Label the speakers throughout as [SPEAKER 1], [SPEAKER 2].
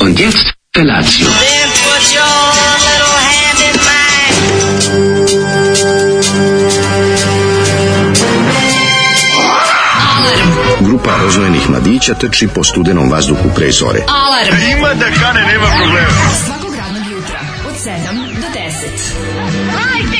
[SPEAKER 1] Und jetzt Felatio.
[SPEAKER 2] Then put your little hand in mine.
[SPEAKER 3] Grupa rozvojenih mladića trči po studenom vazduhu pre zore.
[SPEAKER 4] Alarm.
[SPEAKER 5] Ima da kane, nema problema.
[SPEAKER 4] Svakog radnog jutra od 7 do 10.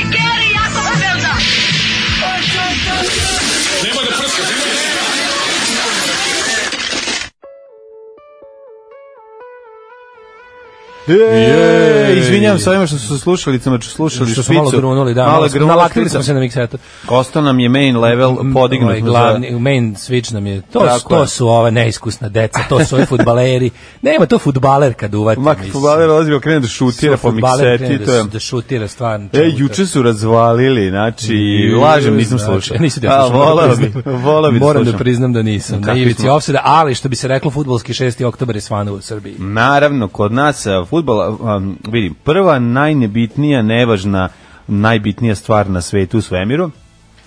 [SPEAKER 6] Jej, E, izvinjavam se ovima što su slušalicama, što su slušali
[SPEAKER 7] Što
[SPEAKER 6] špicu.
[SPEAKER 7] smo malo grunuli, da, malo,
[SPEAKER 6] grunula
[SPEAKER 7] nalaktili
[SPEAKER 6] špica.
[SPEAKER 7] smo se na miksetu.
[SPEAKER 6] Ostao nam je main level podignut.
[SPEAKER 7] Ovaj glavni, main switch nam je, to,
[SPEAKER 6] Tako
[SPEAKER 7] to
[SPEAKER 6] je.
[SPEAKER 7] su ova neiskusna deca, to su ovi futbaleri. Nema to futbaler kad uvati.
[SPEAKER 6] Mak futbaler ozbiljno krene da šutira po mikseti, to je...
[SPEAKER 7] Da šutira stvarno.
[SPEAKER 6] E,
[SPEAKER 7] čemu to?
[SPEAKER 6] juče su razvalili, znači, lažem, nisam
[SPEAKER 7] Znači,
[SPEAKER 6] slušao.
[SPEAKER 7] Nisi ti
[SPEAKER 6] A,
[SPEAKER 7] slušao.
[SPEAKER 6] volao
[SPEAKER 7] moram da
[SPEAKER 6] bi,
[SPEAKER 7] priznam.
[SPEAKER 6] volao bi da
[SPEAKER 7] Moram da
[SPEAKER 6] slušam.
[SPEAKER 7] priznam da nisam. Na
[SPEAKER 6] Kakvi
[SPEAKER 7] ivici
[SPEAKER 6] smo?
[SPEAKER 7] ofseda, ali što bi se reklo, futbolski 6. oktober je svanuo u Srbiji.
[SPEAKER 6] Mm. Naravno, kod nas a, futbol, a, um, vidim, prva najnebitnija, nevažna, najbitnija stvar na svetu u svemiru,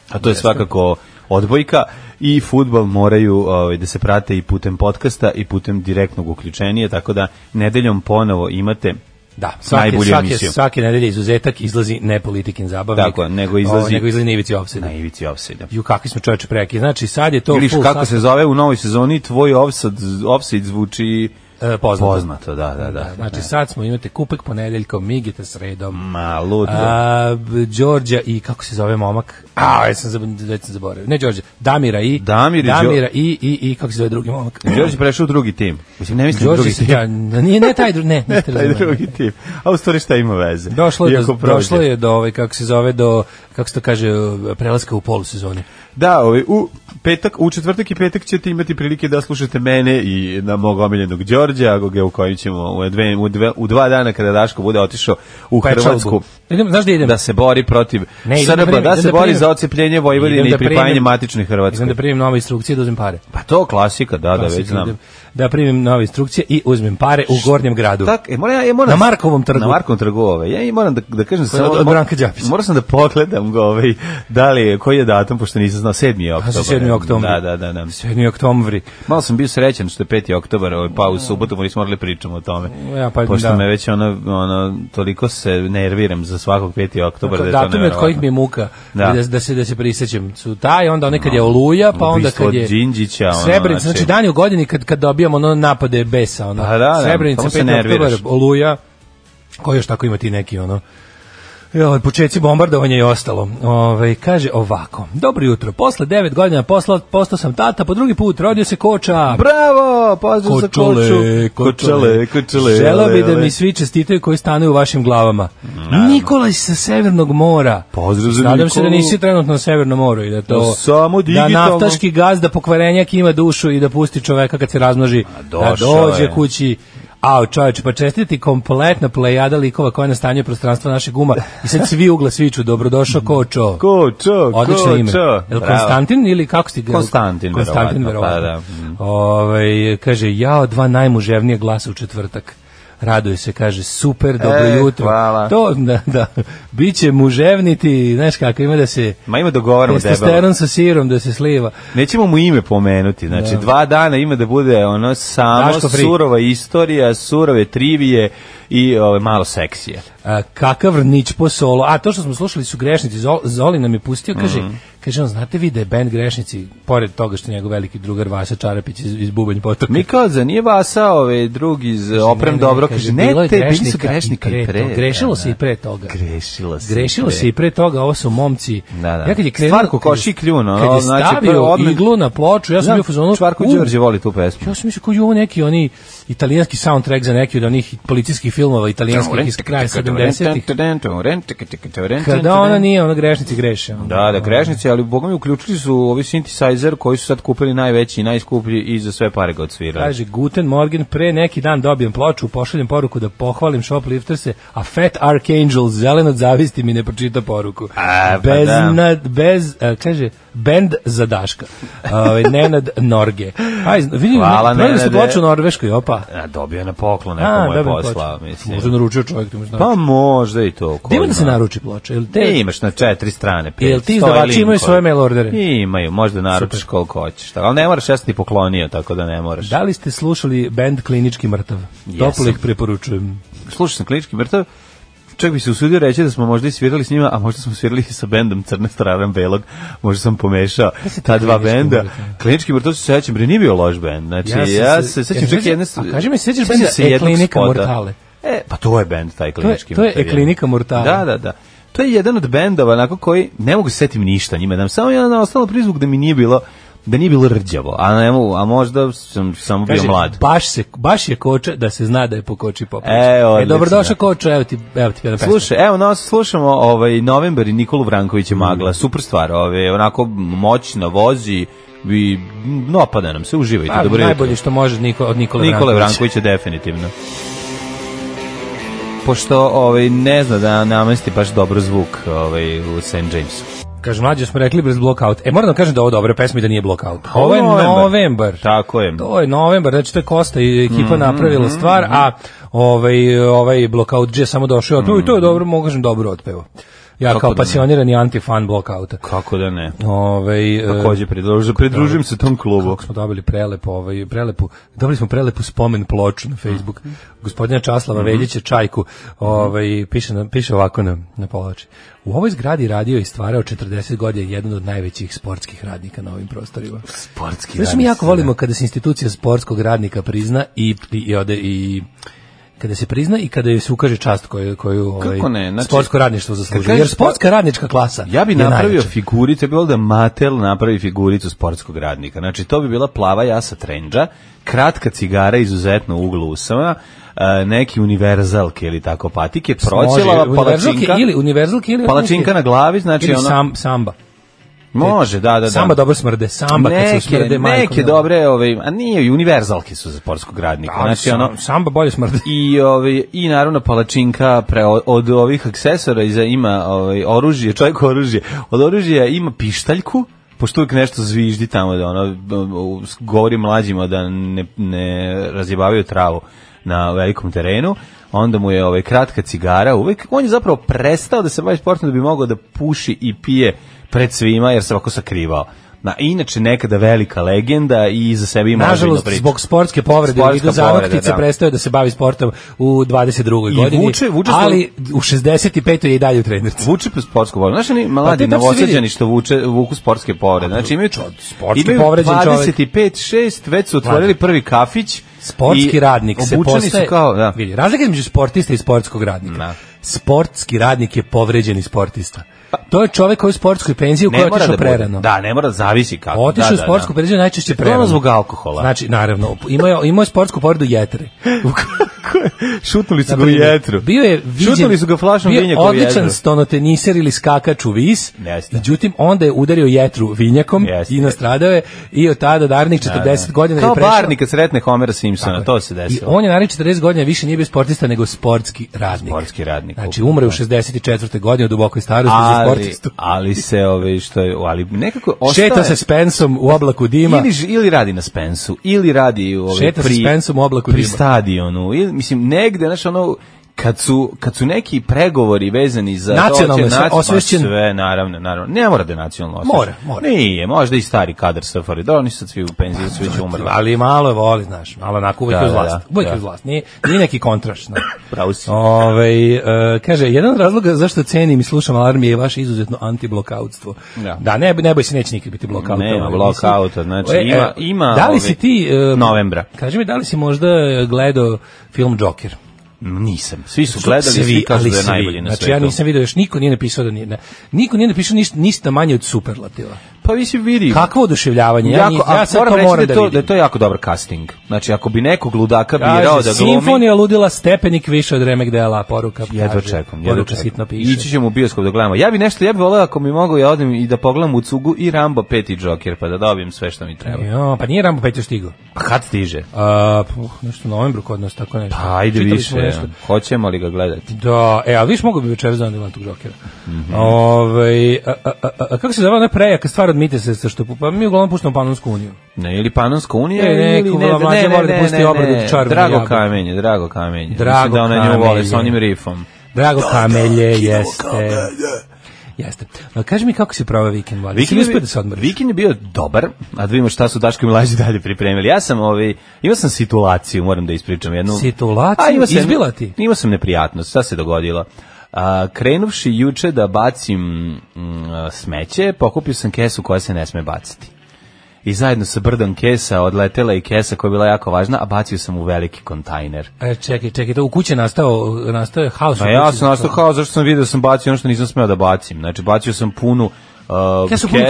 [SPEAKER 6] a to je svakako odbojka i futbol moraju ovaj, da se prate i putem podcasta i putem direktnog uključenja, tako da nedeljom ponovo imate
[SPEAKER 7] Da, svake,
[SPEAKER 6] najbolju
[SPEAKER 7] svake,
[SPEAKER 6] emisiju.
[SPEAKER 7] svake nedelje izuzetak izlazi ne politikin zabavnik.
[SPEAKER 6] Tako je, nego izlazi-
[SPEAKER 7] O, nego izlazi na ivici ofseda.
[SPEAKER 6] Na ivici ofsajda.
[SPEAKER 7] Ju, kakvi smo čoveče preki. Znači, sad je to
[SPEAKER 6] Ili
[SPEAKER 7] full
[SPEAKER 6] kako
[SPEAKER 7] sastav-
[SPEAKER 6] se zove u novoj sezoni, tvoj ofsajd, ofsajd zvuči
[SPEAKER 7] E, poznato.
[SPEAKER 6] poznato, da, da, da. Mm,
[SPEAKER 7] Znači, sad smo, imate kupek ponedeljkom, migite sredom.
[SPEAKER 6] Ma, ludo.
[SPEAKER 7] A, b- Đorđa i kako se zove momak? A, ja sam zab- već sam zaboravio. Ne Đorđa, Damira i
[SPEAKER 6] Damir i Đo-
[SPEAKER 7] Damira i, i i kako se zove drugi momak?
[SPEAKER 6] Đorđe prešao u drugi tim. Mislim, ne mislim
[SPEAKER 7] Đorđe
[SPEAKER 6] drugi
[SPEAKER 7] se
[SPEAKER 6] tim.
[SPEAKER 7] da, nije ne taj drugi, ne, niste
[SPEAKER 6] taj
[SPEAKER 7] razumeli.
[SPEAKER 6] drugi tip. A u stvari šta ima veze?
[SPEAKER 7] Došlo je,
[SPEAKER 6] Iako
[SPEAKER 7] do,
[SPEAKER 6] prođe.
[SPEAKER 7] došlo je do ovaj kako se zove do kako se to kaže prelaska u polusezoni.
[SPEAKER 6] Da, ovaj, u petak, u četvrtak i petak ćete imati prilike da slušate mene i na mog omiljenog Đorđa, Agogeu koju ćemo u, dve, u, dve, u dva dana kada Daško bude otišao u
[SPEAKER 7] Pečalbu.
[SPEAKER 6] Hrvatsku
[SPEAKER 7] Idem, znaš da idem?
[SPEAKER 6] da se bori protiv
[SPEAKER 7] Ne, idem
[SPEAKER 6] Srba,
[SPEAKER 7] primim-
[SPEAKER 6] da,
[SPEAKER 7] idem
[SPEAKER 6] se bori
[SPEAKER 7] primim-
[SPEAKER 6] za ocepljenje
[SPEAKER 7] idem
[SPEAKER 6] Vojvodine
[SPEAKER 7] da
[SPEAKER 6] i pripajanje
[SPEAKER 7] primim-
[SPEAKER 6] matične Hrvatske.
[SPEAKER 7] Idem da primim nove instrukcije da uzmem pare.
[SPEAKER 6] Pa to klasika, da, da, već
[SPEAKER 7] Klasika,
[SPEAKER 6] znam.
[SPEAKER 7] idem Da primim nove instrukcije i uzmem pare u Gornjem gradu.
[SPEAKER 6] Tak, e, moram, ja- ja moram,
[SPEAKER 7] Na Markovom trgu.
[SPEAKER 6] Na Markovom trgu, ovaj. Ja i moram da, da kažem samo...
[SPEAKER 7] od- od
[SPEAKER 6] mor-
[SPEAKER 7] Branka Đapića.
[SPEAKER 6] Morao sam da pogledam ga, ovaj, da li je, koji je datum, pošto nisam znao, 7.
[SPEAKER 7] Pa
[SPEAKER 6] oktobar.
[SPEAKER 7] su 7. oktobar.
[SPEAKER 6] Da, da, da, da.
[SPEAKER 7] 7. oktombri.
[SPEAKER 6] Malo sam bio srećan što je 5. oktobar, ovaj, pa u subotu nismo morali pričamo o tome.
[SPEAKER 7] Ja, pa,
[SPEAKER 6] pošto
[SPEAKER 7] da.
[SPEAKER 6] me već ono, ono, toliko se nerviram za svakog 5. oktobar. da je to
[SPEAKER 7] Datumi od
[SPEAKER 6] neverovatno.
[SPEAKER 7] kojih mi Dakle, je muka
[SPEAKER 6] Da.
[SPEAKER 7] da. Da, se, da se prisećam su taj, onda onaj kad je oluja, pa onda
[SPEAKER 6] Ubistvo
[SPEAKER 7] kad je
[SPEAKER 6] od Đinđića, ono,
[SPEAKER 7] Srebrenica,
[SPEAKER 6] znači-
[SPEAKER 7] znači, dan je u godini kad, kad dobijamo ono napade besa, ono,
[SPEAKER 6] Pa da, da,
[SPEAKER 7] Srebrenica,
[SPEAKER 6] samo se
[SPEAKER 7] 5.
[SPEAKER 6] nerviraš.
[SPEAKER 7] oktobar, oluja, koji još tako ima ti neki ono, Ja, počeci bombardovanja i ostalo. Ove, kaže ovako. Dobro jutro. Posle 9 godina posla, postao sam tata, po drugi put rodio se koča.
[SPEAKER 6] Bravo, pozdrav za koču.
[SPEAKER 7] Kočale,
[SPEAKER 6] kočale, kočale.
[SPEAKER 7] Želeo bi
[SPEAKER 6] ale,
[SPEAKER 7] da
[SPEAKER 6] ale.
[SPEAKER 7] mi svi čestitaju koji stanuju u vašim glavama. Nikolaj sa Severnog mora.
[SPEAKER 6] Pozdrav za
[SPEAKER 7] Nadam se da
[SPEAKER 6] Nikolu.
[SPEAKER 7] nisi trenutno na Severnom moru i da to...
[SPEAKER 6] Da samo
[SPEAKER 7] da
[SPEAKER 6] digitalno.
[SPEAKER 7] naftaški gaz, da pokvarenjak ima dušu i da pusti čoveka kad se razmnoži. Da
[SPEAKER 6] došao
[SPEAKER 7] dođe
[SPEAKER 6] je.
[SPEAKER 7] kući. Ao, čoveče, pa čestiti kompletna plejada likova koja nastanjuje prostranstvo našeg uma. I sad svi ugla sviču, dobrodošao, kočo.
[SPEAKER 6] Kočo,
[SPEAKER 7] Odlično ime.
[SPEAKER 6] kočo.
[SPEAKER 7] Jel
[SPEAKER 6] Bravo.
[SPEAKER 7] Konstantin ili kako ste ga?
[SPEAKER 6] Konstantin,
[SPEAKER 7] Konstantin
[SPEAKER 6] verovatno, pa
[SPEAKER 7] verovatno. Ovaj, kaže, jao, dva najmuževnije glasa u četvrtak. Raduje se, kaže, super, dobro
[SPEAKER 6] E,
[SPEAKER 7] jutro.
[SPEAKER 6] hvala.
[SPEAKER 7] To, da, da, biće muževniti, znaš kako, ima da se
[SPEAKER 6] Ma ima dogovaramo debelo.
[SPEAKER 7] testosteron sa sirom da se sliva.
[SPEAKER 6] Nećemo mu ime pomenuti, znači dva dana ima da bude ono samo
[SPEAKER 7] Daško Free.
[SPEAKER 6] surova istorija, surove trivije i ove, malo seksije.
[SPEAKER 7] A, kakav nić po solo. A to što smo slušali su grešnici. Zol- Zoli nam je pustio, kaže,
[SPEAKER 6] Mhm.
[SPEAKER 7] kaže on, znate vi da je band grešnici, pored toga što je njegov veliki drugar Vasa Čarapić iz, iz Bubanj potoka.
[SPEAKER 6] Mi kao za nije Vasa, ove drugi iz Oprem
[SPEAKER 7] Ne, ne,
[SPEAKER 6] dobro,
[SPEAKER 7] kaže,
[SPEAKER 6] kaže, ne,
[SPEAKER 7] bilo je
[SPEAKER 6] te bili su
[SPEAKER 7] grešnika
[SPEAKER 6] grešnika i pre.
[SPEAKER 7] toga. Grešilo
[SPEAKER 6] da,
[SPEAKER 7] se i pre toga.
[SPEAKER 6] da. Grešilo se.
[SPEAKER 7] Grešilo
[SPEAKER 6] i pre.
[SPEAKER 7] se i pre toga, ovo su momci.
[SPEAKER 6] Da, da.
[SPEAKER 7] Ja kad je krenuo,
[SPEAKER 6] Stvarko
[SPEAKER 7] kad je-
[SPEAKER 6] koši i kljun, ono,
[SPEAKER 7] Kad je
[SPEAKER 6] znači,
[SPEAKER 7] stavio
[SPEAKER 6] prvo odmah-
[SPEAKER 7] iglu na ploču, ja sam bio u fazonu.
[SPEAKER 6] Čvarko
[SPEAKER 7] u,
[SPEAKER 6] Đorđe voli tu pesmu.
[SPEAKER 7] Ja sam mislio koji je ovo neki oni italijanski soundtrack za neki od onih policijskih filmova italijanskih iz kraja 70-ih. Kada ona nije, ona grešnici greše. ono.
[SPEAKER 6] Da, da, grešnici, ali boga mi uključili su ovi synthesizer koji su sad kupili najveći i najskuplji i za sve pare ga odsvirali.
[SPEAKER 7] Kaže, Guten Morgen, pre neki dan dobijem ploču, pošaljem poruku da pohvalim shoplifters-e, a Fat Archangel, zelen od zavisti, mi ne pročita poruku.
[SPEAKER 6] A, pa
[SPEAKER 7] bez,
[SPEAKER 6] da.
[SPEAKER 7] nad- bez, a, kaže, bend za Daška. Ovaj, Nenad Norge. Aj, zna- vidim,
[SPEAKER 6] Hvala,
[SPEAKER 7] pravili su
[SPEAKER 6] Nenade.
[SPEAKER 7] ploču u Norveškoj, opa.
[SPEAKER 6] A dobio na poklon, neko mu je
[SPEAKER 7] dobrim
[SPEAKER 6] poslao,
[SPEAKER 7] ploču.
[SPEAKER 6] mislim.
[SPEAKER 7] Možda naručio čovjek, ti možda
[SPEAKER 6] Pa možda i to. ko
[SPEAKER 7] Gde ima da se
[SPEAKER 6] zna.
[SPEAKER 7] naruči ploča? Jel te,
[SPEAKER 6] Ne imaš na četiri strane. pet,
[SPEAKER 7] jel ti
[SPEAKER 6] stoji
[SPEAKER 7] izdavači imaju
[SPEAKER 6] linkova.
[SPEAKER 7] svoje mail ordere?
[SPEAKER 6] Imaju, možda naručiš
[SPEAKER 7] Super.
[SPEAKER 6] koliko hoćeš. tako, Ali ne moraš, ja sam ti poklonio, tako da ne moraš.
[SPEAKER 7] Da li ste slušali band Klinički mrtav?
[SPEAKER 6] Jesam.
[SPEAKER 7] Toplo ih preporučujem.
[SPEAKER 6] Slušao sam klinički mrtav, čak bi se usudio reći da smo možda i svirali s njima, a možda smo svirali i sa bendom Crne strane belog, možda sam pomešao ta dva
[SPEAKER 7] Klinički
[SPEAKER 6] benda.
[SPEAKER 7] mrtav?
[SPEAKER 6] Klinički mrtav se sećam, bre nije bio loš bend. Znači,
[SPEAKER 7] Ja
[SPEAKER 6] ja,
[SPEAKER 7] sam se-
[SPEAKER 6] se sećam
[SPEAKER 7] ja
[SPEAKER 6] čak
[SPEAKER 7] sam-
[SPEAKER 6] jedne...
[SPEAKER 7] a kaži mi, sećaš
[SPEAKER 6] sećam
[SPEAKER 7] benda
[SPEAKER 6] se jednog
[SPEAKER 7] Eklinika
[SPEAKER 6] spota.
[SPEAKER 7] Mortale?
[SPEAKER 6] E, pa to je bend taj klinički
[SPEAKER 7] to je
[SPEAKER 6] mrtav,
[SPEAKER 7] Eklinika
[SPEAKER 6] jedan.
[SPEAKER 7] Mortale.
[SPEAKER 6] Da, da, da. To je jedan od bendova onako koji ne mogu se setim ništa njima, da mi samo jedan ostalo prizvuk da mi nije bilo da nije bilo rđavo, a ne mogu, a možda sam samo bio
[SPEAKER 7] Kaže,
[SPEAKER 6] mlad.
[SPEAKER 7] Baš, se, baš je koče da se zna da je po koči poprič.
[SPEAKER 6] E,
[SPEAKER 7] e,
[SPEAKER 6] odlično.
[SPEAKER 7] dobrodošao koče, evo ti, evo ti jedna pesma.
[SPEAKER 6] Slušaj, evo nas slušamo ovaj novembar i Nikolu Vrankovića Magla,
[SPEAKER 7] Mm.
[SPEAKER 6] super stvar, ove onako moćno vozi i napada nam se, uživajte,
[SPEAKER 7] Pa,
[SPEAKER 6] dobro jutro.
[SPEAKER 7] najbolje što može od Niko, od Nikole,
[SPEAKER 6] Nikole
[SPEAKER 7] Brankovića.
[SPEAKER 6] Vrankovića definitivno. Pošto ovaj ne zna da namesti baš dobro zvuk ovaj u St. Jamesu.
[SPEAKER 7] Kaže, mlađe smo rekli brez blockout. E, moram da kažem da je ovo dobra pesma i da nije blockout. Ovo je
[SPEAKER 6] Pa, novembar.
[SPEAKER 7] novembar.
[SPEAKER 6] Tako je.
[SPEAKER 7] To je novembar, znači to je Kosta i
[SPEAKER 6] Mhm,
[SPEAKER 7] ekipa napravila stvar, a ovaj, ovaj blockout je samo došao tu
[SPEAKER 6] Mhm.
[SPEAKER 7] i to je dobro, mogu kažem, dobro otpevo. Ja
[SPEAKER 6] Kako da
[SPEAKER 7] kao
[SPEAKER 6] ne?
[SPEAKER 7] pasionirani anti-fan blockouta.
[SPEAKER 6] Kako da ne?
[SPEAKER 7] Ovaj, e,
[SPEAKER 6] Takođe pridružujem, pridružujem se tom klubu.
[SPEAKER 7] smo dobili prelepo, ovaj, prelepu, dobili smo prelepu spomen ploču na Facebook.
[SPEAKER 6] Mhm.
[SPEAKER 7] Gospodina Časlava Veljića Čajku ovaj, piše, na, piše ovako na, na ploči. U ovoj zgradi radio i stvarao 40 godina jedan od najvećih sportskih radnika na ovim prostorima.
[SPEAKER 6] Sportski
[SPEAKER 7] Znaš, mi jako volimo kada se institucija sportskog radnika prizna i, i, i ode i kada se prizna i kada joj se ukaže čast koju, koju ovaj,
[SPEAKER 6] Kako ne, znači-
[SPEAKER 7] sportsko radništvo zaslužuje.
[SPEAKER 6] Kad kažeš pa
[SPEAKER 7] Jer sportska radnička klasa
[SPEAKER 6] Ja bi
[SPEAKER 7] je
[SPEAKER 6] napravio
[SPEAKER 7] najjača.
[SPEAKER 6] figuricu, ja bi volio da Matel napravi figuricu sportskog radnika. Znači, to bi bila plava jasa trenđa, kratka cigara izuzetno u uglu usama, e, neki univerzalke ili tako patike, proćelava,
[SPEAKER 7] Može, univerzalke
[SPEAKER 6] palačinka,
[SPEAKER 7] ili univerzalke ili
[SPEAKER 6] palačinka na glavi, znači
[SPEAKER 7] ili
[SPEAKER 6] ono...
[SPEAKER 7] sam, samba.
[SPEAKER 6] Može, da, da, da.
[SPEAKER 7] Samba dobro smrde, samba kad se
[SPEAKER 6] neke,
[SPEAKER 7] smrde majko.
[SPEAKER 6] neke
[SPEAKER 7] mila.
[SPEAKER 6] dobre, ove, a nije, i univerzalke su za sportskog radnika.
[SPEAKER 7] Ali
[SPEAKER 6] znači, ono,
[SPEAKER 7] sam- samba bolje smrde.
[SPEAKER 6] i ovaj i naravno palačinka pre od ovih aksesora iza ima ovaj oružje, čovjek oružje. Od oružja ima pištaljku pošto uvijek nešto zviždi tamo da ono govori mlađima da ne, ne razjebavaju travu na velikom terenu onda mu je ovaj kratka cigara uvek on je zapravo prestao da se bavi sportom da bi mogao da puši i pije pred svima jer se ovako sakrivao na inače nekada velika legenda i za sebe ima ozbiljnu
[SPEAKER 7] Nažalost,
[SPEAKER 6] priču.
[SPEAKER 7] zbog sportske povrede
[SPEAKER 6] Sportska
[SPEAKER 7] i do
[SPEAKER 6] povreda,
[SPEAKER 7] zanoktica
[SPEAKER 6] da.
[SPEAKER 7] prestao je da se bavi sportom u 22.
[SPEAKER 6] I
[SPEAKER 7] godini,
[SPEAKER 6] vuče- vuče svoj-
[SPEAKER 7] ali u 65. je i dalje u trenerci.
[SPEAKER 6] vuče po sportsku povredu. Znaš, oni mladi
[SPEAKER 7] Pa ti
[SPEAKER 6] pa
[SPEAKER 7] tačno se
[SPEAKER 6] novosađani
[SPEAKER 7] vidi.
[SPEAKER 6] što vuče, vuku sportske povrede. Znači, imaju,
[SPEAKER 7] sportski
[SPEAKER 6] imaju
[SPEAKER 7] povređen čovek.
[SPEAKER 6] 25-6, već su otvorili prvi kafić.
[SPEAKER 7] Sportski
[SPEAKER 6] i
[SPEAKER 7] radnik se
[SPEAKER 6] obučeni
[SPEAKER 7] postaje,
[SPEAKER 6] su kao, da.
[SPEAKER 7] vidi, razlika između sportista i sportskog radnika.
[SPEAKER 6] Da.
[SPEAKER 7] Sportski radnik je povređeni sportista. To je čovek koji je u sportskoj penziji u kojoj je otišao
[SPEAKER 6] bude.
[SPEAKER 7] prerano.
[SPEAKER 6] Pa-
[SPEAKER 7] Pa
[SPEAKER 6] Da, ne mora da zavisi kako.
[SPEAKER 7] Otišao
[SPEAKER 6] da,
[SPEAKER 7] u sportsku penziju najčešće
[SPEAKER 6] prerano.
[SPEAKER 7] prerano.
[SPEAKER 6] zbog alkohola.
[SPEAKER 7] Znači, naravno, imao je, imao je sportsku povredu jetre.
[SPEAKER 6] šutnuli su
[SPEAKER 7] Na
[SPEAKER 6] ga u
[SPEAKER 7] primjer,
[SPEAKER 6] jetru.
[SPEAKER 7] Bio je viđen,
[SPEAKER 6] Šutnuli su ga flašom
[SPEAKER 7] bio je
[SPEAKER 6] vinjaka u
[SPEAKER 7] Odličan
[SPEAKER 6] jetru.
[SPEAKER 7] stonoteniser ili skakač u vis.
[SPEAKER 6] Jeste.
[SPEAKER 7] Međutim, onda je udario jetru vinjakom
[SPEAKER 6] Jeste.
[SPEAKER 7] i nastradao je i od tada Darnik 40 godina
[SPEAKER 6] Kao
[SPEAKER 7] je prešao.
[SPEAKER 6] Barney kad sretne Homera Simpsona,
[SPEAKER 7] Tako
[SPEAKER 6] to
[SPEAKER 7] je.
[SPEAKER 6] se
[SPEAKER 7] I
[SPEAKER 6] desilo.
[SPEAKER 7] on je naravno 40 godina više nije bio sportista nego sportski radnik.
[SPEAKER 6] Sportski radnik.
[SPEAKER 7] Znači, umre u 64. godine u dubokoj starosti za
[SPEAKER 6] ali,
[SPEAKER 7] sportistu.
[SPEAKER 6] ali se ove što je ali nekako ostaje
[SPEAKER 7] Šeta se s pensom u oblaku dima.
[SPEAKER 6] Ili, ž- ili radi na Spensu, ili radi u ovaj,
[SPEAKER 7] Šeta s
[SPEAKER 6] pri,
[SPEAKER 7] Spensom u oblaku
[SPEAKER 6] pri
[SPEAKER 7] dima.
[SPEAKER 6] stadionu, ili, mislim, negde, znaš, ono, kad su, kad su neki pregovori vezani za
[SPEAKER 7] Nacionalno je sve
[SPEAKER 6] nac- pa
[SPEAKER 7] osvešćen.
[SPEAKER 6] sve naravno naravno ne mora da je nacionalno osvešćen.
[SPEAKER 7] Mora, mora.
[SPEAKER 6] nije možda i stari kadar SFRJ da oni su sad svi u penziji su već umrli
[SPEAKER 7] Ali malo je voli, znaš, malo onako uvijek
[SPEAKER 6] Da,
[SPEAKER 7] je uz
[SPEAKER 6] da,
[SPEAKER 7] vlast.
[SPEAKER 6] da,
[SPEAKER 7] Uvijek je
[SPEAKER 6] da.
[SPEAKER 7] uz vlast. Nije, nije neki kontraš. znaš.
[SPEAKER 6] Pravo si.
[SPEAKER 7] Ovaj, e, kaže, jedan od razloga zašto cenim i slušam alarm je vaše izuzetno antiblokautstvo.
[SPEAKER 6] Da.
[SPEAKER 7] Da, ne, ne boj se, neće nikad biti blokaut.
[SPEAKER 6] Nema
[SPEAKER 7] Ovaj, mislim.
[SPEAKER 6] blokauta, znači,
[SPEAKER 7] E, e,
[SPEAKER 6] ima- ima,
[SPEAKER 7] Da li
[SPEAKER 6] ovaj,
[SPEAKER 7] si ti... e,
[SPEAKER 6] novembra.
[SPEAKER 7] Kaži mi, da li si možda e, gledao film Joker?
[SPEAKER 6] nisam svi su gledali svi,
[SPEAKER 7] Svi,
[SPEAKER 6] kažu
[SPEAKER 7] ali
[SPEAKER 6] da je
[SPEAKER 7] svi.
[SPEAKER 6] najbolji na
[SPEAKER 7] Znači,
[SPEAKER 6] svetu
[SPEAKER 7] ja nisam vidio još, niko nije napisao da nije... ne, niko nije napisao ništa, ništa manje od superlativa.
[SPEAKER 6] pa vi si vidi
[SPEAKER 7] Kakvo oduševljavanje. Ja,
[SPEAKER 6] jako,
[SPEAKER 7] ni-
[SPEAKER 6] a
[SPEAKER 7] ja sad
[SPEAKER 6] moram
[SPEAKER 7] to
[SPEAKER 6] reći da,
[SPEAKER 7] moram da,
[SPEAKER 6] je to, da
[SPEAKER 7] vidim.
[SPEAKER 6] je to jako dobar casting znači ako bi nekog ludaka birao
[SPEAKER 7] Kaže,
[SPEAKER 6] da glumi
[SPEAKER 7] Simfonija ludila stepenik više od remek dela, poruka.
[SPEAKER 6] Jedva
[SPEAKER 7] kaže.
[SPEAKER 6] čekam, jedva
[SPEAKER 7] Poruka
[SPEAKER 6] čekam.
[SPEAKER 7] sitno piše.
[SPEAKER 6] Ići ćemo u bioskop da gledamo. Ja bi nešto, ja bi voleo ako bi mogao ja odem i da pogledam u cugu i Rambo 5 i Joker pa da dobijem sve što mi treba.
[SPEAKER 7] Jo, pa nije Rambo Pećo stigao.
[SPEAKER 6] Pa kad stiže?
[SPEAKER 7] A, puh, nešto u novembru kod nas, tako nešto.
[SPEAKER 6] Pa ajde
[SPEAKER 7] Čitali
[SPEAKER 6] više.
[SPEAKER 7] smo nešto.
[SPEAKER 6] Hoćemo li ga gledati?
[SPEAKER 7] Da, e, ali viš mogu bi večeras da imam tog Jokera.
[SPEAKER 6] Mhm.
[SPEAKER 7] Ovaj, a, a, a, a, kako se zove ona prejaka stvar od Mitesa, što, pa mi uglavnom puštamo Panonsku uniju.
[SPEAKER 6] Ne, ili Panonska unija
[SPEAKER 7] Ne, ne,
[SPEAKER 6] ili
[SPEAKER 7] ko vla- mlađe voli da pusti obradu čarobne
[SPEAKER 6] Drago
[SPEAKER 7] jabuke.
[SPEAKER 6] kamenje, drago kamenje.
[SPEAKER 7] Drago
[SPEAKER 6] Mislim da ona nju voli
[SPEAKER 7] kamenje.
[SPEAKER 6] sa onim rifom.
[SPEAKER 7] Drago Kamelje jeste. Jeste. A, kaži mi kako si prava vikend, Vlad.
[SPEAKER 6] Vikend
[SPEAKER 7] Vikend je
[SPEAKER 6] je
[SPEAKER 7] uspio
[SPEAKER 6] bi-
[SPEAKER 7] da se odmoriš.
[SPEAKER 6] Vikend je bio dobar, a da vidimo šta su Daško i Mlađi dalje pripremili. Ja sam, ovaj, imao sam situaciju, moram da ispričam jednu.
[SPEAKER 7] Situaciju?
[SPEAKER 6] imao sam-
[SPEAKER 7] Izbila ti?
[SPEAKER 6] Imao sam neprijatnost, šta se dogodilo? A, krenuvši juče da bacim mm, a, smeće, pokupio sam kesu koja se ne sme baciti. I zajedno sa brdom kesa odletela i kesa koja je bila jako važna, a bacio sam u veliki kontajner.
[SPEAKER 7] E, čekaj, čekaj, to u kući je nastao, nastao je haos. u
[SPEAKER 6] Pa
[SPEAKER 7] kući
[SPEAKER 6] ja
[SPEAKER 7] zato-
[SPEAKER 6] sam nastao kao zašto sam video da sam bacio ono što nisam smeo da bacim. Znači bacio sam punu uh,
[SPEAKER 7] Kesu punu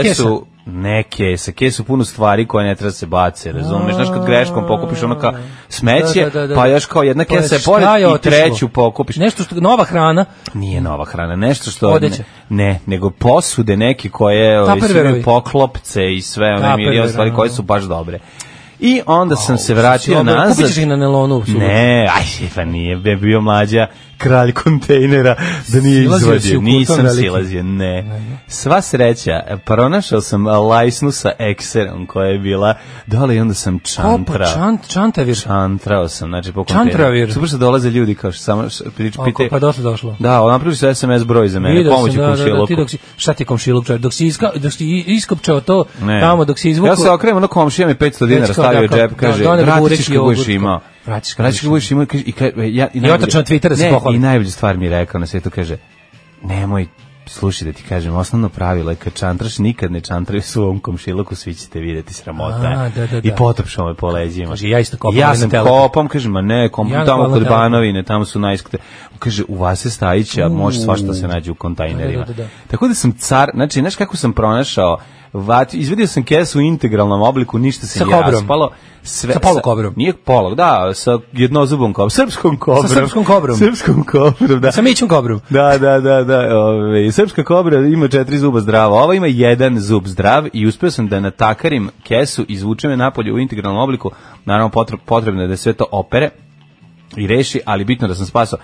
[SPEAKER 6] ne kesa, kesu punu stvari koje ne treba da se bace, razumeš? Znaš kad greškom pokupiš ono kao smeće, pa još kao jedna
[SPEAKER 7] To je
[SPEAKER 6] kesa je
[SPEAKER 7] šta
[SPEAKER 6] pored i
[SPEAKER 7] otišlo?
[SPEAKER 6] treću pokupiš.
[SPEAKER 7] Nešto što, nova hrana,
[SPEAKER 6] Nije nova hrana, nešto što... Ne,
[SPEAKER 7] Odeća.
[SPEAKER 6] ne, nego posude neke koje ove, svi
[SPEAKER 7] Tupperwareovi.
[SPEAKER 6] imaju poklopce i sve, one
[SPEAKER 7] Tupperware,
[SPEAKER 6] milion stvari koje su baš dobre. I onda sam se vratio
[SPEAKER 7] Dobro,
[SPEAKER 6] nazad.
[SPEAKER 7] kupit ćeš ih na nelonu. u subotu.
[SPEAKER 6] Ne, aj, pa nije, bi bio mlađa kralj kontejnera da nije
[SPEAKER 7] Silazio si u
[SPEAKER 6] izvadio.
[SPEAKER 7] kuton
[SPEAKER 6] Nisam
[SPEAKER 7] veliki.
[SPEAKER 6] silazio, ne. Sva sreća, e, pronašao sam lajsnu sa ekserom koja je bila dole i onda sam
[SPEAKER 7] Opa,
[SPEAKER 6] čantra.
[SPEAKER 7] Pa, čant, čantavir.
[SPEAKER 6] Čantrao sam, znači po
[SPEAKER 7] Čantravir.
[SPEAKER 6] kontejneru. Super što dolaze ljudi kao što samo š- prič-
[SPEAKER 7] Oko,
[SPEAKER 6] pite.
[SPEAKER 7] pa došlo, došlo.
[SPEAKER 6] Da, on napravili su SMS broj za mene,
[SPEAKER 7] Vidio
[SPEAKER 6] pomoći
[SPEAKER 7] sam, da, da, da,
[SPEAKER 6] komšijeloku.
[SPEAKER 7] ti dok si, šta ti komšiluk čovjek, dok si, iska, dok si i- iskopčao to
[SPEAKER 6] Ne.
[SPEAKER 7] tamo, dok si izvukao...
[SPEAKER 6] Ja se okrenem, ono komšija mi 500 dinara
[SPEAKER 7] Već kao
[SPEAKER 6] stavio
[SPEAKER 7] da,
[SPEAKER 6] u
[SPEAKER 7] kao-
[SPEAKER 6] džep, kaže,
[SPEAKER 7] da, doneo burek
[SPEAKER 6] vratit ćeš
[SPEAKER 7] i
[SPEAKER 6] kako budeš
[SPEAKER 7] jogurt."
[SPEAKER 6] imao.
[SPEAKER 7] Vratiš kako
[SPEAKER 6] Vratit ćeš kako budeš imao. kaže, I, ka- e, ja, i, najbolje-
[SPEAKER 7] otačno na Twitter da se
[SPEAKER 6] Ne,
[SPEAKER 7] pohvali.
[SPEAKER 6] I najbolju stvar mi je rekao na svetu, kaže, nemoj, slušaj da ti kažem, osnovno pravilo je kad čantraš, nikad ne čantraju svom komšiluku, svi ćete vidjeti sramota. je.
[SPEAKER 7] A, da, da, da.
[SPEAKER 6] I potopšao me po leđima.
[SPEAKER 7] Kaže, ja isto kopam,
[SPEAKER 6] Ja
[SPEAKER 7] ali na
[SPEAKER 6] sam
[SPEAKER 7] telekom.
[SPEAKER 6] kopam, kaže, ma ne, kom,
[SPEAKER 7] Ja na
[SPEAKER 6] tamo
[SPEAKER 7] hvala
[SPEAKER 6] kod
[SPEAKER 7] telekom.
[SPEAKER 6] Banovine, tamo su najskute. Kaže, u Vase Stajića može svašta da se nađe u kontejnerima.
[SPEAKER 7] Da, da, da, da.
[SPEAKER 6] Tako da sam car, znači, znaš kako sam pronašao, vat, izvedio sam kesu u integralnom obliku, ništa se
[SPEAKER 7] Sa
[SPEAKER 6] nije
[SPEAKER 7] kobrom.
[SPEAKER 6] raspalo. Sve,
[SPEAKER 7] Sa polukobrom.
[SPEAKER 6] Nije polog, da, sa jednozubom kobrom, srpskom kobrom.
[SPEAKER 7] srpskom kobrom.
[SPEAKER 6] Srpskom kobrom, da.
[SPEAKER 7] Sa mićom kobru.
[SPEAKER 6] Da, da, da, da. Ove, srpska kobra ima četiri zuba zdrava, ova ima jedan zub zdrav i uspeo sam da natakarim kesu, izvučem je napolje u integralnom obliku, naravno potre- potrebno je da sve to opere i reši, ali bitno da sam spasao.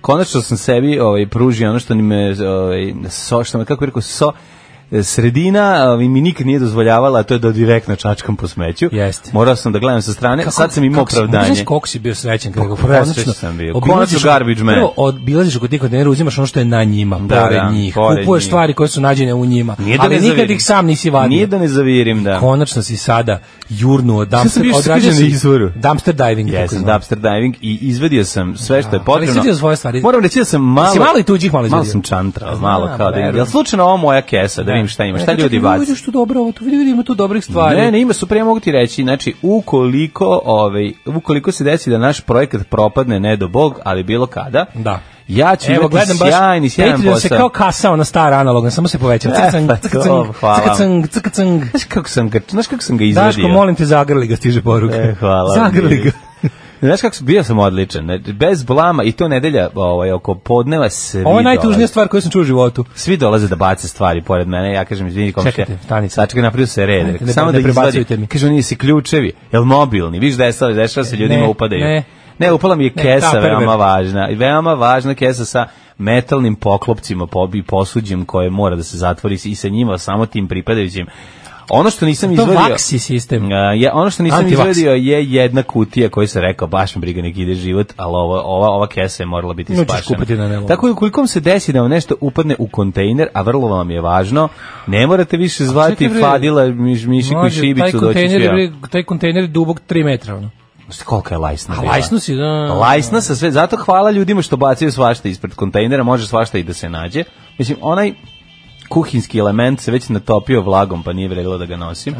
[SPEAKER 6] Konačno sam sebi ovaj, pružio ono što ni me, ovaj, so, što me, kako bih rekao, so, sredina ovaj, mi nikad nije dozvoljavala, a to je da direktno čačkam po smeću.
[SPEAKER 7] Jeste.
[SPEAKER 6] Morao sam da gledam sa strane, sad sam imao
[SPEAKER 7] kako si- možda
[SPEAKER 6] opravdanje.
[SPEAKER 7] Znaš koliko si bio srećan kada ga
[SPEAKER 6] presrećan
[SPEAKER 7] konačno
[SPEAKER 6] sam bio.
[SPEAKER 7] obilaziš-
[SPEAKER 6] Konačno garbage man.
[SPEAKER 7] Prvo obilaziš kod tih kontenera, uzimaš ono što je na njima,
[SPEAKER 6] Da,
[SPEAKER 7] pored
[SPEAKER 6] da,
[SPEAKER 7] njih.
[SPEAKER 6] pored
[SPEAKER 7] Kupuješ
[SPEAKER 6] njih.
[SPEAKER 7] stvari koje su nađene u njima.
[SPEAKER 6] Nije da
[SPEAKER 7] ali
[SPEAKER 6] ne
[SPEAKER 7] nikad
[SPEAKER 6] zavirim.
[SPEAKER 7] ih sam nisi vadio.
[SPEAKER 6] Nije da ne zavirim, da.
[SPEAKER 7] Konačno si sada jurnu
[SPEAKER 6] Sad
[SPEAKER 7] od
[SPEAKER 6] sam
[SPEAKER 7] dumpster,
[SPEAKER 6] bio
[SPEAKER 7] odradio
[SPEAKER 6] isključen
[SPEAKER 7] si
[SPEAKER 6] na izvoru.
[SPEAKER 7] dumpster diving. kako
[SPEAKER 6] Jesam,
[SPEAKER 7] znam.
[SPEAKER 6] dumpster diving i izvedio sam sve što je
[SPEAKER 7] Da,
[SPEAKER 6] potrebno.
[SPEAKER 7] ali si izvedio svoje stvari.
[SPEAKER 6] Moram reći da sam malo...
[SPEAKER 7] Jesi malo i tuđih malo
[SPEAKER 6] Malo
[SPEAKER 7] izvedio?
[SPEAKER 6] sam čantrao,
[SPEAKER 7] Znam,
[SPEAKER 6] malo kao da
[SPEAKER 7] verujem.
[SPEAKER 6] vidim. Jel slučajno ovo moja kesa, da vidim šta ima, šta
[SPEAKER 7] Rekao,
[SPEAKER 6] ljudi
[SPEAKER 7] E, čekaj,
[SPEAKER 6] baci?
[SPEAKER 7] Vidiš tu dobro ovo, tu vidi, vidi, ima tu dobrih stvari.
[SPEAKER 6] Ne, ne, ima su prije mogu ti reći, znači ukoliko, ovaj, ukoliko se desi da naš projekat propadne, ne do bog, ali bilo kada,
[SPEAKER 7] Da.
[SPEAKER 6] ja ću
[SPEAKER 7] Evo,
[SPEAKER 6] imati
[SPEAKER 7] gledam baš,
[SPEAKER 6] sjajni, sjajan
[SPEAKER 7] Patreon
[SPEAKER 6] posao.
[SPEAKER 7] se kao kasao na stara analogna, samo se povećava.
[SPEAKER 6] E,
[SPEAKER 7] Cacang,
[SPEAKER 6] pa to,
[SPEAKER 7] cacang,
[SPEAKER 6] hvala.
[SPEAKER 7] cacang, cacang.
[SPEAKER 6] Znaš kako sam ga, znaš kako sam ga izvedio?
[SPEAKER 7] Daško, molim te, zagrli ga, stiže poruka.
[SPEAKER 6] E, hvala.
[SPEAKER 7] Zagrli ga.
[SPEAKER 6] Znaš kako sam- bio sam odličan, znači, bez blama i to nedelja ovaj, oko podneva svi
[SPEAKER 7] Ovo je najtužnija
[SPEAKER 6] dolaze.
[SPEAKER 7] stvar koju sam čuo u životu.
[SPEAKER 6] Svi dolaze da bace stvari pored mene, ja kažem izvini komšija.
[SPEAKER 7] Čekajte, stanite.
[SPEAKER 6] Sačekaj, napravio se red.
[SPEAKER 7] Stanite,
[SPEAKER 6] Rekao,
[SPEAKER 7] ne-
[SPEAKER 6] Samo
[SPEAKER 7] ne
[SPEAKER 6] da ih
[SPEAKER 7] prebacujte mi.
[SPEAKER 6] izvadi. Kaže oni se ključevi, jel mobilni? Viš da je sad dešava se ljudima
[SPEAKER 7] Ne,
[SPEAKER 6] upadaju.
[SPEAKER 7] ne.
[SPEAKER 6] Ne. upala mi je
[SPEAKER 7] Ne,
[SPEAKER 6] kesa
[SPEAKER 7] Tupperware.
[SPEAKER 6] veoma važna. I veoma važna kesa sa metalnim poklopcima pobi posuđem koje mora da se zatvori i sa njima samo tim pripadajućim. Ono što nisam
[SPEAKER 7] To
[SPEAKER 6] izvadio...
[SPEAKER 7] vaksi sistem.
[SPEAKER 6] A, ja, ono što nisam
[SPEAKER 7] Antivaks.
[SPEAKER 6] izvadio je jedna kutija koju sam rekao, baš mi briga nek ide život, ali ova, ova, ova kesa je morala biti
[SPEAKER 7] Nju ćeš
[SPEAKER 6] spašena.
[SPEAKER 7] kupiti na nelu.
[SPEAKER 6] Tako je, ukoliko vam se desi da vam nešto upadne u kontejner, a vrlo vam je važno, ne morate više zvati
[SPEAKER 7] čekaj, bre,
[SPEAKER 6] Fadila, miš, Mišiku i
[SPEAKER 7] Mlađe, taj
[SPEAKER 6] Šibicu doći
[SPEAKER 7] kontejner,
[SPEAKER 6] će.
[SPEAKER 7] je,
[SPEAKER 6] vam.
[SPEAKER 7] bre, taj kontejner je dubok 3 metra. Ono.
[SPEAKER 6] Znaš Kolika je lajsna?
[SPEAKER 7] A
[SPEAKER 6] bila?
[SPEAKER 7] lajsnu si, da.
[SPEAKER 6] Lajsna sa sve, zato hvala ljudima što bacaju svašta ispred kontejnera, može svašta i da se nađe. Mislim, onaj kuhinski element se već natopio vlagom, pa nije vredilo da ga nosim.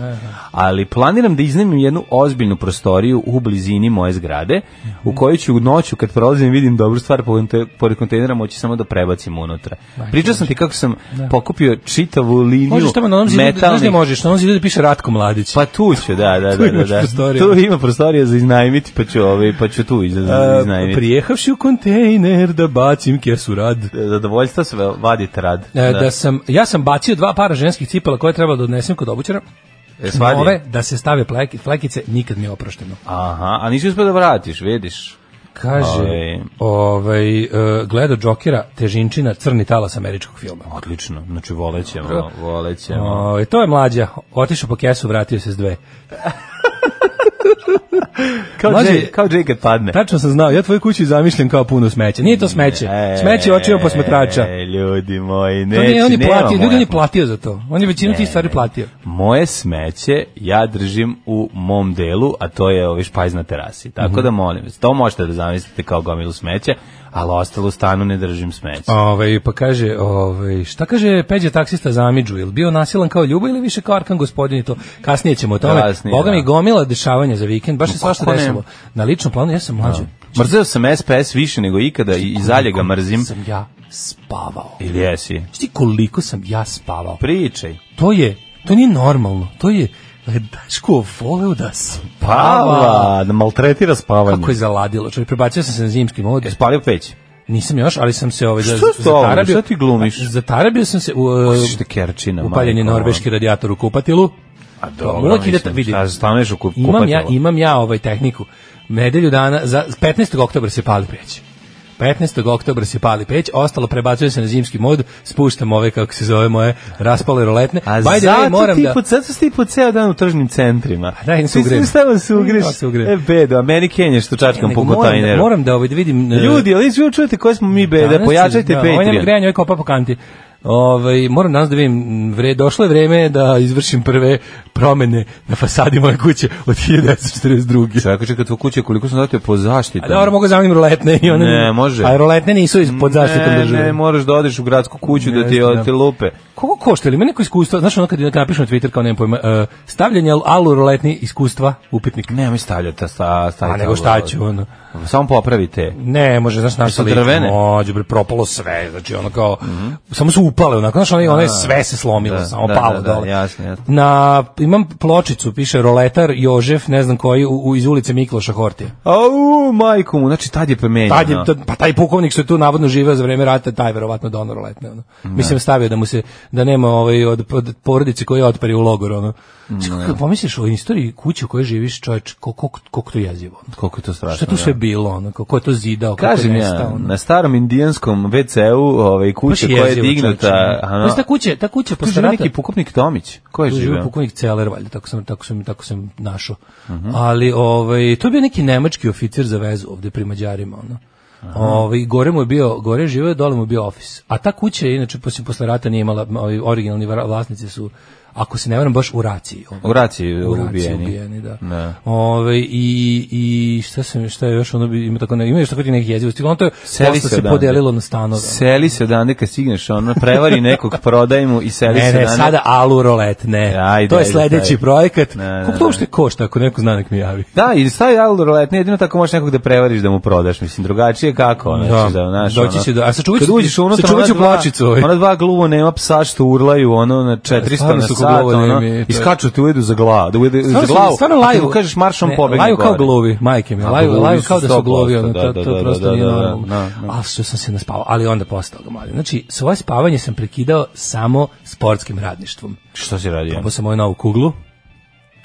[SPEAKER 6] Ali planiram da iznemim jednu ozbiljnu prostoriju u blizini moje zgrade,
[SPEAKER 7] Mhm.
[SPEAKER 6] u kojoj ću u noću, kad prolazim, vidim dobru stvar po konte- pored kontejnera, moći samo da prebacim unutra. Pričao sam ti kako sam pokupio čitavu liniju
[SPEAKER 7] Možeš tamo na onom zidu, znaš gde
[SPEAKER 6] metalnih...
[SPEAKER 7] možeš, na onom zidu da piše Ratko Mladić.
[SPEAKER 6] Pa tu ću, da, da,
[SPEAKER 7] Tu
[SPEAKER 6] da, da,
[SPEAKER 7] imaš
[SPEAKER 6] da.
[SPEAKER 7] prostoriju.
[SPEAKER 6] Tu ima prostorija za iznajmiti, pa ću, ovaj, pa ću tu iz-
[SPEAKER 7] A,
[SPEAKER 6] iznajmiti.
[SPEAKER 7] prijehavši u kontejner da bacim kesu rad.
[SPEAKER 6] zadovoljstva se vadite rad.
[SPEAKER 7] E, da sam, ja sam bacio dva para ženskih cipela koje je trebalo da odnesem kod obućara.
[SPEAKER 6] E, svadio?
[SPEAKER 7] Nove, da se stave pleki, flekice, nikad mi je oprošteno.
[SPEAKER 6] Aha, a nisi uspio da vratiš, vidiš.
[SPEAKER 7] Kaže,
[SPEAKER 6] Ovaj.
[SPEAKER 7] ovaj, e, gledao Džokera, težinčina, crni talas američkog filma.
[SPEAKER 6] Odlično, znači volećemo, volećemo.
[SPEAKER 7] Ovaj, to je mlađa, otišao po kesu, vratio se s dve.
[SPEAKER 6] Kao,
[SPEAKER 7] Mlađe-
[SPEAKER 6] Jay, kao Jay kad padne.
[SPEAKER 7] Tačno sam znao, ja tvoju kuću zamišljam kao puno smeća. Nije to smeće. Smeće u očima posmatrača.
[SPEAKER 6] E, ljudi moji,
[SPEAKER 7] To
[SPEAKER 6] neći,
[SPEAKER 7] nije, on je
[SPEAKER 6] nema
[SPEAKER 7] platio, ljudi
[SPEAKER 6] moja
[SPEAKER 7] on je platio za to. On je većinu tih stvari platio.
[SPEAKER 6] Moje smeće ja držim u mom delu, a to je ovi špajz na terasi. Tako
[SPEAKER 7] Mhm.
[SPEAKER 6] da molim vas, to možete da zamislite kao gomilu smeća, ali ostalo u stanu ne držim smeće.
[SPEAKER 7] Ove, pa kaže, ove, šta kaže Peđa taksista za Amidžu? Je li bio nasilan kao Ljubo ili više kao Arkan gospodin i to? Kasnije ćemo o tome.
[SPEAKER 6] Kasnije,
[SPEAKER 7] Boga
[SPEAKER 6] da.
[SPEAKER 7] mi gomila dešavanja za vikend, baš se svašta
[SPEAKER 6] kako ne?
[SPEAKER 7] desilo. Na ličnom planu, ja sam mlađo.
[SPEAKER 6] Mrzeo sam SPS više nego ikada i,
[SPEAKER 7] Znači,
[SPEAKER 6] i dalje ga mrzim.
[SPEAKER 7] Sam ja spavao.
[SPEAKER 6] Ili jesi?
[SPEAKER 7] Znaš ti koliko sam ja spavao?
[SPEAKER 6] Pričaj.
[SPEAKER 7] To je, to nije normalno. To je, e, Daško voleo da spava.
[SPEAKER 6] Pava, da maltretira spavanje.
[SPEAKER 7] Kako je zaladilo, čovjek, prebacio sam se na zimski mod.
[SPEAKER 6] Jesi palio peć?
[SPEAKER 7] Nisam još, ali sam se ovaj za-
[SPEAKER 6] Što si to ovo?
[SPEAKER 7] zatarabio.
[SPEAKER 6] Šta ti glumiš?
[SPEAKER 7] Zatarabio sam se u e,
[SPEAKER 6] Kusiš te kerčina,
[SPEAKER 7] upaljen je
[SPEAKER 6] majko,
[SPEAKER 7] norveški radijator u kupatilu.
[SPEAKER 6] A
[SPEAKER 7] Uvek ide ta-
[SPEAKER 6] mislim,
[SPEAKER 7] vidi.
[SPEAKER 6] šta, staneš u kup,
[SPEAKER 7] Imam ja,
[SPEAKER 6] kupatilo?
[SPEAKER 7] imam ja ovaj tehniku. Nedelju dana, za 15. oktobra se pali peć. 15. oktobra se pali peć, ostalo prebacuje se na zimski mod, spuštam ove, kako se zove moje, raspale roletne.
[SPEAKER 6] A
[SPEAKER 7] By the way,
[SPEAKER 6] zato,
[SPEAKER 7] moram
[SPEAKER 6] ti
[SPEAKER 7] da...
[SPEAKER 6] po, zato si ti po ceo dan u tržnim centrima.
[SPEAKER 7] da, idem se
[SPEAKER 6] Ti
[SPEAKER 7] ugrem.
[SPEAKER 6] stavio se ugreš.
[SPEAKER 7] Ja se ugrem.
[SPEAKER 6] E, bedo, a meni kenješ što čačkam
[SPEAKER 7] Nego
[SPEAKER 6] po
[SPEAKER 7] moram, da,
[SPEAKER 6] kontejneru.
[SPEAKER 7] moram da ovaj, da vidim... e,
[SPEAKER 6] Ljudi, ali vi čujete koje smo mi bede,
[SPEAKER 7] Danas
[SPEAKER 6] pojačajte
[SPEAKER 7] ću- da, Ovo nema
[SPEAKER 6] Patreon.
[SPEAKER 7] grejanje, ovo je kopa po kanti. Ovaj, moram danas da vidim, m, vre, došlo je vreme da izvršim prve promene na fasadi moje kuće od 1942.
[SPEAKER 6] Čekaj, čekaj, tvoje kuće, koliko sam datio po zaštitu?
[SPEAKER 7] A Pa dobro, mogu zamenim roletne i one...
[SPEAKER 6] Ne, može.
[SPEAKER 7] A roletne nisu iz, pod zaštitom
[SPEAKER 6] ne,
[SPEAKER 7] države.
[SPEAKER 6] ne, moraš da odeš u gradsku kuću da ti
[SPEAKER 7] Jeste, da.
[SPEAKER 6] od te lupe.
[SPEAKER 7] Koliko košta? Ili ima neko iskustvo? Znaš ono kad napišu na Twitter kao nemam pojma, e, stavljanje alu roletni iskustva upitnik.
[SPEAKER 6] Nemoj stavljati, sta, stavljati.
[SPEAKER 7] A nego šta ću, ono.
[SPEAKER 6] Samo popravite.
[SPEAKER 7] Ne, može, znaš, naš
[SPEAKER 6] Jesu drvene? Mhm.
[SPEAKER 7] Mođe, bre, propalo sve, znači ono kao, samo su upale, onako, znaš, ono, ono je sve se slomilo,
[SPEAKER 6] Da,
[SPEAKER 7] samo
[SPEAKER 6] da,
[SPEAKER 7] palo
[SPEAKER 6] da, da,
[SPEAKER 7] dole.
[SPEAKER 6] jasno, jasno.
[SPEAKER 7] Na, imam pločicu, piše roletar Jožef, ne znam koji, u, u, iz ulice Mikloša Hortija.
[SPEAKER 6] Au, majku mu, znači tad je promenjeno.
[SPEAKER 7] Tad je, tad- pa taj pukovnik što je tu navodno živeo za vreme rata, taj je verovatno donor roletne. Ono. Mislim, stavio da mu se, da nema ovaj, od, od porodice koja je otpari u logor.
[SPEAKER 6] Mm,
[SPEAKER 7] Ono. Znači, Kako pomisliš o istoriji kuće u kojoj živiš čovječ, kol- koliko koliko to je jezivo. Ono.
[SPEAKER 6] Koliko je to strašno.
[SPEAKER 7] Šta je tu sve bilo, ono, ko ko je to zidao, kako je
[SPEAKER 6] Kažem
[SPEAKER 7] nestao.
[SPEAKER 6] ja,
[SPEAKER 7] ono? Pa
[SPEAKER 6] na starom indijanskom WC-u ovaj, kuća koja je ono- dignuta...
[SPEAKER 7] Ano, ta kuća, ta kuća
[SPEAKER 6] Tu
[SPEAKER 7] posle
[SPEAKER 6] živi
[SPEAKER 7] rata.
[SPEAKER 6] neki pukovnik Tomić. Ko je
[SPEAKER 7] Tu živi
[SPEAKER 6] živio?
[SPEAKER 7] pukovnik Celer, valjda, tako sam, tako sam, tako sam našao.
[SPEAKER 6] Mhm.
[SPEAKER 7] Ali, ovaj, to je bio neki nemački oficir za vezu ovde pri Mađarima, ono. Ovaj, gore mu je bio, gore je živio, dole mu je bio ofis. A ta kuća, je, inače, posle, posle rata nije imala, ovi originalni vra- vlasnici su, ako se ne varam, baš u raciji. ovaj.
[SPEAKER 6] U raciji
[SPEAKER 7] U raciji
[SPEAKER 6] ubijeni.
[SPEAKER 7] ubijeni, da.
[SPEAKER 6] Da.
[SPEAKER 7] Ovaj, i, i šta, sam, šta je još ono, bi- ima, tako, ne, ima još tako neki jezivosti. Ono to je,
[SPEAKER 6] Seli
[SPEAKER 7] posle
[SPEAKER 6] se
[SPEAKER 7] se
[SPEAKER 6] odande.
[SPEAKER 7] podelilo na stanove. ono.
[SPEAKER 6] Seli se odande kad stigneš, ono, prevari nekog, prodaj mu i seli
[SPEAKER 7] Ne,
[SPEAKER 6] se
[SPEAKER 7] E, ne,
[SPEAKER 6] odande.
[SPEAKER 7] sada alu rolet, ne.
[SPEAKER 6] Ajde,
[SPEAKER 7] to je
[SPEAKER 6] ajde,
[SPEAKER 7] sledeći
[SPEAKER 6] ajde.
[SPEAKER 7] projekat.
[SPEAKER 6] Ne, ne,
[SPEAKER 7] Koliko to uopšte košta, ako neko zna nek mi javi.
[SPEAKER 6] Da, i stavi alu roletne, jedino tako možeš nekog da prevariš da mu prodaš, mislim, drugačije kako, ono,
[SPEAKER 7] Da.
[SPEAKER 6] ćeš da, znaš,
[SPEAKER 7] Doći
[SPEAKER 6] ono,
[SPEAKER 7] će do- a sačuvat ću
[SPEAKER 6] kad
[SPEAKER 7] ti-
[SPEAKER 6] uđeš unutra,
[SPEAKER 7] sačuvat ću
[SPEAKER 6] ona dva-
[SPEAKER 7] pločicu, ovaj.
[SPEAKER 6] Ona dva gluvo nema psa što urlaju, ono, na 400
[SPEAKER 7] Stvarno
[SPEAKER 6] na
[SPEAKER 7] su ko
[SPEAKER 6] sat,
[SPEAKER 7] gluvo
[SPEAKER 6] ono,
[SPEAKER 7] nemi, to je-
[SPEAKER 6] iskaču te ujedu za glavu, da ujedu za
[SPEAKER 7] Stvarno, su-
[SPEAKER 6] glavu,
[SPEAKER 7] stvarno
[SPEAKER 6] a ti
[SPEAKER 7] laju.
[SPEAKER 6] mu kažeš maršom
[SPEAKER 7] Ne,
[SPEAKER 6] pobegne
[SPEAKER 7] Laju kao
[SPEAKER 6] gore.
[SPEAKER 7] gluvi, majke mi.
[SPEAKER 6] A
[SPEAKER 7] Laju,
[SPEAKER 6] gluvi
[SPEAKER 7] laju
[SPEAKER 6] su
[SPEAKER 7] kao da su
[SPEAKER 6] 100%,
[SPEAKER 7] gluvi, ono,
[SPEAKER 6] da,
[SPEAKER 7] to,
[SPEAKER 6] da,
[SPEAKER 7] to
[SPEAKER 6] da,
[SPEAKER 7] prosto
[SPEAKER 6] da,
[SPEAKER 7] nije
[SPEAKER 6] da, da,
[SPEAKER 7] normalno.
[SPEAKER 6] da, da.
[SPEAKER 7] Ali što sam se naspavao, ali onda postalo ga mladi. Znači, svoje spavanje sam prekidao samo sportskim radništvom.
[SPEAKER 6] Što si radio?
[SPEAKER 7] Probao sam moju novu kuglu.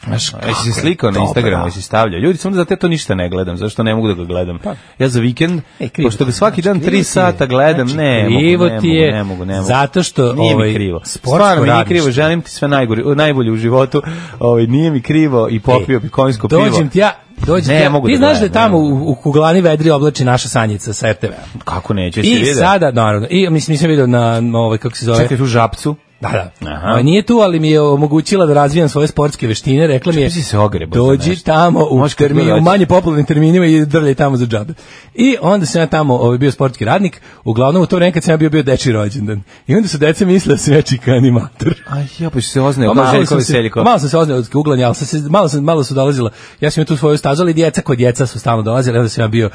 [SPEAKER 7] Znaš,
[SPEAKER 6] A Jesi se
[SPEAKER 7] kako je
[SPEAKER 6] slikao na
[SPEAKER 7] dobra.
[SPEAKER 6] Instagramu, jesi stavljao. Ljudi, samo da zato ja to ništa ne gledam, zašto ne mogu da ga gledam. Ja za vikend,
[SPEAKER 7] Pa. E, krivo
[SPEAKER 6] pošto
[SPEAKER 7] ti
[SPEAKER 6] ga
[SPEAKER 7] je,
[SPEAKER 6] svaki dan
[SPEAKER 7] znači, krivo
[SPEAKER 6] 3
[SPEAKER 7] ti je.
[SPEAKER 6] sata gledam,
[SPEAKER 7] Znači,
[SPEAKER 6] ne, mogu,
[SPEAKER 7] krivo
[SPEAKER 6] ne
[SPEAKER 7] ti
[SPEAKER 6] mogu,
[SPEAKER 7] je,
[SPEAKER 6] ne mogu, ne mogu.
[SPEAKER 7] zato što,
[SPEAKER 6] Nije mi
[SPEAKER 7] ovaj,
[SPEAKER 6] krivo.
[SPEAKER 7] sportsko
[SPEAKER 6] Stvarno mi nije
[SPEAKER 7] radništvo.
[SPEAKER 6] krivo, želim ti sve najgore, najbolje u životu. Ovaj, nije mi krivo i popio bi konjsko pivo.
[SPEAKER 7] Dođem ti ja, dođem
[SPEAKER 6] Ne,
[SPEAKER 7] ti ja.
[SPEAKER 6] mogu
[SPEAKER 7] Ti
[SPEAKER 6] da
[SPEAKER 7] znaš da je
[SPEAKER 6] gledam,
[SPEAKER 7] tamo
[SPEAKER 6] ne mogu.
[SPEAKER 7] u, u kuglani vedri oblači naša sanjica sa RTV-a.
[SPEAKER 6] Kako neće, jesi
[SPEAKER 7] I
[SPEAKER 6] vidio?
[SPEAKER 7] sada, naravno, i mislim, nisam vidio na, na ovaj, kako se zove,
[SPEAKER 6] Čekaj tu žapcu.
[SPEAKER 7] Da, da.
[SPEAKER 6] Aha.
[SPEAKER 7] Ovaj, nije tu, ali mi je omogućila da razvijam svoje sportske veštine. Rekla mi je,
[SPEAKER 6] Čekaj, si se ogrebao za
[SPEAKER 7] dođi
[SPEAKER 6] nešto."
[SPEAKER 7] tamo u,
[SPEAKER 6] Možeš kad
[SPEAKER 7] termin,
[SPEAKER 6] god
[SPEAKER 7] u
[SPEAKER 6] dođe.
[SPEAKER 7] manje popularnim terminima i drljaj tamo za džabe. I onda sam ja tamo ovaj, bio sportski radnik. Uglavnom u to vreme kad sam ja bio, bio deči rođendan. I onda su deca mislila da sam ja čika animator.
[SPEAKER 6] Aj, ja pa ću se ozneo,
[SPEAKER 7] Pa
[SPEAKER 6] kao
[SPEAKER 7] malo
[SPEAKER 6] Željko
[SPEAKER 7] sam se-
[SPEAKER 6] Veseljko.
[SPEAKER 7] Malo sam se oznao od uglanja, ali sam se, malo, sam, malo su dolazila. Ja sam imao tu svoju stazu, ali djeca kod djeca su stalno dolazila. Onda sam ja bio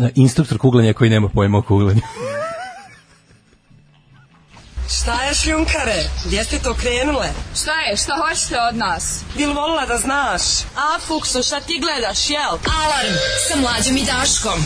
[SPEAKER 7] eh, instruktor kuglanja koji nema pojma o kuglanju.
[SPEAKER 1] Šta je šljunkare? Gdje ste to krenule?
[SPEAKER 8] Šta je? Šta hoćete od nas?
[SPEAKER 1] Bil volila da znaš?
[SPEAKER 8] A, Fuksu, šta ti gledaš, jel?
[SPEAKER 4] Alarm sa mlađom i Daškom.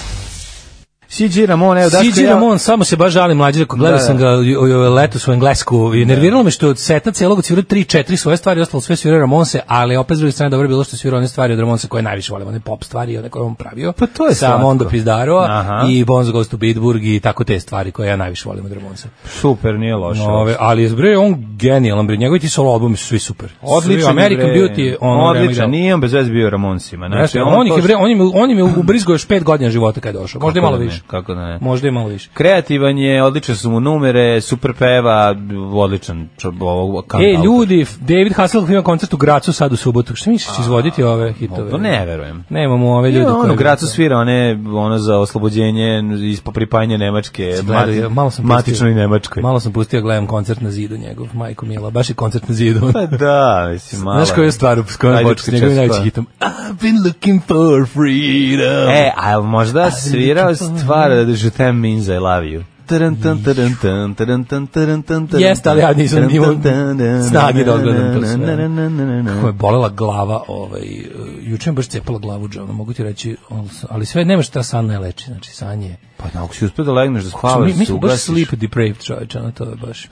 [SPEAKER 6] CG Ramon, evo Daško,
[SPEAKER 7] Siđi
[SPEAKER 6] ja-
[SPEAKER 7] Ramon, samo se baš žali mlađe, rekao, gledao
[SPEAKER 6] Da, da.
[SPEAKER 7] sam ga ju- ju- letos u Englesku i nerviralo me što je od seta celog svirao 3-4 svoje stvari, ostalo sve svirao Ramonse, ali opet s druge strane dobro je bilo što je svirao one stvari od Ramonse koje najviše volim, one pop stvari, one koje je on pravio.
[SPEAKER 6] Pa to je
[SPEAKER 7] Sa
[SPEAKER 6] slatko.
[SPEAKER 7] Mondo Pizdaroa
[SPEAKER 6] Aha.
[SPEAKER 7] i Bonzo Goes to Bitburg i tako te stvari koje ja najviše volim od Ramonse.
[SPEAKER 6] Super, nije loše.
[SPEAKER 7] Ove, ali bre, on genijalan, bre, njegovi ti solo albumi su svi super.
[SPEAKER 6] Odličan
[SPEAKER 7] Svi American
[SPEAKER 6] bre.
[SPEAKER 7] Beauty, je ono
[SPEAKER 6] odličan,
[SPEAKER 7] vreme
[SPEAKER 6] nije on bez veze bio u Ramoncima.
[SPEAKER 7] igrao. Znači, on, ih je,
[SPEAKER 6] to-
[SPEAKER 7] bre, on, im, on im je ubrizgao još pet godina života kada je došao. Možda
[SPEAKER 6] Kako
[SPEAKER 7] i malo
[SPEAKER 6] da ne,
[SPEAKER 7] više.
[SPEAKER 6] Kako da ne.
[SPEAKER 7] Možda i malo više.
[SPEAKER 6] Kreativan je, odlične su mu numere, super peva, odličan čo- ovog
[SPEAKER 7] E,
[SPEAKER 6] kantautor.
[SPEAKER 7] ljudi, David Hasselhoff ima koncert u Gracu sad u subotu. Šta misliš izvoditi ove hitove?
[SPEAKER 6] To ne verujem.
[SPEAKER 7] Nemamo ove ljudi
[SPEAKER 6] Ljudi, on
[SPEAKER 7] koji-
[SPEAKER 6] u Gracu svira one, ono za oslobođenje ispo pripajanje Nemačke,
[SPEAKER 7] Gledaj,
[SPEAKER 6] mati,
[SPEAKER 7] malo sam
[SPEAKER 6] matičnoj
[SPEAKER 7] pustio-
[SPEAKER 6] Nemačkoj.
[SPEAKER 7] Malo sam pustio, gledam koncert na zidu njegov, majko mila, baš je koncert na zidu.
[SPEAKER 6] Pa da, mislim, malo.
[SPEAKER 7] Znaš koju je stvar s kojom
[SPEAKER 6] Ajde,
[SPEAKER 7] početi s
[SPEAKER 6] pričaj pa.
[SPEAKER 7] njegovim
[SPEAKER 6] stvar.
[SPEAKER 7] najvećim hitom? I've been looking for freedom.
[SPEAKER 6] E, a jel možda svirao stvar da je tem means I love you. Taran, tan, taran, tan, taran, tan, taran, tan, taran,
[SPEAKER 7] Jeste, ali ja nisam
[SPEAKER 6] taran,
[SPEAKER 7] imao
[SPEAKER 6] tan, tan, tan,
[SPEAKER 7] snage da odgledam to sve.
[SPEAKER 6] na, na, na, na, na, na.
[SPEAKER 7] Kako me bolela glava, ovaj, e, juče mi baš cepala glavu džona, mogu ti reći, al- ali sve, nema šta san ne leči, znači san je...
[SPEAKER 6] Pa da, ako si uspio da legneš, da
[SPEAKER 7] Mislim,
[SPEAKER 6] spavaš,
[SPEAKER 7] mi, mi
[SPEAKER 6] se
[SPEAKER 7] smo baš
[SPEAKER 6] ugasiš.
[SPEAKER 7] sleep depraved čoveče, ono to je baš.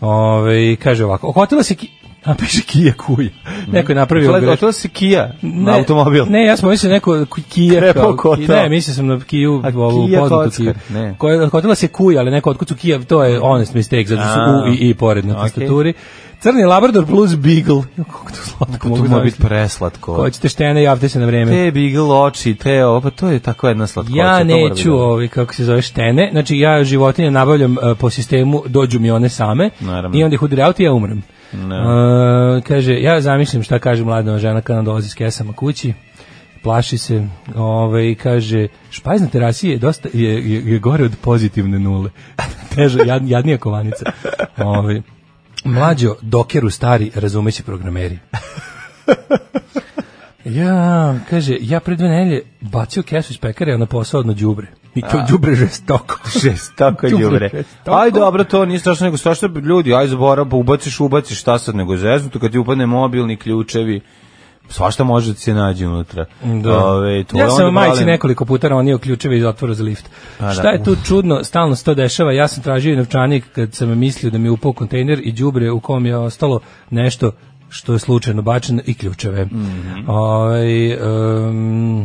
[SPEAKER 7] Ove, kaže ovako, okotila se ki... Napiše Kija kuja.
[SPEAKER 6] Mhm.
[SPEAKER 7] Neko je napravio...
[SPEAKER 6] Gledaj,
[SPEAKER 7] grešku.
[SPEAKER 6] otvorio si Kia, automobil.
[SPEAKER 7] Ne, ja sam mislio neko ku- Kija
[SPEAKER 6] Krepo
[SPEAKER 7] kao,
[SPEAKER 6] kotao.
[SPEAKER 7] Ne, mislio sam na Kiju,
[SPEAKER 6] A
[SPEAKER 7] ovu
[SPEAKER 6] Kia
[SPEAKER 7] poznatu
[SPEAKER 6] kockar,
[SPEAKER 7] Kiju.
[SPEAKER 6] ne. Mm.
[SPEAKER 7] Koja je kotila se Kuja, ali neko otkucu Kija, to je honest mistake, zato su
[SPEAKER 6] A,
[SPEAKER 7] U i I pored na
[SPEAKER 6] okej.
[SPEAKER 7] tastaturi. Crni Labrador plus Beagle. Jo, Kako to
[SPEAKER 6] Tu
[SPEAKER 7] slatko
[SPEAKER 6] mora
[SPEAKER 7] mogu
[SPEAKER 6] biti
[SPEAKER 7] zamisliti.
[SPEAKER 6] preslatko.
[SPEAKER 7] Hoćete štene, javite se na vreme.
[SPEAKER 6] Te bigl oči, te ovo, pa to je tako jedna slatkoća.
[SPEAKER 7] Ja
[SPEAKER 6] to mora biti
[SPEAKER 7] neću
[SPEAKER 6] dobro.
[SPEAKER 7] ovi kako se zove štene. Znači ja životinje nabavljam e, po sistemu dođu mi one same
[SPEAKER 6] Naravno.
[SPEAKER 7] i onda ih udari auto i ja umrem. E, kaže ja zamišljam šta kaže mlada žena kada nam dolazi s kesama kući. Plaši se, ovaj kaže špajz na terasi je dosta je, je, je gore od pozitivne nule. Teže jad, jadnija kovanica. Ovaj mlađo dokeru stari razumeći programeri. Ja, kaže, ja pre dve nedelje bacio kesu iz pekare a na posao odno đubre. I to đubre žestoko.
[SPEAKER 6] Žestoko
[SPEAKER 7] Đubre,
[SPEAKER 6] ljubre.
[SPEAKER 7] žestoko.
[SPEAKER 6] Aj dobro, to nije strašno, nego strašno ljudi, aj zaborav, pa ubaciš, ubaciš, šta sad nego zeznuto, kad ti upadne mobilni ključevi, svašta može da se nađe unutra. Ove, to je
[SPEAKER 7] ja
[SPEAKER 6] onda
[SPEAKER 7] sam majici
[SPEAKER 6] balen.
[SPEAKER 7] nekoliko puta ranio ključeve iz otvora za lift.
[SPEAKER 6] da.
[SPEAKER 7] Šta je tu čudno, stalno se to dešava. Ja sam tražio i novčanik kad sam mislio da mi je upao kontejner i đubre u kom je ostalo nešto što je slučajno bačeno i ključeve.
[SPEAKER 6] Mhm.
[SPEAKER 7] Ovaj, em,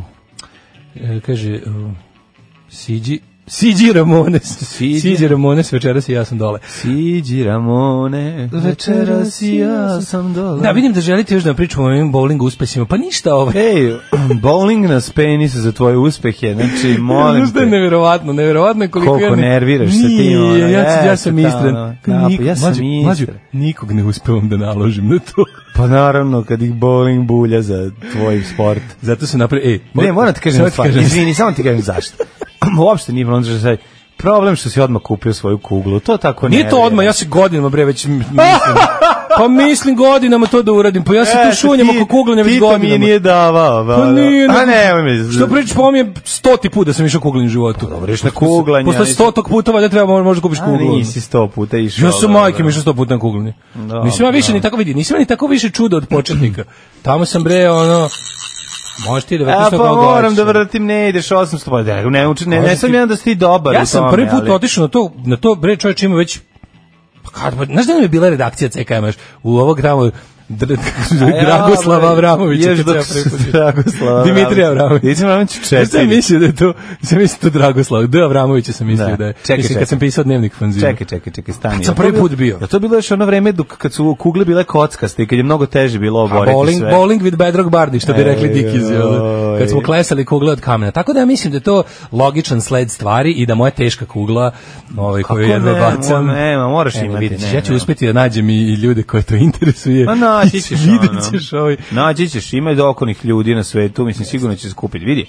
[SPEAKER 7] e, kaže, um, siđi, Siđi Ramones.
[SPEAKER 6] Siđi.
[SPEAKER 7] Siđi, Ramones, večeras i ja sam dole.
[SPEAKER 6] Siđi Ramone, večeras i ja sam dole.
[SPEAKER 7] Da, vidim da želite još da pričamo o ovim bowling uspesima. Pa ništa ovaj.
[SPEAKER 6] Ej, bowling nas penis za tvoje uspehe, znači, molim
[SPEAKER 7] Znaš da je
[SPEAKER 6] te.
[SPEAKER 7] nevjerovatno, nevjerovatno je koliko...
[SPEAKER 6] Koliko
[SPEAKER 7] ja ne-
[SPEAKER 6] nerviraš se ti, ono,
[SPEAKER 7] Nije, ja, ću- ja
[SPEAKER 6] jeste,
[SPEAKER 7] sam
[SPEAKER 6] ta,
[SPEAKER 7] istren.
[SPEAKER 6] ono, da, pa ja sam istren.
[SPEAKER 7] nikog ne uspevam da naložim na to.
[SPEAKER 6] Pa naravno, kad ih bowling bulja za tvoj sport.
[SPEAKER 7] Zato sam napravio... Ej,
[SPEAKER 6] Ne, e, moram ti kažem
[SPEAKER 7] sad
[SPEAKER 6] stvar. Izvini, samo ti kažem zašto. Uopšte nije problem što sad. Problem što si odmah kupio svoju kuglu. To tako ne.
[SPEAKER 7] Nije to odmah, ja se godinama bre već m- mislim. Pa mislim godinama to da uradim. Pa ja se tu šunjam oko kuglanja već
[SPEAKER 6] godinama. Ti to E, mi
[SPEAKER 7] godinama.
[SPEAKER 6] nije davao.
[SPEAKER 7] Pa nije.
[SPEAKER 6] Pa
[SPEAKER 7] nego-
[SPEAKER 6] ne, mi.
[SPEAKER 7] Što pričaš, pa mi je stoti put da sam išao kuglanje u životu.
[SPEAKER 6] Dobro, ješ na kuglanje,
[SPEAKER 7] Posle
[SPEAKER 6] ali-
[SPEAKER 7] stotog puta valjda treba možda kupiš
[SPEAKER 6] A
[SPEAKER 7] kuglu. ono.
[SPEAKER 6] nisi sto puta išao. ono,
[SPEAKER 7] Ja sam
[SPEAKER 6] dobro.
[SPEAKER 7] majke mi što sto puta na kuglanje.
[SPEAKER 6] Dobro.
[SPEAKER 7] Nisam ja više ni tako vidi, nisam ja ni tako više čudo od početnika. Tamo sam bre ono Možeš ti da vrtiš
[SPEAKER 6] A
[SPEAKER 7] to
[SPEAKER 6] pa
[SPEAKER 7] kako
[SPEAKER 6] moram
[SPEAKER 7] hoćeš.
[SPEAKER 6] da vratim, ne ideš 800 pa da, ne uči, ne,
[SPEAKER 7] Možda
[SPEAKER 6] ne sam
[SPEAKER 7] ti-
[SPEAKER 6] jedan da si ti dobar
[SPEAKER 7] Ja
[SPEAKER 6] u
[SPEAKER 7] sam
[SPEAKER 6] tome,
[SPEAKER 7] prvi put
[SPEAKER 6] ali-
[SPEAKER 7] otišao na to, na to bre čovjek ima već pa kad, pa, znaš da nam je bila redakcija CKM još u ovog tamo dr- kako se zove,
[SPEAKER 6] A ja,
[SPEAKER 7] Dragoslava
[SPEAKER 6] bre,
[SPEAKER 7] Avramovića.
[SPEAKER 6] Još
[SPEAKER 7] kad
[SPEAKER 6] dok
[SPEAKER 7] sam ja prvi
[SPEAKER 6] su
[SPEAKER 7] put išao.
[SPEAKER 6] Dragoslava.
[SPEAKER 7] Dimitrija Avramović.
[SPEAKER 6] Dimitrija Avramović
[SPEAKER 7] Znaš šta sam
[SPEAKER 6] 4.
[SPEAKER 7] mislio da je to, sam mislio da je to Dragoslav, D. Avramovića sam mislio
[SPEAKER 6] Da.
[SPEAKER 7] da, je.
[SPEAKER 6] Čekaj,
[SPEAKER 7] Mislim,
[SPEAKER 6] čekaj.
[SPEAKER 7] kad sam pisao dnevnik fanzina.
[SPEAKER 6] Čekaj, čekaj, čekaj, stani.
[SPEAKER 7] Kad sam prvi put bio.
[SPEAKER 6] Ja to je bilo još ono vreme dok kad su kugle bile kockaste i kad je mnogo teže bilo oboriti
[SPEAKER 7] Bowling,
[SPEAKER 6] sve.
[SPEAKER 7] bowling with bedrock bardi, što bi
[SPEAKER 6] Ej,
[SPEAKER 7] rekli Dickies, jel?
[SPEAKER 6] joj.
[SPEAKER 7] kad smo klesali kugle od kamena. Tako da ja mislim da je to logičan sled stvari i da moja teška kugla, ovaj, koju
[SPEAKER 6] Kako
[SPEAKER 7] jedva
[SPEAKER 6] ne,
[SPEAKER 7] bacam...
[SPEAKER 6] mo- nema, moraš
[SPEAKER 7] Evo,
[SPEAKER 6] imati,
[SPEAKER 7] vidit ćeš,
[SPEAKER 6] ne,
[SPEAKER 7] ja ću
[SPEAKER 6] ne.
[SPEAKER 7] uspeti da nađem i, i ljude koje to interesuje.
[SPEAKER 6] Pa naći ćeš ono.
[SPEAKER 7] Vidjet ćeš ovaj...
[SPEAKER 6] Naći ćeš, ima i dokonih ljudi na svetu, mislim sigurno će skupiti. Vidi,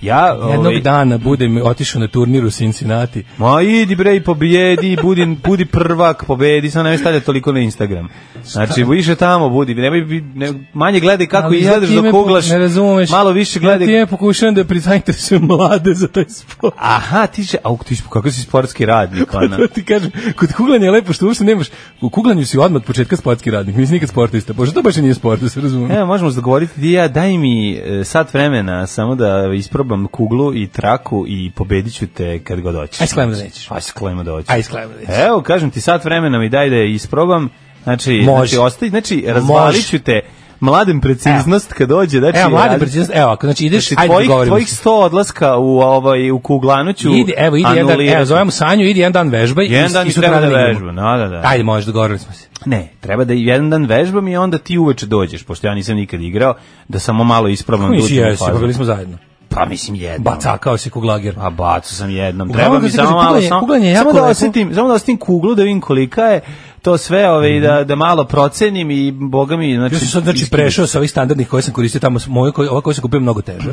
[SPEAKER 6] ja...
[SPEAKER 7] Jednog
[SPEAKER 6] ovaj,
[SPEAKER 7] dana budem otišao na turnir u Cincinnati.
[SPEAKER 6] Ma idi bre i pobjedi, budi, budi prvak, pobedi, sad nemoj stavljati toliko na Instagram. Znači, više tamo budi, nemoj, bi- ne, manje gledaj kako
[SPEAKER 7] Ali ja
[SPEAKER 6] izgledaš
[SPEAKER 7] time
[SPEAKER 6] dok
[SPEAKER 7] po-
[SPEAKER 6] kuglaš,
[SPEAKER 7] ne razumeš.
[SPEAKER 6] malo više
[SPEAKER 7] Ja
[SPEAKER 6] gledaj
[SPEAKER 7] time pokušavam da prizainteresujem mlade za taj sport.
[SPEAKER 6] Aha, ti će, au, ti si, kako si sportski radnik, ono? ona.
[SPEAKER 7] To ti kažem, kod kuglanja je lepo što uopšte nemaš, u kuglanju si odmah od početka sportski radnik, nisi nikad sportista, pošto to baš i nije sport, da se razumemo.
[SPEAKER 6] Evo, možemo se dogovoriti, ti i ja, daj mi e, sat e, vremena samo da orbam kuglu i traku i pobedit ću te kad god hoćeš.
[SPEAKER 7] Aj, s klema da nećeš.
[SPEAKER 6] Aj, s klema da hoćeš.
[SPEAKER 7] Aj, s klema da nećeš.
[SPEAKER 6] Evo, kažem ti, sat vremena mi daj da je isprobam. Znači,
[SPEAKER 7] Može.
[SPEAKER 6] znači, ostavi, znači razvalit ću te mladen preciznost kad dođe. Znači,
[SPEAKER 7] Evo, mlade
[SPEAKER 6] radi-
[SPEAKER 7] preciznost, evo, ako znači ideš,
[SPEAKER 6] Znači,
[SPEAKER 7] ajde
[SPEAKER 6] tvojih,
[SPEAKER 7] da govorimo.
[SPEAKER 6] tvojih 100 odlaska u, ovaj, u kuglanu ću
[SPEAKER 7] Idi, evo, idi jedan,
[SPEAKER 6] anulirati.
[SPEAKER 7] evo, zovemo Sanju, idi jedan dan vežbaj
[SPEAKER 6] Jedan
[SPEAKER 7] i,
[SPEAKER 6] dan
[SPEAKER 7] i
[SPEAKER 6] mi
[SPEAKER 7] sutra
[SPEAKER 6] treba da
[SPEAKER 7] igramo.
[SPEAKER 6] vežbam, da, da, da.
[SPEAKER 7] Ajde, možeš, dogovorili smo se.
[SPEAKER 6] Ne, treba da jedan dan vežbam i onda ti uveče dođeš, pošto ja nisam nikad igrao, da samo malo isprobam.
[SPEAKER 7] Mi
[SPEAKER 6] da
[SPEAKER 7] si
[SPEAKER 6] uđem u
[SPEAKER 7] jesi,
[SPEAKER 6] fazu.
[SPEAKER 7] pa bili smo zajedno.
[SPEAKER 6] Pa mislim jedno.
[SPEAKER 7] Bacakao si kuglager.
[SPEAKER 6] A bacu sam jednom.
[SPEAKER 7] Uglavnom,
[SPEAKER 6] Treba mi
[SPEAKER 7] kad se
[SPEAKER 6] samo
[SPEAKER 7] kaže,
[SPEAKER 6] malo
[SPEAKER 7] kuglanje-
[SPEAKER 6] samo,
[SPEAKER 7] kuglanje je
[SPEAKER 6] samo
[SPEAKER 7] jako
[SPEAKER 6] da
[SPEAKER 7] lepo.
[SPEAKER 6] osetim, samo da osetim kuglu da vidim kolika je to sve, ovaj da da malo procenim i boga mi znači
[SPEAKER 7] Ja sam sad znači prešao sa ovih standardnih koje sam koristio tamo, s- moje koje, ova koje sam kupio mnogo teže.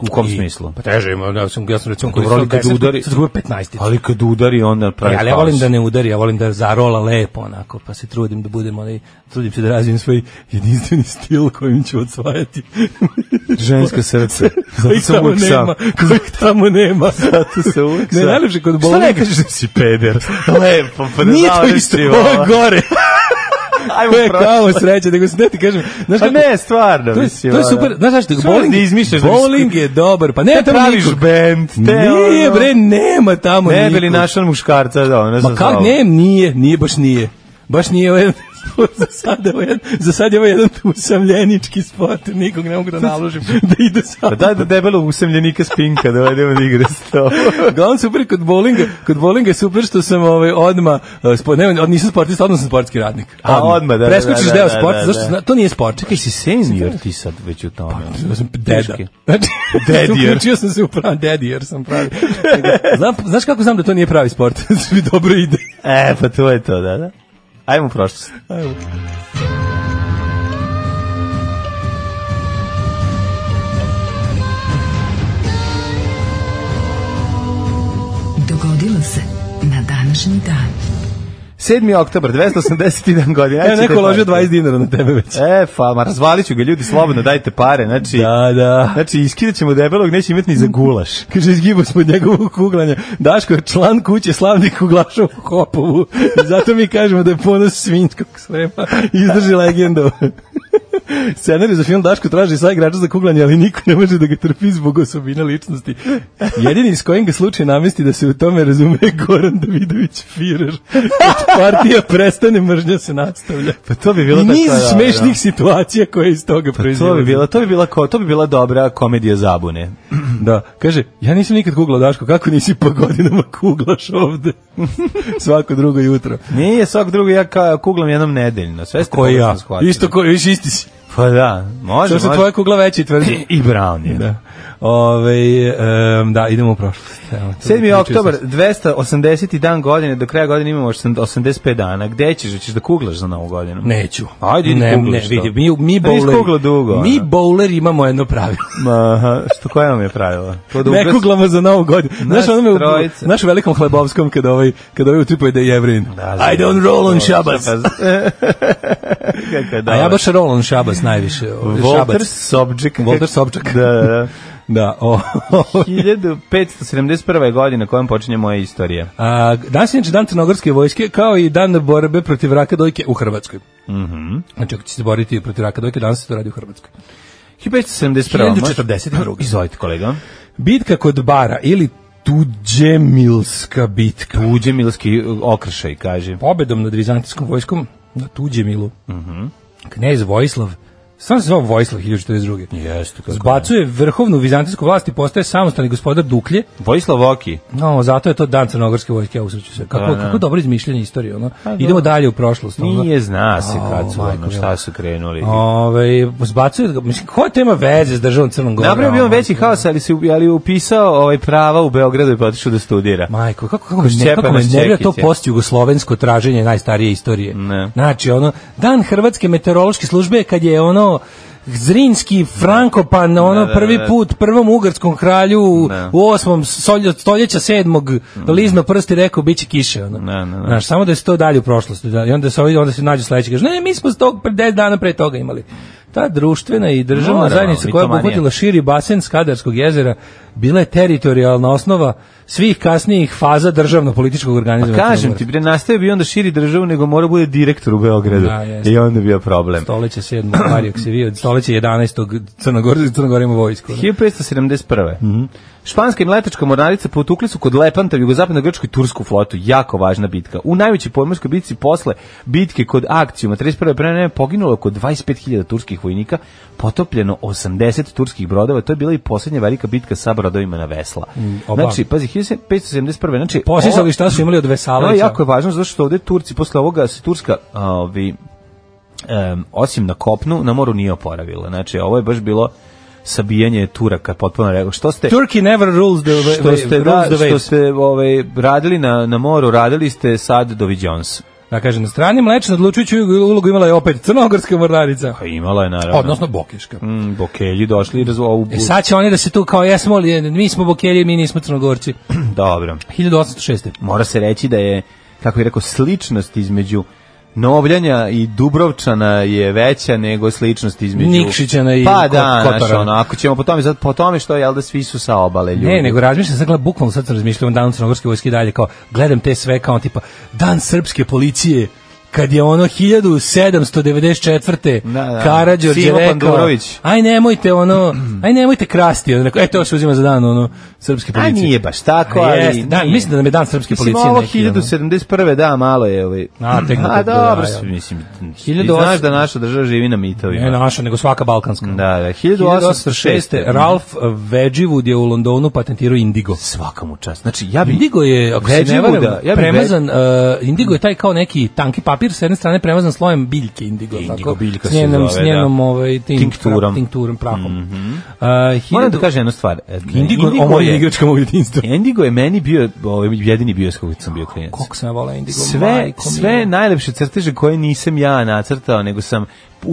[SPEAKER 6] u kom smislu?
[SPEAKER 7] Pa teže ima, ja sam, ja sam recimo
[SPEAKER 6] Dobro,
[SPEAKER 7] koristio
[SPEAKER 6] ali kad
[SPEAKER 7] 10,
[SPEAKER 6] udari-
[SPEAKER 7] sad kupio 15.
[SPEAKER 6] Ali kad udari onda pravi.
[SPEAKER 7] E, Ali ja volim da ne udari, ja volim da zarola lepo onako, pa se trudim da budem onaj, trudim se da razvijem svoj jedinstveni stil kojim ću odsvajati.
[SPEAKER 6] žensko srce.
[SPEAKER 7] Kojih tamo nema, kojih tamo nema.
[SPEAKER 6] Zato se uvek
[SPEAKER 7] Ne,
[SPEAKER 6] sam.
[SPEAKER 7] najlepše kod
[SPEAKER 6] Šta ne
[SPEAKER 7] bolnika-
[SPEAKER 6] kažeš da si peder? Lepo, pa ne
[SPEAKER 7] Nije to
[SPEAKER 6] završi
[SPEAKER 7] isto,
[SPEAKER 6] ovo.
[SPEAKER 7] ovo je gore.
[SPEAKER 6] Ajmo
[SPEAKER 7] To je
[SPEAKER 6] prošlo.
[SPEAKER 7] kao sreće, nego se ne ti kažem. Znaš
[SPEAKER 6] Pa
[SPEAKER 7] kako,
[SPEAKER 6] ne, stvarno.
[SPEAKER 7] to je,
[SPEAKER 6] mislim,
[SPEAKER 7] to je
[SPEAKER 6] ono.
[SPEAKER 7] super, znaš zašto,
[SPEAKER 6] Šta
[SPEAKER 7] bowling,
[SPEAKER 6] da izmišljaš da
[SPEAKER 7] bowling
[SPEAKER 6] bi-
[SPEAKER 7] je dobar, pa ne
[SPEAKER 6] Te
[SPEAKER 7] tamo
[SPEAKER 6] praviš
[SPEAKER 7] nikog.
[SPEAKER 6] bend, te
[SPEAKER 7] Nije
[SPEAKER 6] ono.
[SPEAKER 7] bre, nema tamo
[SPEAKER 6] Ne
[SPEAKER 7] nikog.
[SPEAKER 6] bi li našao muškarca da ono
[SPEAKER 7] Ma kak, ne, nije, nije, baš nije. Baš nije ovaj za sada ovaj jedan, za sad je ovaj jedan usamljenički sport, nikog ne mogu da naložim da ide
[SPEAKER 6] Pa
[SPEAKER 7] sad.
[SPEAKER 6] daj da debelo usemljenika spinka da vedemo da igra s to.
[SPEAKER 7] Uglavnom super kod bowlinga, kod bowlinga je super što sam ovaj odma sport, ne, od- nisam sportista, odmah sam sportski radnik.
[SPEAKER 6] A, odmah, da, da,
[SPEAKER 7] Preskočiš
[SPEAKER 6] da, da,
[SPEAKER 7] deo
[SPEAKER 6] da,
[SPEAKER 7] sporta,
[SPEAKER 6] da,
[SPEAKER 7] zašto
[SPEAKER 6] da.
[SPEAKER 7] zna- to nije sport. Čekaj,
[SPEAKER 6] si senior ti sad već u tome.
[SPEAKER 7] Ja sam deda.
[SPEAKER 6] Teški.
[SPEAKER 7] Znači,
[SPEAKER 6] Dedijer.
[SPEAKER 7] uključio sam se u pravi dedijer sam pravi. Znam, znaš kako znam da to nije pravi sport? Znači mi dobro ide.
[SPEAKER 6] E, pa to je to, da, da. Ajmo u prošlost.
[SPEAKER 4] Dogodilo se na današnji dan.
[SPEAKER 6] 7. oktobar, 281 godina.
[SPEAKER 7] Evo neko ložio
[SPEAKER 6] Ajde,
[SPEAKER 7] 20 dinara na tebe već.
[SPEAKER 6] E, pa, ma razvalit ću ga, ljudi, slobodno dajte pare, znači...
[SPEAKER 7] Da, da.
[SPEAKER 6] Znači, iskidat ćemo debelog, neće imati ni za gulaš.
[SPEAKER 7] Kaže, izgibao smo od njegovog kuglanja. Daško je član kuće slavnih kuglaša u Hopovu. I zato mi kažemo da je ponos svinjskog srema. Izdrži legendu. Scenarij za film Daško traži sva igrača za kuglanje, ali niko ne može da ga trpi zbog osobina ličnosti. Jedini s kojim ga slučaj namesti da se u tome razume je Goran Davidović Firer. Kad partija prestane, mržnja se nastavlja.
[SPEAKER 6] Pa to bi bilo
[SPEAKER 7] I niz
[SPEAKER 6] tako, da,
[SPEAKER 7] smešnih
[SPEAKER 6] da.
[SPEAKER 7] situacija koje iz toga pa
[SPEAKER 6] To bi bila, to bi bila, ko, to bi bila dobra komedija zabune.
[SPEAKER 7] Da, kaže, ja nisam nikad kuglao Daško, kako nisi po godinama kuglaš ovde? Svako drugo jutro.
[SPEAKER 6] Nije svak drugo, ja ka, kuglam jednom nedeljno. Sve ste
[SPEAKER 7] Ko i
[SPEAKER 6] pogrešno
[SPEAKER 7] Pa ja?
[SPEAKER 6] shvatili.
[SPEAKER 7] Isto ko, viš isti si.
[SPEAKER 6] Pa da, može,
[SPEAKER 7] Što
[SPEAKER 6] može.
[SPEAKER 7] se tvoja kugla veća i tvrđa.
[SPEAKER 6] I Brown je. Da.
[SPEAKER 7] Da. Ove, um, da, idemo u prošlost. Evo, to-
[SPEAKER 6] 7.
[SPEAKER 7] pričao
[SPEAKER 6] oktobar,
[SPEAKER 7] sam se.
[SPEAKER 6] 280. dan godine, do kraja godine imamo 85 dana. Gde ćeš? Hoćeš da kuglaš za novu godinu?
[SPEAKER 7] Neću.
[SPEAKER 6] Ajde, idi
[SPEAKER 7] ne, ne,
[SPEAKER 6] kuglaš to.
[SPEAKER 7] vidi, mi, mi
[SPEAKER 6] Pa nisi kuglao
[SPEAKER 7] bowleri,
[SPEAKER 6] dugo,
[SPEAKER 7] mi
[SPEAKER 6] ono.
[SPEAKER 7] bowleri imamo jedno pravilo.
[SPEAKER 6] Ma, aha, što koja vam je pravila? To da
[SPEAKER 7] Ne
[SPEAKER 6] ugras-
[SPEAKER 7] kuglamo za novu godinu. Znaš,
[SPEAKER 6] Nas
[SPEAKER 7] ono me u,
[SPEAKER 6] trojica.
[SPEAKER 7] znaš u velikom hlebovskom kada ovaj, kada ovaj utripuje da je jevrin.
[SPEAKER 6] Da,
[SPEAKER 7] I
[SPEAKER 6] znam.
[SPEAKER 7] don't roll on
[SPEAKER 6] To,
[SPEAKER 7] Shabbos.
[SPEAKER 6] Kako je
[SPEAKER 7] A ja
[SPEAKER 6] dobro.
[SPEAKER 7] baš roll on Shabbos najviše. ovaj,
[SPEAKER 6] Walter
[SPEAKER 7] Šabac.
[SPEAKER 6] Sobčak.
[SPEAKER 7] Walter Sobčak.
[SPEAKER 6] Da, da, da.
[SPEAKER 7] Da, o,
[SPEAKER 6] 1571. je godina kojom počinje moja istorija.
[SPEAKER 7] a, danas je inače dan crnogorske vojske, kao i dan borbe protiv raka dojke u Hrvatskoj. Mm
[SPEAKER 6] Mhm.
[SPEAKER 7] Znači, ako će se boriti protiv raka dojke, danas se to radi u Hrvatskoj.
[SPEAKER 6] 1571. može-
[SPEAKER 7] 1042.
[SPEAKER 6] Izvolite kolega.
[SPEAKER 7] Bitka kod Bara ili Tuđemilska bitka.
[SPEAKER 6] Uđemilski okršaj, kaže.
[SPEAKER 7] Pobedom nad vizantijskom vojskom na Tuđemilu. Mm
[SPEAKER 6] Mhm.
[SPEAKER 7] Knez Vojislav, sam se zvao Vojislav 1442.
[SPEAKER 6] Jeste, kako
[SPEAKER 7] Zbacuje vrhovnu vizantijsku vlast i postaje samostalni gospodar Duklje,
[SPEAKER 6] Vojislav Oki.
[SPEAKER 7] No, zato je to dan crnogorske vojske, ja usreću se. Kako,
[SPEAKER 6] da. Pa
[SPEAKER 7] kako dobro izmišljanje istorije, ono. Idemo dalje u prošlost. Ono.
[SPEAKER 6] Nije zna se
[SPEAKER 7] Au,
[SPEAKER 6] kad su, ono,
[SPEAKER 7] majko,
[SPEAKER 6] šta su krenuli.
[SPEAKER 7] Ove, Ovaj, zbacuju ga, mislim, koja tema veze s državom Crnom Gorom?
[SPEAKER 6] Napravio bi on
[SPEAKER 7] ono?
[SPEAKER 6] veći haos, ali se ubi- ali upisao ovaj prava u Beogradu i pa otišao da studira.
[SPEAKER 7] Majko, kako, kako, me ne,
[SPEAKER 6] Šćepa
[SPEAKER 7] kako me
[SPEAKER 6] nas
[SPEAKER 7] nervira to
[SPEAKER 6] Čekić, ja.
[SPEAKER 7] post-jugoslovensko traženje najstarije istorije.
[SPEAKER 6] Ne.
[SPEAKER 7] Znači, ono, dan Hrvatske meteorološke službe je kad je ono, Zrinski, Frankopan, ono
[SPEAKER 6] da,
[SPEAKER 7] prvi
[SPEAKER 6] da.
[SPEAKER 7] put prvom ugarskom kralju u-
[SPEAKER 6] Ne.
[SPEAKER 7] u osmom solje- stoljeća sedmog lizno prsti rekao biće kiše. Ono.
[SPEAKER 6] Ne, ne, ne.
[SPEAKER 7] Znaš, samo da je to dalje u prošlosti. Da, I onda se, ovi- onda se nađu sledeći, kaže, ne, mi smo s tog pre 10 dana pre toga imali. Ta društvena i državna
[SPEAKER 6] Moramo,
[SPEAKER 7] zajednica koja je
[SPEAKER 6] mitomanija.
[SPEAKER 7] obuhvatila širi basen Skadarskog jezera bila je teritorijalna osnova svih kasnijih faza državno-političkog
[SPEAKER 6] Pa
[SPEAKER 7] organizma.
[SPEAKER 6] kažem ti, bre, nastavio bi onda širi državu, nego mora bude direktor u Beogradu.
[SPEAKER 7] Da, jeste.
[SPEAKER 6] I onda bi bio problem.
[SPEAKER 7] Stoleće 7. Mario Ksevio, stoleće 11. Crnogor, Crnogor ima vojsku. ono.
[SPEAKER 6] 1571. Španska i letačka mornarica potukli su kod Lepanta u jugozapadnoj Grčkoj tursku flotu. Jako važna bitka. U najvećoj pomorskoj bitci posle bitke kod Akcijuma 31. pre vremena poginulo je oko 25.000 turskih vojnika, potopljeno 80 turskih brodova. To je bila i poslednja velika bitka sa brodovima na Vesla.
[SPEAKER 7] Mm, oba.
[SPEAKER 6] znači, pazi, 1571. Znači,
[SPEAKER 7] Posisali šta su imali od
[SPEAKER 6] Ovo je
[SPEAKER 7] Vesalića.
[SPEAKER 6] jako je važno zato što ovde Turci posle ovoga se Turska ovi, em, osim na kopnu na moru nije oporavila. Znači ovo je baš bilo sabijanje Turaka potpuno rekao. Što ste
[SPEAKER 7] Turkey never rules the, wa-
[SPEAKER 6] što ste,
[SPEAKER 7] rules
[SPEAKER 6] da,
[SPEAKER 7] the
[SPEAKER 6] što
[SPEAKER 7] waves.
[SPEAKER 6] ste ovaj, radili na, na moru, radili ste sad Dovi Jones.
[SPEAKER 7] Da kažem, na strani mlečna odlučujuću ulogu imala je opet Crnogorska mornarica.
[SPEAKER 6] Pa imala je naravno.
[SPEAKER 7] Odnosno Bokeška.
[SPEAKER 6] Mm, Bokelji došli i razvo- ovu...
[SPEAKER 7] E sad će oni da se tu kao jesmo li, mi smo Bokelji, mi nismo Crnogorci.
[SPEAKER 6] Dobro.
[SPEAKER 7] 1806.
[SPEAKER 6] Mora se reći da je, kako bih rekao, sličnost između Novljanja i Dubrovčana je veća nego sličnost između
[SPEAKER 7] Nikšićana i
[SPEAKER 6] Pa
[SPEAKER 7] Kot-
[SPEAKER 6] da, znaš,
[SPEAKER 7] Kotara.
[SPEAKER 6] ono, ako ćemo po tome, sad po tome što jel da svi su sa obale ljudi.
[SPEAKER 7] Ne, nego razmišljam, sad gledam, bukvalno sad sam razmišljao o danu crnogorske vojske i dalje, kao, gledam te sve kao tipa, dan srpske policije, kad je ono 1794.
[SPEAKER 6] Da, da.
[SPEAKER 7] Karađorđe
[SPEAKER 6] Simo
[SPEAKER 7] rekao,
[SPEAKER 6] Pandurović.
[SPEAKER 7] aj nemojte ono, aj nemojte krasti, on rekao, e to se uzima za dan ono srpske
[SPEAKER 6] A
[SPEAKER 7] policije.
[SPEAKER 6] nije baš tako,
[SPEAKER 7] A
[SPEAKER 6] ali...
[SPEAKER 7] jeste, da,
[SPEAKER 6] nije.
[SPEAKER 7] mislim da nam je dan srpske
[SPEAKER 6] Mislim,
[SPEAKER 7] policije
[SPEAKER 6] ovo
[SPEAKER 7] neki, ono.
[SPEAKER 6] 1071. da, malo je ovaj.
[SPEAKER 7] A, tek na
[SPEAKER 6] A,
[SPEAKER 7] to-
[SPEAKER 6] dobro,
[SPEAKER 7] da, da.
[SPEAKER 6] mislim, ti
[SPEAKER 7] 1800
[SPEAKER 6] znaš da naša država živi na mitovima.
[SPEAKER 7] Ne naša, nego svaka balkanska.
[SPEAKER 6] Da, da,
[SPEAKER 7] 1806.
[SPEAKER 6] 1806.
[SPEAKER 7] Ralph Wedgwood je u Londonu patentirao indigo.
[SPEAKER 6] Svaka mu čast. Znači, ja bi...
[SPEAKER 7] Indigo je, ako se ne
[SPEAKER 6] Wedgwooda,
[SPEAKER 7] varam,
[SPEAKER 6] ja bi
[SPEAKER 7] premazan, uh, indigo je taj kao neki tanki papir, s jedne strane premazan slojem biljke indigo.
[SPEAKER 6] Indigo
[SPEAKER 7] tako,
[SPEAKER 6] biljka
[SPEAKER 7] s
[SPEAKER 6] se
[SPEAKER 7] njenom,
[SPEAKER 6] zove,
[SPEAKER 7] S njenom
[SPEAKER 6] da.
[SPEAKER 7] ovaj, tim,
[SPEAKER 6] Tinkturom. Mhm.
[SPEAKER 7] pra- tinkturom, prahom. uh,
[SPEAKER 6] Moram da
[SPEAKER 7] hiljadu-
[SPEAKER 6] kažem jednu stvar. E,
[SPEAKER 7] Indigo, indigo ovo je
[SPEAKER 6] je,
[SPEAKER 7] igračka moj jedinstva.
[SPEAKER 6] Indigo je meni bio ovaj, jedini bio s kojim sam bio klinac.
[SPEAKER 7] Koliko sam ja volao indigo,
[SPEAKER 6] sve,
[SPEAKER 7] majko mila.
[SPEAKER 6] sve najlepše crteže koje nisam ja nacrtao, nego sam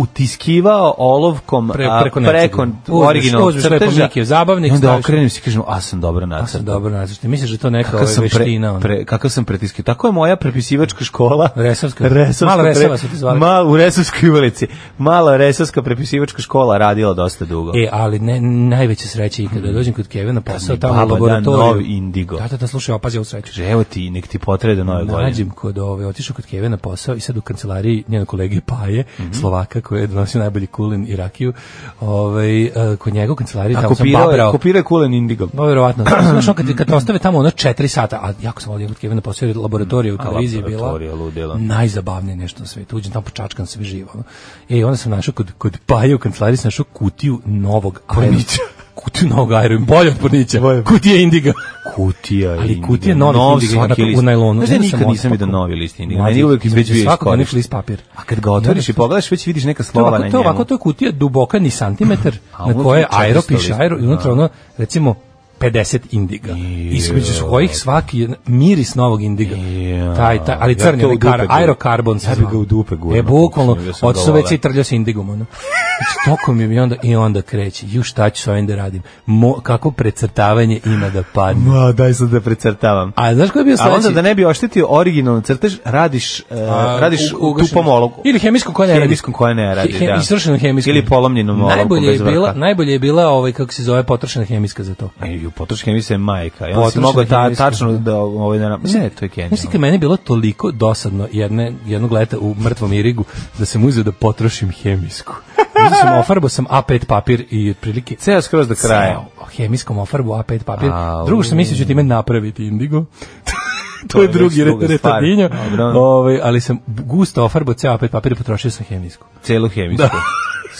[SPEAKER 6] utiskivao olovkom
[SPEAKER 7] Pre-
[SPEAKER 6] a,
[SPEAKER 7] preko
[SPEAKER 6] preko,
[SPEAKER 7] nečega. Uzmeš-
[SPEAKER 6] originalnog
[SPEAKER 7] uzmeš lepo
[SPEAKER 6] crteža.
[SPEAKER 7] neki zabavnik,
[SPEAKER 6] I onda
[SPEAKER 7] staviš-
[SPEAKER 6] okrenem se i kažem, a sam dobro
[SPEAKER 7] A sam
[SPEAKER 6] nacrtao.
[SPEAKER 7] dobro nazvište. Misliš da je to neka
[SPEAKER 6] Kakav
[SPEAKER 7] ovaj,
[SPEAKER 6] sam, pre,
[SPEAKER 7] veština? ono?
[SPEAKER 6] pre, kakav sam pretiskio. Tako je moja prepisivačka škola.
[SPEAKER 7] Resavska.
[SPEAKER 6] Resavska
[SPEAKER 7] Mala
[SPEAKER 6] pre-
[SPEAKER 7] Resava su te zvali.
[SPEAKER 6] Mal, u Resavskoj ulici. Mala Resavska prepisivačka škola radila dosta dugo.
[SPEAKER 7] E, ali ne, najveća sreća je kada dođem kod Kevina posao
[SPEAKER 6] Mhm. mi
[SPEAKER 7] tamo
[SPEAKER 6] baba
[SPEAKER 7] u
[SPEAKER 6] da
[SPEAKER 7] laboratoriju.
[SPEAKER 6] nov indigo.
[SPEAKER 7] Da, da, da, slušaj, opazi ovu sreću.
[SPEAKER 6] Kaže, evo ti, nek ti potraje do nove godine.
[SPEAKER 7] Nađem kod ove, otišao kod Kevina posao i sad u kancelariji njenog kolege Paje,
[SPEAKER 6] Mhm.
[SPEAKER 7] Slovaka koji je donosio najbolji kulin i rakiju, ovaj, e, kod njega u kancelariji
[SPEAKER 6] A
[SPEAKER 7] tamo sam
[SPEAKER 6] kopirao je,
[SPEAKER 7] babrao.
[SPEAKER 6] kopirao je kulen indigom.
[SPEAKER 7] No, verovatno. Znaš, on kad, kad te ostave tamo ono četiri sata, a jako sam volio kod Kevina posao, jer laboratorija u televiziji je bila
[SPEAKER 6] laboratorija, ludilo.
[SPEAKER 7] najzabavnije nešto na svetu. Uđem tamo, počačkam sve živo. ono. E, onda sam našao kod, kod Paje u kancelariji, sam našao kutiju novog Pornića. Kutiju novog aerom, bolje od Pornića. Kutija indiga.
[SPEAKER 6] Kutija
[SPEAKER 7] Ali
[SPEAKER 6] indigo.
[SPEAKER 7] kutije novih
[SPEAKER 6] Nov
[SPEAKER 7] indigo,
[SPEAKER 6] svaki
[SPEAKER 7] onako,
[SPEAKER 6] list.
[SPEAKER 7] u najlonu.
[SPEAKER 6] Znaš da ja
[SPEAKER 7] Onda sam
[SPEAKER 6] nikad nisam
[SPEAKER 7] otpakao.
[SPEAKER 6] vidio novi list indigo.
[SPEAKER 7] Mlađi,
[SPEAKER 6] Meni uvek već bio
[SPEAKER 7] svakog onih
[SPEAKER 6] iskorišten.
[SPEAKER 7] list papir.
[SPEAKER 6] A kad ga otvoriš i pogledaš, već vidiš neka
[SPEAKER 7] To je
[SPEAKER 6] slova
[SPEAKER 7] ovako,
[SPEAKER 6] na
[SPEAKER 7] to je ovako,
[SPEAKER 6] njemu.
[SPEAKER 7] to je kutija duboka ni santimetar,
[SPEAKER 6] A
[SPEAKER 7] na
[SPEAKER 6] unutra
[SPEAKER 7] koje
[SPEAKER 6] je
[SPEAKER 7] je aero
[SPEAKER 6] 400
[SPEAKER 7] piše aero i unutra ono, recimo, 50 indiga. Između kojih svaki je miris novog indiga.
[SPEAKER 6] Jao.
[SPEAKER 7] Taj, taj, ali
[SPEAKER 6] Ja
[SPEAKER 7] crni,
[SPEAKER 6] to
[SPEAKER 7] onaj
[SPEAKER 6] u dupe
[SPEAKER 7] kar,
[SPEAKER 6] gurnem.
[SPEAKER 7] aerokarbon se
[SPEAKER 6] Ja bi
[SPEAKER 7] zvao.
[SPEAKER 6] ga u dupe gurnuo,
[SPEAKER 7] E, bukvalno,
[SPEAKER 6] mislim, ja sam ga
[SPEAKER 7] odsove
[SPEAKER 6] voleo.
[SPEAKER 7] i trljao se indigom, ono. Znači, Toko mi je i onda, i onda kreće, ju šta ću s ovim da radim, Mo, kako precrtavanje ima da padne.
[SPEAKER 6] Ma, daj sad da precrtavam.
[SPEAKER 7] A znaš ko je bio
[SPEAKER 6] A
[SPEAKER 7] sledeći?
[SPEAKER 6] onda da ne bi oštetio originalni crtež, radiš, e,
[SPEAKER 7] A,
[SPEAKER 6] radiš
[SPEAKER 7] u- ugašenu.
[SPEAKER 6] tupom olovku.
[SPEAKER 7] Ili hemijskom koja ne radi.
[SPEAKER 6] Hemijskom koja ne radi, da.
[SPEAKER 7] Istrošenom hemijskom.
[SPEAKER 6] Ili polomljenom olovkom
[SPEAKER 7] najbolje je
[SPEAKER 6] bez vrha.
[SPEAKER 7] bila, Najbolje je bila, ovaj, kako se zove, potrošena hemijska za to.
[SPEAKER 6] Ej, u potroške emisije je majka. Ja si
[SPEAKER 7] Potrošene
[SPEAKER 6] mogao ta,
[SPEAKER 7] hemijske,
[SPEAKER 6] tačno da ovaj da nam- Ne, to je genijalno.
[SPEAKER 7] Znaš ti kad meni je bilo toliko dosadno jedne, jednog leta u mrtvom Irigu da sam uzeo da potrošim hemijsku. Uzeo sam ofarbo sam A5 papir i otprilike
[SPEAKER 6] Ceo skroz do kraja.
[SPEAKER 7] ceo hemijskom ofarbu A5 papir.
[SPEAKER 6] Au.
[SPEAKER 7] Drugo što mislio ću time napraviti indigo. to
[SPEAKER 6] To
[SPEAKER 7] je
[SPEAKER 6] je već
[SPEAKER 7] drugi
[SPEAKER 6] druga
[SPEAKER 7] re-
[SPEAKER 6] stvar.
[SPEAKER 7] retardinjo.
[SPEAKER 6] Dobro.
[SPEAKER 7] Ovaj, ali sam gusto ofarbo ceo A5 papir i potrošio sam hemijsku.
[SPEAKER 6] Celu hemijsku.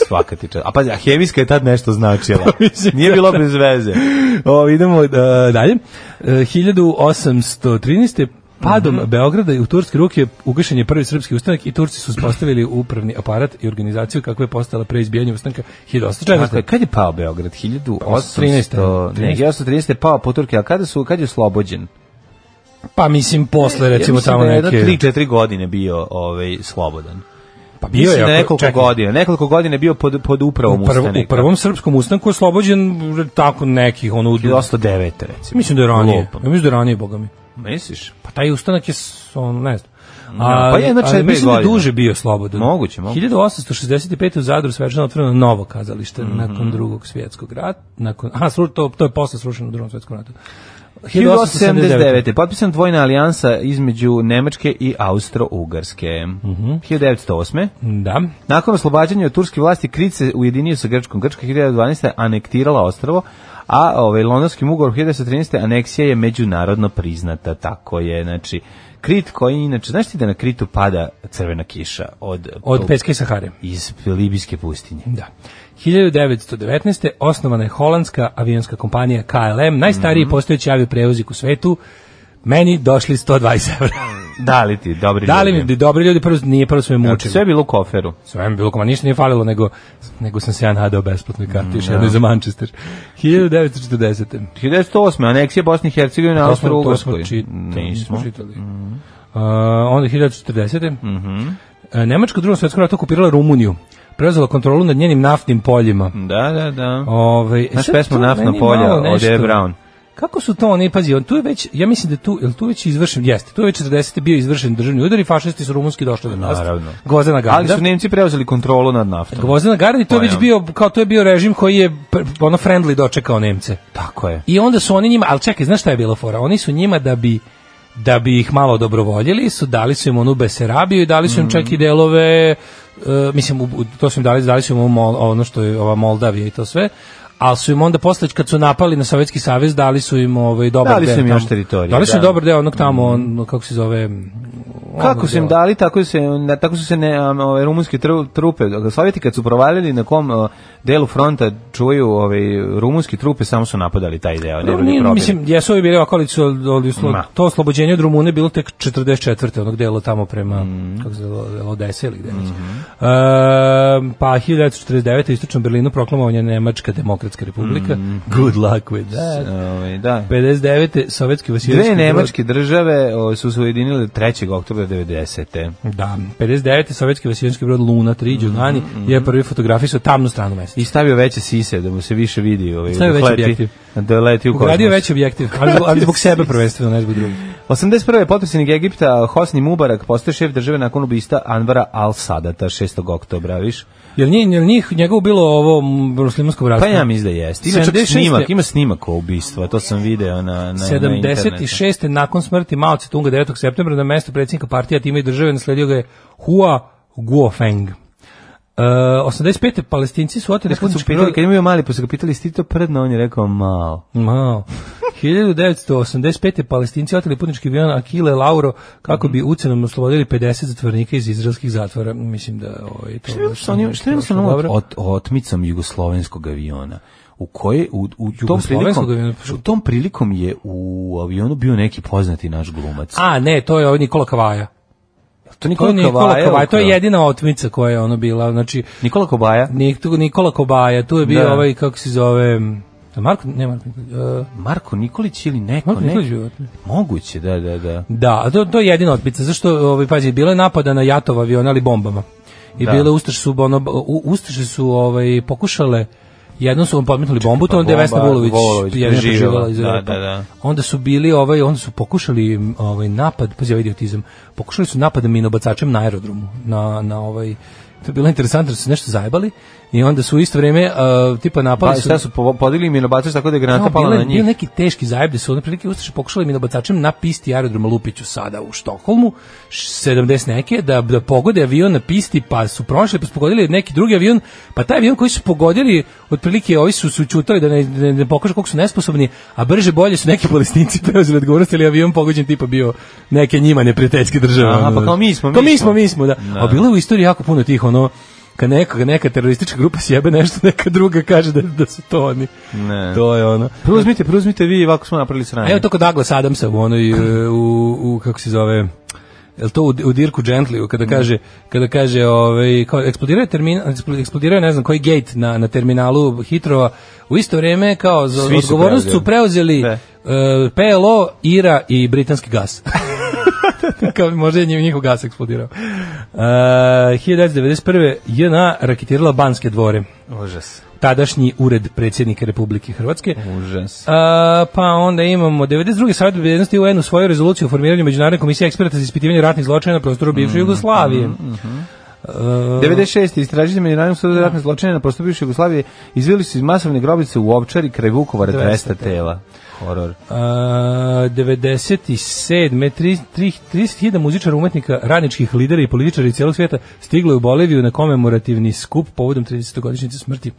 [SPEAKER 6] Svaka ti čast. A pazi, a hemijska je tad nešto značila.
[SPEAKER 7] Pa mislim,
[SPEAKER 6] Nije bilo bez veze.
[SPEAKER 7] O, idemo uh, dalje. Uh, 1813. Padom Beograda i u turske ruke ugašen je prvi srpski ustanak i Turci su uspostavili upravni aparat i organizaciju kako je postala pre izbijanja ustanka 1814.
[SPEAKER 6] Dakle, kad je pao Beograd?
[SPEAKER 7] Pa
[SPEAKER 6] 1813.
[SPEAKER 7] 13..
[SPEAKER 6] Ne, 1813 je pao po Turke, a kada su, kad je oslobođen?
[SPEAKER 7] pa mislim posle recimo
[SPEAKER 6] mislim
[SPEAKER 7] tamo
[SPEAKER 6] da je jedno
[SPEAKER 7] neke...
[SPEAKER 6] 3-4 godine bio ovaj, slobodan.
[SPEAKER 7] Pa bio
[SPEAKER 6] Mislim da
[SPEAKER 7] ako-
[SPEAKER 6] nekoliko
[SPEAKER 7] čekaj,
[SPEAKER 6] godina. Nekoliko godina je bio pod, pod upravom
[SPEAKER 7] U, prv, u
[SPEAKER 6] Ustanika.
[SPEAKER 7] prvom srpskom ustanku je oslobođen r- tako nekih ono...
[SPEAKER 6] 1809. recimo.
[SPEAKER 7] Mislim da je ranije.
[SPEAKER 6] Lupam.
[SPEAKER 7] Ja mislim da je ranije, boga mi.
[SPEAKER 6] Misliš?
[SPEAKER 7] Pa taj ustanak je, s- on, ne znam. A,
[SPEAKER 6] pa jedno četiri
[SPEAKER 7] ali mislim da je
[SPEAKER 6] godine.
[SPEAKER 7] duže bio slobodan.
[SPEAKER 6] Moguće, moguće.
[SPEAKER 7] 1865. u Zadru svečano otvoreno novo kazalište
[SPEAKER 6] Mhm.
[SPEAKER 7] nakon drugog svjetskog rata. Nakon, aha, sru- to, to je posle srušeno u drugom svjetskom ratu.
[SPEAKER 6] 1879. Potpisana dvojna alijansa između Nemačke i Austro-Ugarske.
[SPEAKER 7] Mhm.
[SPEAKER 6] 1908.
[SPEAKER 7] Da.
[SPEAKER 6] Nakon oslobađanja od turske vlasti, Krit se ujedinio sa Grčkom. Grčka je 1912. anektirala ostrovo, a ovaj, londonskim ugovorom 1913. aneksija je međunarodno priznata. Tako je, znači, Krit koji inače, znaš ti da na Kritu pada crvena kiša od,
[SPEAKER 7] Od Peske Sahare.
[SPEAKER 6] iz Libijske pustinje.
[SPEAKER 7] Da. 1919. osnovana je holandska avijanska kompanija KLM,
[SPEAKER 6] Mhm.
[SPEAKER 7] najstariji postojeći avioprevoznik u svetu. Meni došli 120 evra.
[SPEAKER 6] Da li ti, dobri
[SPEAKER 7] Da li
[SPEAKER 6] ljudi?
[SPEAKER 7] mi dobri ljudi prvo nije prvo sve
[SPEAKER 6] Znači,
[SPEAKER 7] mučili.
[SPEAKER 6] sve je bilo u koferu.
[SPEAKER 7] Sve mi je bilo koma ništa nije falilo, nego, nego sam se ja nadao besplatnoj karti, još jednoj za Manchester. 1940.
[SPEAKER 6] 1908. aneksija Bosne i Hercegovine na
[SPEAKER 7] To smo- to smo
[SPEAKER 6] Austro-Ugarskoj.
[SPEAKER 7] čitali,
[SPEAKER 6] Nismo. Mhm.
[SPEAKER 7] nismo čitali. Uh, onda 1940. E, Nemačka u drugom svjetskom ratu okupirala Rumuniju. Preuzela kontrolu nad njenim naftnim poljima.
[SPEAKER 6] Da, da, da.
[SPEAKER 7] Ovaj
[SPEAKER 6] Mhm. Znaš
[SPEAKER 7] sad
[SPEAKER 6] pesmu
[SPEAKER 7] tu
[SPEAKER 6] Naftna
[SPEAKER 7] meni
[SPEAKER 6] polja
[SPEAKER 7] malo
[SPEAKER 6] od
[SPEAKER 7] nešto-
[SPEAKER 6] Eve Brown?
[SPEAKER 7] Kako su to oni, pazi, on tu je već, ja mislim da tu, jel tu već izvršen, jeste, tu je već 40. bio izvršen državni udar i fašisti su rumunski došli do nas.
[SPEAKER 6] Naravno.
[SPEAKER 7] Gvozdena
[SPEAKER 6] Ali
[SPEAKER 7] Garda.
[SPEAKER 6] su Nemci preuzeli kontrolu nad naftom.
[SPEAKER 7] Gvozdena Garda i to je već
[SPEAKER 6] Pojam.
[SPEAKER 7] bio, kao to je bio režim koji je pr- ono friendly dočekao Nemce.
[SPEAKER 6] Tako je.
[SPEAKER 7] I onda su oni njima, ali čekaj, znaš šta je bila fora? Oni su njima da bi da bi ih malo dobrovoljili, su dali su im onu Beserabiju i dali su im
[SPEAKER 6] Mhm.
[SPEAKER 7] čak i delove, e, mislim, u- u- to su im dali, dali su im ovu Mol- ono što je ova Moldavija i to sve, ali su im onda posle kad su napali na Sovjetski savez dali su im ovaj dobar
[SPEAKER 6] Dali su
[SPEAKER 7] deo
[SPEAKER 6] im
[SPEAKER 7] tamo-
[SPEAKER 6] još teritorije,
[SPEAKER 7] Dali su im
[SPEAKER 6] da. Mhm.
[SPEAKER 7] dobar deo onog tamo on, kako se zove
[SPEAKER 6] Kako su im
[SPEAKER 7] dali
[SPEAKER 6] dali, tako, se, na- tako su se ne, um, ove, rumunske tru- trupe, dakle, Sovjeti kad su provalili na kom uh, delu fronta čuju ove, rumunske trupe, samo su napadali taj deo. ne bili probili.
[SPEAKER 7] mislim, jesu ovi bili okolici, ali ali slo-
[SPEAKER 6] Ma.
[SPEAKER 7] to oslobođenje od Rumune bilo tek ono 44. onog dela tamo prema,
[SPEAKER 6] Mhm.
[SPEAKER 7] kako se zove, Odese ili gde već. Ehm, pa 1949. u Istočnom Berlinu proklamovanje Nemačka demokratska republika.
[SPEAKER 6] Mhm.
[SPEAKER 7] Good luck with that.
[SPEAKER 6] Ove, da.
[SPEAKER 7] 59. Sovjetski vasilijski
[SPEAKER 6] Dve nemačke države o, su se ujedinile 3. oktobra 90.
[SPEAKER 7] brod, da, 59. Sovjetski vasilijski brod Luna 3
[SPEAKER 6] Mhm,
[SPEAKER 7] Giovanni je prvi fotografisao tamnu stranu meseca.
[SPEAKER 6] I stavio veće sise da mu se više vidi. Ovaj,
[SPEAKER 7] Stavio
[SPEAKER 6] dok
[SPEAKER 7] veći
[SPEAKER 6] leti-
[SPEAKER 7] objektiv.
[SPEAKER 6] Da leti u
[SPEAKER 7] Ugradio je
[SPEAKER 6] kosmos.
[SPEAKER 7] veći objektiv, ali, ali zbog sebe prvenstveno, ne zbog drugih.
[SPEAKER 6] 81. potpredsjednik Egipta Hosni Mubarak postaje šef države nakon ubista Anvara al-Sadata 6. oktobra, viš?
[SPEAKER 7] Jel njih, jel njih njegovo bilo ovo m, muslimansko bratstvo?
[SPEAKER 6] Pa ja mislim da jeste. Ima čak
[SPEAKER 7] 76.
[SPEAKER 6] snimak, ima snimak o ubistva, to sam video na, na, na internetu.
[SPEAKER 7] 76. nakon smrti Mao Tse-tunga 9. septembra na mesto predsjednika partija time i države nasledio ga je Hua Guofeng. E, 85. palestinci su oteli
[SPEAKER 6] Kad su
[SPEAKER 7] putnički
[SPEAKER 6] pitali,
[SPEAKER 7] brod...
[SPEAKER 6] kad imaju mali, pa su ga pitali, sti to prdno, on je rekao malo.
[SPEAKER 7] Mao. 1985. palestinci oteli putnički avion Akile Lauro kako
[SPEAKER 6] Mhm.
[SPEAKER 7] bi ucenom oslobodili 50 zatvornika iz izraelskih zatvora. Mislim da ovaj, to...
[SPEAKER 6] Šta oni, šta je
[SPEAKER 7] prošlo
[SPEAKER 6] sa onom
[SPEAKER 7] dobro.
[SPEAKER 6] ot, otmicom jugoslovenskog aviona? U koje u, u, tom
[SPEAKER 7] Jugoslovenskog
[SPEAKER 6] prilikom
[SPEAKER 7] aviona? pa
[SPEAKER 6] u tom prilikom je u avionu bio neki poznati naš glumac.
[SPEAKER 7] A, ne, to je ovaj Nikola Kavaja.
[SPEAKER 6] to
[SPEAKER 7] To je Nikola Kavaja, to je
[SPEAKER 6] ukrao?
[SPEAKER 7] jedina otmica koja je ono bila, znači,
[SPEAKER 6] Nikola Kobaja.
[SPEAKER 7] Nik, tu Nikola Kobaja, tu je bio
[SPEAKER 6] Da.
[SPEAKER 7] ovaj, kako se zove, Marko, ne Marko, Nikolić, e,
[SPEAKER 6] Marko Nikolić ili neko,
[SPEAKER 7] Marko
[SPEAKER 6] Pa ne?
[SPEAKER 7] Nikolić bio otmica.
[SPEAKER 6] Moguće, da, da, da.
[SPEAKER 7] Da, a to, to je jedina otmica, zašto, ovaj, pazi, bilo je napada na Jatova aviona, ali bombama. I
[SPEAKER 6] Da.
[SPEAKER 7] bile Ustaše su, ono, u- Ustaše su ovaj, pokušale, jednom su vam podmetnuli bombu, to
[SPEAKER 6] pa
[SPEAKER 7] onda je Vesna
[SPEAKER 6] bomba,
[SPEAKER 7] Vulović
[SPEAKER 6] Vulović
[SPEAKER 7] jedina
[SPEAKER 6] preživela,
[SPEAKER 7] preživjela iz
[SPEAKER 6] da,
[SPEAKER 7] Evropa.
[SPEAKER 6] da, da.
[SPEAKER 7] Onda su bili, ovaj, onda su pokušali ovaj, napad, pazi, ovaj idiotizam, pokušali su napad minobacačem na aerodromu, na, na ovaj, to je bilo interesantno, da su se nešto zajebali i onda su u isto vrijeme eh, tipa napali
[SPEAKER 6] Pa, šta su po- podigli mi bacaš tako da je granata
[SPEAKER 7] Kao,
[SPEAKER 6] pala
[SPEAKER 7] bile-
[SPEAKER 6] na njih?
[SPEAKER 7] Bio neki teški zajeb da su ono prilike Ustaše pokušali mi nabacačem na pisti aerodroma Lupiću sada u Štokholmu, š- 70 neke, da, da pogode avion na pisti, pa su prošli, pa su pogodili neki drugi avion, pa taj avion koji su pogodili, otprilike ovi su, su čutali da ne, ne, ne pokažu koliko su nesposobni, a brže bolje su neki palestinci preuzeli odgovornost, ali avion pogođen tipa bio neke njima neprijateljske države.
[SPEAKER 6] Aha,
[SPEAKER 7] ono,
[SPEAKER 6] pa kao mi smo, mi
[SPEAKER 7] kao mi
[SPEAKER 6] smo.
[SPEAKER 7] smo, mi smo, da. A bilo je u istoriji jako puno tih, ono, kad neka, neka teroristička grupa sjebe nešto, neka druga kaže da, da su to oni.
[SPEAKER 6] Ne.
[SPEAKER 7] To je ono.
[SPEAKER 6] Preuzmite, preuzmite vi, ovako smo napravili
[SPEAKER 7] A
[SPEAKER 6] sranje.
[SPEAKER 7] evo to kod Douglas Adamsa u onoj, e, u, u kako se zove, jel to u, u Dirku Gentlyu, kada kaže, kada kaže, ovaj, kao, eksplodirao je termin, eksplodirao je, ne znam koji gate na, na terminalu Hitrova, u isto vrijeme kao za
[SPEAKER 6] Svi su
[SPEAKER 7] odgovornost su preuzeli
[SPEAKER 6] preuzeli.
[SPEAKER 7] e, PLO, IRA i britanski gas. kao možda je njih- njihov gas eksplodirao. E, Uh, 1991. JNA raketirala Banske dvore,
[SPEAKER 6] Užas.
[SPEAKER 7] tadašnji ured predsjednika Republike Hrvatske.
[SPEAKER 6] Užas.
[SPEAKER 7] A, pa onda imamo 92. savjet bezbednosti UN u svoju rezoluciju o formiranju Međunarodne komisije eksperta za ispitivanje ratnih zločina na prostoru bivše Jugoslavije. E,
[SPEAKER 6] 96. istražitelji međunarodnog suda za ratne zločine na prostoru bivše Jugoslavije izveli su iz masovne grobice u Ovčari kraj Vukovara 200 tela. Horor.
[SPEAKER 7] A, 97. tri- tri- 30.000 muzičara, umetnika, radničkih lidera i političara iz cijelog svijeta stiglo je u Boliviju na komemorativni skup povodom 30-godišnjice smrti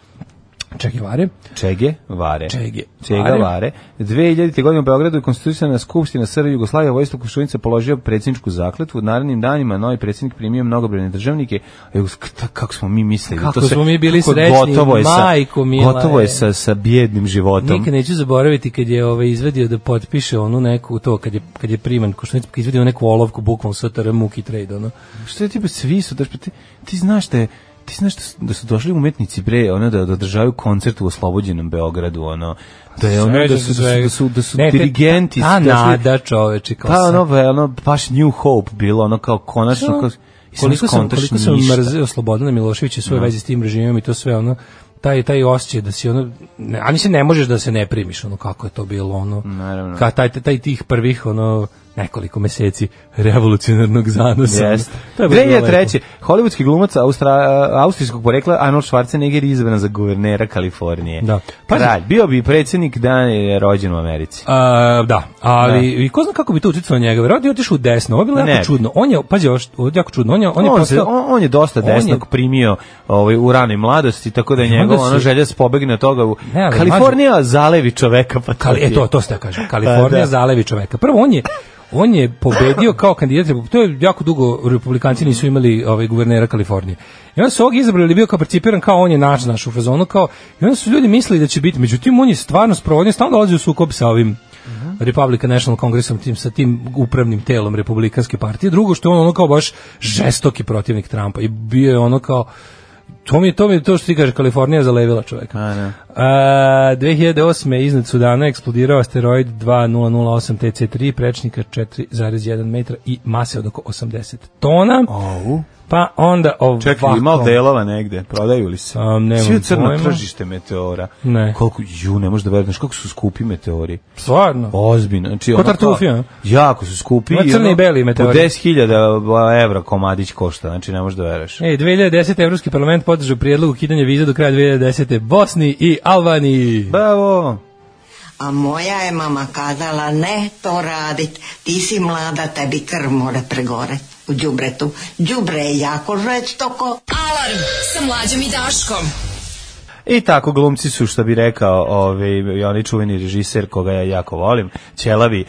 [SPEAKER 7] Che Guevare.
[SPEAKER 6] Čege Vare.
[SPEAKER 7] Čege
[SPEAKER 6] Čega
[SPEAKER 7] Vare.
[SPEAKER 6] Vare. 2000. godine u Beogradu je konstituisana skupština SR Jugoslavije. Vojislav Koštunica položio predsjedničku zakletvu. U narednim danima novi predsjednik primio mnogobrojne državnike. E, uz- kta- kako smo mi mislili?
[SPEAKER 7] Kako smo mi bili
[SPEAKER 6] kako
[SPEAKER 7] srećni,
[SPEAKER 6] gotovo je sa,
[SPEAKER 7] majko mila,
[SPEAKER 6] Gotovo je
[SPEAKER 7] e.
[SPEAKER 6] sa, sa bjednim životom.
[SPEAKER 7] Nikad neću zaboraviti kad je ovaj izvedio da potpiše onu neku to kad je kad je priman Koštunica kad je izvedio neku olovku bukvalno STR Muki Trade ono.
[SPEAKER 6] Što je tipa svi su, daš, pa ti, ti znaš da je ti znaš da su, da su došli umetnici bre ono da da održavaju koncert u oslobođenom Beogradu ono da je ono da su da su da su, da su
[SPEAKER 7] Ne, te-
[SPEAKER 6] dirigenti
[SPEAKER 7] ta, ta
[SPEAKER 6] došli-
[SPEAKER 7] nada čoveče kao
[SPEAKER 6] pa
[SPEAKER 7] sad.
[SPEAKER 6] ono ve- ono baš New Hope bilo ono kao konačno kao i sad
[SPEAKER 7] koliko sam
[SPEAKER 6] skontaš
[SPEAKER 7] koliko sam
[SPEAKER 6] ništa.
[SPEAKER 7] mrzeo Slobodana Miloševića i svoje veze s tim režimom i to sve ono taj taj osjećaj da si ono ne, a mislim ne možeš da se ne primiš ono kako je to bilo ono
[SPEAKER 6] Naravno.
[SPEAKER 7] ka taj taj tih prvih ono nekoliko meseci revolucionarnog zanosa. ono.
[SPEAKER 6] Jeste.
[SPEAKER 7] To je baš bilo lepo.
[SPEAKER 6] 2003. Hollywoodski glumac Austra, austrijskog porekla Arnold Schwarzenegger je izabran za guvernera Kalifornije.
[SPEAKER 7] Da.
[SPEAKER 6] Pa,
[SPEAKER 7] Pazi-
[SPEAKER 6] Kralj, bio bi predsjednik da je rođen u Americi.
[SPEAKER 7] A, da, ali i ko zna kako bi to uticalo na njega. Verovatno je otišao u desno. Ovo je bilo
[SPEAKER 6] Ne
[SPEAKER 7] jako
[SPEAKER 6] bi.
[SPEAKER 7] čudno. On je, pazi, ovo što- ovo je jako čudno. On je, on
[SPEAKER 6] On,
[SPEAKER 7] je
[SPEAKER 6] on, se,
[SPEAKER 7] postao-
[SPEAKER 6] on, on je dosta
[SPEAKER 7] on je-
[SPEAKER 6] desnog primio ovaj, u ranoj mladosti, tako da je
[SPEAKER 7] onda
[SPEAKER 6] njegova ono
[SPEAKER 7] se-
[SPEAKER 6] želja da se pobegne od toga. U...
[SPEAKER 7] Ne, ali
[SPEAKER 6] Kalifornija zalevi čoveka. Pa
[SPEAKER 7] Kali, e, to, to ste ja kažem. Kalifornija
[SPEAKER 6] da.
[SPEAKER 7] zalevi čoveka. Prvo, on je, on je pobedio kao kandidat, Repu- to je jako dugo republikanci nisu imali ovaj, guvernera Kalifornije. I onda su ovog izabrali, bio kao percipiran kao on je naš, naš u fazonu, kao, i onda su ljudi mislili da će biti, međutim, on je stvarno sprovodio, stalno dolazi u sukob sa ovim Republican National Congressom, tim, sa tim upravnim telom Republikanske partije. Drugo, što je on ono kao baš žestoki protivnik Trumpa i bio je ono kao, To mi je to, mi je to što ti kaže, Kalifornija je zalevila čoveka.
[SPEAKER 6] A, da.
[SPEAKER 7] A, 2008. iznad Sudana eksplodirao asteroid 2008 TC3, prečnika 4,1 metra i mase od oko 80 tona.
[SPEAKER 6] Au.
[SPEAKER 7] Pa onda ovako.
[SPEAKER 6] Čekaj, ima li delova negde? Prodaju li se?
[SPEAKER 7] A, nemam
[SPEAKER 6] Svi crno
[SPEAKER 7] pojma.
[SPEAKER 6] tržište meteora.
[SPEAKER 7] Ne.
[SPEAKER 6] Koliko, ju, ne možeš da veruješ, koliko su skupi meteori.
[SPEAKER 7] Stvarno.
[SPEAKER 6] Ozbiljno. Znači,
[SPEAKER 7] Ko
[SPEAKER 6] ono kao-
[SPEAKER 7] tartufija.
[SPEAKER 6] Jako su skupi.
[SPEAKER 7] Ima
[SPEAKER 6] i
[SPEAKER 7] crni
[SPEAKER 6] ono,
[SPEAKER 7] i beli
[SPEAKER 6] Po
[SPEAKER 7] meteori.
[SPEAKER 6] 10.000 evra komadić košta, znači ne možeš da veruješ.
[SPEAKER 7] E, 2010. Evropski parlament podržao prijedlog ukidanja viza do kraja 2010. Bosni i Albaniji.
[SPEAKER 6] Bravo!
[SPEAKER 2] A moja je mama kazala ne to radit, ti si mlada, tebi krv mora pregore u đubretu. Đubre je jako žestoko.
[SPEAKER 4] Alarm sa mlađom i Daškom.
[SPEAKER 6] I tako glumci su što bi rekao ovaj i onaj čuveni režiser koga ja jako volim, Ćelavi.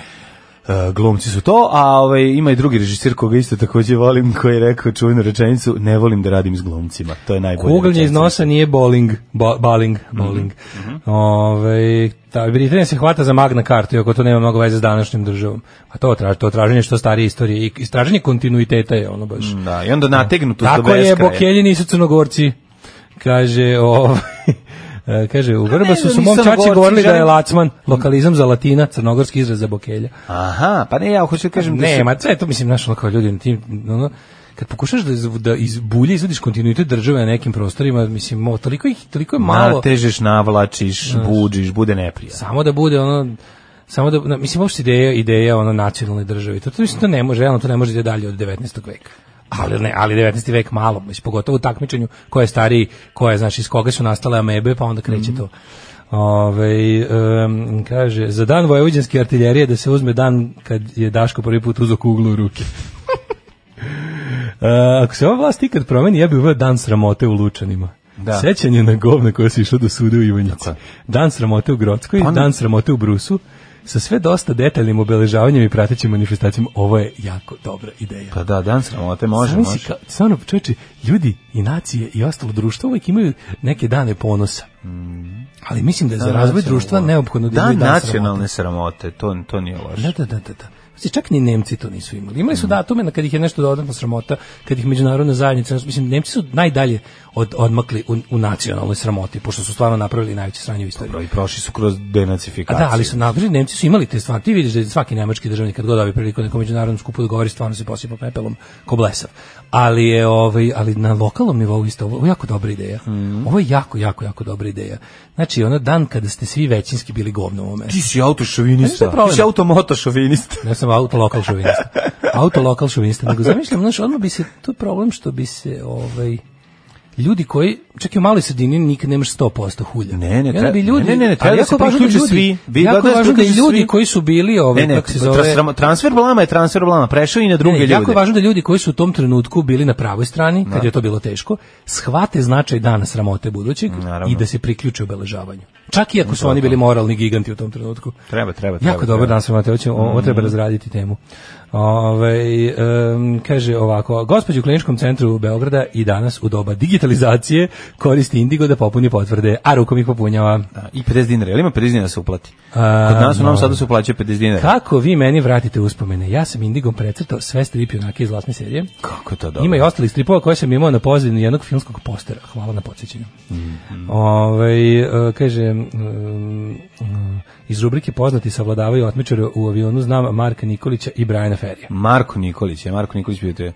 [SPEAKER 6] e, glumci su to, a ovaj ima i drugi režiser koga isto takođe volim, koji je rekao čuvenu rečenicu ne volim da radim s glumcima. To je najbolje.
[SPEAKER 7] Kuglanje iz nosa nije bowling, bo, baling,
[SPEAKER 6] Mhm,
[SPEAKER 7] bowling. Ove, ta, Britanija se hvata za magna kartu, iako to nema mnogo veze s današnjim državom. A to, traž, to traženje što starije istorije i istraženje kontinuiteta je ono baš.
[SPEAKER 6] Da, i onda nategnuto do
[SPEAKER 7] Tako je,
[SPEAKER 6] beskraja.
[SPEAKER 7] Bokelji nisu crnogorci. Kaže, ovaj, e, kaže, u Vrbasu su mom
[SPEAKER 6] nisam
[SPEAKER 7] čači
[SPEAKER 6] Gorci,
[SPEAKER 7] govorili da je
[SPEAKER 6] želim-
[SPEAKER 7] lacman, lokalizam za latina, crnogorski izraz za Bokelja.
[SPEAKER 6] Aha, pa ne, ja hoću da kažem da su-
[SPEAKER 7] Nema, sve to mislim našo kao ljudi na tim ono, kad pokušaš da iz, da iz bulje izvadiš kontinuitet države na nekim prostorima, mislim, mo, toliko ih toliko je malo.
[SPEAKER 6] natežeš, navlačiš, buđiš, bude neprijatno.
[SPEAKER 7] Samo da bude ono samo da na, mislim uopšte ideja ideja ono nacionalne države. To, to mislim to ne može, realno to ne može da ide dalje od 19. veka. Ali ne, ali 19. vek malo, mislim pogotovo u takmičenju ko je stariji, ko je znači iz koga su nastale amebe, pa onda kreće to. Ove, um, kaže, za dan vojvođanske artiljerije da se uzme dan kad je Daško prvi put uzo kuglu u ruke. E, ako se ova vlast ikad promeni, ja bih uveo dan sramote u Lučanima.
[SPEAKER 6] Da.
[SPEAKER 7] Sećanje na govna koja se išlo do suda u Ivanjici. Dan sramote u Grodskoj,
[SPEAKER 6] Pa ne-
[SPEAKER 7] dan sramote u Brusu, sa sve dosta detaljnim obeležavanjem i pratećim manifestacijama. Ovo je jako dobra ideja.
[SPEAKER 6] Pa da, dan sramote, može,
[SPEAKER 7] Zamisli
[SPEAKER 6] može.
[SPEAKER 7] Kao, stvarno, čoveče, ljudi i nacije i ostalo društvo uvijek imaju neke dane ponosa. Ali mislim da je za
[SPEAKER 6] Mm. Dan
[SPEAKER 7] razvoj
[SPEAKER 6] nacionalnog-
[SPEAKER 7] društva neophodno da
[SPEAKER 6] Dan
[SPEAKER 7] imaju dan
[SPEAKER 6] nacionalne sramote, to, to nije loše.
[SPEAKER 7] Da, da, da, da. da. Mislim, čak ni Nemci to nisu imali. Imali su datume na kad ih je nešto dodatno sramota, kad ih međunarodna zajednica, mislim, Nemci su najdalje od, odmakli u, u nacionalnoj sramoti, pošto su stvarno napravili najveće sranje u istoriji.
[SPEAKER 6] Dobro, i prošli su kroz
[SPEAKER 7] A
[SPEAKER 6] denacifikaciju.
[SPEAKER 7] da, ali su nadležni, Nemci su imali te stvari. Ti vidiš da je svaki nemački državnik kad god dobi priliku na nekom međunarodnom skupu da govori, stvarno se posipa pepelom ko blesav. Ali je ovaj, ali na lokalnom nivou isto ovo je jako dobra ideja. Ovo je jako, jako, jako dobra ideja. Znači, ono dan kada ste svi većinski bili govno u ovom mestu.
[SPEAKER 6] Ti si
[SPEAKER 7] Znaš šta je
[SPEAKER 6] autošovinista.
[SPEAKER 7] problem?
[SPEAKER 6] Ti si automotošovinista.
[SPEAKER 7] Ja sam auto lokal šovinista. Auto lokal šovinista. Nego zamišljam, znaš, odmah bi se, to je problem što bi se, ovaj, ljudi koji, čak i u maloj sredini nikad nemaš 100% hulja.
[SPEAKER 6] Ne, ne,
[SPEAKER 7] I onda bi
[SPEAKER 6] treba-
[SPEAKER 7] ljudi,
[SPEAKER 6] ne, ne, ne, treba
[SPEAKER 7] ali
[SPEAKER 6] da
[SPEAKER 7] jako
[SPEAKER 6] se
[SPEAKER 7] je važno
[SPEAKER 6] priključe
[SPEAKER 7] ljudi-
[SPEAKER 6] svi. Vi
[SPEAKER 7] jako
[SPEAKER 6] gledate
[SPEAKER 7] je
[SPEAKER 6] da se
[SPEAKER 7] važno da
[SPEAKER 6] priključe
[SPEAKER 7] ljudi
[SPEAKER 6] svi.
[SPEAKER 7] koji su bili, ovaj,
[SPEAKER 6] Ne, ne,
[SPEAKER 7] kako se zove,
[SPEAKER 6] tra- transfer blama je transfer blama, prešao i na druge
[SPEAKER 7] ne, ne,
[SPEAKER 6] ljude.
[SPEAKER 7] E, Jako je važno da ljudi koji su u tom trenutku bili na pravoj strani, kad je to bilo teško, shvate značaj dana sramote budućeg
[SPEAKER 6] Naravno.
[SPEAKER 7] i da se priključe obeležavanju. Čak i ako su oni bili moralni giganti u tom trenutku.
[SPEAKER 6] Treba, treba, treba,
[SPEAKER 7] Jako dobar
[SPEAKER 6] treba. Mhm.
[SPEAKER 7] dan sramote, hoće, o- ovo treba razraditi temu. Ove, kaže ovako, gospođu u kliničkom centru Beograda i danas u doba digitalizacije koristi Indigo da popuni potvrde, a rukom ih popunjava.
[SPEAKER 6] Da, I 50 dinara, jel ima 50 dinara da se uplati?
[SPEAKER 7] A,
[SPEAKER 6] Kod nas u Novom
[SPEAKER 7] no.
[SPEAKER 6] Sadu se uplaćuje 50 dinara.
[SPEAKER 7] Kako vi meni vratite uspomene? Ja sam Indigom precrtao sve stripi onake iz vlasne serije.
[SPEAKER 6] Kako je to dobro?
[SPEAKER 7] Ima i ostalih stripova koje sam imao na pozivnu jednog filmskog postera. Hvala na podsjećanju. Ovaj, e, kaže, um, iz rubrike Poznati savladavaju otmičare u avionu znam Marka Nikolića i Brajana Ferija.
[SPEAKER 6] Marko Nikolić, je Marko Nikolić bio te.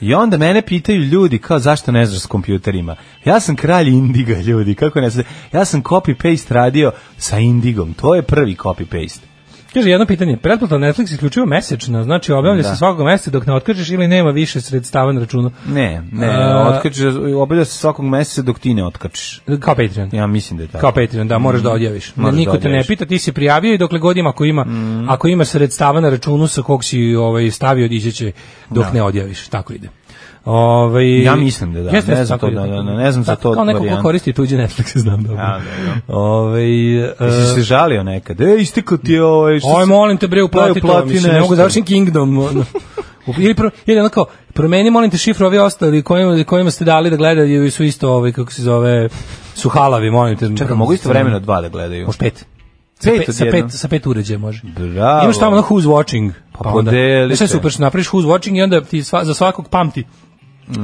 [SPEAKER 6] I onda mene pitaju ljudi kao zašto ne znaš s kompjuterima. Ja sam kralj Indiga ljudi, kako ne znaš. Ja sam copy paste radio sa Indigom. To je prvi copy paste.
[SPEAKER 7] Kaže, jedno pitanje, pretplata Netflix isključivo mesečno, znači objavlja se svakog meseca dok ne otkažeš ili nema više sredstava na računu
[SPEAKER 6] Ne, ne,
[SPEAKER 7] A-
[SPEAKER 6] otkačiš, obavlja se svakog meseca dok ti ne otkačiš.
[SPEAKER 7] kao Patreon.
[SPEAKER 6] Ja mislim da je tako.
[SPEAKER 7] Kao Patreon, da, moraš da odjaviš. Ne,
[SPEAKER 6] Moraš da
[SPEAKER 7] niko te ne
[SPEAKER 6] odjaviš. Mhm.
[SPEAKER 7] pita, ti si prijavio i dokle god ima, ako ima, ako ima sredstava na računu sa kog si ovaj, stavio, ići će dok ne odjaviš. Tako ide. Ovaj
[SPEAKER 6] Ja mislim da da. Ne znam
[SPEAKER 7] tako
[SPEAKER 6] to,
[SPEAKER 7] ide.
[SPEAKER 6] da, da, da, ne znam za
[SPEAKER 7] Tako,
[SPEAKER 6] to
[SPEAKER 7] Kao neko ko
[SPEAKER 6] varijantu.
[SPEAKER 7] koristi tuđe Netflix, znam dobro.
[SPEAKER 6] A,
[SPEAKER 7] Ovaj, e,
[SPEAKER 6] Jesi se žalio nekad? E, istekao ti je ovaj... što
[SPEAKER 7] Oj,
[SPEAKER 6] si-
[SPEAKER 7] molim te bre, uplati
[SPEAKER 6] Daj,
[SPEAKER 7] to,
[SPEAKER 6] uplati
[SPEAKER 7] mislim, ne
[SPEAKER 6] nešto.
[SPEAKER 7] mogu da završim Kingdom. ono. U- Ili, pro, ili onako, promeni, molim te, šifru ovi ostali kojima, kojima ste dali da gledaju su isto, ovaj, kako se zove, su halavi, molim te.
[SPEAKER 6] Čekaj, mogu isto vremeno dva da gledaju.
[SPEAKER 7] Može pet. Sa
[SPEAKER 6] Pet
[SPEAKER 7] pet,
[SPEAKER 6] od
[SPEAKER 7] sa pet,
[SPEAKER 6] jednom.
[SPEAKER 7] sa pet uređaja može.
[SPEAKER 6] Bravo.
[SPEAKER 7] Imaš tamo na who's watching.
[SPEAKER 6] Pa podelite.
[SPEAKER 7] Sve super, što napraviš who's watching i onda ti sva, za svakog pamti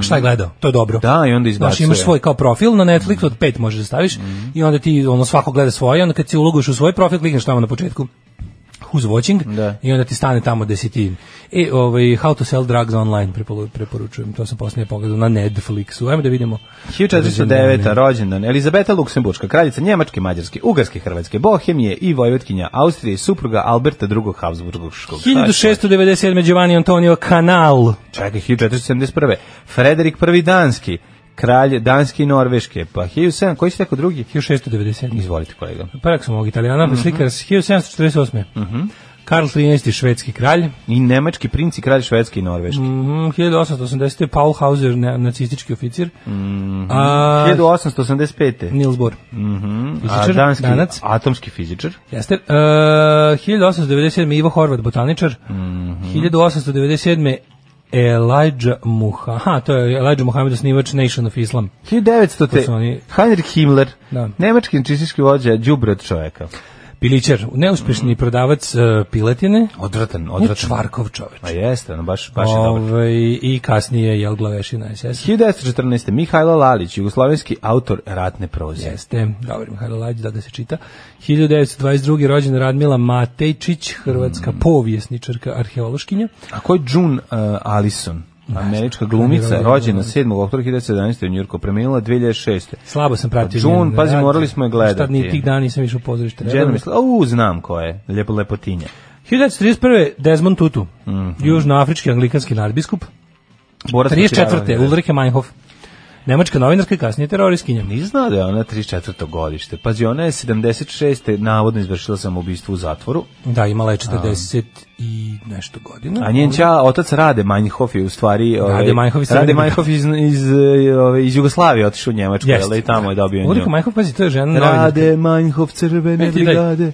[SPEAKER 7] šta je gledao. To je dobro.
[SPEAKER 6] Da, i onda
[SPEAKER 7] Znaš,
[SPEAKER 6] izbacuje.
[SPEAKER 7] imaš svoj kao profil na Netflixu, od pet možeš da staviš i onda ti ono svako gleda svoje, onda kad si uloguš u svoj profil, klikneš tamo na početku who's watching
[SPEAKER 6] Da.
[SPEAKER 7] i onda ti stane tamo gde si ti. E, ovaj, how to sell drugs online preporu- preporučujem, to sam poslije pogledao na Netflixu. Ajmo da vidimo.
[SPEAKER 6] 1409. rođendan Elizabeta Luksemburška, kraljica Njemačke, Mađarske, Ugarske, Hrvatske, Bohemije i Vojvotkinja Austrije i supruga Alberta II. Habsburgskog.
[SPEAKER 7] 1697. Giovanni Antonio Canal.
[SPEAKER 6] Čekaj, 1471. Frederik I. Danski, kralj Danske i Norveške. Pa 1700, koji si tako drugi?
[SPEAKER 7] 1697.
[SPEAKER 6] Izvolite kolega.
[SPEAKER 7] Prvak sam ovog italijana, slikar 1748. Karl XIII. švedski kralj.
[SPEAKER 6] I nemački princ i kralj Švedske i Norveške.
[SPEAKER 7] Mhm, 1880. Paul Hauser, na- nacistički oficir. A,
[SPEAKER 6] 1885.
[SPEAKER 7] Niels Bohr.
[SPEAKER 6] Hmm? A
[SPEAKER 7] Fizičar,
[SPEAKER 6] danski
[SPEAKER 7] danac.
[SPEAKER 6] atomski fizičar.
[SPEAKER 7] Jeste. E, 1897. Ivo Horvat, botaničar. 1897. Elijah Muha. Aha, to je Elijah Muhammed, osnivač Nation of Islam. To su
[SPEAKER 6] 1900.
[SPEAKER 7] oni-
[SPEAKER 6] Heinrich Himmler,
[SPEAKER 7] Da.
[SPEAKER 6] nemački nacistički vođa, đubre od čoveka.
[SPEAKER 7] Pilićar, neuspešni prodavac e, piletine.
[SPEAKER 6] Odvratan,
[SPEAKER 7] Odvratno.
[SPEAKER 6] odvratan.
[SPEAKER 7] Čvarkov čoveč.
[SPEAKER 6] A jeste, ono baš, baš je dobro.
[SPEAKER 7] Ovaj, I kasnije je Glavešina SS.
[SPEAKER 6] 1914. Mihajlo Lalić, jugoslovenski autor ratne proze.
[SPEAKER 7] Jeste, dobro, Mihajlo Lađ, da ga se čita. 1922. rođena Radmila Matejčić, hrvatska
[SPEAKER 6] Mm.
[SPEAKER 7] povijesničarka, arheološkinja.
[SPEAKER 6] A ko je June uh, Allison? Američka glumica,
[SPEAKER 7] rođena.
[SPEAKER 6] rođena 7. oktobra 1917. u Njurku, preminula 2006.
[SPEAKER 7] Slabo sam pratio.
[SPEAKER 6] June,
[SPEAKER 7] njen
[SPEAKER 6] Pa, pazi,
[SPEAKER 7] rad.
[SPEAKER 6] morali smo je gledati.
[SPEAKER 7] Šta ni tih dana nisam išao u pozorište.
[SPEAKER 6] Žena misle, au, znam ko je, ljepo lepotinja.
[SPEAKER 7] 1931. Desmond Tutu,
[SPEAKER 6] Mhm.
[SPEAKER 7] južnoafrički anglikanski nadbiskup.
[SPEAKER 6] Pa Borac protiv
[SPEAKER 7] 34.
[SPEAKER 6] Alavina.
[SPEAKER 7] Ulrike Meinhof, nemačka novinarka i kasnije teroristkinja.
[SPEAKER 6] Ni znao da je ona 34. godište. Pazi, ona je 76. navodno izvršila samoubistvo u zatvoru,
[SPEAKER 7] Da, imala je 40 i nešto godina.
[SPEAKER 6] a njen ća, otac Rade Manjhof je u stvari... ovaj,
[SPEAKER 7] Rade Manjhof iz
[SPEAKER 6] Rade
[SPEAKER 7] Srbije.
[SPEAKER 6] Manjhof iz, iz, eh, ovaj, iz Jugoslavije otišao u Njemačku,
[SPEAKER 7] Jeste.
[SPEAKER 6] jel, i tamo je dobio nju.
[SPEAKER 7] Ulrika Meinhof, pazi, to je žena novinarka.
[SPEAKER 6] Rade Manjhof crvene
[SPEAKER 7] E, ti daj.
[SPEAKER 6] brigade.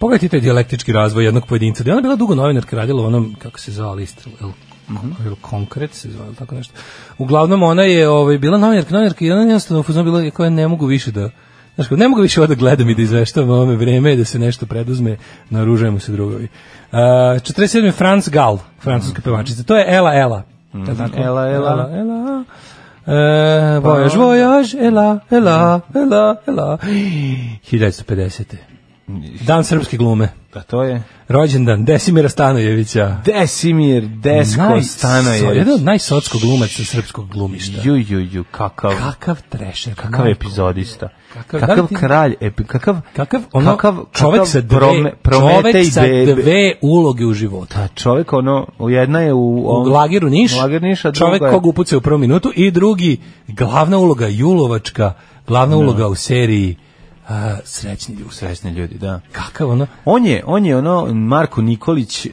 [SPEAKER 7] Pogledajte taj dijalektički razvoj jednog pojedinca. Da je ona bila dugo novinarka, radila u onom, kako se zvala, list, jel,
[SPEAKER 6] Mhm.
[SPEAKER 7] jel konkret se zvala, tako nešto. Uglavnom, ona je ovaj, bila novinarka, novinarka i ona je jednostavno u fazonu bila, koja ne mogu više da Znaš, kao, ne mogu više ovo da gledam i da izveštavam o ovome vreme, da se nešto preduzme, naružujemo se drugovi. Uh, 47. je Franz Gall, francuska pevačica. To je Ela Ela. Mm,
[SPEAKER 6] Mhm. Ela Ela. Pa
[SPEAKER 7] Ela, Ela. E, vojaž, vojaž, Ela, Ela,
[SPEAKER 6] Mhm.
[SPEAKER 7] Ela, Ela. 1950. Dan srpske glume.
[SPEAKER 6] Da to je.
[SPEAKER 7] Rođendan Desimira Stanojevića.
[SPEAKER 6] Desimir Desko
[SPEAKER 7] Naj-
[SPEAKER 6] Stanojević.
[SPEAKER 7] Jedan od najsocko glumaca srpskog glumišta.
[SPEAKER 6] Ju, ju, ju, kakav,
[SPEAKER 7] Kakav trešer.
[SPEAKER 6] kakav
[SPEAKER 7] majko.
[SPEAKER 6] epizodista.
[SPEAKER 7] Kakav-
[SPEAKER 6] Kakav,
[SPEAKER 7] da li ti-
[SPEAKER 6] kralj, epi, kakav,
[SPEAKER 7] Kakav, ono,
[SPEAKER 6] kakav,
[SPEAKER 7] čovek
[SPEAKER 6] kakav
[SPEAKER 7] sa dve,
[SPEAKER 6] Prome- Prometej
[SPEAKER 7] čovek sa
[SPEAKER 6] bebe.
[SPEAKER 7] dve uloge u životu.
[SPEAKER 6] A čovek ono, jedna je u...
[SPEAKER 7] U
[SPEAKER 6] ovom-
[SPEAKER 7] lagiru Niš,
[SPEAKER 6] u lagiru Niš, a
[SPEAKER 7] čovek
[SPEAKER 6] druga je-
[SPEAKER 7] kog upuca u prvom minutu i drugi, glavna uloga Julovačka, glavna uloga u seriji a, Srećni ljudi.
[SPEAKER 6] Srećni ljudi, da.
[SPEAKER 7] Kakav ono,
[SPEAKER 6] On je, on je ono Marko Nikolić e,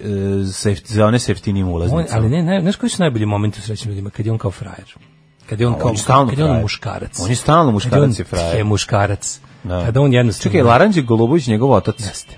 [SPEAKER 6] sa jeft- za one sa jeftinim
[SPEAKER 7] on,
[SPEAKER 6] ulaznicama.
[SPEAKER 7] ali ne, ne, znaš koji su najbolji momenti u Srećnim ljudima? Kad je on kao frajer. Kad je on
[SPEAKER 6] A,
[SPEAKER 7] kao,
[SPEAKER 6] on je stalno
[SPEAKER 7] kad je on
[SPEAKER 6] frajer.
[SPEAKER 7] muškarac.
[SPEAKER 6] On je stalno
[SPEAKER 7] Kad
[SPEAKER 6] muškarac i frajer.
[SPEAKER 7] je muškarac.
[SPEAKER 6] Da.
[SPEAKER 7] Kada on jednostavno...
[SPEAKER 6] Čekaj, Mhm. Laranđ je Golubović njegov otac.
[SPEAKER 7] Jeste.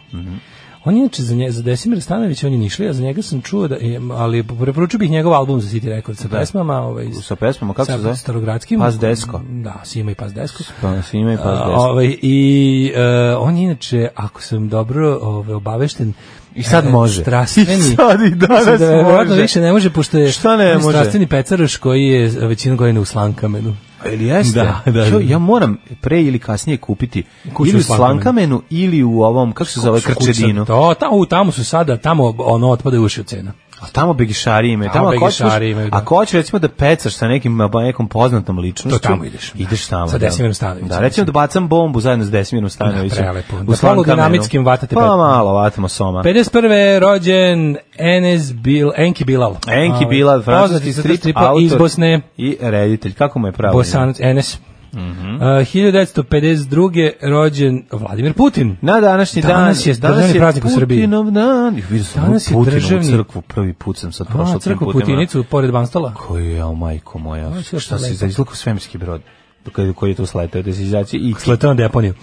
[SPEAKER 7] On je inače za, nje, za Desimira Stanovića, on je nišli, a za njega sam čuo, da, je- ali preporučio bih njegov album za City Records sa pesmama. Ovaj,
[SPEAKER 6] Sa pesmama, kako
[SPEAKER 7] sa
[SPEAKER 6] se zove?
[SPEAKER 7] Starogradskim.
[SPEAKER 6] Pas Desko.
[SPEAKER 7] Da, Sima i Pas Desko.
[SPEAKER 6] Pa, Sima i Pas
[SPEAKER 7] A,
[SPEAKER 6] Desko.
[SPEAKER 7] ovaj, I e, on je inače, ako sam dobro ovaj, obavešten,
[SPEAKER 6] I sad
[SPEAKER 7] e,
[SPEAKER 6] može.
[SPEAKER 7] Strastveni.
[SPEAKER 6] I sad i danas
[SPEAKER 7] Mislim da verovatno
[SPEAKER 6] može.
[SPEAKER 7] više ne može, pošto je
[SPEAKER 6] Šta ne
[SPEAKER 7] on je
[SPEAKER 6] može?
[SPEAKER 7] strastveni pecaroš koji je eh, većinu godina u Slankamenu.
[SPEAKER 6] Ili jeste?
[SPEAKER 7] Da, da,
[SPEAKER 6] Čo,
[SPEAKER 7] da.
[SPEAKER 6] ja moram pre ili kasnije kupiti
[SPEAKER 7] Kuću
[SPEAKER 6] ili
[SPEAKER 7] u
[SPEAKER 6] u
[SPEAKER 7] Slankamenu.
[SPEAKER 6] Slankamenu ili u ovom, kako se zove,
[SPEAKER 7] Kuca-
[SPEAKER 6] Krčedinu.
[SPEAKER 7] To, tamo, u, tamo su sada, tamo ono otpadaju uši od cena.
[SPEAKER 6] A Pa tamo begišari imaju.
[SPEAKER 7] Tamo
[SPEAKER 6] Tamo, ako hoćeš,
[SPEAKER 7] begišari imaju, da.
[SPEAKER 6] ako hoćeš recimo da pecaš sa nekim nekom poznatom ličnošću,
[SPEAKER 7] To tamo ideš.
[SPEAKER 6] Ideš tamo.
[SPEAKER 7] Sa
[SPEAKER 6] da.
[SPEAKER 7] Desimirom Stanojevićem.
[SPEAKER 6] Da, recimo da bacam bombu zajedno s Desimirom Stanojevićem.
[SPEAKER 7] Da, prelepo. Da,
[SPEAKER 6] U Slankamenu.
[SPEAKER 7] malo dinamitskim vatate
[SPEAKER 6] Pa
[SPEAKER 7] pet-
[SPEAKER 6] malo vatamo soma.
[SPEAKER 7] 51. je rođen Enes Bil, Enki Bilal.
[SPEAKER 6] Enki
[SPEAKER 7] Ovaj,
[SPEAKER 6] Bilal, francuski
[SPEAKER 7] poznati strip,
[SPEAKER 6] strip
[SPEAKER 7] stripa
[SPEAKER 6] autor
[SPEAKER 7] iz Bosne.
[SPEAKER 6] i reditelj. Kako mu je pravo? ime?
[SPEAKER 7] Bosanac Enes. Mm
[SPEAKER 6] Mhm.
[SPEAKER 7] 1952. rođen Vladimir Putin.
[SPEAKER 6] Na današnji
[SPEAKER 7] Danas
[SPEAKER 6] dan,
[SPEAKER 7] je državni praznik u Srbiji.
[SPEAKER 6] Putinov dan. Ju, Vidio sam
[SPEAKER 7] Danas
[SPEAKER 6] danas
[SPEAKER 7] je
[SPEAKER 6] Putinovu
[SPEAKER 7] državni-
[SPEAKER 6] crkvu, prvi put sam sad prošao tim
[SPEAKER 7] A, Pa, crkvu
[SPEAKER 6] putem.
[SPEAKER 7] Putinicu pored Banstola.
[SPEAKER 6] Koju je, o majko moja,
[SPEAKER 7] Ovo će još
[SPEAKER 6] šta si
[SPEAKER 7] lepo.
[SPEAKER 6] za izluku svemirski brod? Koji- Koji je tu sletao, da si izaći i
[SPEAKER 7] Sletao na deponiju.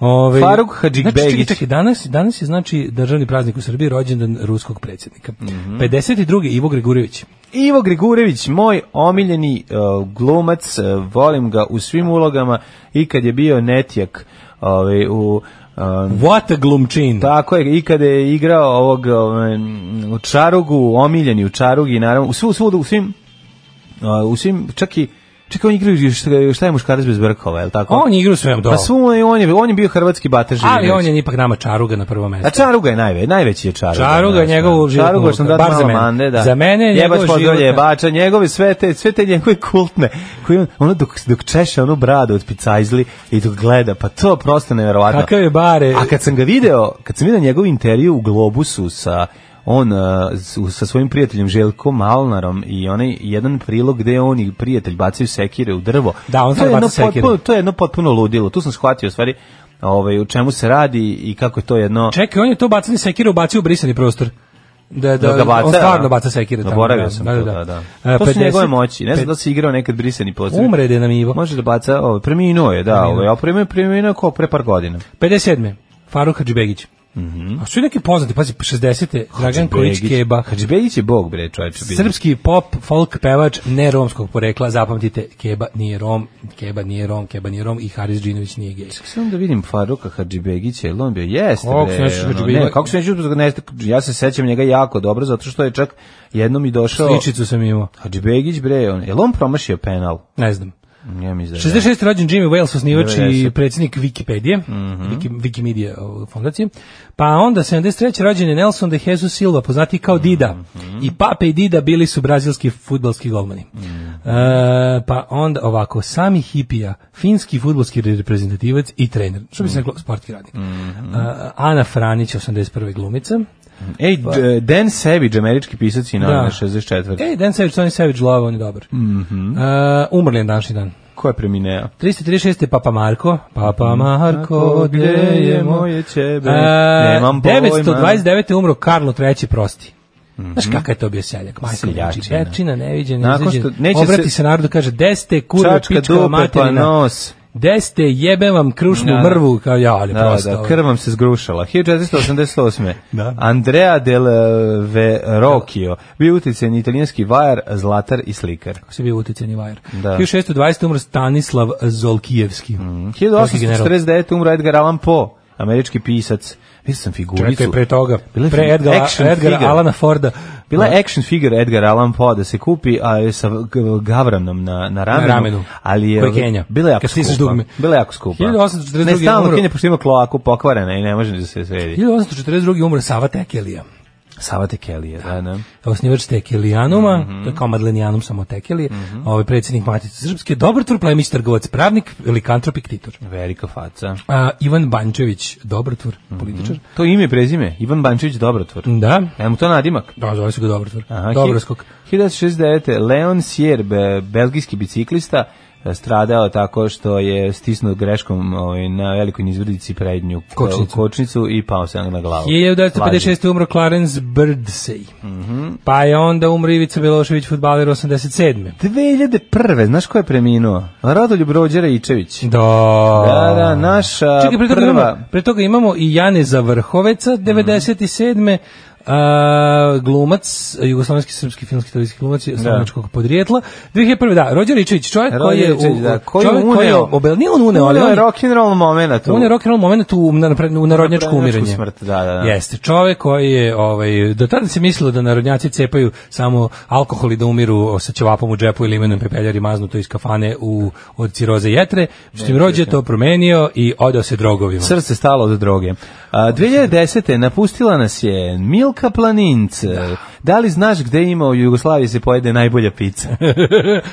[SPEAKER 7] Ove,
[SPEAKER 6] Faruk Hadžikbegić.
[SPEAKER 7] Znači, čekaj, čekaj, danas, danas je znači državni praznik u Srbiji rođendan ruskog predsjednika.
[SPEAKER 6] Mhm.
[SPEAKER 7] 52. Ivo Gregurjević.
[SPEAKER 6] Ivo Grigurević, moj omiljeni uh, glumac, uh, volim ga u svim ulogama i kad je bio netjak ovaj, u... Um,
[SPEAKER 7] What a glumčin.
[SPEAKER 6] tako je, i kada je igrao ovog ovaj, m, u Čarugu, omiljeni u Čarugi, naravno, u, svu, svuda, u svim, uh, u svim, čak i, čekaj, on igraju, šta, ga- šta je muškarac bez brkova, je li tako?
[SPEAKER 7] On je igra u svem
[SPEAKER 6] Pa
[SPEAKER 7] dobu.
[SPEAKER 6] svu, on je, on je bio hrvatski bater
[SPEAKER 7] Ali
[SPEAKER 6] Živinović.
[SPEAKER 7] on je ipak nama čaruga na prvo mesto.
[SPEAKER 6] A Čaruga je najve, najveći je Čaruga.
[SPEAKER 7] Čaruga je
[SPEAKER 6] znaš,
[SPEAKER 7] njegov
[SPEAKER 6] da.
[SPEAKER 7] životni
[SPEAKER 6] Čaruga što
[SPEAKER 7] motor,
[SPEAKER 6] da
[SPEAKER 7] bar za
[SPEAKER 6] malo
[SPEAKER 7] mene.
[SPEAKER 6] mande, da.
[SPEAKER 7] Za mene je
[SPEAKER 6] Jebač
[SPEAKER 7] njegov
[SPEAKER 6] pozdravlja
[SPEAKER 7] životni-
[SPEAKER 6] jebača, njegove sve te, sve te njegove kultne, koji on, ono dok, dok češe onu bradu od picajzli i dok gleda, pa to prosto neverovatno.
[SPEAKER 7] Kakav je bare.
[SPEAKER 6] A kad sam ga video, kad sam video njegov intervju u Globusu sa on uh, s- u- sa svojim prijateljem Željkom Malnarom i onaj jedan prilog gde on i prijatelj bacaju sekire u drvo.
[SPEAKER 7] Da, on
[SPEAKER 6] to je
[SPEAKER 7] stvarno
[SPEAKER 6] jedno
[SPEAKER 7] baca sekire.
[SPEAKER 6] potpuno, to je jedno potpuno ludilo. Tu sam shvatio u stvari ovaj, u čemu se radi i kako je to jedno...
[SPEAKER 7] Čekaj, on je to bacanje sekire ubacio u brisani prostor. Da, da,
[SPEAKER 6] da ga baca.
[SPEAKER 7] on stvarno
[SPEAKER 6] da.
[SPEAKER 7] baca sekire. tamo,
[SPEAKER 6] Zaboravio
[SPEAKER 7] da,
[SPEAKER 6] sam to, da, da.
[SPEAKER 7] E,
[SPEAKER 6] To su
[SPEAKER 7] 50
[SPEAKER 6] njegove moći. Ne znam
[SPEAKER 7] pet-
[SPEAKER 6] da li si igrao nekad brisani pozdrav.
[SPEAKER 7] Umrede nam Ivo.
[SPEAKER 6] Može da baca, ovo, preminuo je, da,
[SPEAKER 7] Preminuo.
[SPEAKER 6] ovo, a preminuo je preminuo kao pre par godina.
[SPEAKER 7] 57. Faruk Hadžibegić. Mhm. A su i neki poznati, pazi, 60. Dragan Kojić
[SPEAKER 6] Hadžibegić.
[SPEAKER 7] Keba.
[SPEAKER 6] Hadžibegić je bog, bre, čovječe. bio.
[SPEAKER 7] Srpski pop, folk pevač ne romskog porekla, zapamtite, Keba nije Rom, Keba nije Rom, Keba nije Rom i Haris Džinović nije gej.
[SPEAKER 6] Samo da vidim Faruka Hadžibegića, jel on bio jeste,
[SPEAKER 7] Kako se
[SPEAKER 6] bre.
[SPEAKER 7] nećeš
[SPEAKER 6] ono,
[SPEAKER 7] Hadžibegića?
[SPEAKER 6] ne, kako se neću, ne, ja se sećam njega jako dobro, zato što je čak jednom i došao...
[SPEAKER 7] Sličicu sam imao,
[SPEAKER 6] Hadžibegić, bre, on, jel on promašio penal?
[SPEAKER 7] ne znam.
[SPEAKER 6] Ja mislim da je.
[SPEAKER 7] 66. rođen Jimmy Wales, Mhm. osnivač i
[SPEAKER 6] 90.
[SPEAKER 7] predsjednik Wikipedije, Wiki, Wikimedia ovog, fondacije. Pa onda 73. rođen je Nelson de Jesus Silva, poznati kao Dida. I Pape i Dida bili su brazilski futbalski golmani. E, pa onda ovako, Sami Hipija, finski futbalski reprezentativac i trener, što bi se reklo, sportski radnik. E, Ana Franić, 81. glumica.
[SPEAKER 6] Ej,
[SPEAKER 7] Pa,
[SPEAKER 6] D- Dan Savage, američki pisac i novinar
[SPEAKER 7] Da. E,
[SPEAKER 6] 64.
[SPEAKER 7] Ej, Dan Savage, Tony Savage, love, on je dobar. E, umrli je na današnji dan.
[SPEAKER 6] Ko je premineo?
[SPEAKER 7] 336. je Papa Marko. Papa
[SPEAKER 6] Mm,
[SPEAKER 7] Marko, gdje je moje
[SPEAKER 6] ćebe?
[SPEAKER 7] E,
[SPEAKER 6] Nemam pojma. Mhm.
[SPEAKER 7] 929. je umro Karlo III. Prosti. Znaš kakav je to bio seljak? Majko
[SPEAKER 6] Seljačina.
[SPEAKER 7] znači, Pečina, neviđen,
[SPEAKER 6] Nakon
[SPEAKER 7] izređen.
[SPEAKER 6] što- neće
[SPEAKER 7] Obrati se,
[SPEAKER 6] se-
[SPEAKER 7] narodu, kaže, des te kurva,
[SPEAKER 6] Čačka
[SPEAKER 7] pička
[SPEAKER 6] dupe, pa
[SPEAKER 7] materina.
[SPEAKER 6] nos.
[SPEAKER 7] Deste, jebem vam krušnu
[SPEAKER 6] Da, da.
[SPEAKER 7] mrvu, kao ja, ali
[SPEAKER 6] Da,
[SPEAKER 7] prosto.
[SPEAKER 6] da, krv vam se zgrušala. 1488.
[SPEAKER 7] Da.
[SPEAKER 6] Andrea del eh, Verrocchio, bio utjecen italijanski vajar, zlatar i slikar.
[SPEAKER 7] kako se bio utjeceni vajer.
[SPEAKER 6] Da.
[SPEAKER 7] 1620. umro Stanislav Zolkijevski.
[SPEAKER 6] Mhm.
[SPEAKER 7] Mm.
[SPEAKER 6] 1849. umro Edgar Allan Poe, američki pisac. Vidio sam figuricu.
[SPEAKER 7] Čekaj, pre toga,
[SPEAKER 6] Bila je
[SPEAKER 7] pre
[SPEAKER 6] fi-
[SPEAKER 7] Edgara,
[SPEAKER 6] action
[SPEAKER 7] Edgara
[SPEAKER 6] figure.
[SPEAKER 7] Alana Forda.
[SPEAKER 6] Bila je action figure Edgar Allan Poe da se kupi, a je sa g- gavranom na, na ramenu.
[SPEAKER 7] Na ramenu.
[SPEAKER 6] Ali je,
[SPEAKER 7] Koji Kenja.
[SPEAKER 6] Bila je jako
[SPEAKER 7] Kad stisneš
[SPEAKER 6] skupa.
[SPEAKER 7] dugme.
[SPEAKER 6] Bila je jako skupa.
[SPEAKER 7] 1842
[SPEAKER 6] Ne, stalno
[SPEAKER 7] umro.
[SPEAKER 6] Kenja, pošto ima kloaku pokvarena i ne može da se sredi.
[SPEAKER 7] 1842. umro Sava Tekelija.
[SPEAKER 6] Sava Tekelija, da, da.
[SPEAKER 7] osnivač Tekelijanuma,
[SPEAKER 6] Mhm.
[SPEAKER 7] mm -hmm. to je kao Madlenijanum samo Tekelije, mm -hmm. ovaj predsjednik Matice Srpske, dobar plemić, trgovac, pravnik, likantrop i ktitor.
[SPEAKER 6] Velika faca.
[SPEAKER 7] A, Ivan Bančević, Dobrtvor,
[SPEAKER 6] Mhm.
[SPEAKER 7] političar.
[SPEAKER 6] To je ime i prezime, Ivan Bančević Dobrotvor.
[SPEAKER 7] Da,
[SPEAKER 6] Evo mu to nadimak.
[SPEAKER 7] da, zove se ga Dobrtvor.
[SPEAKER 6] Aha,
[SPEAKER 7] Dobroskog.
[SPEAKER 6] 1969. Leon Sjer, be- belgijski biciklista, e, stradao tako što je stisnuo greškom ovaj, na velikoj nizvrdici prednju ko-
[SPEAKER 7] Kočnicu.
[SPEAKER 6] kočnicu i pao se na glavu.
[SPEAKER 7] Je 1956. umro Clarence Birdsey. Mm
[SPEAKER 6] Mhm.
[SPEAKER 7] -hmm. Pa je onda umro Ivica Milošević, futbaler 87.
[SPEAKER 6] 2001. Znaš ko je preminuo? Radoljub Rođera Ičević.
[SPEAKER 7] Da.
[SPEAKER 6] Da, da, naša
[SPEAKER 7] Čekaj, pre toga,
[SPEAKER 6] prva... Mhm.
[SPEAKER 7] imamo, pre toga imamo i Janeza Vrhoveca, 97. Uh, glumac, jugoslovenski srpski filmski televizijski glumac je slovenačkog podrijetla. 2001. da, Rođer Ričević, čovjek koji je,
[SPEAKER 6] Rođer
[SPEAKER 7] u,
[SPEAKER 6] Ičević, da, koji je
[SPEAKER 7] čovjek koji je
[SPEAKER 6] uneo-
[SPEAKER 7] obel, nije on uneo, ali
[SPEAKER 6] Uneo
[SPEAKER 7] on
[SPEAKER 6] je
[SPEAKER 7] je,
[SPEAKER 6] rock'n'roll moment.
[SPEAKER 7] on je rock and roll moment u, na, napred- u narodnjačko
[SPEAKER 6] Narodnjačku
[SPEAKER 7] umiranje.
[SPEAKER 6] smrt, da, da, da.
[SPEAKER 7] Jeste, čovjek koji je, ovaj, do tada se mislilo da narodnjaci cepaju samo alkohol i da umiru sa ćevapom u džepu ili imenom pepeljari maznuto iz kafane u, od ciroze jetre, što im rođe to promenio i odao se drogovima.
[SPEAKER 6] Srce stalo od droge. A, 2010. napustila nas je Milka Planince. Da. li znaš gde ima u Jugoslaviji se pojede najbolja pizza?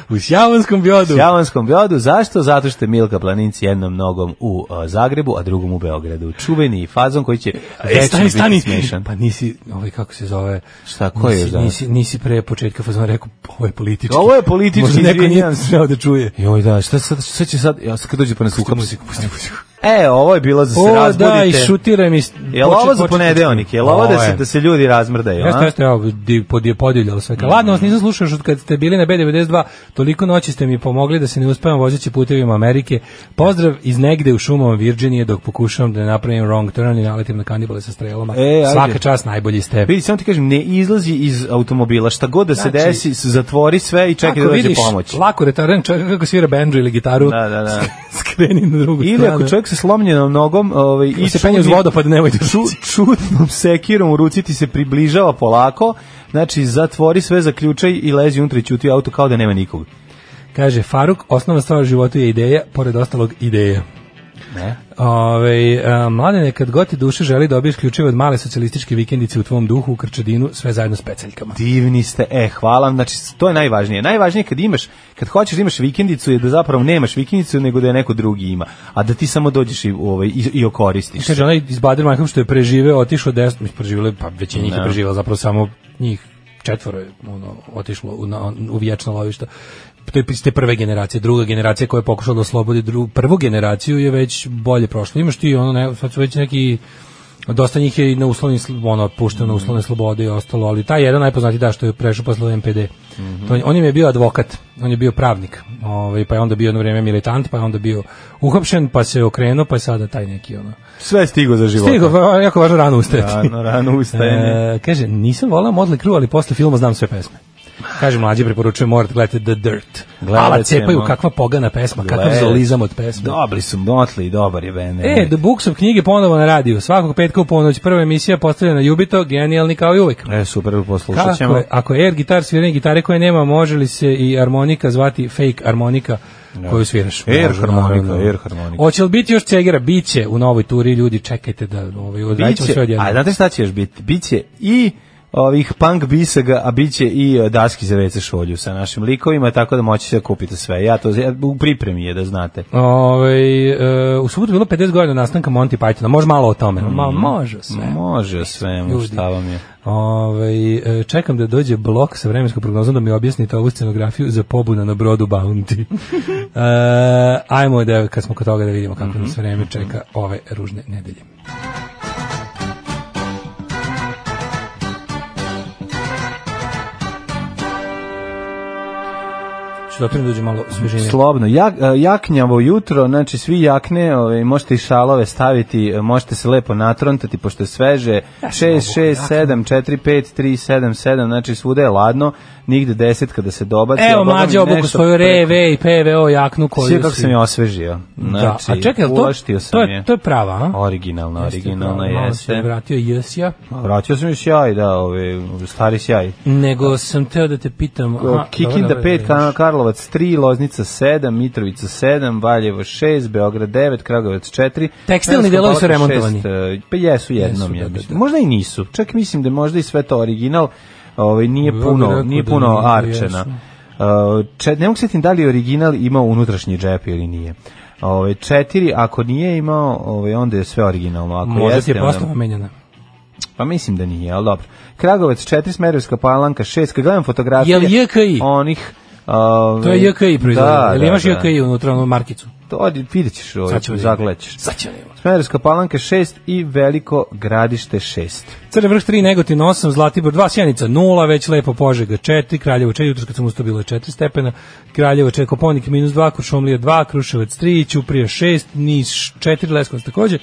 [SPEAKER 7] U Sjavonskom biodu.
[SPEAKER 6] U Javanskom gradu. Zašto? Zato što je Milka Planinc jednom nogom u a, Zagrebu, a drugom u Beogradu. Čuveni fazon koji će
[SPEAKER 7] E,
[SPEAKER 6] večno
[SPEAKER 7] stani,
[SPEAKER 6] biti
[SPEAKER 7] stani.
[SPEAKER 6] smešan.
[SPEAKER 7] Pa nisi, ovaj, kako se zove?
[SPEAKER 6] Šta, ko je
[SPEAKER 7] nisi,
[SPEAKER 6] zove?
[SPEAKER 7] Nisi, nisi pre početka fazona rekao, ovo je politički.
[SPEAKER 6] Ovo je politički,
[SPEAKER 7] Možda neko
[SPEAKER 6] izvinjam
[SPEAKER 7] nije
[SPEAKER 6] se.
[SPEAKER 7] smeo da čuje.
[SPEAKER 6] Joj da, šta, sad, šta će sad? Ja, sad kad dođe pa nas
[SPEAKER 7] Pusti
[SPEAKER 6] ukapsi.
[SPEAKER 7] muziku, pusti muziku.
[SPEAKER 6] E, ovo je bilo za se
[SPEAKER 7] O,
[SPEAKER 6] razbudite.
[SPEAKER 7] da, i šutiraj mi.
[SPEAKER 6] Jel ovo za ponedeonik? Jel ovo da se, da se ljudi razmrdaju?
[SPEAKER 7] Jeste,
[SPEAKER 6] a? Mm.
[SPEAKER 7] jeste, evo, di, pod, je podijeljalo sve. Ka, Ladno, vas nisam slušao što kad ste bili na B92, toliko noći ste mi pomogli da se ne uspevam vozeći putevima Amerike. Pozdrav iz negde u šumama Virginije dok pokušavam da napravim wrong turn i naletim na kanibale sa strelama.
[SPEAKER 6] E, ajde.
[SPEAKER 7] Svaka čast najbolji ste.
[SPEAKER 6] Vidi, samo ti kažem, ne izlazi iz automobila. Šta god da se
[SPEAKER 7] Znači-
[SPEAKER 6] desi, s- zatvori sve i čekaj
[SPEAKER 7] Ako
[SPEAKER 6] da dođe
[SPEAKER 7] vidiš
[SPEAKER 6] pomoć.
[SPEAKER 7] Lako retaran čovjek kako svira bendžu ili gitaru.
[SPEAKER 6] Da, da, da.
[SPEAKER 7] Skreni na drugu
[SPEAKER 6] Ili
[SPEAKER 7] stranu.
[SPEAKER 6] ako čovjek sa slomljenom nogom ovaj, i
[SPEAKER 7] se penje uz pa
[SPEAKER 6] čudnim-
[SPEAKER 7] vodopad, nemojte
[SPEAKER 6] ču, čudnom sekirom u ruci ti se približava polako, znači zatvori sve, zaključaj i lezi unutra i ćuti u auto kao da nema nikog.
[SPEAKER 7] Kaže Faruk, osnovna stvar u životu je ideja, pored ostalog ideja.
[SPEAKER 6] Ne.
[SPEAKER 7] Ove, a, mladene, kad god ti duše želi da obiješ ključeve od male socijalističke vikendice u tvom duhu u Krčedinu, sve zajedno s peceljkama.
[SPEAKER 6] Divni ste, e, hvala, vam. znači to je najvažnije. Najvažnije je kad imaš, kad hoćeš da imaš vikendicu je da zapravo nemaš vikendicu nego da je neko drugi ima, a da ti samo dođeš i, ovaj, i, i okoristiš.
[SPEAKER 7] Kaže, onaj iz Bader Meinhof što je preživeo, otišao desno, mislim, preživelo, je, pa većina njih je
[SPEAKER 6] Da.
[SPEAKER 7] preživela, zapravo samo njih četvoro je ono, otišlo u, na, u vječno lovišta. To je iz te prve generacije, druga generacija koja je pokušala da oslobodi drugu, prvu generaciju je već bolje prošlo. Imaš ti, ono, ne, sad su već neki dosta njih je i na uslovni sl- ono pušteno na uslovne slobode i ostalo, ali taj jedan najpoznati da što je prešao posle MPD. To, on im je bio advokat, on je bio pravnik. Ovaj pa je onda bio jedno vrijeme militant, pa je onda bio uhapšen, pa se okrenuo, pa je sada taj neki ono.
[SPEAKER 6] Sve je stigo za život.
[SPEAKER 7] Stigo, va- jako važno rano ustajati.
[SPEAKER 6] Rano, rano ustajanje.
[SPEAKER 7] E, kaže, nisam volao Motley Crue, ali posle filma znam sve pesme. Kaže, mlađi preporučujem, morate gledati The Dirt.
[SPEAKER 6] Gledat
[SPEAKER 7] Ala cepaju,
[SPEAKER 6] ćemo.
[SPEAKER 7] kakva pogana pesma, kakav
[SPEAKER 6] Gledat.
[SPEAKER 7] zolizam od pesme.
[SPEAKER 6] Dobri su Motley, dobar je band.
[SPEAKER 7] E, The Books of knjige ponovo na radiju. Svakog petka u ponoć prva emisija postavljena na Jubito, genijalni kao i uvek.
[SPEAKER 6] E, super, poslušat
[SPEAKER 7] Kako
[SPEAKER 6] ćemo.
[SPEAKER 7] je, ako je air gitar sviranje gitare koje nema, može li se i harmonika zvati fake harmonika koju sviraš?
[SPEAKER 6] Air
[SPEAKER 7] Može,
[SPEAKER 6] harmonika,
[SPEAKER 7] naravno.
[SPEAKER 6] air harmonika.
[SPEAKER 7] Hoće li biti još cegera? Biće u novoj turi, ljudi, čekajte da ovaj, odradit ćemo sve
[SPEAKER 6] Biće,
[SPEAKER 7] odjednom.
[SPEAKER 6] a znate šta će još biti? Biće i ovih punk bisaga, a biće i e, daski za WC šolju sa našim likovima, tako da moći se kupiti sve. Ja to ja, u pripremi je da znate.
[SPEAKER 7] Ove, e, u subotu je bilo 50 godina nastanka Monty Pythona. Može malo o tome. Mhm. Malo, može sve.
[SPEAKER 6] Može o svemu,
[SPEAKER 7] Ljudi.
[SPEAKER 6] šta vam je.
[SPEAKER 7] Ove, e, čekam da dođe blok sa vremenskom prognozom da mi objasnite ovu scenografiju za pobuna na brodu Bounty. e, ajmo da, kad smo kod toga da vidimo kako nas vreme čeka ove ružne nedelje. Što da dođe malo svežine.
[SPEAKER 6] Slobno. Jak, e, jaknjavo jutro, znači svi jakne, ovaj, možete i šalove staviti, e, možete se lepo natrontati, pošto je sveže. 6, 6, 7, 4, 5, 3, 7, 7, znači svuda je ladno, nigde 10 kada se dobaci. a
[SPEAKER 7] Evo
[SPEAKER 6] Boga mi
[SPEAKER 7] mlađe obuku
[SPEAKER 6] nešto
[SPEAKER 7] svoju
[SPEAKER 6] preko-
[SPEAKER 7] reve i PVO jaknu koju
[SPEAKER 6] Sve kako
[SPEAKER 7] si-
[SPEAKER 6] sam je osvežio.
[SPEAKER 7] Da,
[SPEAKER 6] Znači,
[SPEAKER 7] a čekaj, jel to,
[SPEAKER 6] ulaštio sam
[SPEAKER 7] to, je,
[SPEAKER 6] je.
[SPEAKER 7] to je prava, a?
[SPEAKER 6] Originalno,
[SPEAKER 7] Jeste,
[SPEAKER 6] originalno
[SPEAKER 7] prava, Malo se
[SPEAKER 6] jeste.
[SPEAKER 7] vratio jesja.
[SPEAKER 6] Vratio sam još sjaj, da, ove, stari sjaj.
[SPEAKER 7] Nego sam teo da te pitam... aha,
[SPEAKER 6] Kikinda
[SPEAKER 7] dobro, dobro,
[SPEAKER 6] 5,
[SPEAKER 7] dobro.
[SPEAKER 6] Karlovac 3, Loznica 7, Mitrovica 7, Valjevo 6, Beograd 9, Kragovac 4.
[SPEAKER 7] Tekstilni
[SPEAKER 6] Merska
[SPEAKER 7] delovi su
[SPEAKER 6] Palanka
[SPEAKER 7] remontovani.
[SPEAKER 6] šest, e, Pa jesu jednom,
[SPEAKER 7] Jesu,
[SPEAKER 6] ja
[SPEAKER 7] da, da,
[SPEAKER 6] mislim.
[SPEAKER 7] da.
[SPEAKER 6] Možda i nisu. Čak mislim da je možda i sve to original, ovaj, nije
[SPEAKER 7] Ja bih
[SPEAKER 6] puno,
[SPEAKER 7] rekao
[SPEAKER 6] nije
[SPEAKER 7] da
[SPEAKER 6] puno
[SPEAKER 7] nije,
[SPEAKER 6] arčena.
[SPEAKER 7] jesu.
[SPEAKER 6] Uh, čet, ne mogu sjetiti da li je original imao unutrašnji džep ili nije. Ove, četiri, ako nije imao, ove, onda je sve originalno. Ako
[SPEAKER 7] Možda ti
[SPEAKER 6] jeste,
[SPEAKER 7] je
[SPEAKER 6] onda-
[SPEAKER 7] postava menjena.
[SPEAKER 6] pa mislim da nije, ali dobro. Kragovac 4, Smerovska palanka 6, kad gledam fotografije...
[SPEAKER 7] Jel JKI?
[SPEAKER 6] Onih... Uh,
[SPEAKER 7] To je JKI proizvodnja. Da, Jel imaš JKI unutra onu markicu?
[SPEAKER 6] To odi, vidjet ćeš ovo,
[SPEAKER 7] Sad ćemo vidjeti.
[SPEAKER 6] zagledaćeš.
[SPEAKER 7] Sad ćemo vidjeti.
[SPEAKER 6] Smerovska palanka 6 i Veliko gradište 6.
[SPEAKER 7] Crni vrh 3, Negotin 8, Zlatibor 2, Sjenica 0, već lepo Požega 4, Kraljevo 4, jutros kad sam ustao bilo je 4 stepena, Kraljevo 4, Koponik minus 2, Kuršomlija 2, Kruševac 3, Ćuprija 6, Niš 4, Leskovac takođe,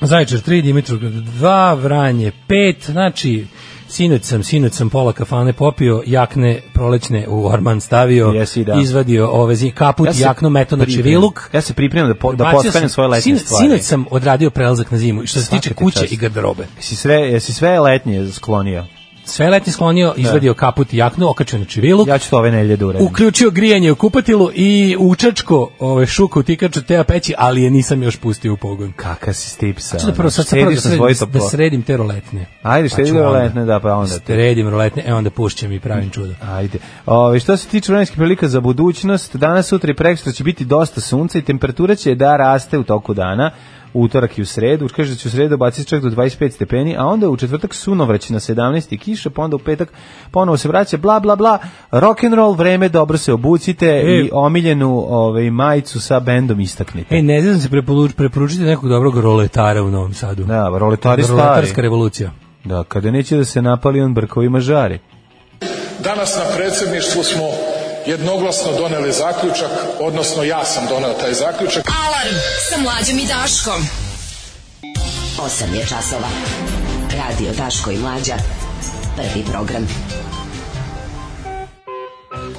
[SPEAKER 7] Zaječar 3, Dimitrovgrad 2, Vranje 5, znači sinoć sam, sinoć sam pola kafane popio, jakne prolećne u orman stavio,
[SPEAKER 6] Jesi, da.
[SPEAKER 7] izvadio ove zi, kaput,
[SPEAKER 6] Ja se
[SPEAKER 7] jakno, meto na
[SPEAKER 6] pripremam.
[SPEAKER 7] čeviluk,
[SPEAKER 6] Ja se pripremam da, po, da
[SPEAKER 7] Bacio
[SPEAKER 6] postavim
[SPEAKER 7] sam-
[SPEAKER 6] svoje letnje
[SPEAKER 7] sinoć-
[SPEAKER 6] stvari.
[SPEAKER 7] Sinoć sam odradio prelazak na zimu, što se
[SPEAKER 6] Svaka
[SPEAKER 7] tiče
[SPEAKER 6] ti
[SPEAKER 7] kuće
[SPEAKER 6] čast.
[SPEAKER 7] i garderobe.
[SPEAKER 6] Jesi sve, jesi sve letnje sklonio?
[SPEAKER 7] Sve letnje sklonio, izvadio kaput i jaknu, okačio na čiviluk,
[SPEAKER 6] Ja ću to ove nelje da uradim.
[SPEAKER 7] uključio grijanje u kupatilu i učačko ove, šuku u tikaču teo peći, ali je nisam još pustio u pogon.
[SPEAKER 6] Kaka si ono, stipsa.
[SPEAKER 7] Sada prvo sad, sad prvo da,
[SPEAKER 6] Štediš na svoje
[SPEAKER 7] sredim, da
[SPEAKER 6] toplo.
[SPEAKER 7] sredim te roletne.
[SPEAKER 6] Ajde,
[SPEAKER 7] Pa
[SPEAKER 6] štedi
[SPEAKER 7] ću onda.
[SPEAKER 6] roletne, da, pa onda te.
[SPEAKER 7] Sredim roletne, e onda pušćem i pravim čudo.
[SPEAKER 6] Ajde. Ove, što se tiče vremenskih prilika za budućnost, danas, sutra i prekstra će biti dosta sunca i temperatura će da raste u toku dana u utorak i u sredu, kaže da će u sredu baciti čak do 25 stepeni, a onda u četvrtak sunovrać na 17 i kiša, pa onda u petak ponovo se vraća, bla, bla, bla, rock and roll vreme, dobro se obucite i omiljenu ovaj, majicu sa bendom istaknite.
[SPEAKER 7] E, ne znam se preporuč- preporučite nekog dobrog roletara u Novom Sadu.
[SPEAKER 6] Da, roletari
[SPEAKER 7] Roletarska
[SPEAKER 6] stari.
[SPEAKER 7] revolucija.
[SPEAKER 6] Da, kada neće da se napali on brkovima žari.
[SPEAKER 9] Danas na predsjedništvu smo jednoglasno doneli zaključak, odnosno ja sam doneo taj zaključak.
[SPEAKER 4] Alarm sa mlađom i Daškom.
[SPEAKER 10] 8 je časova. Radio Daško i Mlađa. Prvi program.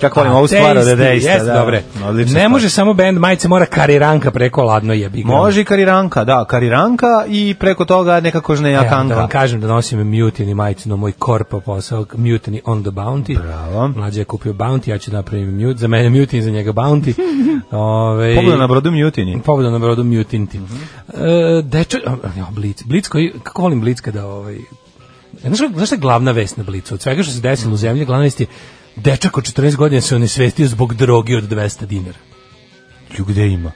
[SPEAKER 6] Kako volim ovu stvar od
[SPEAKER 7] Tasty,
[SPEAKER 6] Edejsta.
[SPEAKER 7] jeste,
[SPEAKER 6] da.
[SPEAKER 7] dobre.
[SPEAKER 6] Odlična
[SPEAKER 7] Ne
[SPEAKER 6] stvar.
[SPEAKER 7] može samo band majice, mora kariranka preko ladno jebi ga.
[SPEAKER 6] Može i kariranka, da, kariranka i preko toga neka kožna
[SPEAKER 7] Evo, da
[SPEAKER 6] jakanka.
[SPEAKER 7] E, vam kažem da nosim Mutiny majicu na moj korpa posao, Mutiny on the Bounty.
[SPEAKER 6] Bravo.
[SPEAKER 7] Mlađe je kupio Bounty, ja ću da napravim Mute, za mene Mutiny, za njega Bounty. Ove,
[SPEAKER 6] Pogledaj na Mhm. brodu Mutiny.
[SPEAKER 7] Pobjeda na brodu Mutinti. Mm -hmm. e, dečo, ja, Blic, Blic koji, kako volim Blic kada ovaj, znaš, kako- znaš šta je glavna vest na Blicu? Od svega što se desilo u zemlji, glavna vest je dečak od 14 godina se onesvestio zbog drogi od 200 dinara.
[SPEAKER 6] Ju, gde ima?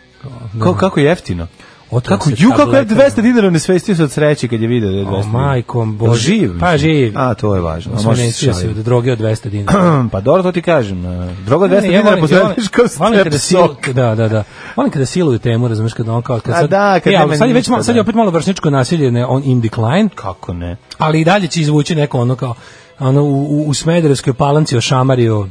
[SPEAKER 6] Kako, kako jeftino?
[SPEAKER 7] Otrov
[SPEAKER 6] Kako,
[SPEAKER 7] se
[SPEAKER 6] ju, kako je
[SPEAKER 7] tabletama.
[SPEAKER 6] 200 dinara ne svestio se od sreće kad je video da je 200
[SPEAKER 7] O,
[SPEAKER 6] dinara.
[SPEAKER 7] majkom
[SPEAKER 6] Jel
[SPEAKER 7] Bože.
[SPEAKER 6] Živ?
[SPEAKER 7] Pa,
[SPEAKER 6] mislim?
[SPEAKER 7] živ.
[SPEAKER 6] A, to je važno. a Može se
[SPEAKER 7] Onesvestio se
[SPEAKER 6] šaliti.
[SPEAKER 7] od droge od 200 dinara.
[SPEAKER 6] pa dobro, to ti kažem. e, Droga od 200
[SPEAKER 7] Ne, ne, ja
[SPEAKER 6] dinara
[SPEAKER 7] volim- ja
[SPEAKER 6] pozdraviš kao
[SPEAKER 7] volim- volim kada
[SPEAKER 6] strep sok.
[SPEAKER 7] sil- Da, da, da. Volim kada siluju temu, razumeš, kada on kao... Kad
[SPEAKER 6] A
[SPEAKER 7] sad,
[SPEAKER 6] da, kad
[SPEAKER 7] e, ali
[SPEAKER 6] nema
[SPEAKER 7] sad je već
[SPEAKER 6] ništa,
[SPEAKER 7] malo, sad je
[SPEAKER 6] da.
[SPEAKER 7] opet malo vršničko nasilje ne, on in decline,
[SPEAKER 6] Kako ne?
[SPEAKER 7] ali i dalje će izvući neko ono kao ono u, u, u Smederevskoj palanci ošamario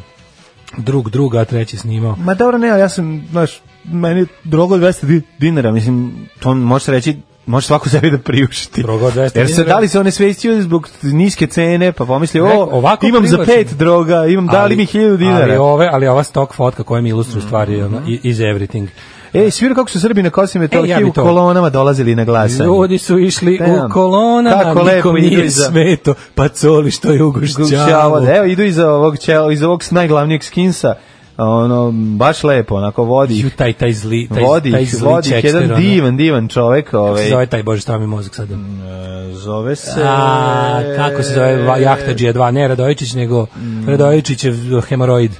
[SPEAKER 7] drug druga, a treći snimao.
[SPEAKER 6] Ma dobro, ne, ali ja sam, znaš, meni droga od 200 di- dinara, mislim, to možeš reći, može svako sebi da priušti.
[SPEAKER 7] Droga od 200
[SPEAKER 6] Jer se
[SPEAKER 7] dinara.
[SPEAKER 6] da li se one svestio zbog niske cene, pa pomisli,
[SPEAKER 7] Nek-
[SPEAKER 6] o,
[SPEAKER 7] ovako
[SPEAKER 6] imam za
[SPEAKER 7] privlačen.
[SPEAKER 6] pet droga, imam, da li mi 1000
[SPEAKER 7] Ali,
[SPEAKER 6] dinara. Mhm.
[SPEAKER 7] ove, ali ova stock fotka koja mi ilustruje stvari ono, i- is everything.
[SPEAKER 6] Ej, svira E, kako su Srbi na Kosovo i
[SPEAKER 7] E, ja
[SPEAKER 6] Metohiji
[SPEAKER 7] bi
[SPEAKER 6] u
[SPEAKER 7] to.
[SPEAKER 6] kolonama dolazili na glasanje.
[SPEAKER 7] Ljudi su išli
[SPEAKER 6] Damn.
[SPEAKER 7] u kolonama,
[SPEAKER 6] Kako lepo
[SPEAKER 7] nikom
[SPEAKER 6] idu
[SPEAKER 7] nije
[SPEAKER 6] iza-
[SPEAKER 7] sveto, pa coli što je ugošćavo.
[SPEAKER 6] Gušćavo, da, evo idu iza ovog, čel, iza ovog najglavnijeg skinsa, a ono, baš lepo, onako vodi
[SPEAKER 7] Ju,
[SPEAKER 6] ih,
[SPEAKER 7] taj, taj zli, taj,
[SPEAKER 6] vodi
[SPEAKER 7] taj
[SPEAKER 6] ih,
[SPEAKER 7] zli
[SPEAKER 6] vodi ih,
[SPEAKER 7] Chester,
[SPEAKER 6] jedan
[SPEAKER 7] ono.
[SPEAKER 6] divan, divan čovek,
[SPEAKER 7] Kako se
[SPEAKER 6] ovaj, Mm.
[SPEAKER 7] zove taj Bože, šta mi mozak sada?
[SPEAKER 6] zove se...
[SPEAKER 7] A, kako se zove
[SPEAKER 6] E.
[SPEAKER 7] va- jahtađija 2, ne Radojičić, nego Radojičić je hemoroid.
[SPEAKER 6] Mm.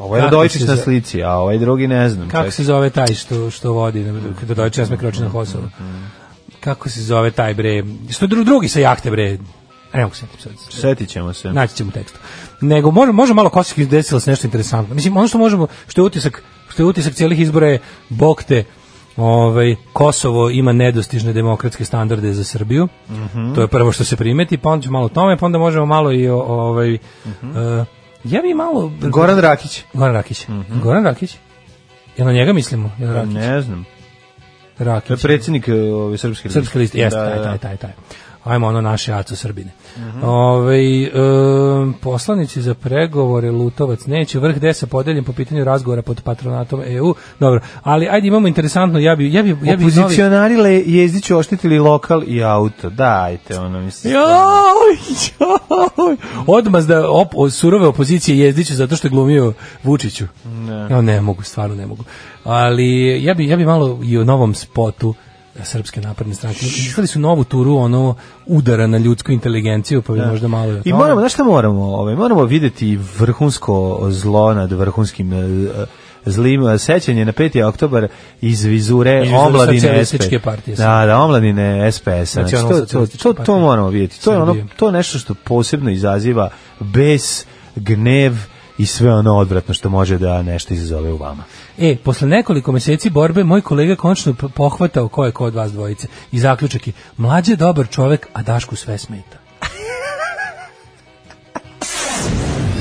[SPEAKER 6] Ovo je
[SPEAKER 7] Kako
[SPEAKER 6] Radojičić
[SPEAKER 7] se
[SPEAKER 6] na
[SPEAKER 7] zove-
[SPEAKER 6] slici, a ovaj drugi ne znam.
[SPEAKER 7] Kako
[SPEAKER 6] čekaj.
[SPEAKER 7] se zove taj što, što vodi, ne, kada Radojičić nas kroči na Kosovo?
[SPEAKER 6] Mm-hmm.
[SPEAKER 7] Kako se zove taj bre, što dru, drugi sa jahte bre, ne mogu se setim sad.
[SPEAKER 6] Setit ćemo se.
[SPEAKER 7] Naći ćemo u tekstu. Nego možemo može malo kosovskih desilo se nešto interesantno. Mislim ono što možemo što je utisak što je utisak celih izbora je bok te Ovaj Kosovo ima nedostižne demokratske standarde za Srbiju.
[SPEAKER 6] Mhm. Mhm.
[SPEAKER 7] To je prvo što se primeti, pa onda ćemo malo o tome, pa onda možemo malo i o ovaj Ja bi malo...
[SPEAKER 6] Goran Rakić.
[SPEAKER 7] Goran Rakić. Goran Rakić? Ja na njega mislimo. Jel Rakić?
[SPEAKER 6] Mhm. Ne znam. To je
[SPEAKER 7] Rakić.
[SPEAKER 6] predsjednik e, ove srpske liste.
[SPEAKER 7] Srpske liste, jeste,
[SPEAKER 6] Da,
[SPEAKER 7] taj,
[SPEAKER 6] da, Mhm.
[SPEAKER 7] taj,
[SPEAKER 6] da.
[SPEAKER 7] taj, taj. Ajmo ono naše aco Srbine. Ovaj, em, poslanici za pregovore Lutovac neće, vrh 10 podeljen po pitanju razgovora pod patronatom EU. Dobro, ali ajde imamo interesantno, ja bi, ja bi, ja bi novi...
[SPEAKER 6] Opozicionari le jezdiću oštetili lokal i auto. Dajte, ono mislim.
[SPEAKER 7] Joj, joj. Odmazda op, o- surove opozicije jezdiću zato što je glumio Vučiću. Ne. Ja ne mogu, stvarno ne mogu. Ali ja bi, ja bi malo i o novom spotu Srpske napredne stranke. Izvali su novu turu ono udara na ljudsku inteligenciju, pa bi možda malo... o
[SPEAKER 6] I
[SPEAKER 7] tome.
[SPEAKER 6] moramo, znaš šta moramo? Ovaj, moramo videti vrhunsko zlo nad vrhunskim e, zlim e, sećanje na 5. oktobar iz vizure
[SPEAKER 7] vizure
[SPEAKER 6] omladine
[SPEAKER 7] socijalističke
[SPEAKER 6] SPS.
[SPEAKER 7] partije.
[SPEAKER 6] Da, da, omladine SPS. Znači,
[SPEAKER 7] Nacionalno
[SPEAKER 6] to, to,
[SPEAKER 7] socijalističke
[SPEAKER 6] to, to
[SPEAKER 7] partije.
[SPEAKER 6] moramo vidjeti. To je, ono,
[SPEAKER 7] Srbije.
[SPEAKER 6] to je nešto što posebno izaziva bes, gnev i sve ono odvratno što može da nešto izazove u vama.
[SPEAKER 7] E, posle nekoliko meseci borbe, moj kolega končno p- pohvatao ko je ko od vas dvojice. I zaključak je, mlađe je dobar čovek, a Dašku sve smeta.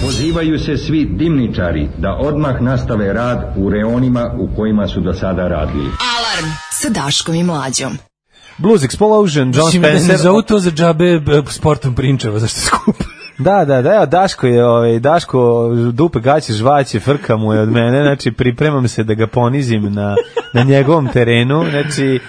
[SPEAKER 11] Pozivaju se svi dimničari da odmah nastave rad u reonima u kojima su do sada radili.
[SPEAKER 4] Alarm sa Daškom i Mlađom.
[SPEAKER 6] Blues Explosion, John
[SPEAKER 7] Mislim, da Ne
[SPEAKER 6] Spencer.
[SPEAKER 7] zovu to za džabe b- sportom prinčeva, zašto je skupo.
[SPEAKER 6] Da, da, da, evo, Daško je, ovaj, Daško dupe gaće, žvaće, frka mu je od mene, znači pripremam se da ga ponizim na, na njegovom terenu, znači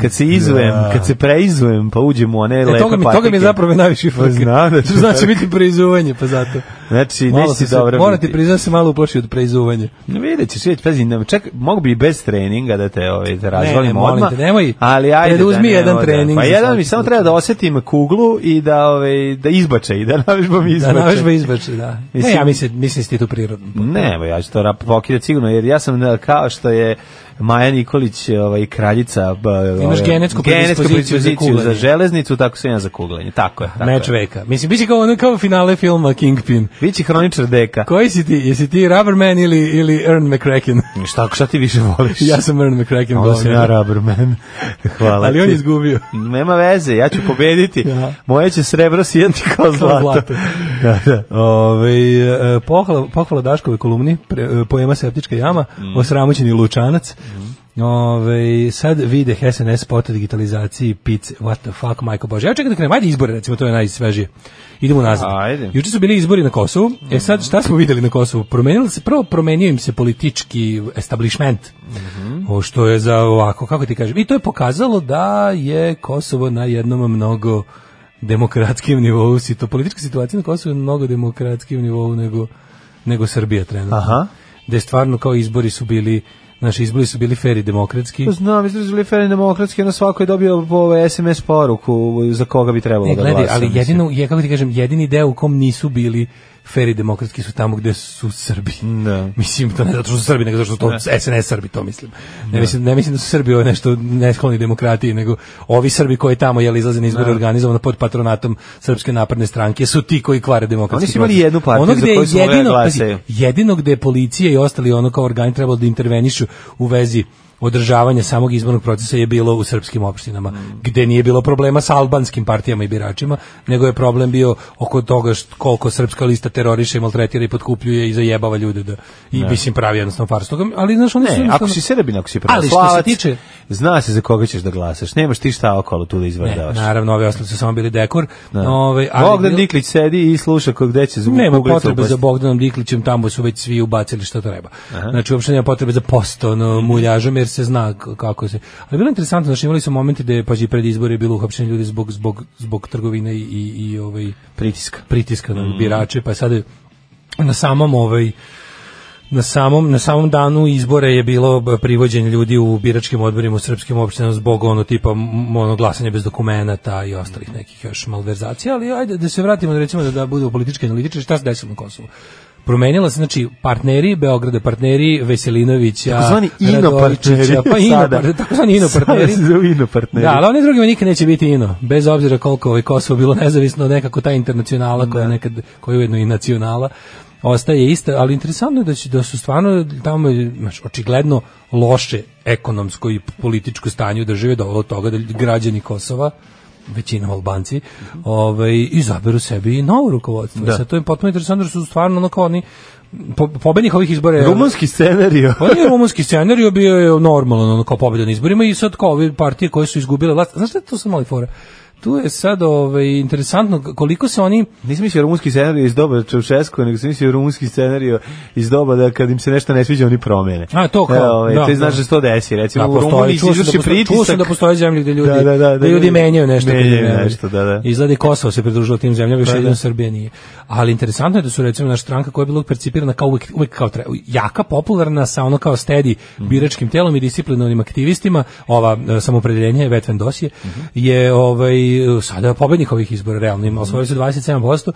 [SPEAKER 6] kad se izujem, kad se preizujem, pa uđem u one
[SPEAKER 7] E,
[SPEAKER 6] lepe
[SPEAKER 7] toga mi, toga mi
[SPEAKER 6] patike.
[SPEAKER 7] je zapravo najviše
[SPEAKER 6] Pa
[SPEAKER 7] frka.
[SPEAKER 6] znam da ću
[SPEAKER 7] znači
[SPEAKER 6] tako.
[SPEAKER 7] biti preizuvanje, pa zato.
[SPEAKER 6] Znači,
[SPEAKER 7] Malo
[SPEAKER 6] neće
[SPEAKER 7] sam
[SPEAKER 6] ti
[SPEAKER 7] se-
[SPEAKER 6] dobro
[SPEAKER 7] Moram
[SPEAKER 6] biti.
[SPEAKER 7] ti priznati da se malo uplašio od preizuvanja.
[SPEAKER 6] No, vidjet ćeš, vidjet, pazi, ne, čak, mogu bi i bez treninga da te, ovaj, te
[SPEAKER 7] ne,
[SPEAKER 6] razvolim
[SPEAKER 7] molim
[SPEAKER 6] odmah.
[SPEAKER 7] te, nemoj.
[SPEAKER 6] ali ajde
[SPEAKER 7] Preduzmi
[SPEAKER 6] da ne,
[SPEAKER 7] jedan
[SPEAKER 6] ovaj,
[SPEAKER 7] trening
[SPEAKER 6] Pa
[SPEAKER 7] za
[SPEAKER 6] jedan
[SPEAKER 7] svaki
[SPEAKER 6] mi samo
[SPEAKER 7] put.
[SPEAKER 6] treba da osetim kuglu i da, ovaj, da izbače i da navežbam izbače.
[SPEAKER 7] Da, navežba izbači, da. Ne,
[SPEAKER 6] Mislim-
[SPEAKER 7] ja mislim, mislim si ti tu prirodno.
[SPEAKER 6] Ne, ba, ja ću to rap- pokidati sigurno, jer ja sam e, kao što je Maja Nikolić ovaj, kraljica b- ovaj,
[SPEAKER 7] genetsku predispoziciju za
[SPEAKER 6] predispoziciju za
[SPEAKER 7] kuglanje.
[SPEAKER 6] železnicu, tako sam ja za kuglanje. Tako je. Tako
[SPEAKER 7] Meč
[SPEAKER 6] je.
[SPEAKER 7] veka. Mislim, bit će kao, ono, kao finale filma Kingpin.
[SPEAKER 6] Biće hroničar deka.
[SPEAKER 7] Koji si ti? Jesi ti Rubberman ili, ili Ern McCracken?
[SPEAKER 6] Šta, šta ti više voliš?
[SPEAKER 7] ja sam Ern McCracken.
[SPEAKER 6] Onda sam
[SPEAKER 7] govnar.
[SPEAKER 6] ja rubberman. Hvala
[SPEAKER 7] Ali on
[SPEAKER 6] ti.
[SPEAKER 7] je izgubio.
[SPEAKER 6] Nema veze, ja ću pobediti.
[SPEAKER 7] Da.
[SPEAKER 6] Moje će srebro sijati kao zlato.
[SPEAKER 7] zlato.
[SPEAKER 6] da, da. Ovaj, eh,
[SPEAKER 7] Ove, e, pohvala, pohvala Daškove kolumni, pre, e, poema Septička jama, osramoćeni lučanac. Ove, sad vide SNS spot o digitalizaciji pice. What the fuck, majko Bože. Evo čekaj da krenemo, ajde izbore, recimo, to je najsvežije. Idemo nazad.
[SPEAKER 6] Ajde.
[SPEAKER 7] Juče su bili izbori na Kosovu.
[SPEAKER 6] Mhm.
[SPEAKER 7] E sad, šta smo videli na Kosovu? Promenilo se, prvo promenio im se politički establishment.
[SPEAKER 6] Mhm.
[SPEAKER 7] O, što je za ovako, kako ti kažem. I to je pokazalo da je Kosovo na jednom mnogo demokratskim nivou. Sito, politička situacija na Kosovu je na mnogo demokratskim nivou nego, nego Srbija trenutno.
[SPEAKER 6] Aha.
[SPEAKER 7] Gde stvarno kao izbori su bili Naši izbori su bili fer i demokratski.
[SPEAKER 6] To Znam, izražili Ferin demokratski, ono svako je dobio ovaj SMS poruku za koga bi trebalo
[SPEAKER 7] Ne,
[SPEAKER 6] da
[SPEAKER 7] gledaj,
[SPEAKER 6] glasa,
[SPEAKER 7] ali
[SPEAKER 6] mislim.
[SPEAKER 7] jedino, je, kako ti kažem, jedini deo u kom nisu bili fer i demokratski su tamo gde su Srbi.
[SPEAKER 6] Da.
[SPEAKER 7] Mislim, to ne zato što su Srbi, nego zato što to SNS Srbi, to mislim. Ne, mislim, ne mislim da su Srbi ovo nešto neskloni demokratiji, nego ovi Srbi koji tamo jeli izlaze na izbore organizovano pod patronatom Srpske napredne stranke su ti koji kvare demokratski
[SPEAKER 6] Oni su imali
[SPEAKER 7] proces.
[SPEAKER 6] jednu partiju
[SPEAKER 7] Ono
[SPEAKER 6] za
[SPEAKER 7] gde je
[SPEAKER 6] koju su mogli da
[SPEAKER 7] jedino, pazi,
[SPEAKER 6] glasaju.
[SPEAKER 7] jedino gde je policija i ostali ono kao organi trebalo da intervenišu u vezi održavanja samog izbornog procesa je bilo u srpskim opštinama, gde nije bilo problema sa albanskim partijama i biračima, nego je problem bio oko toga št, koliko srpska lista teroriše, i maltretira i potkupljuje i zajebava ljude da i mislim pravi jednostavno farsu toga, ali znaš oni su
[SPEAKER 6] Ne, ako
[SPEAKER 7] jednostavno-
[SPEAKER 6] si Srbin, ako si
[SPEAKER 7] ono- Ali što se
[SPEAKER 6] pravoslavac,
[SPEAKER 7] tiče
[SPEAKER 6] zna se za koga ćeš da glasaš. Nemaš ti šta okolo tu da
[SPEAKER 7] Ne,
[SPEAKER 6] izvrdavaš.
[SPEAKER 7] naravno, ove ostali su samo bili dekor.
[SPEAKER 6] Da.
[SPEAKER 7] Ovaj, ali
[SPEAKER 6] Bogdan
[SPEAKER 7] bilo-
[SPEAKER 6] Diklić sedi i sluša kog gde će zvuku
[SPEAKER 7] Nema potrebe za Bogdanom Diklićem, tamo su već svi ubacili što treba. Znači, uopšte nema potrebe za posto ono, muljažom, jer se zna k- kako se... Ali bilo je interesantno, znači imali su momenti gde, pa i pred izbore je bilo uhapšenje ljudi zbog, zbog, zbog trgovine i, i, i ovaj,
[SPEAKER 6] pritiska. Mm.
[SPEAKER 7] pritiska na birače, pa je sada na samom ovaj na samom na samom danu izbora je bilo b- privođenje ljudi u biračkim odborima u srpskim opštinama zbog ono tipa m- ono glasanja bez dokumenata i ostalih nekih još malverzacija, ali ajde da se vratimo da recimo da, da bude politički analitičar šta se desilo na Kosovu. Promenila se znači partneri Beograda, partneri Veselinovića,
[SPEAKER 6] Takozvani inopartneri.
[SPEAKER 7] Radovičića, pa ino
[SPEAKER 6] Sada.
[SPEAKER 7] takozvani ino partneri.
[SPEAKER 6] Sada se zovu inopartneri.
[SPEAKER 7] Da, ali oni drugima nikad neće biti ino, bez obzira koliko ovaj Kosovo bilo nezavisno, nekako ta internacionala koja je nekad koja je ujedno i nacionala ostaje ista, ali interesantno je da će da su stvarno tamo znači očigledno loše ekonomsko i političko stanje u državi dovelo do toga da ljudi- građani Kosova većinom Albanci, ovaj, izaberu sebi i novo rukovodstvo.
[SPEAKER 6] Da.
[SPEAKER 7] Da. Sad to je potpuno interesantno, jer su stvarno ono kao oni, po, pobednik ovih izbora je...
[SPEAKER 6] Rumunski scenariju.
[SPEAKER 7] Pa nije rumunski scenarij, bio je normalan, ono kao pobjeda na izborima i sad kao ove partije koje su izgubile vlast. Znaš šta je to sad mali fora? Tu je sad ovaj, interesantno koliko se oni...
[SPEAKER 6] Nisam mislio rumunski scenarij iz doba Čaušesku, nego sam mislio rumunski scenarij iz doba da kad im se nešto ne sviđa, oni promene.
[SPEAKER 7] A, to kao,
[SPEAKER 6] E, ovaj,
[SPEAKER 7] da,
[SPEAKER 6] to je
[SPEAKER 7] da.
[SPEAKER 6] znaš da se to desi. Recimo,
[SPEAKER 7] Da,
[SPEAKER 6] u Rumuniji se
[SPEAKER 7] postoji, čuo sam,
[SPEAKER 6] izvrši
[SPEAKER 7] da postoji, čuo sam
[SPEAKER 6] pritisak.
[SPEAKER 7] da postoje zemlje gde ljudi,
[SPEAKER 6] Da, da, da, da,
[SPEAKER 7] ljudi menjaju nešto. kad
[SPEAKER 6] Menjaju
[SPEAKER 7] ne-
[SPEAKER 6] nešto, da, da.
[SPEAKER 7] Izgleda i Kosovo se pridružilo tim zemljama, više
[SPEAKER 6] Pa, da.
[SPEAKER 7] jedino Srbija nije. Ali interesantno je da su recimo naša stranka koja je bila percipirana kao uvek, uvek kao tre, jaka, popularna, sa ono kao stedi
[SPEAKER 6] Mhm.
[SPEAKER 7] biračkim telom i disciplinovanim aktivistima, ova e, samopredeljenje, vetven dosije,
[SPEAKER 6] Mhm.
[SPEAKER 7] je ovaj, e, sada pobednik ovih izbora realno, ima osvojio se 27%,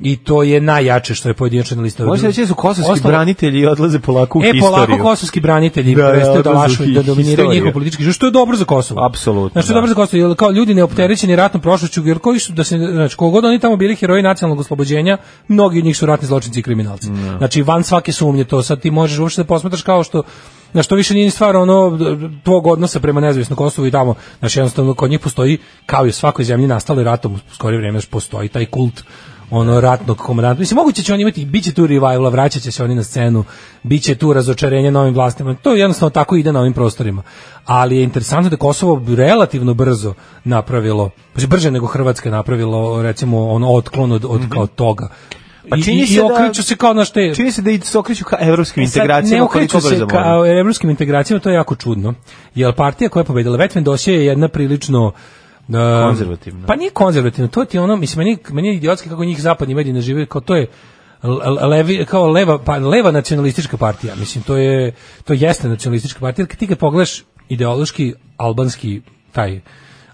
[SPEAKER 7] i to je najjače što je pojedinačna lista.
[SPEAKER 6] Možete reći da su kosovski
[SPEAKER 7] Ostalo-
[SPEAKER 6] branitelji odlaze polako u
[SPEAKER 7] e,
[SPEAKER 6] historiju.
[SPEAKER 7] polako kosovski branitelji
[SPEAKER 6] Da, da,
[SPEAKER 7] da, prestaju da,
[SPEAKER 6] odlaze u
[SPEAKER 7] lašu i da
[SPEAKER 6] hi-
[SPEAKER 7] dominiraju
[SPEAKER 6] historiju.
[SPEAKER 7] njihov politički život, što je dobro za Kosovo.
[SPEAKER 6] Apsolutno,
[SPEAKER 7] Znači, što je
[SPEAKER 6] da.
[SPEAKER 7] dobro za Kosovo, jer kao ljudi neopterećeni ratnom prošlošću, jer koji su, da se, znači, kogod oni tamo bili heroji nacionalnog oslobođenja, mnogi od njih su ratni zločinci i kriminalci. Znači, van svake sumnje to, sad ti možeš uopšte da posmatraš kao što Na što više nije ni stvar ono tvog odnosa prema nezavisnom Kosovu i tamo, znači jednostavno kod njih postoji kao i u svakoj zemlji nastale ratom u skorije vreme, znači postoji taj kult ono ratnog komandanta. Mislim, moguće će oni imati, bit će tu revivala, vraćat će se oni na scenu, bit će tu razočarenje novim vlastima, to jednostavno tako ide na ovim prostorima. Ali je interesantno da je Kosovo relativno brzo napravilo, znači brže nego Hrvatska je napravilo, recimo, ono otklon od, od kao toga.
[SPEAKER 6] Mhm. Pa
[SPEAKER 7] I-
[SPEAKER 6] čini
[SPEAKER 7] i,
[SPEAKER 6] se
[SPEAKER 7] i
[SPEAKER 6] da-
[SPEAKER 7] okreću se kao na šte...
[SPEAKER 6] Čini se da i se okreću ka evropskim
[SPEAKER 7] E Sad,
[SPEAKER 6] integracijama
[SPEAKER 7] ne okreću
[SPEAKER 6] koliko brzo
[SPEAKER 7] se
[SPEAKER 6] mogu.
[SPEAKER 7] ka evropskim integracijama, to je jako čudno. Jer partija koja je pobedila Vetven dosje je jedna prilično Uh,
[SPEAKER 6] Konzervativna.
[SPEAKER 7] Pa nije konzervativno, to ti je ono, mislim, meni, meni je idiotski kako njih zapadni mediji naživaju, kao to je l- l- levi, kao leva, pa, leva nacionalistička partija, mislim, to je, to jeste nacionalistička partija, jer kad ti ga pogledaš ideološki albanski, taj,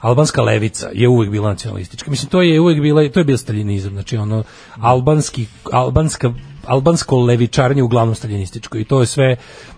[SPEAKER 7] albanska levica je uvek bila nacionalistička, mislim, to je uvek bila, to je bio staljinizam, znači ono, albanski, albanska albansko levičarnje uglavnom staljinističko i to je sve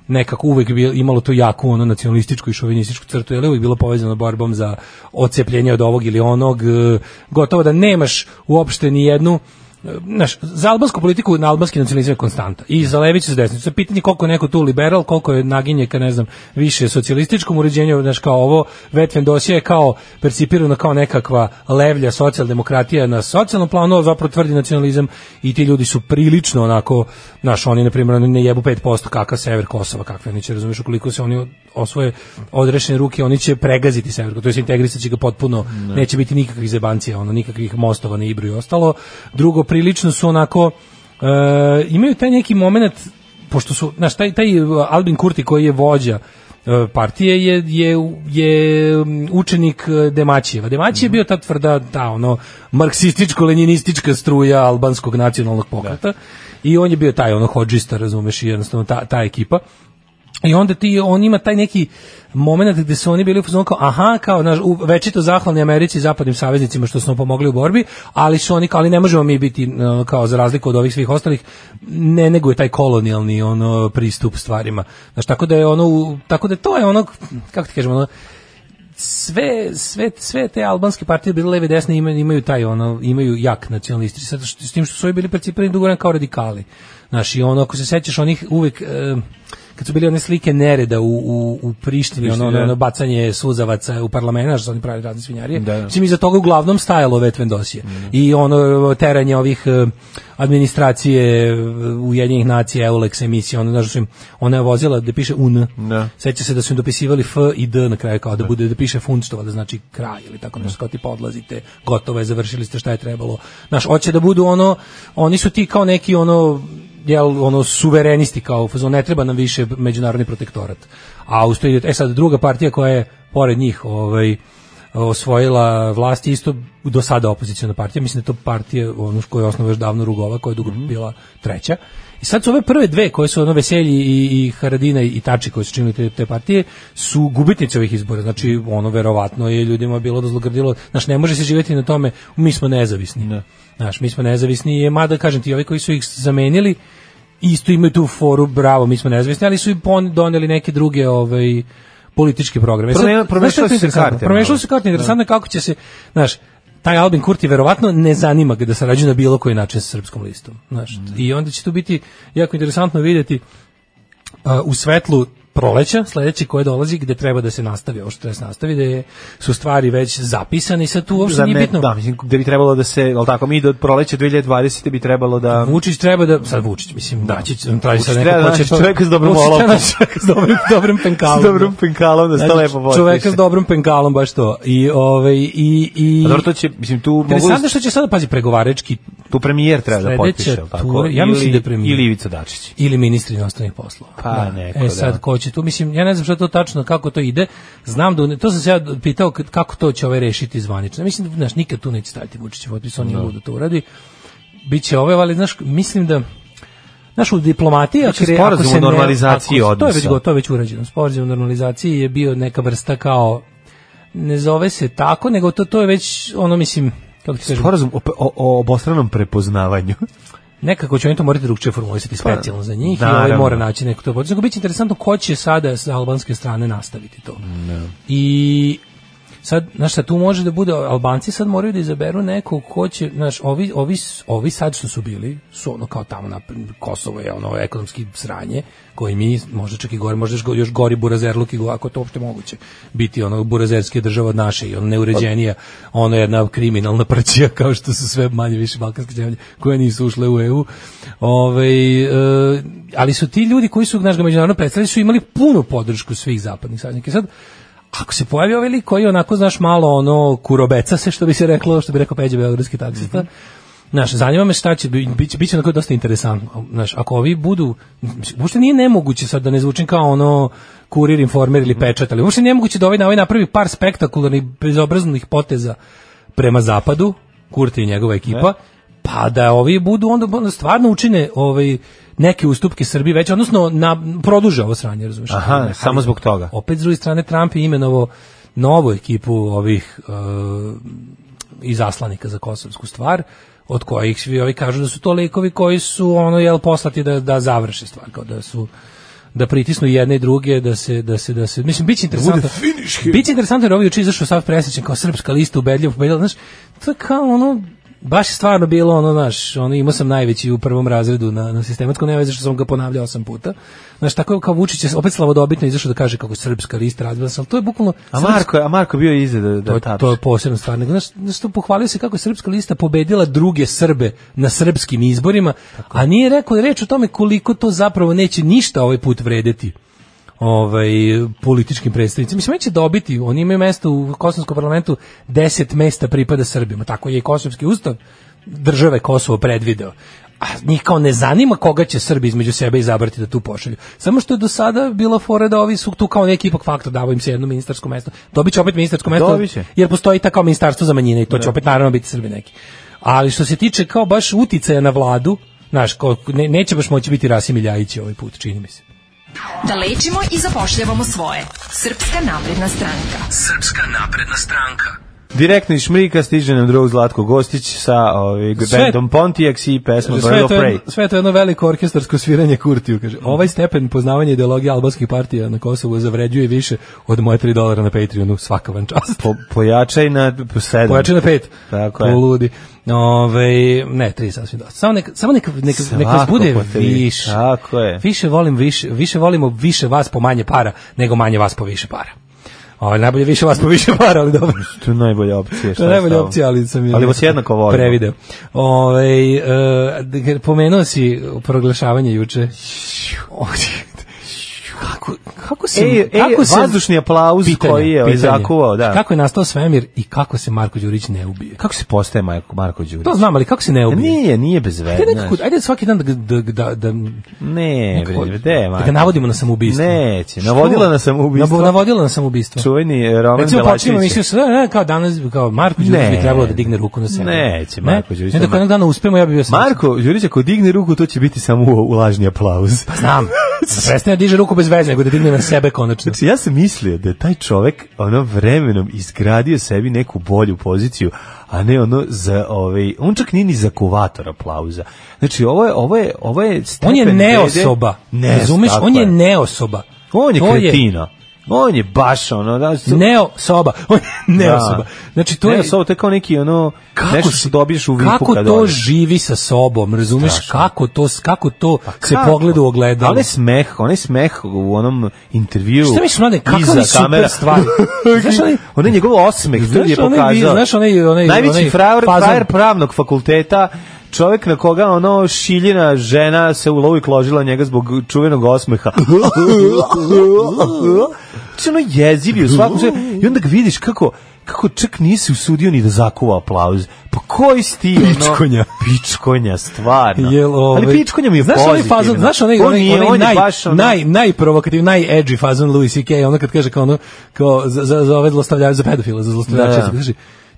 [SPEAKER 7] nekako uvek bilo, imalo tu jaku ono nacionalističku i šovinističku crtu, jer je uvek bilo povezano borbom za ocepljenje od ovog ili onog, e, gotovo da nemaš uopšte ni jednu e, znaš, za albansku politiku na albanski nacionalizam je konstanta i za levicu i za desnicu. Sad Pitanje je koliko je neko tu liberal, koliko je naginje ka ne znam, više socijalističkom uređenju, znaš, kao ovo, Vetven dosije je kao percipirano kao nekakva levlja socijaldemokratija na socijalnom planu, a zapravo tvrdi nacionalizam i ti ljudi su prilično onako, znaš, oni na primjer oni ne jebu 5% kakav sever Kosova, kakve oni će, razumeš, ukoliko se oni osvoje odrešene ruke, oni će pregaziti sever, Kosova, to jest integrisat će ga potpuno, ne. neće biti nikakvih zebancija, ono, nikakvih mostova na Ibru i ostalo. Drugo, prilično su onako, e, imaju taj neki moment, pošto su, znaš, taj, taj uh, Albin Kurti koji je vođa e, partije je, je, je mm, učenik e, Demaćijeva. Demaćije je bio ta tvrda, ta ono, marksističko-leninistička struja albanskog nacionalnog pokreta i on je bio taj ono hodžista, razumeš, i jednostavno ta, ta ekipa. I onda ti, on ima taj neki moment gde su oni bili u fazonu kao, aha, kao, naš, u, večito zahvalni Americi i zapadnim saveznicima što su nam pomogli u borbi, ali su oni kao, ali ne možemo mi biti, e, kao, za razliku od ovih svih ostalih, ne nego je taj kolonijalni, ono, pristup stvarima. Znaš, tako da je ono, u- tako da to je ono, kako ti kažem, ono, sve, sve, sve te albanske partije bile leve i desne imaju, imaju taj ono imaju jak nacionalisti sad što, s tim što su ovi bili percipirani dugo vremena kao radikali znači ono ako se sećaš onih uvek e, kad su bili one slike nereda u, u, u Prištini, ono, ono,
[SPEAKER 6] da.
[SPEAKER 7] ono bacanje suzavaca u parlamenta, što oni pravi razne svinjarije,
[SPEAKER 6] Da, da.
[SPEAKER 7] mislim, iza toga uglavnom stajalo vetven dosije. I ono teranje ovih e, administracije e, Ujedinjenih nacija, Eulex emisije, ono, znaš, su im, ona je vozila da piše UN,
[SPEAKER 6] Da.
[SPEAKER 7] Seća se da su im dopisivali F i D na kraju kao da bude da piše fund što da znači kraj ili tako nešto kao tipa odlazite, gotovo je, završili ste šta je trebalo. Znaš, hoće da budu ono, oni su ti kao neki ono jel, ono suverenisti kao u fazonu, ne treba nam više međunarodni protektorat. A usto ide, e sad druga partija koja je pored njih ovaj, osvojila vlast je isto do sada opoziciona partija, mislim da je to partija ono koju je osnovao još davno Rugova koja je dugo
[SPEAKER 6] Mhm.
[SPEAKER 7] bila treća. I sad su ove prve dve koje su ono Veselji i, i Haradina i Tači koji su činili te, te partije su gubitnici ovih izbora. Znači ono verovatno je ljudima bilo da zlogrdilo. Znaš ne može se živjeti na tome mi smo nezavisni. Ne. Znaš mi smo nezavisni je mada kažem ti ovi koji su ih zamenili isto imaju tu foru bravo mi smo nezavisni ali su i pon- doneli neke druge ovaj politički program. E sad,
[SPEAKER 6] Promijena-
[SPEAKER 7] znaš šta
[SPEAKER 6] promešale su
[SPEAKER 7] je tu
[SPEAKER 6] se
[SPEAKER 7] interesantno?
[SPEAKER 6] karte,
[SPEAKER 7] Promešale
[SPEAKER 6] malo.
[SPEAKER 7] su se karte, interesantno je kako će se, znaš, taj Albin Kurti verovatno ne zanima ga da sarađuje na bilo koji način sa srpskom listom. Znaš, I onda će tu biti jako interesantno vidjeti uh, u svetlu proleća, sledeći koje dolazi, gde treba da se nastavi, ovo što treba da se nastavi, da je, su stvari već zapisane i sad tu uopšte
[SPEAKER 6] Za
[SPEAKER 7] nije
[SPEAKER 6] ne-
[SPEAKER 7] bitno.
[SPEAKER 6] Da, mislim, da bi trebalo da se, al tako, mi do proleća 2020. bi trebalo da...
[SPEAKER 7] Vučić treba da sad Vučić mislim da će traži
[SPEAKER 6] Vučić
[SPEAKER 7] sad neko
[SPEAKER 6] treba da
[SPEAKER 7] ko će
[SPEAKER 6] nađe
[SPEAKER 7] to-
[SPEAKER 6] čoveka s dobrom
[SPEAKER 7] Vučić treba
[SPEAKER 6] olovkom.
[SPEAKER 7] naći čoveka s dobrim dobrim penkalom.
[SPEAKER 6] S dobrom penkalom da se to
[SPEAKER 7] Znači,
[SPEAKER 6] lepo Pa potpiše.
[SPEAKER 7] Čoveka s dobrim penkalom baš to. I ovaj i i
[SPEAKER 6] A dobro, to će, mislim, tu mogu...
[SPEAKER 7] Interesantno što će sada pazi pregovarački
[SPEAKER 6] Tu premijer treba da
[SPEAKER 7] Sledeća
[SPEAKER 6] potpiše, jel tako?
[SPEAKER 7] tura- ja mislim
[SPEAKER 6] Ili-
[SPEAKER 7] da je premijer.
[SPEAKER 6] Ili Ivica Dačić.
[SPEAKER 7] ili ministri inostranih poslova.
[SPEAKER 6] Pa,
[SPEAKER 7] da.
[SPEAKER 6] neko,
[SPEAKER 7] e sad
[SPEAKER 6] da.
[SPEAKER 7] ko će tu mislim ja ne znam šta to tačno kako to ide. Znam da u ne- to sam se ja pitao k- kako to će ovaj rešiti zvanično. Mislim da znaš nikad tu neće staviti Vučićev potpis, on je lud da to uradi. Biće ove, ali znaš, mislim da Znaš, u diplomatiji, ako,
[SPEAKER 6] Biće
[SPEAKER 7] re-
[SPEAKER 6] Znači,
[SPEAKER 7] ako
[SPEAKER 6] sporazum
[SPEAKER 7] se
[SPEAKER 6] o
[SPEAKER 7] ne-
[SPEAKER 6] normalizaciji
[SPEAKER 7] ako se- To je već
[SPEAKER 6] odnosa.
[SPEAKER 7] gotovo, to je već urađeno. Sporazum o normalizaciji je bio neka vrsta kao, ne zove se tako, nego to, to je već, ono, mislim, kako ti kažem,
[SPEAKER 6] Sporazum o, o, o obostranom prepoznavanju.
[SPEAKER 7] nekako će oni to morati drugčije formulisati specijalno za njih i ovaj
[SPEAKER 6] naravno.
[SPEAKER 7] mora naći neko to podizno. Biće interesantno ko će sada s albanske strane nastaviti to. I sad, znaš šta, tu može da bude, Albanci sad moraju da izaberu nekog ko će, znaš, ovi, ovi, s- ovi sad što su bili, su ono kao tamo na Kosovo je ono ekonomski sranje, koji mi, možda čak i gore, možda još go- još gori burazerluk i go- ako je to uopšte moguće, biti ono burazerske država od naše i ono neuređenija, ono jedna kriminalna prćija kao što su sve manje više balkanske zemlje koje nisu ušle u EU. Ove, e, ali su ti ljudi koji su, znaš, ga međunarodno predstavljali, su imali punu podršku svih zapadnih saveznika. I sad, ako se pojavi ovaj lik koji onako, znaš, malo ono, kurobeca se, što bi se reklo, što bi rekao Peđa Beogradski taksista, Znaš, zanima me šta će, bi- biće, biće onako dosta interesantno. Znaš, ako ovi budu, mislim, uopšte nije nemoguće sad da ne zvučim kao ono kurir, informer ili pečat, ali uopšte nije nemoguće da ovaj, na ovaj napravi par spektakularnih, bezobraznih poteza prema zapadu, Kurti i njegova ekipa, pa da ovi budu onda onda stvarno učine ovaj neke ustupke Srbiji već, odnosno na, produže ovo sranje, razumiješ?
[SPEAKER 6] Aha, samo zbog toga.
[SPEAKER 7] Opet s druge strane Trump je imenovao novu ekipu ovih e, izaslanika za kosovsku stvar od kojih svi ovi kažu da su to likovi koji su ono jel poslati da da završe stvar kao da su da pritisnu jedne i druge da se da se da se mislim biće interesantno biće interesantno jer ovi juče izašao sav presrećen kao srpska lista ubedljivo pobedila znaš to je kao ono baš je stvarno bilo ono naš ono imao sam najveći u prvom razredu na na sistematsko nema veze što sam ga ponavljao osam puta znaš tako je kao Vučić je opet slavodobitno izašao da kaže kako srpska lista razbila se ali to je bukvalno
[SPEAKER 6] A
[SPEAKER 7] srpska-
[SPEAKER 6] Marko, a Marko bio iza da, da
[SPEAKER 7] to, je- to je posebna stvar. Nego, znaš, znaš, tu pohvalio se kako je srpska lista pobedila druge Srbe na srpskim izborima, a nije rekao reč o tome koliko to zapravo neće ništa ovaj put vredeti ovaj političkim predstavnicima. Mislim, oni će dobiti, oni imaju mesto u Kosovskom parlamentu, 10 mesta pripada Srbima, tako je i Kosovski ustav države Kosovo predvideo. A njih kao ne zanima koga će Srbi između sebe izabrati da tu pošalju. Samo što je do sada bila fora da ovi su tu kao neki ipak faktor, davo im se jedno ministarsko mesto. Dobit će opet ministarsko mesto,
[SPEAKER 6] Dobit će.
[SPEAKER 7] jer postoji tako ministarstvo za manjine i to će opet naravno biti Srbi neki. Ali što se tiče kao baš uticaja na vladu, znaš, kao, ne, neće baš moći biti Rasim Iljajić ovaj put, čini mi se.
[SPEAKER 4] Da lečimo i zapošljavamo svoje. Srpska napredna stranka.
[SPEAKER 6] Direktno iz Šmrika stiže nam drug Zlatko Gostić sa ovaj,
[SPEAKER 7] Sve-
[SPEAKER 6] bandom Pontiacs i pesmom
[SPEAKER 7] Sve
[SPEAKER 6] Bird
[SPEAKER 7] je
[SPEAKER 6] of
[SPEAKER 7] to, jedno,
[SPEAKER 6] Prey.
[SPEAKER 7] sve je to jedno veliko orkestarsko sviranje Kurtiju, kaže. Ovaj stepen poznavanja ideologije albanskih partija na Kosovu zavređuje više od moje 3 dolara na Patreonu, svaka vam čast.
[SPEAKER 6] Po, pojačaj na 7.
[SPEAKER 7] Pojače na pet.
[SPEAKER 6] Tako je.
[SPEAKER 7] Poludi. Ove, ne, tri sasvim dosta. Samo neka, samo neka, neka, neka vas
[SPEAKER 6] Svako
[SPEAKER 7] bude
[SPEAKER 6] po tri.
[SPEAKER 7] više.
[SPEAKER 6] Tako je.
[SPEAKER 7] Više volim više, više volimo više vas po manje para, nego manje vas po više para. Ovo, najbolje više vas po više para, ali dobro.
[SPEAKER 6] To je najbolja opcija.
[SPEAKER 7] To je najbolja opcija, ali sam je...
[SPEAKER 6] Ali vas jednako volim.
[SPEAKER 7] Prevideo. Ove, e, pomenuo si proglašavanje juče. Kako, kako se...
[SPEAKER 6] Ej, ej,
[SPEAKER 7] kako se-
[SPEAKER 6] e, vazdušni aplauz koji je
[SPEAKER 7] pitanje.
[SPEAKER 6] zakuvao, da.
[SPEAKER 7] Kako je nastao svemir i kako se Marko Đurić ne ubije?
[SPEAKER 6] Kako se postaje Marko, Marko Đurić? Pa
[SPEAKER 7] To znam, ali kako se ne ubije?
[SPEAKER 6] Nije, nije bez veze.
[SPEAKER 7] Ajde, nekako, ajde svaki dan da, da, da, da,
[SPEAKER 6] Ne,
[SPEAKER 7] nekako-
[SPEAKER 6] bre, gde,
[SPEAKER 7] da
[SPEAKER 6] Marko?
[SPEAKER 7] ga navodimo na samoubistvo.
[SPEAKER 6] Neće, navodila na samoubistvo.
[SPEAKER 7] Navo- Navodila na samoubistvo.
[SPEAKER 6] Čuveni eh, Roman
[SPEAKER 7] Recimo pa- počinimo
[SPEAKER 6] Belačević.
[SPEAKER 7] emisiju sa ne, kao danas kao Marko Đurić
[SPEAKER 6] Ne.
[SPEAKER 7] bi trebalo da digne ruku na sebe.
[SPEAKER 6] Neće, Marko Đurić.
[SPEAKER 7] Ne, da jednog dana uspemo ja bih bio srećan.
[SPEAKER 6] Marko Đurić, ako digne ruku, to će biti samo u- ulažni aplauz.
[SPEAKER 7] Pa znam. Da prestane da diže ruku bez veze, nego da digne na sebe konačno.
[SPEAKER 6] Znači, ja sam mislio da je taj čovek ono vremenom izgradio sebi neku bolju poziciju, a ne ono za ovaj, on čak nije ni za kuvator aplauza. Znači, ovo je, ovo je, ovo je stepen
[SPEAKER 7] On je
[SPEAKER 6] vrede-
[SPEAKER 7] neosoba.
[SPEAKER 6] Ne,
[SPEAKER 7] razumeš?
[SPEAKER 6] tako
[SPEAKER 7] On je neosoba.
[SPEAKER 6] On je
[SPEAKER 7] To
[SPEAKER 6] kretina. On je baš ono, da, su-
[SPEAKER 7] Neo soba. On je neo
[SPEAKER 6] Da.
[SPEAKER 7] soba. Znači to
[SPEAKER 6] Neo
[SPEAKER 7] je
[SPEAKER 6] soba, to je kao neki ono nešto što
[SPEAKER 7] si-
[SPEAKER 6] dobiješ u vipu
[SPEAKER 7] kako
[SPEAKER 6] kad
[SPEAKER 7] to
[SPEAKER 6] odeš.
[SPEAKER 7] živi sa sobom, razumeš
[SPEAKER 6] Strašno. Pa
[SPEAKER 7] kako to kako to se
[SPEAKER 6] Kako?
[SPEAKER 7] pogleda u ogledalo.
[SPEAKER 6] Ali smeh, onaj smeh u onom intervju.
[SPEAKER 7] Šta misliš, mlade, kakva
[SPEAKER 6] iza
[SPEAKER 7] mi super
[SPEAKER 6] kamera.
[SPEAKER 7] stvar. Znaš onaj-
[SPEAKER 6] onaj njegov osmeh, to
[SPEAKER 7] Znaš
[SPEAKER 6] je
[SPEAKER 7] onaj vi-
[SPEAKER 6] pokazao.
[SPEAKER 7] znaš onaj- onaj-
[SPEAKER 6] Najveći
[SPEAKER 7] onaj
[SPEAKER 6] frajer,
[SPEAKER 7] fazon-
[SPEAKER 6] frajer pravnog fakulteta, čovjek na koga ono šiljina žena se u lovu i kložila njega zbog čuvenog osmeha. Znači ono jezivi u svakom sve. I onda ga vidiš kako kako čak nisi usudio ni da zakuva aplauz. Pa koji si ti ono?
[SPEAKER 7] Pičkonja.
[SPEAKER 6] Pičkonja, stvarno.
[SPEAKER 7] Jel, ovaj,
[SPEAKER 6] Ali pičkonja mi je
[SPEAKER 7] znaš onaj
[SPEAKER 6] pozitivna.
[SPEAKER 7] fazon, znaš onaj,
[SPEAKER 6] On
[SPEAKER 7] onaj,
[SPEAKER 6] nije,
[SPEAKER 7] onaj,
[SPEAKER 6] on je
[SPEAKER 7] naj,
[SPEAKER 6] baš ono-
[SPEAKER 7] naj, najprovokativ, naj-edgy fazon Louis C.K. Ono kad kaže kao ono, kao za, za, za ove zlostavljače, za pedofile, za zlostavljače,
[SPEAKER 6] Da, da.
[SPEAKER 7] se kaže,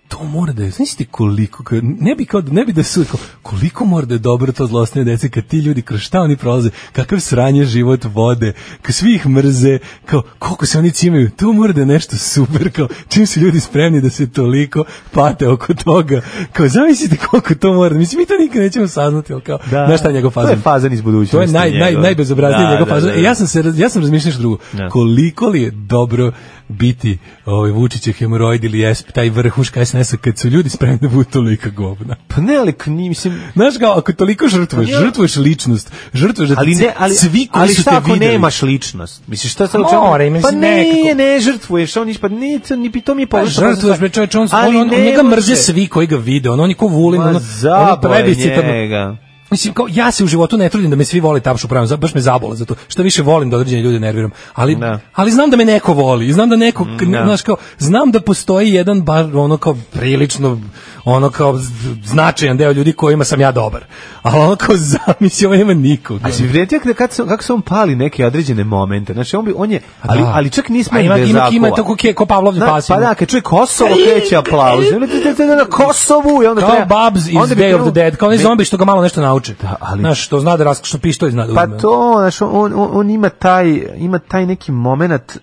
[SPEAKER 7] to mora da je, znaš ti koliko, ka- ne bi, kao, ne bi da su, kao, koliko mora da je dobro to zlostne dece, kad ti ljudi, kroz šta oni prolaze, kakav sranje život vode, kad svi ih mrze, kao, koliko se oni cimaju, to mora da je nešto super, kao, čim su ljudi spremni da se toliko pate oko toga, kao, zamislite koliko to mora, da- mislim, mi to nikad nećemo saznati, ali kao,
[SPEAKER 6] Da.
[SPEAKER 7] znaš šta je njegov fazon?
[SPEAKER 6] To je fazon iz budućnosti
[SPEAKER 7] To je naj, naj,
[SPEAKER 6] njegov.
[SPEAKER 7] najbezobrazniji
[SPEAKER 6] Da,
[SPEAKER 7] njegov
[SPEAKER 6] da,
[SPEAKER 7] fazon.
[SPEAKER 6] da, da.
[SPEAKER 7] E, Ja sam, se, raz- ja sam razmišljao što drugo.
[SPEAKER 6] Da.
[SPEAKER 7] Koliko li je dobro biti ovaj, Vučićev hemoroid ili jesp, taj vrhuška SNS-a kad su ljudi spremni da budu tolika govna.
[SPEAKER 6] Pa ne, ali k- ni, mislim,
[SPEAKER 7] Znaš kao, ako toliko žrtvuješ,
[SPEAKER 6] Ja.
[SPEAKER 7] žrtvuješ ličnost, žrtvuješ da
[SPEAKER 6] ali ne, ali,
[SPEAKER 7] svi koji
[SPEAKER 6] ali
[SPEAKER 7] su te
[SPEAKER 6] šta ako
[SPEAKER 7] videli.
[SPEAKER 6] nemaš ličnost? Misliš, šta sa
[SPEAKER 7] Mora, ima
[SPEAKER 6] Pa
[SPEAKER 7] se
[SPEAKER 6] ne,
[SPEAKER 7] nekako.
[SPEAKER 6] ne žrtvuješ, on ispa, ne, to, ni, to mi je
[SPEAKER 7] Pa
[SPEAKER 6] površno.
[SPEAKER 7] žrtvuješ bre čoveče, on, on, on, on njega mrze svi koji ga vide, on, on je ko Vulin, ono-
[SPEAKER 6] Ma
[SPEAKER 7] on, on
[SPEAKER 6] zabole njega.
[SPEAKER 7] Mislim, kao, ja se u životu ne trudim da me svi vole tapšu pravim, za- baš me zabola zato što više volim da određene ljude nerviram, ali,
[SPEAKER 6] Da. Mm,
[SPEAKER 7] ali znam da me neko voli, i znam da neko, k-
[SPEAKER 6] Da.
[SPEAKER 7] znaš kao, znam da postoji jedan bar ono kao prilično, ono kao z- značajan deo ljudi kojima sam ja dobar, ali ono kao zamisli, ovo nema nikog.
[SPEAKER 6] A si vrednijak da kad se, kako se on pali neke određene momente. Znači, on bi, on je, ali,
[SPEAKER 7] Da.
[SPEAKER 6] ali čak nismo
[SPEAKER 7] A ima-
[SPEAKER 6] da je
[SPEAKER 7] ima-
[SPEAKER 6] zakuva.
[SPEAKER 7] ima tako ke- ko Pavlovni
[SPEAKER 6] Da,
[SPEAKER 7] pas
[SPEAKER 6] Pa
[SPEAKER 7] ima.
[SPEAKER 6] da, kad čuje Kosovo, kreće aplauz. Na Kosovu i onda
[SPEAKER 7] Kao
[SPEAKER 6] treba...
[SPEAKER 7] Babs iz
[SPEAKER 6] onda bi
[SPEAKER 7] Day of the
[SPEAKER 6] krenuo-
[SPEAKER 7] Dead, kao onaj
[SPEAKER 6] Ne,
[SPEAKER 7] zombi što ga malo nešto nauče.
[SPEAKER 6] Da, ali-
[SPEAKER 7] Znaš, što zna da rask, što pištolj zna da
[SPEAKER 6] Pa
[SPEAKER 7] uzme.
[SPEAKER 6] to, znaš, on, on, on ima, taj, ima taj neki moment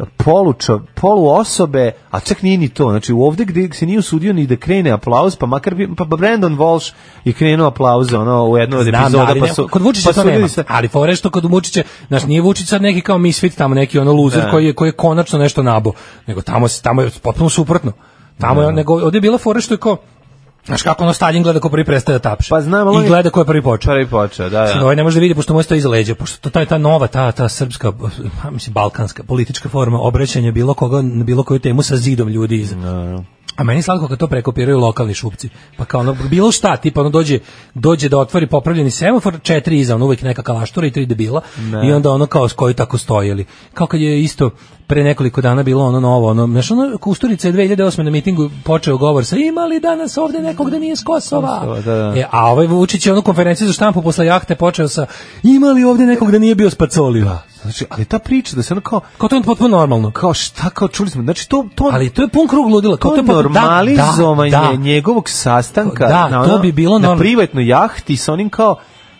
[SPEAKER 6] uh, polučo, polu osobe, a čak nije ni to, znači ovde gde se nije usudio ni da krene aplauz, pa makar bi, pa Brandon Walsh je krenuo aplauze ono, u jednu od
[SPEAKER 7] Znam,
[SPEAKER 6] epizoda,
[SPEAKER 7] ali
[SPEAKER 6] pa
[SPEAKER 7] ne-
[SPEAKER 6] su,
[SPEAKER 7] kod Vučića
[SPEAKER 6] pa
[SPEAKER 7] to
[SPEAKER 6] su
[SPEAKER 7] nema.
[SPEAKER 6] ljudi se-
[SPEAKER 7] Ali fore što kod Vučića, znaš, nije Vučić sad neki kao misfit tamo neki ono luzer
[SPEAKER 6] Da.
[SPEAKER 7] koji je koji je konačno nešto nabo, nego tamo se tamo je potpuno suprotno. Tamo je nego ovde je bila fore što je kao Znaš kako ono Stalin gleda ko prvi prestaje da tapše.
[SPEAKER 6] Pa znam, ali on
[SPEAKER 7] I
[SPEAKER 6] je-
[SPEAKER 7] gleda ko je prvi počeo.
[SPEAKER 6] Prvi počeo, da,
[SPEAKER 7] Sad
[SPEAKER 6] da.
[SPEAKER 7] ovaj ne može da vidi pošto mu je to iza leđa, pošto to ta ta nova ta ta srpska pa mislim balkanska politička forma obraćanja bilo koga na bilo koju temu sa zidom ljudi iz. A meni je slatko kad to prekopiraju lokalni šupci. Pa kao ono, bilo šta, tipa ono dođe, dođe da otvori popravljeni semafor, četiri iza, ono uvek neka kalaštura i tri debila. I onda ono kao s koju tako stojili. Kao kad je isto pre nekoliko dana bilo ono novo, ono, znaš ono, Kusturica je 2008. na mitingu počeo govor sa ima li danas ovde nekog da nije s Kosova?
[SPEAKER 6] Kosova, da, da.
[SPEAKER 7] E, a ovaj Vučić je ono konferenciju za štampu posle jahte počeo sa ima li ovde nekog da nije bio s Pacolija?
[SPEAKER 6] Znači, ali ta priča da se ono kao,
[SPEAKER 7] Kao to je potpuno normalno.
[SPEAKER 6] kao šta, kao čuli smo, znači to, to,
[SPEAKER 7] Ali to je pun krug ludila. Kao
[SPEAKER 6] to
[SPEAKER 7] je
[SPEAKER 6] je
[SPEAKER 7] potpuno- da,
[SPEAKER 6] normalizovanje
[SPEAKER 7] da, da.
[SPEAKER 6] njegovog sastanka
[SPEAKER 7] Da,
[SPEAKER 6] na,
[SPEAKER 7] to
[SPEAKER 6] ono-
[SPEAKER 7] bi bilo
[SPEAKER 6] na
[SPEAKER 7] normalno.
[SPEAKER 6] privatnoj jahti sa onim kao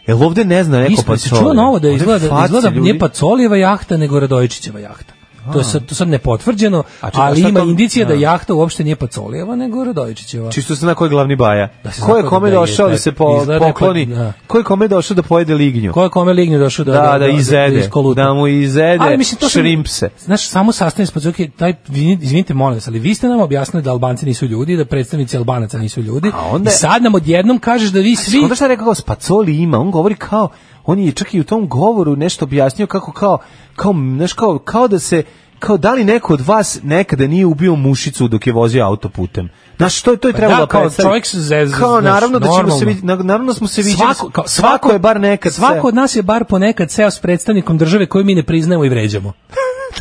[SPEAKER 6] Jel ovde ne zna neko
[SPEAKER 7] Ispod
[SPEAKER 6] pa
[SPEAKER 7] se čuo novo da izgleda, da izgleda nije pa- Pacolijeva jahta, nego Radojičićeva jahta. To je sad, to sad nepotvrđeno,
[SPEAKER 6] A čekaj,
[SPEAKER 7] ali
[SPEAKER 6] šta
[SPEAKER 7] ima
[SPEAKER 6] to-
[SPEAKER 7] indicija da
[SPEAKER 6] da.
[SPEAKER 7] jahta uopšte nije Pacolijeva, nego Radojičićeva.
[SPEAKER 6] Čisto se zna ko je glavni baja.
[SPEAKER 7] Da se
[SPEAKER 6] ko je
[SPEAKER 7] zna
[SPEAKER 6] kome
[SPEAKER 7] da je,
[SPEAKER 6] došao da,
[SPEAKER 7] da,
[SPEAKER 6] se po,
[SPEAKER 7] izgleda neko-
[SPEAKER 6] pokloni?
[SPEAKER 7] da.
[SPEAKER 6] Ko je kome došao da pojede lignju?
[SPEAKER 7] Ko je kome lignju došao da,
[SPEAKER 6] da, da, izede.
[SPEAKER 7] iskoluta?
[SPEAKER 6] Da, mu izede
[SPEAKER 7] Ali mislim, to sam-
[SPEAKER 6] šrimpse.
[SPEAKER 7] Znaš, samo sastavim s pazuke, taj, izvinite, molim vas, ali vi ste nam objasnili da Albanci nisu ljudi, da predstavnici Albanaca nisu ljudi,
[SPEAKER 6] A onda-
[SPEAKER 7] i sad nam odjednom kažeš da vi svi...
[SPEAKER 6] Onda šta je rekao kao Spacoli ima, on govori kao on je čak i u tom govoru nešto objasnio kako kao kao znaš, kao, kao da se kao da li neko od vas nekada nije ubio mušicu dok je vozio autoputem. Znaš, što je to je
[SPEAKER 7] Pa
[SPEAKER 6] trebalo
[SPEAKER 7] da, kao
[SPEAKER 6] predstavi.
[SPEAKER 7] čovjek se zez-
[SPEAKER 6] Kao
[SPEAKER 7] znaš,
[SPEAKER 6] naravno da ćemo
[SPEAKER 7] normalno.
[SPEAKER 6] se vid- na- naravno smo se viđali.
[SPEAKER 7] Svako, kao,
[SPEAKER 6] svako je bar nekad
[SPEAKER 7] Svako
[SPEAKER 6] se-
[SPEAKER 7] od nas je bar ponekad seo s predstavnikom države koju mi ne priznajemo i vređamo.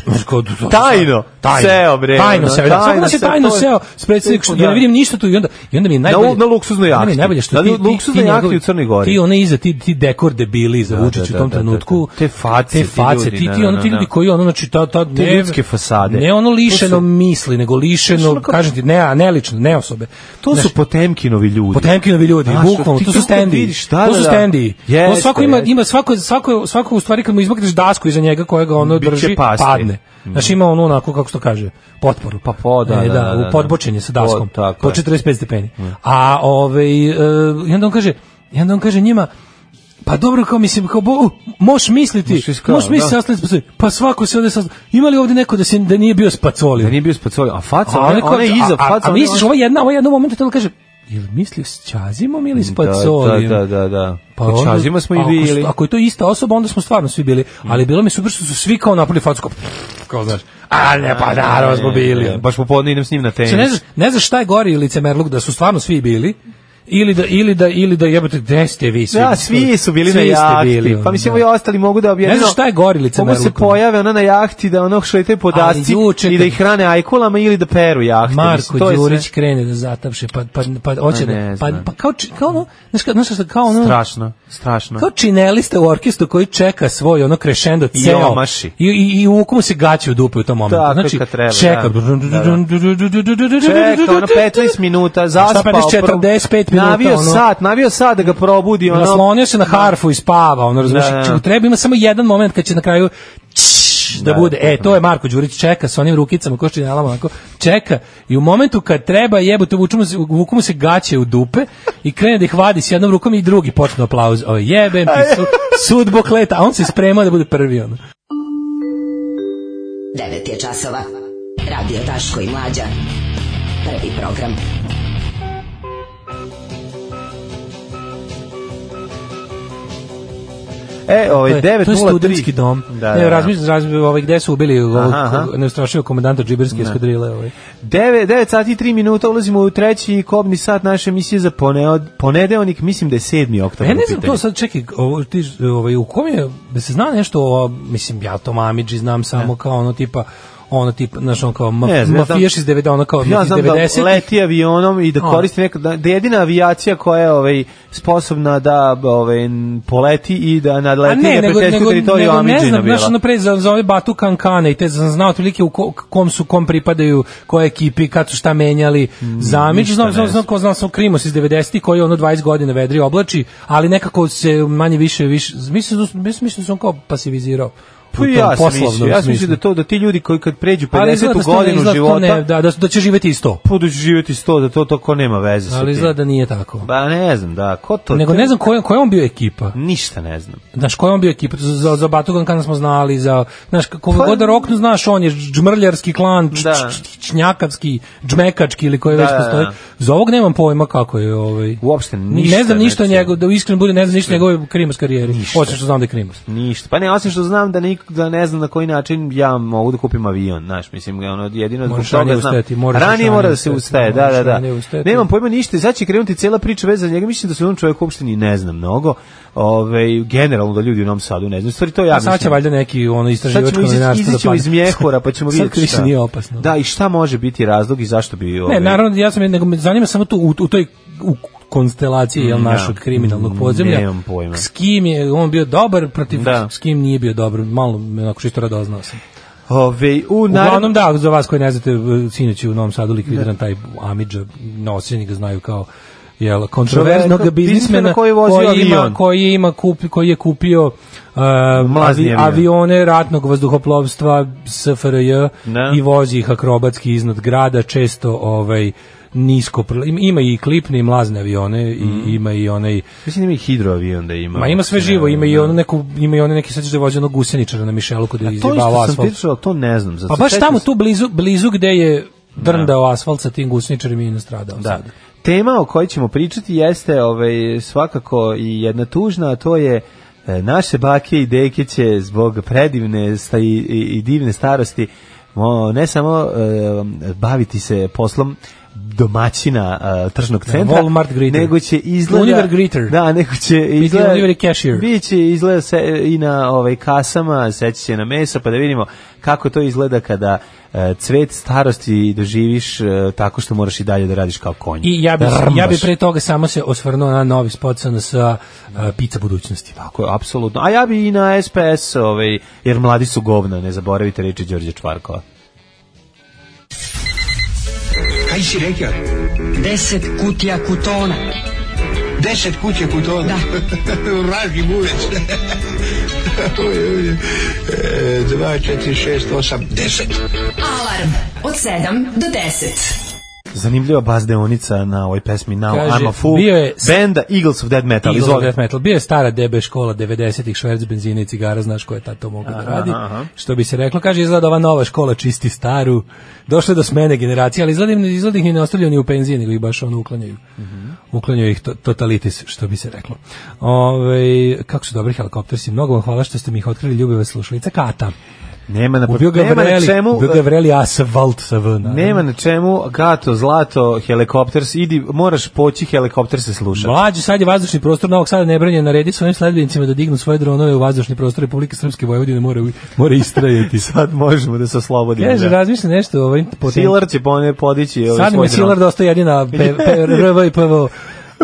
[SPEAKER 7] Znaš, kao, to- to-
[SPEAKER 6] Tajno.
[SPEAKER 7] tajno,
[SPEAKER 6] Seo, bre,
[SPEAKER 7] tajno
[SPEAKER 6] ono,
[SPEAKER 7] seo, da, svako
[SPEAKER 6] tajno
[SPEAKER 7] nas je
[SPEAKER 6] seo,
[SPEAKER 7] tajno
[SPEAKER 6] to je-
[SPEAKER 7] seo s predstavnikom,
[SPEAKER 6] to-
[SPEAKER 7] ja ne vidim ništa tu i onda, i onda mi je najbolje...
[SPEAKER 6] na luksuznoj
[SPEAKER 7] onda mi je
[SPEAKER 6] jahti.
[SPEAKER 7] najbolje što
[SPEAKER 6] Na
[SPEAKER 7] ti, ti,
[SPEAKER 6] luksuznoj
[SPEAKER 7] ti
[SPEAKER 6] jahti
[SPEAKER 7] njegovi-
[SPEAKER 6] u Crnoj Gori.
[SPEAKER 7] Ti one iza, ti, ti dekor debili iza
[SPEAKER 6] Da,
[SPEAKER 7] Vučić
[SPEAKER 6] da,
[SPEAKER 7] u tom
[SPEAKER 6] da, da,
[SPEAKER 7] trenutku.
[SPEAKER 6] da. Te face,
[SPEAKER 7] Te
[SPEAKER 6] ti
[SPEAKER 7] face,
[SPEAKER 6] ljudi,
[SPEAKER 7] ti,
[SPEAKER 6] da,
[SPEAKER 7] ti,
[SPEAKER 6] da,
[SPEAKER 7] ono, ti
[SPEAKER 6] da,
[SPEAKER 7] ljudi
[SPEAKER 6] da.
[SPEAKER 7] koji ono, znači, ta, ta,
[SPEAKER 6] Te ljudske fasade.
[SPEAKER 7] Ne ono
[SPEAKER 6] To su-
[SPEAKER 7] lišeno misli, nego
[SPEAKER 6] Znaš,
[SPEAKER 7] lišeno,
[SPEAKER 6] ono kao-
[SPEAKER 7] kažem ti, ne, a ne lično, ne osobe.
[SPEAKER 6] To
[SPEAKER 7] Znaš,
[SPEAKER 6] su Potemkinovi ljudi.
[SPEAKER 7] Potemkinovi ljudi,
[SPEAKER 6] Znaš,
[SPEAKER 7] bukvalno,
[SPEAKER 6] ti
[SPEAKER 7] to su
[SPEAKER 6] kako
[SPEAKER 7] stendi.
[SPEAKER 6] vidiš, da,
[SPEAKER 7] To su
[SPEAKER 6] da, da.
[SPEAKER 7] stendi. To
[SPEAKER 6] Jeste,
[SPEAKER 7] svako ima
[SPEAKER 6] jeste.
[SPEAKER 7] ima svako svako svako u stvari kad mu izmakneš dasku iza njega kojega ono
[SPEAKER 6] Biće
[SPEAKER 7] drži
[SPEAKER 6] pasti. Mm.
[SPEAKER 7] padne. Znači ima ono onako kako se to kaže, potporu.
[SPEAKER 6] Pa po, da,
[SPEAKER 7] E,
[SPEAKER 6] da, da, da,
[SPEAKER 7] u
[SPEAKER 6] da.
[SPEAKER 7] podbočenje sa daskom.
[SPEAKER 6] Po, tako
[SPEAKER 7] po
[SPEAKER 6] je. Mm.
[SPEAKER 7] 45 stepeni. A ovaj e, i onda on kaže, i onda on kaže njima Pa dobro, kao mislim, kao bo, moš misliti, moš
[SPEAKER 6] Možeš iskao,
[SPEAKER 7] misliti
[SPEAKER 6] da.
[SPEAKER 7] sastaviti spacoli. Pa svako se ovde sastavlja. Ima li ovde neko da, se, da nije bio spacoli?
[SPEAKER 6] Da nije bio spacoljen. A faca,
[SPEAKER 7] Pa A,
[SPEAKER 6] ona,
[SPEAKER 7] ona kao-
[SPEAKER 6] ona je iza
[SPEAKER 7] a- a-
[SPEAKER 6] faca.
[SPEAKER 7] A,
[SPEAKER 6] ona je-
[SPEAKER 7] misliš, ovo jedna, ovo jedna u momentu telo kaže, jel mislio s Ćazimom ili s Pacolim?
[SPEAKER 6] Da, da, da, da.
[SPEAKER 7] Pa
[SPEAKER 6] Pa
[SPEAKER 7] onda-
[SPEAKER 6] Čazima smo i
[SPEAKER 7] ako su-
[SPEAKER 6] bili. Mm.
[SPEAKER 7] Ako je to ista osoba, onda smo stvarno svi bili. Ali bilo mi super što su svi kao napravili facu, kao, pff, kao znaš, a ne, pa naravno smo bili.
[SPEAKER 6] E, Baš popodne idem s njim na tenis.
[SPEAKER 7] Znači, ne, znaš, ne znaš šta je gori licemerluk, da su stvarno svi bili, ili da, ili da, ili da jebate, gde ste vi svi?
[SPEAKER 6] Da, svi su bili
[SPEAKER 7] Svi
[SPEAKER 6] na
[SPEAKER 7] ste
[SPEAKER 6] jahti.
[SPEAKER 7] bili, ono,
[SPEAKER 6] pa mislim
[SPEAKER 7] da.
[SPEAKER 6] i ostali mogu da objedino.
[SPEAKER 7] Ne znaš šta je gori licemerluk.
[SPEAKER 6] Mogu se pojave ona na jahti da ono šete po
[SPEAKER 7] Ali
[SPEAKER 6] dasci
[SPEAKER 7] juče
[SPEAKER 6] i
[SPEAKER 7] kad-
[SPEAKER 6] da ih hrane ajkulama ili da peru jahte.
[SPEAKER 7] Marko
[SPEAKER 6] Mislim, to je sve-
[SPEAKER 7] Đurić krene da zatapše, pa, pa, pa, hoće
[SPEAKER 6] Pa ne
[SPEAKER 7] da, pa,
[SPEAKER 6] znam.
[SPEAKER 7] pa kao, či- kao ono, znaš, kao, znaš, šta, kao ono,
[SPEAKER 6] Strašno, strašno.
[SPEAKER 7] Kao činelista u orkestru koji čeka svoj ono krešendo ceo.
[SPEAKER 6] omaši.
[SPEAKER 7] I, i, i uvuku mu se gaće u dupe u tom momentu.
[SPEAKER 6] Tako je
[SPEAKER 7] znači,
[SPEAKER 6] kad treba,
[SPEAKER 7] čeka.
[SPEAKER 6] da. Čeka, ono 15 minuta, zaspao.
[SPEAKER 7] Šta 50, 45 minuta,
[SPEAKER 6] Navio
[SPEAKER 7] ono.
[SPEAKER 6] sat, navio sat da ga probudi. Ono,
[SPEAKER 7] Naslonio se na harfu i spava, ono razumiješ.
[SPEAKER 6] Da, da.
[SPEAKER 7] Čemu treba, ima samo jedan moment kad će na kraju čš, da,
[SPEAKER 6] Da,
[SPEAKER 7] bude. E, to je Marko Đurić čeka sa onim rukicama, ko činelama, onako, čeka i u momentu kad treba jebote, vuku mu, se, vuku mu se gaće u dupe i krene da ih vadi s jednom rukom i drugi počne aplauz. O, jebem ti su, sudbo kleta, a on se spremao da bude prvi, ono.
[SPEAKER 10] 9 je časova. Radio Daško i Mlađa. Prvi program.
[SPEAKER 6] E, ovaj,
[SPEAKER 7] To je-
[SPEAKER 6] 9.03.
[SPEAKER 7] To je studentski dom.
[SPEAKER 6] Da, da,
[SPEAKER 7] ne,
[SPEAKER 6] da.
[SPEAKER 7] razmišljam, razmišljam ovaj, gde su ubili ovog
[SPEAKER 6] aha.
[SPEAKER 7] neustrašivog komandanta džiberske eskadrile. Ovaj.
[SPEAKER 6] 9, 9 sati i 3 minuta ulazimo u treći kobni sat naše emisije za poneo- ponedeonik, mislim da je 7. oktober.
[SPEAKER 7] Pa Ja
[SPEAKER 6] u
[SPEAKER 7] ne znam
[SPEAKER 6] pitanju.
[SPEAKER 7] to sad, čekaj, ovo, ti, ovaj, u kom je, da se zna nešto o, mislim, ja to Mamidži znam samo kao ono tipa, ono tipa, znaš, ono kao ma,
[SPEAKER 6] Ne znam, ja znam-
[SPEAKER 7] mafijaš iz 90, ono kao
[SPEAKER 6] Ja
[SPEAKER 7] iz
[SPEAKER 6] znam
[SPEAKER 7] 90.
[SPEAKER 6] da leti avionom i da
[SPEAKER 7] A.
[SPEAKER 6] koristi neka da, da je jedina avijacija koja je ovaj sposobna da ovaj n- poleti i da
[SPEAKER 7] A
[SPEAKER 6] nadleti
[SPEAKER 7] ne,
[SPEAKER 6] na
[SPEAKER 7] nego,
[SPEAKER 6] prijateljsku
[SPEAKER 7] nego,
[SPEAKER 6] teritoriju
[SPEAKER 7] nego ne
[SPEAKER 6] Amidžina
[SPEAKER 7] znam,
[SPEAKER 6] bila.
[SPEAKER 7] znaš, ono pre za, za ove Batu Kankane i te sam znao otprilike u ko, kom su, kom pripadaju, koje ekipi, kad su šta menjali, zamič, znam,
[SPEAKER 6] Mm, ne
[SPEAKER 7] znam, znam,
[SPEAKER 6] znam.
[SPEAKER 7] ko znam, sam Krimos iz 90-ih koji ono 20 godina vedri oblači, ali nekako se manje više, više, mislim, da- mislim, mislim da sam kao pasivizirao.
[SPEAKER 6] Pa
[SPEAKER 7] u tom
[SPEAKER 6] ja sam
[SPEAKER 7] poslovnom
[SPEAKER 6] mislio, ja sam
[SPEAKER 7] smislu.
[SPEAKER 6] mislio da to da ti ljudi koji kad pređu
[SPEAKER 7] Ali izgleda
[SPEAKER 6] 50.
[SPEAKER 7] da sto-
[SPEAKER 6] godinu
[SPEAKER 7] izgleda da sto
[SPEAKER 6] života,
[SPEAKER 7] ne, da, da, da će živeti isto.
[SPEAKER 6] budu živjeti sto, da to toko nema veze sa
[SPEAKER 7] Ali
[SPEAKER 6] tim.
[SPEAKER 7] izgleda da nije tako.
[SPEAKER 6] Ba ne znam, da, ko to?
[SPEAKER 7] Nego ne znam koja koja je on bio ekipa.
[SPEAKER 6] Ništa ne znam.
[SPEAKER 7] Znaš, koja je on bio ekipa? Za, za Batugan kada smo znali, za, znaš, kako
[SPEAKER 6] Pa-
[SPEAKER 7] god da roknu, znaš, on je džmrljarski klan, č,
[SPEAKER 6] Da.
[SPEAKER 7] č- č- čnjakavski, džmekački ili koji već
[SPEAKER 6] da, da.
[SPEAKER 7] postoji. Za ovog nemam pojma kako je ovaj.
[SPEAKER 6] Uopšte ništa.
[SPEAKER 7] Ne znam ništa o
[SPEAKER 6] znači.
[SPEAKER 7] njegov, da iskreno bude, ne znam ništa o njegove Krimos karijeri. Osim što znam da je Krimos.
[SPEAKER 6] Ništa. Pa ne, osim što znam da, nik, da ne znam na koji način ja mogu da kupim avion, znaš, mislim, ono, jedino zbog
[SPEAKER 7] Moraš
[SPEAKER 6] toga
[SPEAKER 7] ranije
[SPEAKER 6] znam.
[SPEAKER 7] ustajati, moraš
[SPEAKER 6] ranije
[SPEAKER 7] još
[SPEAKER 6] mora
[SPEAKER 7] ranije
[SPEAKER 6] da se
[SPEAKER 7] ustajati,
[SPEAKER 6] ustaje, da,
[SPEAKER 7] moraš
[SPEAKER 6] da, da.
[SPEAKER 7] ranije ustajati.
[SPEAKER 6] Nemam pojma ništa i sad će krenuti cijela priča vezana za njega, mislim da se on čovjek uopšte ni ne znam mnogo, Ove, generalno da ljudi u Novom Sadu ne znam, stvari to ja
[SPEAKER 7] A sad će
[SPEAKER 6] mislim.
[SPEAKER 7] valjda neki ono
[SPEAKER 6] Sad
[SPEAKER 7] istraživačko
[SPEAKER 6] ćemo izaći
[SPEAKER 7] novinarstvo da
[SPEAKER 6] izaćemo
[SPEAKER 7] padne.
[SPEAKER 6] iz mjehora pa ćemo
[SPEAKER 7] Sad
[SPEAKER 6] vidjeti
[SPEAKER 7] više
[SPEAKER 6] šta.
[SPEAKER 7] nije opasno.
[SPEAKER 6] Da, i šta može biti razlog i zašto bi... ovaj, Ove,
[SPEAKER 7] Ne, naravno, ja sam, nego me zanima samo tu, u, u toj u konstelaciji jel, našeg
[SPEAKER 6] da.
[SPEAKER 7] kriminalnog podzemlja.
[SPEAKER 6] Mm, Nemam pojma.
[SPEAKER 7] S kim je on bio dobar, protiv
[SPEAKER 6] Da.
[SPEAKER 7] s kim nije bio dobar. Malo, me onako čisto radoznao sam.
[SPEAKER 6] Ove, ovaj, u, naravno,
[SPEAKER 7] Uglavnom, da, za vas koji ne znate, e, sinoć je u Novom Sadu likvidiran taj Amidža, noćeni ga znaju kao jel, kontroverznog
[SPEAKER 6] Čoveka,
[SPEAKER 7] biznismena
[SPEAKER 6] biznismena koji je vozio
[SPEAKER 7] ima,
[SPEAKER 6] avion.
[SPEAKER 7] koji, ima kupi, koji je kupio uh,
[SPEAKER 6] Mlazni
[SPEAKER 7] avi-
[SPEAKER 6] avion.
[SPEAKER 7] avione ratnog vazduhoplovstva SFRJ
[SPEAKER 6] Da.
[SPEAKER 7] i vozi ih akrobatski iznad grada, često ovaj nisko prl- im- ima i klipne i mlazne avione i ima i onaj
[SPEAKER 6] mislim da ima i hidroavion Mm. da ima.
[SPEAKER 7] ma ima sve živo ima i ono neku ima i one neki sećaš da je vozio onog guseničara na Mišelu kod je
[SPEAKER 6] Pa To
[SPEAKER 7] izjebavao
[SPEAKER 6] isto sam
[SPEAKER 7] asfalt
[SPEAKER 6] pričao, to ne znam. zato
[SPEAKER 7] pa baš
[SPEAKER 6] sećam
[SPEAKER 7] tamo
[SPEAKER 6] se-
[SPEAKER 7] tu blizu, blizu gde je drndao asfalt sa tim gusničarima i nastradao.
[SPEAKER 6] Da.
[SPEAKER 7] sad.
[SPEAKER 6] Tema o kojoj ćemo pričati jeste ovaj, svakako i jedna tužna, a to je e, naše bake i deke će zbog predivne sta i, i, i divne starosti mo- ne samo e, baviti se poslom domaćina e, tržnog centra,
[SPEAKER 7] Walmart greeter.
[SPEAKER 6] nego će izgleda...
[SPEAKER 7] Univer greeter.
[SPEAKER 6] Da, nego će izgleda...
[SPEAKER 7] Univer i cashier.
[SPEAKER 6] Biće izgleda se i na ovaj kasama, seći se na mesa, pa da vidimo kako to izgleda kada e, cvet starosti doživiš e, tako što moraš i dalje da radiš kao konj.
[SPEAKER 7] I ja bi,
[SPEAKER 6] Da rmbaš.
[SPEAKER 7] ja bi pre toga samo se osvrnuo na novi spot SNS sa Pica budućnosti.
[SPEAKER 6] Tako je, apsolutno. A ja bi i na SPS, ovaj, jer mladi su govna, ne zaboravite reči Đorđe Čvarkova.
[SPEAKER 1] 10 kutija kutona.
[SPEAKER 5] 10 kuće kod toga. Vraži buvec. Oj, oj. E, 2, 4, 6, 8, 10.
[SPEAKER 4] Alarm od 7 do 10.
[SPEAKER 6] zanimljiva bazdeonica na ovoj pesmi Now
[SPEAKER 7] Kaže,
[SPEAKER 6] I'm a Fool,
[SPEAKER 7] bio je-
[SPEAKER 6] benda Eagles of Dead Metal.
[SPEAKER 7] Eagles of
[SPEAKER 6] Izvoli.
[SPEAKER 7] Death Metal. Bio je stara DB škola 90-ih, šverc benzina i cigara, znaš ko je tad to mogao da
[SPEAKER 6] Aha,
[SPEAKER 7] radi.
[SPEAKER 6] aha.
[SPEAKER 7] Što bi se reklo, kaže, izgleda ova nova škola čisti staru. Došle do smene generacije, ali izgleda, im- izgleda ih ni ne ostavljaju ni u penziji, nego ih baš ono uklanjaju.
[SPEAKER 6] Mhm.
[SPEAKER 7] Uklanjaju ih to, totalitis, što bi se reklo. Ove, kako su dobri helikoptersi. Mnogo vam hvala što ste mi ih otkrili, ljubiva slušalica Kata.
[SPEAKER 6] Nema na,
[SPEAKER 7] Ubio ga
[SPEAKER 6] nema na
[SPEAKER 7] Vreli,
[SPEAKER 6] čemu, e-
[SPEAKER 7] ubio ga Vreli asfalt sa V. naravno.
[SPEAKER 6] nema na čemu, gato, zlato, helikopters, idi, moraš poći, helikopter se sluša.
[SPEAKER 7] Mlađi, sad je vazdušni prostor Novog Sada nebranjen, naredi svojim sledbenicima da dignu svoje dronove u vazdušni prostor Republike Srpske Vojvodine, mora, mora istrajati.
[SPEAKER 6] Sad možemo da se oslobodimo.
[SPEAKER 7] Kaže,
[SPEAKER 6] da.
[SPEAKER 7] razmišlja nešto o ovim poten-
[SPEAKER 6] Silar će pone podići ovaj
[SPEAKER 7] Sad mi
[SPEAKER 6] svoj
[SPEAKER 7] je Silar
[SPEAKER 6] dron.
[SPEAKER 7] dosta jedina pe- pe- RV i PVO.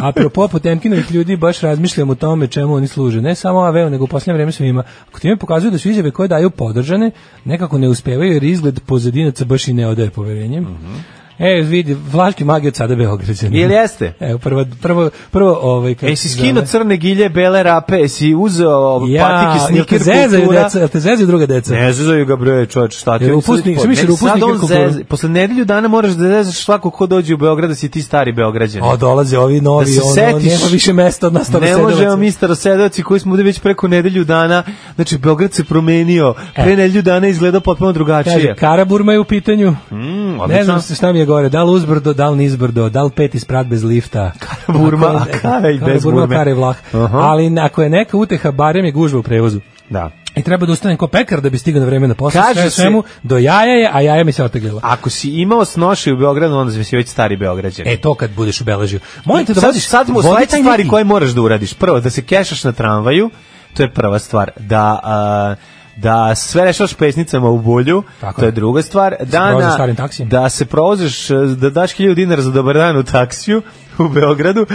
[SPEAKER 7] Apropo Potemkinovih ljudi, baš razmišljam o tome čemu oni služe. Ne samo AVO, nego u posljednje vreme svima. Ako time pokazuju da su izjave koje daju podržane, nekako ne uspevaju jer izgled pozadinaca baš i ne odaje poverenjem.
[SPEAKER 6] Mhm.
[SPEAKER 7] E, vidi, vlaški magi od sada Beograđana.
[SPEAKER 6] Jel jeste?
[SPEAKER 7] Evo, prvo, prvo, prvo, ovaj, kako
[SPEAKER 6] E, si
[SPEAKER 7] se
[SPEAKER 6] skino
[SPEAKER 7] zove?
[SPEAKER 6] crne gilje, bele rape, e, si uzeo patike,
[SPEAKER 7] jel te
[SPEAKER 6] sniker,
[SPEAKER 7] zezaju
[SPEAKER 6] kultura.
[SPEAKER 7] deca, jel te zezaju druga deca?
[SPEAKER 6] Ne zezaju ga bre, čoveč, šta ti?
[SPEAKER 7] Jel
[SPEAKER 6] oni sad
[SPEAKER 7] upusnik,
[SPEAKER 6] po-
[SPEAKER 7] sam mislio
[SPEAKER 6] ne,
[SPEAKER 7] upusnik
[SPEAKER 6] sad on
[SPEAKER 7] je kultura.
[SPEAKER 6] zeze- Posle nedelju dana moraš da zezaš svako ko dođe u Beograd da si ti stari Beograđan.
[SPEAKER 7] O, dolaze ovi novi,
[SPEAKER 6] Da se
[SPEAKER 7] ono,
[SPEAKER 6] setiš.
[SPEAKER 7] nema više mesta od nas
[SPEAKER 6] Ne
[SPEAKER 7] starosedevaca.
[SPEAKER 6] možemo mi starosedoci koji smo ovde već preko nedelju dana, znači Beograd se promenio, pre nedelju dana izgleda potpuno
[SPEAKER 7] E. Kaže,
[SPEAKER 6] drugačije.
[SPEAKER 7] Karaburma je u pitanju. ne
[SPEAKER 6] Mm, odlično.
[SPEAKER 7] znam se šta mi je gore, da li uzbrdo, da li nizbrdo, da li pet isprat bez lifta.
[SPEAKER 6] Burma,
[SPEAKER 7] Ako je-
[SPEAKER 6] a kara i bez
[SPEAKER 7] Karaburma,
[SPEAKER 6] burme.
[SPEAKER 7] kara i vlah.
[SPEAKER 6] Aha.
[SPEAKER 7] Ali na- ako je neka uteha, barem je gužva u prevozu.
[SPEAKER 6] Da.
[SPEAKER 7] I treba da ustanem ko pekar da bi stigao na vreme na posao.
[SPEAKER 6] Kaže
[SPEAKER 7] Sve u
[SPEAKER 6] se-
[SPEAKER 7] svemu, do jaja je, a jaja mi se oteglila.
[SPEAKER 6] Ako si imao snoši u Beogradu, onda si već stari Beograđan.
[SPEAKER 7] E, to kad budeš ubeležio. Molim te da
[SPEAKER 6] sad,
[SPEAKER 7] vodiš...
[SPEAKER 6] sad mu
[SPEAKER 7] vodi
[SPEAKER 6] sledeće
[SPEAKER 7] taj
[SPEAKER 6] stvari
[SPEAKER 7] neki-
[SPEAKER 6] koje moraš da uradiš. Prvo, da se kešaš na tramvaju, to je prva stvar. Da, a, da sve rešavaš pesnicama u bolju,
[SPEAKER 7] Tako
[SPEAKER 6] to je
[SPEAKER 7] je.
[SPEAKER 6] druga stvar. Da,
[SPEAKER 7] provozaš
[SPEAKER 6] na-
[SPEAKER 7] starim taksijem.
[SPEAKER 6] da se provoziš, e, da daš 1000 dinara za dobar dan u taksiju u Beogradu.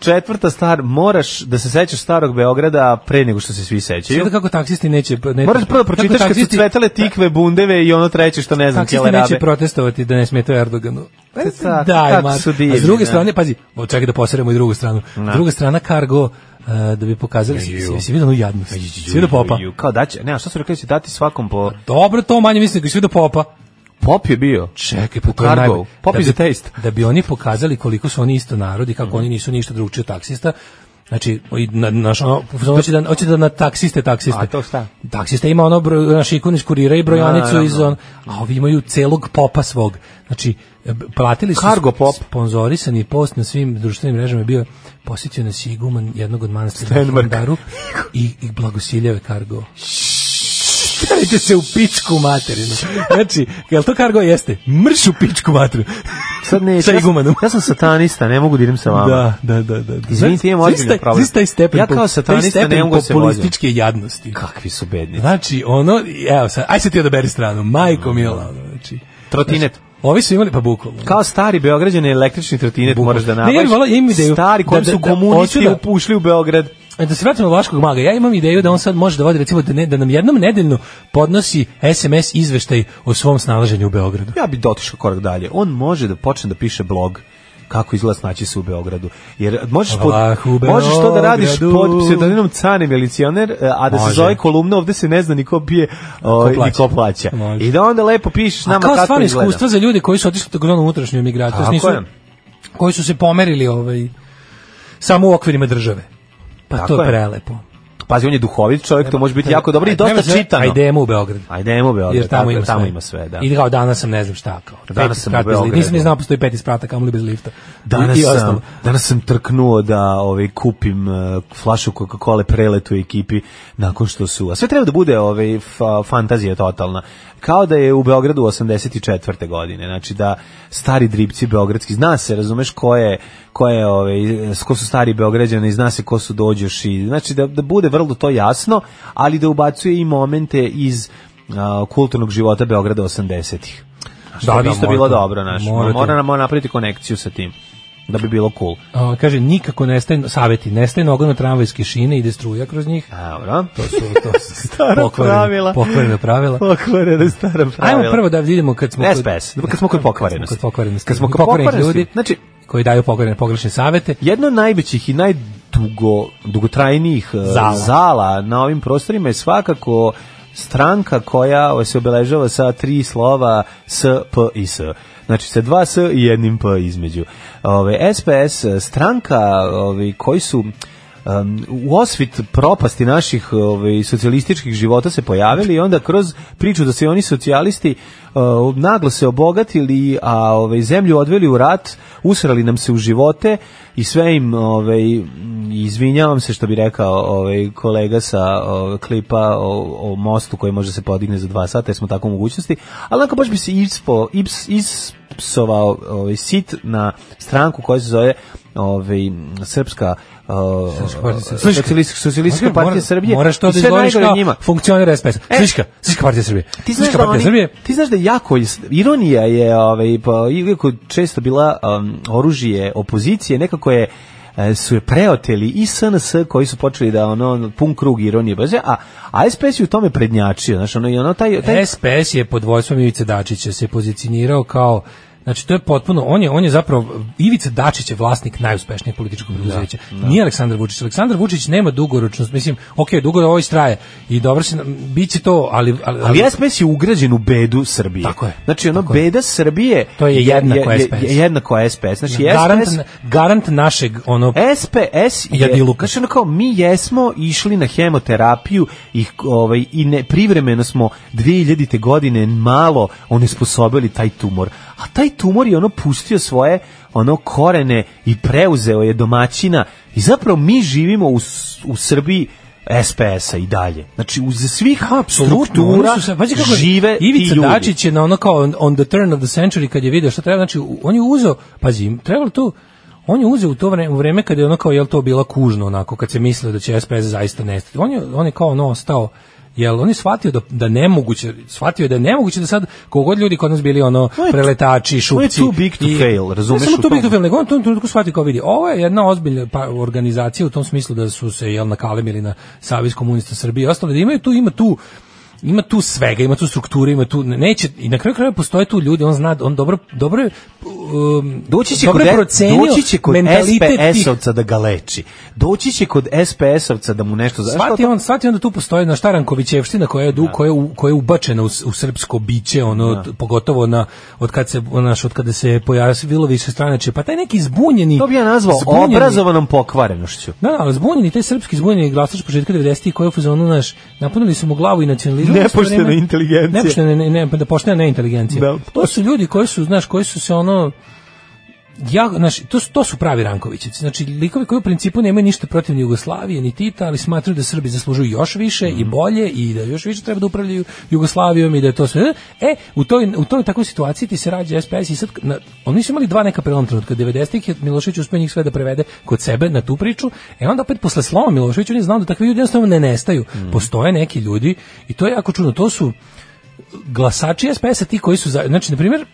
[SPEAKER 6] Četvrta stvar, moraš da se sećaš starog Beograda pre nego što se svi sećaju.
[SPEAKER 7] Sada kako taksisti neće... Ne,
[SPEAKER 6] Moraš prvo da
[SPEAKER 7] kako
[SPEAKER 6] pročitaš kad su
[SPEAKER 7] taksisti-
[SPEAKER 6] cvetale tikve, bundeve i ono treće što ne znam,
[SPEAKER 7] Taksisti
[SPEAKER 6] kelerabe.
[SPEAKER 7] neće protestovati da ne smetaju Erdoganu.
[SPEAKER 6] E, sad,
[SPEAKER 7] Da,
[SPEAKER 6] kako
[SPEAKER 7] ima.
[SPEAKER 6] su divni,
[SPEAKER 7] A s druge
[SPEAKER 6] da.
[SPEAKER 7] strane, pazi, o, čekaj da posiramo i drugu stranu. Druga strana Cargo uh, da bi pokazali si, si, si vidio onu jadnost. Si vidio popa.
[SPEAKER 6] Ju, Kao da će, ne, a šta su rekli da će dati svakom po...
[SPEAKER 7] Dobro, to manje mislim, si vidio popa.
[SPEAKER 6] Pop je bio.
[SPEAKER 7] Čekaj, pa to je
[SPEAKER 6] Cargo.
[SPEAKER 7] najbolje.
[SPEAKER 6] Pop
[SPEAKER 7] Da
[SPEAKER 6] is
[SPEAKER 7] bi-
[SPEAKER 6] a taste. Mhm.
[SPEAKER 7] Da bi oni pokazali koliko su oni isto narod i kako oni nisu ništa drugčije od taksista. Znači, i na, naš, ono, hoće da, hoće da na taksiste, taksiste.
[SPEAKER 6] A to šta?
[SPEAKER 7] Taksista ima ono, bro, naš ikon iz kurira i brojanicu
[SPEAKER 6] Naravno.
[SPEAKER 7] iz on, a ovi imaju celog popa svog. Znači, e, b- platili su
[SPEAKER 6] Cargo pop.
[SPEAKER 7] sponzorisani post na svim društvenim mrežama je bio posjetio na Siguman jednog od manastira na
[SPEAKER 6] Stenmark.
[SPEAKER 7] Hilandaru i, i blagosiljeve Cargo. Stavite se u pičku materinu. Znači, jel to kargo jeste? Mrš u pičku materinu.
[SPEAKER 6] Sad ne,
[SPEAKER 7] Sa
[SPEAKER 6] ja, sam-
[SPEAKER 7] igumanom.
[SPEAKER 6] ja sam satanista, ne mogu da idem sa vama.
[SPEAKER 7] Da, da, da, da.
[SPEAKER 6] Izvinite, imam ozbiljan problem.
[SPEAKER 7] Znaš taj stepen,
[SPEAKER 6] Ja kao
[SPEAKER 7] pop- taj
[SPEAKER 6] satanista
[SPEAKER 7] stepen
[SPEAKER 6] ne mogu da se
[SPEAKER 7] populističke jadnosti.
[SPEAKER 6] Kakvi su bedni.
[SPEAKER 7] Znači, ono, evo sad, aj se ti odaberi stranu, majko mila, ono, znači.
[SPEAKER 6] Trotinet.
[SPEAKER 7] Ovi su imali, pa bukvalno.
[SPEAKER 6] Kao stari Beograđan je električni trotinet moraš da
[SPEAKER 7] Ne,
[SPEAKER 6] nabaviš.
[SPEAKER 7] ja bih volao, ja imam ideju.
[SPEAKER 6] Stari
[SPEAKER 7] Da,
[SPEAKER 6] kom
[SPEAKER 7] da,
[SPEAKER 6] su
[SPEAKER 7] da,
[SPEAKER 6] komunisti
[SPEAKER 7] hoću da-
[SPEAKER 6] upušli u Beograd.
[SPEAKER 7] E, Da se vratimo na Vlaškog maga, ja imam ideju da on sad može da vodi, recimo, da, ne, da nam jednom nedeljno podnosi SMS izveštaj o svom snalaženju u Beogradu.
[SPEAKER 6] Pa Ja bih dotišao korak dalje. On može da počne da piše blog kako izgleda snaći se u Beogradu. Jer možeš, pod,
[SPEAKER 7] Vlah u
[SPEAKER 6] možeš to da radiš pod
[SPEAKER 7] Beogradu.
[SPEAKER 6] pseudonimom Cane Milicioner, e, a da se
[SPEAKER 7] Može.
[SPEAKER 6] zove kolumna, ovde se ne zna ni ko pije o,
[SPEAKER 7] plaća.
[SPEAKER 6] ni ko plaća.
[SPEAKER 7] Može.
[SPEAKER 6] I da onda lepo pišeš
[SPEAKER 7] A
[SPEAKER 6] nama
[SPEAKER 7] kao
[SPEAKER 6] kako
[SPEAKER 7] stvarno
[SPEAKER 6] izgleda.
[SPEAKER 7] iskustva za ljude koji su otišli tako zvanu unutrašnju emigraciju,
[SPEAKER 6] Tako
[SPEAKER 7] nisu,
[SPEAKER 6] je.
[SPEAKER 7] koji su se pomerili ovaj, samo u okvirima države. Pa
[SPEAKER 6] Tako
[SPEAKER 7] to je
[SPEAKER 6] je.
[SPEAKER 7] prelepo.
[SPEAKER 6] Pazi, on je duhovit čovjek, to može biti jako dobro i
[SPEAKER 7] Nema
[SPEAKER 6] dosta
[SPEAKER 7] se-
[SPEAKER 6] čitano.
[SPEAKER 7] Ajde, idemo u Beograd.
[SPEAKER 6] Ajde, idemo u Beograd,
[SPEAKER 7] Jer tamo,
[SPEAKER 6] tako je,
[SPEAKER 7] ima,
[SPEAKER 6] tamo
[SPEAKER 7] sve.
[SPEAKER 6] ima sve, da.
[SPEAKER 7] I kao danas sam ne znam šta kao.
[SPEAKER 6] Danas
[SPEAKER 7] Peti
[SPEAKER 6] sam u
[SPEAKER 7] sprat bez lifta.
[SPEAKER 6] Beogradu.
[SPEAKER 7] Nisam ni znao postoji peti sprata, kamoli bez lifta.
[SPEAKER 6] Danas
[SPEAKER 7] I
[SPEAKER 6] sam,
[SPEAKER 7] ostalo.
[SPEAKER 6] danas sam trknuo da ovaj kupim eh, flašu Coca-Cole preletu ekipi nakon što su. A sve treba da bude ovaj fa- fantazija totalna. Kao da je u Beogradu 84. godine. Znači da stari dripci beogradski zna se, razumeš ko je ko je ovaj s ko su stari beograđani, zna se ko su dođoši. Znači da da bude vrlo to jasno, ali da ubacuje i momente iz a, kulturnog života Beograda 80-ih. Što
[SPEAKER 7] Da,
[SPEAKER 6] bi
[SPEAKER 7] da,
[SPEAKER 6] isto
[SPEAKER 7] mora
[SPEAKER 6] bilo
[SPEAKER 7] to.
[SPEAKER 6] dobro, znaš.
[SPEAKER 7] Mora to.
[SPEAKER 6] Mora nam moramo napraviti konekciju sa tim da bi bilo cool.
[SPEAKER 7] A, kaže, nikako nestaje, saveti, nestaje noga na tramvajske šine, ide struja kroz njih.
[SPEAKER 6] Dobro.
[SPEAKER 7] To su, to su
[SPEAKER 6] Stara
[SPEAKER 7] pokvarena-
[SPEAKER 6] pravila.
[SPEAKER 7] pokvarena pravila.
[SPEAKER 6] Pokvarena stara pravila.
[SPEAKER 7] Ajmo prvo da vidimo kad smo
[SPEAKER 6] Bez pes. Kad smo kod pokvarenosti.
[SPEAKER 7] Kad smo kod pokvarenosti.
[SPEAKER 6] Kad smo kod
[SPEAKER 7] Pokvarenih
[SPEAKER 6] pokvarenosti.
[SPEAKER 7] ljudi.
[SPEAKER 6] Znači,
[SPEAKER 7] koji daju pogrešne pogrešne savete.
[SPEAKER 6] jedno od najvećih i najdugo dugotrajnijih eh,
[SPEAKER 7] Zala.
[SPEAKER 6] zala na ovim prostorima je svakako stranka koja se obeležava sa tri slova S, P i S. Znači sa dva S i jednim P između. Ove, SPS e, stranka ove, koji su um, u osvit propasti naših ovaj, socijalističkih života se pojavili i onda kroz priču da se oni socijalisti uh, naglo se obogatili, a ovaj, zemlju odveli u rat, usrali nam se u živote i sve im, ovaj, izvinjavam se što bi rekao ovaj, kolega sa ovaj, klipa o, o mostu koji može se podigne za dva sata, jer smo tako u mogućnosti, ali onako baš bi se ispo, ips, ispsovao ovaj, sit na stranku koja se zove ovaj, srpska o, socijalistička socijalistička partija Srbije.
[SPEAKER 7] Moraš to
[SPEAKER 6] i
[SPEAKER 7] da
[SPEAKER 6] sve
[SPEAKER 7] izgovoriš
[SPEAKER 6] najgore
[SPEAKER 7] kao
[SPEAKER 6] njima.
[SPEAKER 7] funkcioner SPS.
[SPEAKER 6] E,
[SPEAKER 7] Sliška, Sliška partija Srbije.
[SPEAKER 6] Ti znaš,
[SPEAKER 7] Sliška
[SPEAKER 6] da
[SPEAKER 7] partija
[SPEAKER 6] oni,
[SPEAKER 7] Srbije.
[SPEAKER 6] ti znaš da jako is- ironija je ovaj pa iako često bila um, oružje opozicije nekako je e, su je preoteli i SNS koji su počeli da ono pun krug ironije brže, a, a SPS je u tome prednjačio, znaš, ono, i ono taj,
[SPEAKER 7] E,
[SPEAKER 6] taj
[SPEAKER 7] SPS je pod vojstvom Ivice Dačića se pozicionirao kao Znači to je potpuno on je on je zapravo Ivica Dačić je vlasnik najuspešnijeg političkog preduzeća. Nije Aleksandar Vučić. Aleksandar Vučić nema dugoročnost, mislim, ok, dugo da ovo istraje i dobro se biće to, ali ali,
[SPEAKER 6] Ali SPS je ugrađen u bedu Srbije.
[SPEAKER 7] Tako je.
[SPEAKER 6] Znači, ono, beda Srbije
[SPEAKER 7] To je jednako SPS.
[SPEAKER 6] Je, je jednako SPS. Znači,
[SPEAKER 7] garant,
[SPEAKER 6] SPS,
[SPEAKER 7] garant našeg ono
[SPEAKER 6] SPS je,
[SPEAKER 7] Jadiluka.
[SPEAKER 6] znači ono kao mi jesmo išli na hemoterapiju i, ovaj, i ne, privremeno smo 2000. godine malo onesposobili taj tumor. A taj tumor je ono pustio svoje ono korene i preuzeo je domaćina i zapravo mi živimo u, s- u Srbiji SPS-a i dalje. Znači, uz svih struktura
[SPEAKER 7] oni su se- pazi kako je-
[SPEAKER 6] žive
[SPEAKER 7] Ivica
[SPEAKER 6] ti ljudi.
[SPEAKER 7] Dačić je na ono kao on, on the turn of the century kad je video šta treba, znači u- on je uzeo, pazi, trebalo tu on je uzeo u to vreme, u vreme kada je ono kao jel to bila kužno onako kad se mislilo da će SPS zaista nestati. On je on je kao ono ostao jel on je shvatio da, da nemoguće shvatio je da je nemoguće da sad kogod ljudi kod nas bili ono
[SPEAKER 6] To je-
[SPEAKER 7] preletači
[SPEAKER 6] to je
[SPEAKER 7] šupci
[SPEAKER 6] too big to
[SPEAKER 7] i-
[SPEAKER 6] fail, razumeš
[SPEAKER 7] ne samo
[SPEAKER 6] u
[SPEAKER 7] too big to
[SPEAKER 6] tom-
[SPEAKER 7] fail nego on u tom trenutku shvatio kao vidi ovo je jedna ozbiljna pa, organizacija u tom smislu da su se jel nakalemili na savez komunista Srbije i ostalo da imaju tu ima tu ima tu svega, ima tu strukture, ima tu neće i na kraju krajeva postoje tu ljudi, on zna, on dobro dobro je, um,
[SPEAKER 6] Doći će
[SPEAKER 7] dobro
[SPEAKER 6] kod,
[SPEAKER 7] je
[SPEAKER 6] e-
[SPEAKER 7] procenio
[SPEAKER 6] doći će kod
[SPEAKER 7] mentalitet tih-
[SPEAKER 6] SPS-ovca da ga leči. Doći će kod SPS-ovca da mu nešto... Znaš
[SPEAKER 7] Svati
[SPEAKER 6] što to-
[SPEAKER 7] on, svati on da tu postoji na Štarankovićevština koja je, du, koja je, u- koja je ubačena u, s- u srpsko biće, ono, t- pogotovo na, od kad se, naš, od kada se pojavilo više stranače, pa taj neki zbunjeni...
[SPEAKER 6] To bi ja nazvao
[SPEAKER 7] zbunjeni-
[SPEAKER 6] obrazovanom pokvarenošću.
[SPEAKER 7] Da, da, ali zbunjeni, taj srpski zbunjeni glasač početka 90-ih koji je u fazonu, naš, napunili su mu glavu i nacionalizam.
[SPEAKER 6] Nepoštena inteligencija.
[SPEAKER 7] Nepoštena, ne, ne, da poštena ne inteligencija.
[SPEAKER 6] Da.
[SPEAKER 7] To su ljudi koji su, znaš, koji su se ono, ja, znaš, to, su- to su pravi Rankovićici. Znači, likovi koji u principu nemaju ništa protiv ni Jugoslavije, ni Tita, ali smatraju da Srbi zaslužuju još više i bolje i da još više treba da upravljaju Jugoslavijom i da je to sve. E, u toj, u toj takvoj situaciji ti se rađa SPS i sad, na, oni su imali dva neka prelom trenutka. 90-ih je Milošević uspio njih sve da prevede kod sebe na tu priču. E onda opet posle sloma Milošević, on je znao da takvi ljudi jednostavno ne nestaju. Postoje neki ljudi i to je jako čudno. To su, glasači SPS-a ti koji su za, znači na primjer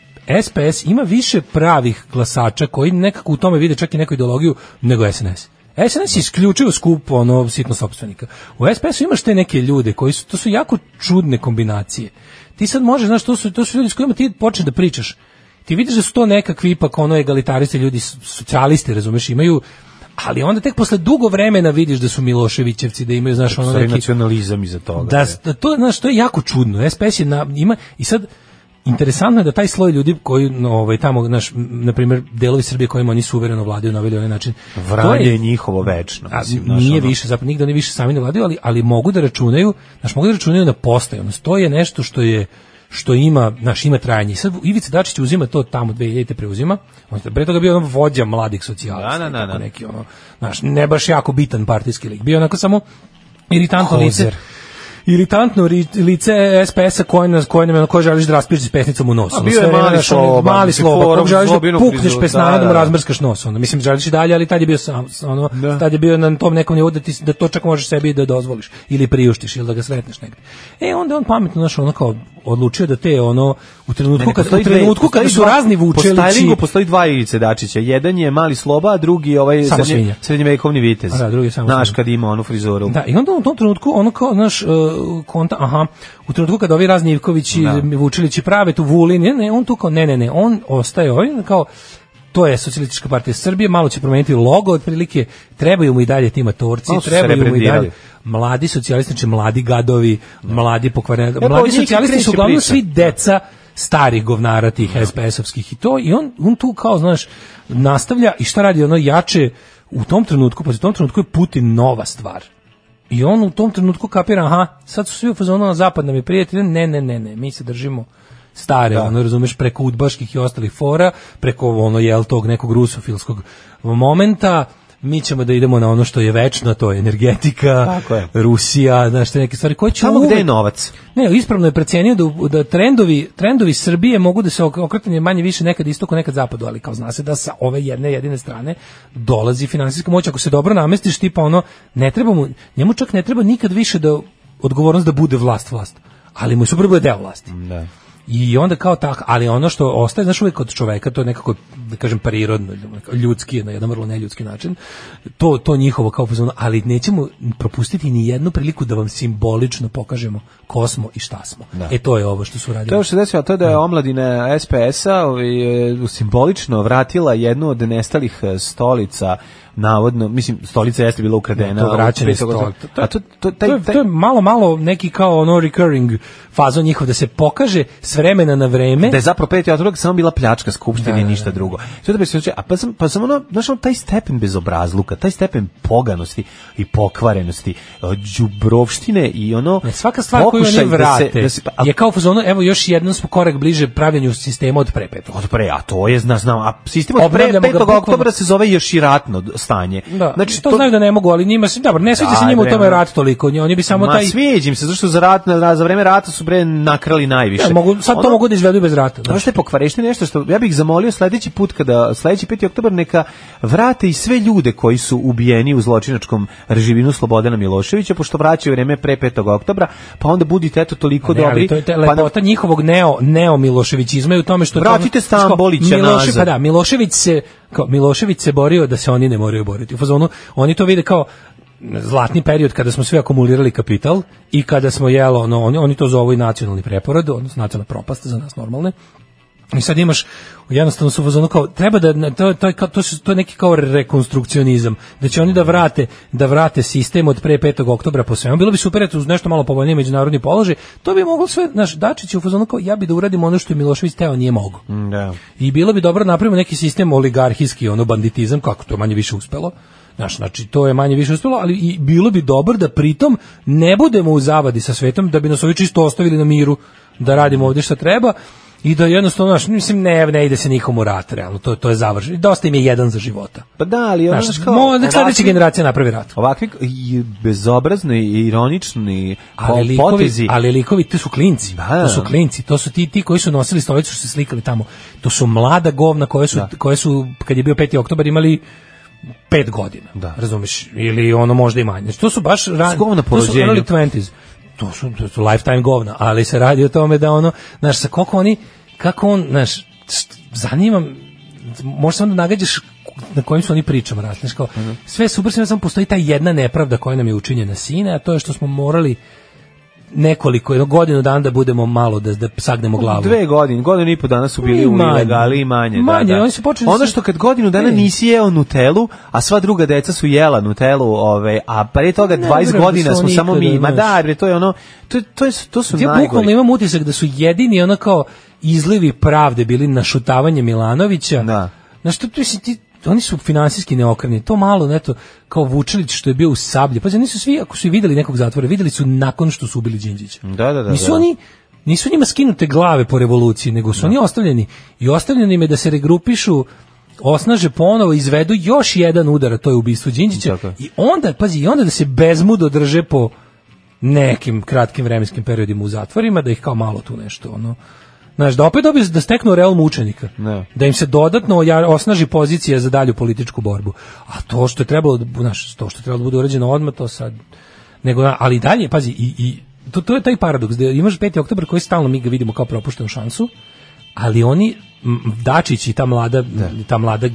[SPEAKER 7] SPS ima više pravih glasača koji nekako u tome vide čak i neku ideologiju nego SNS. SNS je isključio skup ono sitno sopstvenika. U SPS-u imaš te neke ljude koji su, to su jako čudne kombinacije. Ti sad možeš, znaš, to su, to su ljudi s kojima ti počneš da pričaš. Ti vidiš da su to nekakvi ipak ono egalitaristi ljudi, s- socijalisti, razumeš, imaju ali onda tek posle dugo vremena vidiš da su Miloševićevci, da imaju, znaš, ono
[SPEAKER 6] Sorry,
[SPEAKER 7] neki...
[SPEAKER 6] nacionalizam iza toga.
[SPEAKER 7] Da, da to znaš, to je jako čudno. SPS je na, ima i sad interesantno je da taj sloj ljudi koji no, ovaj tamo naš na primjer delovi Srbije kojima oni suvereno vladaju na ovaj ili onaj način. to
[SPEAKER 6] Vranje je njihovo večno.
[SPEAKER 7] a,
[SPEAKER 6] mislim, znaš,
[SPEAKER 7] nije
[SPEAKER 6] ono.
[SPEAKER 7] više, zapravo nigde oni više sami ne vladaju, ali, ali mogu da računaju, znaš, mogu da računaju na postajanost. To je nešto što je što ima, znaš, ima trajanje. I sad Ivica Dačić uzima to tamo 2000 preuzima. On je pre toga bio ono vođa mladih socijalista,
[SPEAKER 6] Da, da, da, da.
[SPEAKER 7] tako neki ono, znaš, ne baš jako bitan partijski lik. Bio onako samo iritantno lice
[SPEAKER 6] Hozer.
[SPEAKER 7] iritantno ri- lice SPS-a koje nas koje nam je ono, koje želiš da raspišeš s pesnicom u nosu.
[SPEAKER 6] A
[SPEAKER 7] Ono,
[SPEAKER 6] bio je
[SPEAKER 7] sve vreme,
[SPEAKER 6] mali
[SPEAKER 7] znaš, ono,
[SPEAKER 6] Sloba,
[SPEAKER 7] mali
[SPEAKER 6] mislim,
[SPEAKER 7] sloba,
[SPEAKER 6] forum,
[SPEAKER 7] kog želiš da
[SPEAKER 6] Slobinu
[SPEAKER 7] pukneš
[SPEAKER 6] prizu-
[SPEAKER 7] pesnama
[SPEAKER 6] da,
[SPEAKER 7] da, mu
[SPEAKER 6] da, da.
[SPEAKER 7] razmrskaš nos. Onda mislim želiš i dalje, ali tad je bio sam s- ono,
[SPEAKER 6] Da.
[SPEAKER 7] tad je bio na tom nekom nivou da ti s- da to čak možeš sebi i da dozvoliš ili priuštiš ili da ga sretneš negde. E onda je on pametno naš ono kao odlučio da te ono u
[SPEAKER 6] Ne,
[SPEAKER 7] trenutku
[SPEAKER 6] ne,
[SPEAKER 7] kad u
[SPEAKER 6] postoji dve-
[SPEAKER 7] trenutku
[SPEAKER 6] postoji
[SPEAKER 7] kada su
[SPEAKER 6] dva-
[SPEAKER 7] razni
[SPEAKER 6] Po stylingu
[SPEAKER 7] vučelići
[SPEAKER 6] postoji dva Ivice Dačića. Jedan je mali sloba, a drugi je ovaj
[SPEAKER 7] Samo
[SPEAKER 6] srednje-
[SPEAKER 7] svinja.
[SPEAKER 6] srednjevekovni vitez.
[SPEAKER 7] A da, drugi je samo
[SPEAKER 6] Znaš,
[SPEAKER 7] svinja.
[SPEAKER 6] kad ima onu frizuru.
[SPEAKER 7] Da, i onda u tom trenutku ono kao naš uh, konta, aha, u trenutku kada ovi razni Ivkovići, da. Vučilići prave tu Vulin, ne, ne, on tu kao ne, ne, ne, on ostaje ovim kao to je socijalistička partija Srbije, malo će promeniti logo otprilike, trebaju mu i dalje tima torci,
[SPEAKER 6] Malo su se
[SPEAKER 7] trebaju mu i
[SPEAKER 6] rebrendirali.
[SPEAKER 7] dalje mladi socijalisti, znači mladi gadovi, mladi pokvareni,
[SPEAKER 6] pa od
[SPEAKER 7] mladi
[SPEAKER 6] njih i
[SPEAKER 7] socijalisti su
[SPEAKER 6] kreće
[SPEAKER 7] uglavnom
[SPEAKER 6] priča.
[SPEAKER 7] svi deca starih govnara tih SPS-ovskih i to i on, on tu kao, znaš, nastavlja i šta radi ono jače u tom trenutku, pa u tom trenutku je Putin nova stvar. I on u tom trenutku kapira, aha, sad su svi u fazonu na zapad nam je prijatelj, ne, ne, ne, ne, mi se držimo stare, ono, razumeš, preko udbaških i ostalih fora, preko, ono, jel, tog nekog rusofilskog momenta, mi ćemo da idemo na ono što je večno, a to je energetika,
[SPEAKER 6] Tako je.
[SPEAKER 7] Rusija, znaš, te neke stvari koje će
[SPEAKER 6] Tamo gde je
[SPEAKER 7] uvek-
[SPEAKER 6] novac.
[SPEAKER 7] ne, ispravno je precenio da, u- da trendovi, trendovi Srbije mogu da se ok- okretanje manje više nekad istoku, nekad zapadu, ali kao zna se da sa ove jedne jedine strane dolazi finansijska moć. Ako se dobro namestiš, tipa ono, ne treba mu, njemu čak ne treba nikad više da odgovornost da bude vlast vlast, ali mu je super da bude deo vlasti.
[SPEAKER 6] Da.
[SPEAKER 7] I onda kao tak, ali ono što ostaje, znaš, uvijek od čoveka, to je nekako, da kažem, prirodno, ljudski, na jedan vrlo neljudski način, to, to njihovo kao pozivno, ali nećemo propustiti ni jednu priliku da vam simbolično pokažemo ko smo i šta smo. E to je ovo što su radili.
[SPEAKER 6] To je ovo što se desilo, to je da je omladina SPS-a ovaj, e, simbolično vratila jednu od nestalih e, stolica, navodno, mislim, stolica jeste bila ukradena.
[SPEAKER 7] to vraćanje
[SPEAKER 6] u Svetog
[SPEAKER 7] stol-
[SPEAKER 6] Otaca. A to, to, taj,
[SPEAKER 7] to, je,
[SPEAKER 6] taj-
[SPEAKER 7] to je malo, malo neki kao ono recurring fazo njihov, da se pokaže s vremena na vreme.
[SPEAKER 6] da je zapravo peti otrok samo bila pljačka skupštine i ništa drugo. Sve da bi se oče- a pa sam pa sam ono, znaš, ono, taj stepen bezobrazluka, taj stepen poganosti i pokvarenosti, e, đubrovštine i ono
[SPEAKER 7] Ne, svaka stvar koju
[SPEAKER 6] pokušaj
[SPEAKER 7] oni vrate
[SPEAKER 6] da se, da se, a,
[SPEAKER 7] je kao fazono, evo još jednom smo korak bliže pravljenju sistema od pre petog.
[SPEAKER 6] od Pa pre, a to je, znaš, znam, a sistem od pre
[SPEAKER 7] Obnavljamo ga
[SPEAKER 6] 5.
[SPEAKER 7] bukvalno.
[SPEAKER 6] oktobra se zove još i ratno d- stanje.
[SPEAKER 7] Da, znači, to, znaju da ne mogu, ali njima se, dobro, ne sviđa se
[SPEAKER 6] Aj,
[SPEAKER 7] njima u
[SPEAKER 6] bre,
[SPEAKER 7] tome
[SPEAKER 6] ono.
[SPEAKER 7] rat toliko, nje- oni bi samo
[SPEAKER 6] Ma,
[SPEAKER 7] taj...
[SPEAKER 6] sviđim se, zašto za, rat, na- za vreme rata su bre nakrali najviše.
[SPEAKER 7] Ja, E, mogu, sad to
[SPEAKER 6] Ono-
[SPEAKER 7] mogu da izvedu bez rata.
[SPEAKER 6] Znaš
[SPEAKER 7] Znači,
[SPEAKER 6] što je pokvareštine nešto što ja bih zamolio sledeći put kada sledeći 5. oktobar neka vrate i sve ljude koji su ubijeni u zločinačkom režiminu Slobodana Miloševića pošto vraćaju vreme pre 5. oktobra, pa onda budite eto toliko
[SPEAKER 7] ne, ali
[SPEAKER 6] dobri.
[SPEAKER 7] to je te,
[SPEAKER 6] pa
[SPEAKER 7] lepota njihovog neo, neo Miloševićizma je u tome što...
[SPEAKER 6] Vratite
[SPEAKER 7] znaš, kao,
[SPEAKER 6] Stambolića
[SPEAKER 7] Miloše-
[SPEAKER 6] nazad.
[SPEAKER 7] Pa da, Milošević se, kao, Milošević se borio da se oni ne moraju boriti. U fazonu, oni to vide kao zlatni period kada smo svi akumulirali kapital i kada smo jelo, ono, oni, oni to zovu i nacionalni preporod, odnosno nacionalna propast za nas normalne, I sad imaš jednostavno su u fazonu kao treba da to to je kao, to su to je neki kao rekonstrukcionizam da će oni da vrate da vrate sistem od pre 5. oktobra po svemu bilo bi super eto uz nešto malo povoljniji međunarodni položaj to bi moglo sve naš Dačić je u fazonu kao ja bi da uradim ono što je Milošević teo nije mogao
[SPEAKER 6] onda- Da.
[SPEAKER 7] i bilo bi dobro da napravimo neki sistem oligarhijski, ono banditizam, kako to je manje više uspelo. Znaš, znači, to je manje više uspelo, ali i bilo bi dobro da pritom ne budemo u zavadi sa svetom, da bi nas ovi čisto ostavili na miru, da radimo ovdje šta treba i da jednostavno, znaš, mislim, ne, ne ide se nikom u rat, realno, to, to je završeno. Dosta im je jedan za života.
[SPEAKER 6] Pa da, ali ono
[SPEAKER 7] Znaš,
[SPEAKER 6] znaš kao...
[SPEAKER 7] mo, nek sledeća
[SPEAKER 6] ovakvi-
[SPEAKER 7] generacija napravi rat.
[SPEAKER 6] Ovakvi i bezobrazni i ironični
[SPEAKER 7] Ali
[SPEAKER 6] po-
[SPEAKER 7] likovi,
[SPEAKER 6] potezi.
[SPEAKER 7] ali likovi, to su klinci,
[SPEAKER 6] Da.
[SPEAKER 7] to su klinci, to su ti, ti koji su nosili stolicu što su se slikali tamo, to su mlada govna koje su, koje su kad je bio 5. oktobar, imali pet godina,
[SPEAKER 6] Da.
[SPEAKER 7] razumeš, ili ono možda i manje. Znači, to su baš ran,
[SPEAKER 6] S govna po
[SPEAKER 7] to su
[SPEAKER 6] rođenju.
[SPEAKER 7] early 20s, to su, to su lifetime govna, ali se radi o tome da ono, znaš, sa koliko oni, kako on, znaš, št- zanima, m- možda se onda nagađaš na kojim su oni pričama rasli, znaš, kao,
[SPEAKER 6] Mhm.
[SPEAKER 7] sve je super, sve samo postoji ta jedna nepravda koja nam je učinjena sine, a to je što smo morali nekoliko, jedno godinu dana da budemo malo, da, da sagnemo glavu.
[SPEAKER 6] Dve godine, godinu i po dana su bili
[SPEAKER 7] I
[SPEAKER 6] u
[SPEAKER 7] manje.
[SPEAKER 6] ilegali i manje.
[SPEAKER 7] Manje,
[SPEAKER 6] da, da.
[SPEAKER 7] oni su počeli
[SPEAKER 6] Ono
[SPEAKER 7] sa-
[SPEAKER 6] što kad godinu dana
[SPEAKER 7] Ne.
[SPEAKER 6] nisi jeo Nutelu, a sva druga deca su jela Nutelu, ove, a pre toga
[SPEAKER 7] Ne,
[SPEAKER 6] 20
[SPEAKER 7] vjerujem da
[SPEAKER 6] godina
[SPEAKER 7] su
[SPEAKER 6] smo
[SPEAKER 7] oni
[SPEAKER 6] samo
[SPEAKER 7] ikada,
[SPEAKER 6] mi. Ma
[SPEAKER 7] znaš.
[SPEAKER 6] da, bre, to je ono, to, to, je, to su
[SPEAKER 7] Ja bukvalno
[SPEAKER 6] najgori.
[SPEAKER 7] imam utisak da su jedini ono kao izlivi pravde bili našutavanje Milanovića.
[SPEAKER 6] Da.
[SPEAKER 7] Znaš, to, to, mislim, ti, oni su finansijski neokrnjeni. To malo, eto, kao Vučilić što je bio u sablji. Pazi, nisu svi, ako su i videli nekog zatvora, videli su nakon što su ubili Đinđića.
[SPEAKER 6] Da, da, da,
[SPEAKER 7] Nisu
[SPEAKER 6] da.
[SPEAKER 7] oni nisu njima skinute glave po revoluciji, nego su oni ostavljeni. I ostavljeni im je da se regrupišu, osnaže ponovo, izvedu još jedan udar, a to je ubistvo Đinđića.
[SPEAKER 6] Tako je.
[SPEAKER 7] I onda, pazi, i onda da se bezmudo drže po nekim kratkim vremenskim periodima u zatvorima, da ih kao malo tu nešto, ono, Znaš, da opet dobiju, da steknu realm učenika.
[SPEAKER 6] Ne.
[SPEAKER 7] Da im se dodatno oja- osnaži pozicija za dalju političku borbu. A to što je trebalo, da bu- znaš, to što je trebalo da bude urađeno odmah, to sad... Nego, na- ali dalje, pazi, i, i to, to je taj paradoks, da imaš 5. oktober koji stalno mi ga vidimo kao propuštenu šansu, ali oni, m, Dačić i ta mlada, ta mlada m,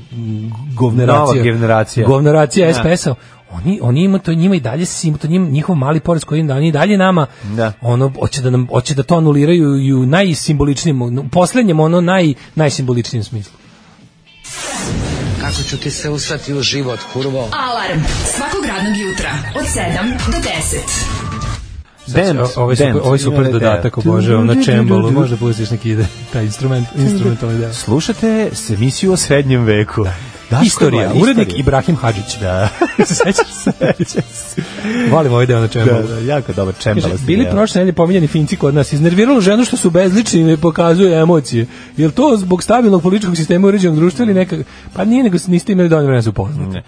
[SPEAKER 7] govneracija,
[SPEAKER 6] Nova generacija.
[SPEAKER 7] govneracija
[SPEAKER 6] Da.
[SPEAKER 7] SPS-a, oni, oni ima to njima i dalje sim, to njim, njihov mali porez koji im da, oni i dalje nama
[SPEAKER 6] Da.
[SPEAKER 7] ono hoće da nam hoće da to anuliraju i u najsimboličnijem u poslednjem ono naj najsimboličnijem smislu.
[SPEAKER 12] Kako ću ti se usrati u život, kurvo?
[SPEAKER 4] Alarm svakog radnog jutra od 7 do 10.
[SPEAKER 6] Dance,
[SPEAKER 7] Ovo je super,
[SPEAKER 6] dance.
[SPEAKER 7] ovo je super
[SPEAKER 6] Imate
[SPEAKER 7] dodatak,
[SPEAKER 6] te-
[SPEAKER 7] obožavam na čembolu, možda pustiš neki ide, taj instrument, instrumentalni deo.
[SPEAKER 6] Slušate s emisiju o srednjem veku. Daško
[SPEAKER 7] Istorija,
[SPEAKER 6] Mlađa,
[SPEAKER 7] urednik
[SPEAKER 6] istorija.
[SPEAKER 7] Ibrahim Hadžić.
[SPEAKER 6] Da.
[SPEAKER 7] Sećaš se? Volim ovaj deo na čembolu.
[SPEAKER 6] Da, da, jako dobar čembala.
[SPEAKER 7] Kaže, bili prošle nedelje pominjani Finci kod nas. Iznerviralo ženu što su bezlični i ne pokazuju emocije. Je li to zbog stabilnog političkog sistema uređenog društva ili neka... Pa nije, nego niste imali dovoljno vremena da se upoznate.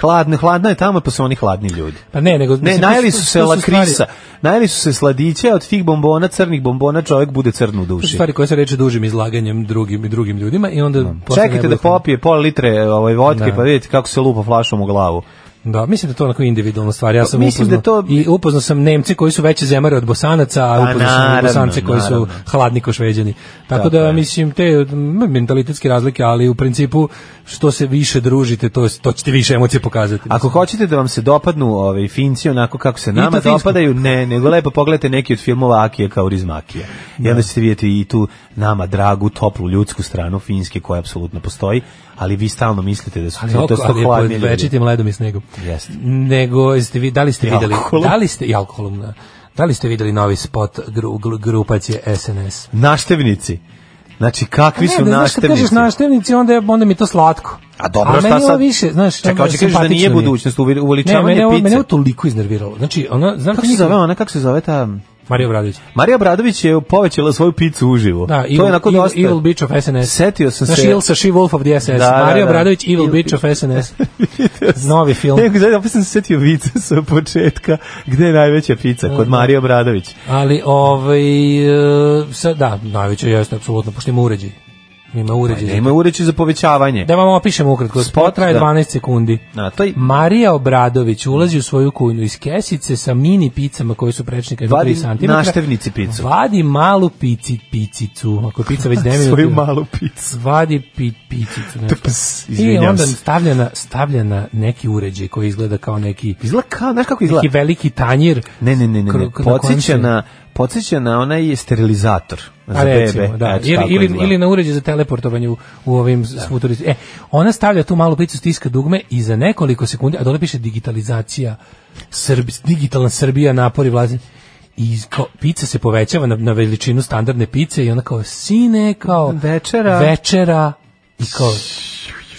[SPEAKER 6] Hladne, hladna je tamo, pa su oni hladni ljudi.
[SPEAKER 7] Pa ne, nego...
[SPEAKER 6] Ne,
[SPEAKER 7] mislim,
[SPEAKER 6] najeli
[SPEAKER 7] to
[SPEAKER 6] su se
[SPEAKER 7] to
[SPEAKER 6] lakrisa,
[SPEAKER 7] stvari-
[SPEAKER 6] najeli su se sladića, od tih bombona, crnih bombona, čovjek bude crn u
[SPEAKER 7] To su
[SPEAKER 6] duši.
[SPEAKER 7] stvari koje se reče dužim izlaganjem drugim i drugim ljudima i onda... posle ne
[SPEAKER 6] Čekajte
[SPEAKER 7] bude
[SPEAKER 6] da popije pola litre ovaj, vodke,
[SPEAKER 7] Da.
[SPEAKER 6] pa vidite kako se lupa flašom u glavu.
[SPEAKER 7] Da, mislim da je to onako individualna stvar. Ja
[SPEAKER 6] To-
[SPEAKER 7] sam
[SPEAKER 6] Pa mislim
[SPEAKER 7] upoznao,
[SPEAKER 6] da to-
[SPEAKER 7] i upoznao sam Nemce koji su veće zemare od Bosanaca, a
[SPEAKER 6] Pa,
[SPEAKER 7] upoznao sam i
[SPEAKER 6] naravno,
[SPEAKER 7] Bosance koji su
[SPEAKER 6] naravno.
[SPEAKER 7] hladni ko Šveđani. Tako
[SPEAKER 6] Tako
[SPEAKER 7] da
[SPEAKER 6] je.
[SPEAKER 7] mislim te m, mentalitetske razlike, ali u principu što se više družite, to to ćete više emocije pokazati.
[SPEAKER 6] Ako hoćete da vam se dopadnu ovaj, finci onako kako se nama
[SPEAKER 7] Finsku.
[SPEAKER 6] dopadaju, ne, nego lepo pogledajte neki od filmova Akija Kaurismakija. I onda ćete vidjeti i tu nama dragu, toplu ljudsku stranu Finske koja apsolutno postoji, ali vi stalno mislite da su
[SPEAKER 7] ali,
[SPEAKER 6] to,
[SPEAKER 7] oko,
[SPEAKER 6] to su to
[SPEAKER 7] ali je
[SPEAKER 6] hladni
[SPEAKER 7] pod
[SPEAKER 6] ljudi.
[SPEAKER 7] večitim ledom i snegom.
[SPEAKER 6] Jeste.
[SPEAKER 7] Nego jeste vi da li ste
[SPEAKER 6] I
[SPEAKER 7] videli
[SPEAKER 6] alkoholom.
[SPEAKER 7] da li ste i alkoholom da. Da li ste videli novi spot gru, gru- grupacije SNS?
[SPEAKER 6] Naštevnici. Znači, kakvi
[SPEAKER 7] Pa Ne,
[SPEAKER 6] su
[SPEAKER 7] da, znaš, kad
[SPEAKER 6] naštevnici?
[SPEAKER 7] kažeš naštevnici, onda, je, onda mi je to slatko.
[SPEAKER 6] A dobro, šta
[SPEAKER 7] meni ovo
[SPEAKER 6] sad?
[SPEAKER 7] više, znaš, ono,
[SPEAKER 6] Čekaj, hoćeš kažeš da
[SPEAKER 7] simpatično
[SPEAKER 6] nije
[SPEAKER 7] mi je.
[SPEAKER 6] budućnost, uvi-
[SPEAKER 7] Ne,
[SPEAKER 6] uveličavanje
[SPEAKER 7] mene ovo,
[SPEAKER 6] pice.
[SPEAKER 7] mene ovo toliko iznerviralo. Znači, ona, znam
[SPEAKER 6] Kako se zove ona, kako se zove ta...
[SPEAKER 7] Marija Bradović.
[SPEAKER 6] Marija Bradović je povećala svoju picu uživo.
[SPEAKER 7] Da,
[SPEAKER 6] to
[SPEAKER 7] Evil,
[SPEAKER 6] je onako
[SPEAKER 7] Evil,
[SPEAKER 6] dosta.
[SPEAKER 7] Evil Beach of SNS.
[SPEAKER 6] Setio sam
[SPEAKER 7] Znaš,
[SPEAKER 6] se-
[SPEAKER 7] Ilsa She Wolf of the SS.
[SPEAKER 6] Da, da,
[SPEAKER 7] Marija
[SPEAKER 6] da.
[SPEAKER 7] Bradović, Evil,
[SPEAKER 6] Evil
[SPEAKER 7] Beach of SNS. Novi film.
[SPEAKER 6] Ne, E, gledaj, opet sam se setio vica sa početka, gde je najveća pica, kod Marija Obradović.
[SPEAKER 7] Ali, ovaj, e, sad, da, najveće jeste, apsolutno, pošto ima uređaj. Ima uređaj.
[SPEAKER 6] Da ima ureći E, za povećavanje.
[SPEAKER 7] Da vam opišem ukratko, spot
[SPEAKER 6] Pa Spot,
[SPEAKER 7] traje
[SPEAKER 6] da.
[SPEAKER 7] 12 sekundi.
[SPEAKER 6] Na, to je-
[SPEAKER 7] Marija Obradović ulazi u svoju kujnu iz kesice sa mini picama koje su prečnika do
[SPEAKER 6] Vadi
[SPEAKER 7] 3 cm.
[SPEAKER 6] naštevnici picu.
[SPEAKER 7] Vadi malu pici, picicu, ako je pica već 9 minuta.
[SPEAKER 6] Svoju malu picu.
[SPEAKER 7] Vadi pi, picicu. nešto.
[SPEAKER 6] Tps,
[SPEAKER 7] I
[SPEAKER 6] izvinjam
[SPEAKER 7] onda
[SPEAKER 6] se.
[SPEAKER 7] stavlja na, stavlja na neki uređaj koji izgleda kao neki,
[SPEAKER 6] Izgleda kao, znaš kako
[SPEAKER 7] neki
[SPEAKER 6] izgleda?
[SPEAKER 7] veliki tanjir.
[SPEAKER 6] Ne, ne, ne, ne, ne.
[SPEAKER 7] kro- na kojem
[SPEAKER 6] Podsjeća
[SPEAKER 7] se-
[SPEAKER 6] na, podsjeća na onaj sterilizator za
[SPEAKER 7] A recimo,
[SPEAKER 6] bebe.
[SPEAKER 7] da.
[SPEAKER 6] Eto,
[SPEAKER 7] ili,
[SPEAKER 6] tako
[SPEAKER 7] ili,
[SPEAKER 6] izgleda.
[SPEAKER 7] ili na uređaj za teleportovanje u, u ovim da. E, ona stavlja tu malu plicu, stiska dugme i za nekoliko sekundi, a dole piše digitalizacija, Srbi, digitalna Srbija, napori vlazi. I iz- kao, pica se povećava na, na veličinu standardne pice i ona kao sine, kao
[SPEAKER 6] Večera.
[SPEAKER 7] večera i kao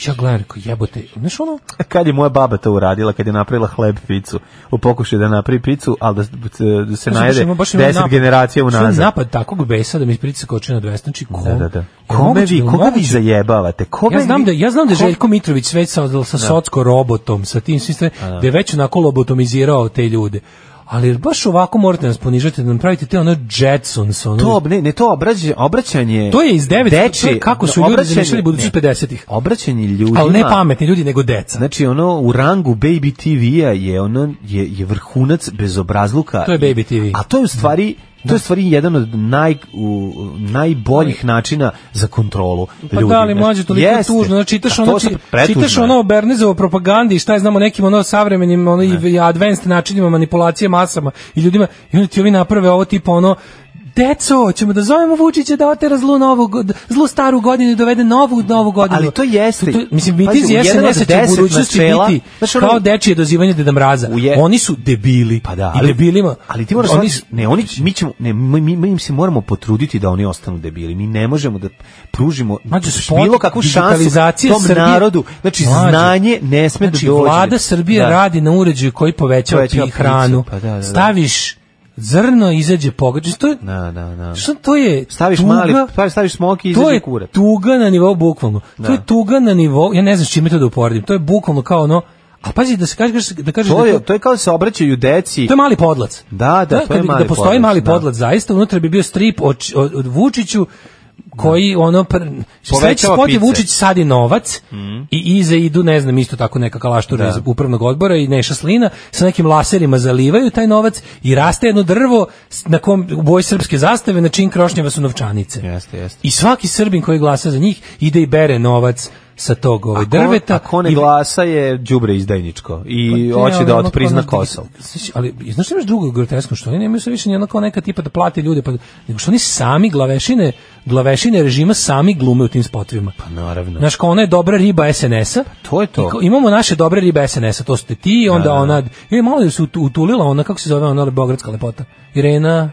[SPEAKER 7] ja gledam, rekao, jebote, znaš ono,
[SPEAKER 6] Kad je moja baba to uradila, kad je napravila hleb picu, u pokušaju da napravi picu, ali da, da se
[SPEAKER 7] Znaš,
[SPEAKER 6] najede
[SPEAKER 7] ima- ima
[SPEAKER 6] 10
[SPEAKER 7] napad-
[SPEAKER 6] generacija
[SPEAKER 7] što je
[SPEAKER 6] unazad.
[SPEAKER 7] Napad takvog besa da mi pritisak oči na 200, znači ko?
[SPEAKER 6] Da, da, da.
[SPEAKER 7] Je
[SPEAKER 6] Kome
[SPEAKER 7] moguće,
[SPEAKER 6] vi,
[SPEAKER 7] je
[SPEAKER 6] koga vi
[SPEAKER 7] moguće?
[SPEAKER 6] zajebavate? Kome
[SPEAKER 7] Ja znam
[SPEAKER 6] vi-
[SPEAKER 7] da ja znam da je
[SPEAKER 6] ko-
[SPEAKER 7] Željko Mitrović sve sa sa socko robotom, sa tim svim stvarima, da je već onako lobotomizirao te ljude. Ali baš ovako morate nas ponižati, da nam pravite te ono Jetsons, ono.
[SPEAKER 6] To, ne, ne, to obrađanje, obraćanje...
[SPEAKER 7] To je iz devet- to je
[SPEAKER 6] dečije-
[SPEAKER 7] kako su ljudi
[SPEAKER 6] obraćanje-
[SPEAKER 7] zamišljali budućnost
[SPEAKER 6] ne,
[SPEAKER 7] 50-ih.
[SPEAKER 6] Obraćanje ljudima...
[SPEAKER 7] ali ne pametni ljudi, nego deca.
[SPEAKER 6] Znači, ono, u rangu Baby TV-a je, ono, je, je vrhunac bezobrazluka.
[SPEAKER 7] To je Baby TV.
[SPEAKER 6] A to je u stvari... To je u stvari jedan od naj, u, najboljih načina za kontrolu
[SPEAKER 7] Pa
[SPEAKER 6] ljudi.
[SPEAKER 7] da, ali
[SPEAKER 6] znaš.
[SPEAKER 7] mlađe, toliko je
[SPEAKER 6] Jeste.
[SPEAKER 7] tužno, znači, čitaš
[SPEAKER 6] A
[SPEAKER 7] ono,
[SPEAKER 6] to su
[SPEAKER 7] či-
[SPEAKER 6] pretužno
[SPEAKER 7] čitaš
[SPEAKER 6] je.
[SPEAKER 7] ono o Bernezovo propagandi i šta je znamo nekim ono savremenim ono i- i advanced načinima manipulacije masama i ljudima i onda ti ovi naprave ovo tipa ono Deco, ćemo da zovemo Vučića da otera zlu, novu, god- zlu staru godinu i dovede novu novu godinu.
[SPEAKER 6] Ali to jeste.
[SPEAKER 7] To, mislim,
[SPEAKER 6] Pazi,
[SPEAKER 7] mitiz
[SPEAKER 6] u jedan od
[SPEAKER 7] SNS će u
[SPEAKER 6] deset
[SPEAKER 7] budućnosti
[SPEAKER 6] načela,
[SPEAKER 7] biti
[SPEAKER 6] znaš, ono-
[SPEAKER 7] kao dečije dozivanje Deda Mraza.
[SPEAKER 6] U je-
[SPEAKER 7] Oni su debili.
[SPEAKER 6] Pa da,
[SPEAKER 7] I debilima.
[SPEAKER 6] Ali ti moraš
[SPEAKER 7] oni,
[SPEAKER 6] oni, ne, oni mi ćemo ne mi, mi, mi im se moramo potruditi da oni ostanu debili. Mi ne možemo da pružimo
[SPEAKER 7] Mađo, spot
[SPEAKER 6] bilo kakvu šansu
[SPEAKER 7] digitalizacije
[SPEAKER 6] tom
[SPEAKER 7] Srbije-
[SPEAKER 6] narodu. Znači
[SPEAKER 7] Mlađe.
[SPEAKER 6] znanje ne sme
[SPEAKER 7] znači,
[SPEAKER 6] da dođe.
[SPEAKER 7] vlada Srbije
[SPEAKER 6] Da.
[SPEAKER 7] radi na uređaju koji povećava,
[SPEAKER 6] Povećava
[SPEAKER 7] pi- hranu.
[SPEAKER 6] picu, pa da, da, da.
[SPEAKER 7] Staviš zrno, izađe pogađa. Znači, To je,
[SPEAKER 6] Da, da, da.
[SPEAKER 7] Što to je?
[SPEAKER 6] Staviš
[SPEAKER 7] tuga,
[SPEAKER 6] mali, staviš- staviš smoki i
[SPEAKER 7] To
[SPEAKER 6] izađe
[SPEAKER 7] je
[SPEAKER 6] kurac.
[SPEAKER 7] tuga na nivou bukvalno. To je tuga na nivou, ja ne znam s čime to da uporedim. To je bukvalno kao ono, a pazi da se kaže da kaže
[SPEAKER 6] To
[SPEAKER 7] da
[SPEAKER 6] je to je kao da se obraćaju deci.
[SPEAKER 7] to je mali podlac.
[SPEAKER 6] Znači, Da, da, to je
[SPEAKER 7] kad bi-
[SPEAKER 6] mali
[SPEAKER 7] da postoji
[SPEAKER 6] podlac,
[SPEAKER 7] mali
[SPEAKER 6] da.
[SPEAKER 7] podlac zaista, unutra bi bio strip od, od, od Vučiću koji ono pr... sledeći
[SPEAKER 6] Povećava Mm.
[SPEAKER 7] spot je
[SPEAKER 6] pice.
[SPEAKER 7] Vučić sadi novac i iza idu ne znam isto tako neka kalaštura iz upravnog odbora i Neša Slina sa nekim laserima zalivaju taj novac i raste jedno drvo s- na kom u boji srpske zastave na čin krošnjeva su novčanice.
[SPEAKER 6] Jeste, jeste.
[SPEAKER 7] I svaki Srbin koji glasa za njih ide i bere novac sa tog ovaj,
[SPEAKER 6] Ako-
[SPEAKER 7] drveta.
[SPEAKER 6] Ako ne
[SPEAKER 7] i-
[SPEAKER 6] glasa je đubre izdajničko i
[SPEAKER 7] Pa,
[SPEAKER 6] hoće
[SPEAKER 7] ne,
[SPEAKER 6] da
[SPEAKER 7] ono,
[SPEAKER 6] otprizna
[SPEAKER 7] ono,
[SPEAKER 6] Kosovo.
[SPEAKER 7] Znaš, Ali, znaš što imaš drugo groteskno, što oni nemaju sve više nijedno kao neka tipa da plate ljude, pa, nego što oni sami glavešine, glavešine režima sami glume u tim spotovima. Pa
[SPEAKER 6] naravno.
[SPEAKER 7] Znaš, kao ona je dobra riba SNS-a.
[SPEAKER 6] Pa, to je to.
[SPEAKER 7] I ko- imamo naše dobre ribe SNS-a, to ste ti, onda ona, je malo je se ut- utulila ona, kako se zove ona, beogradska lepota. Irena,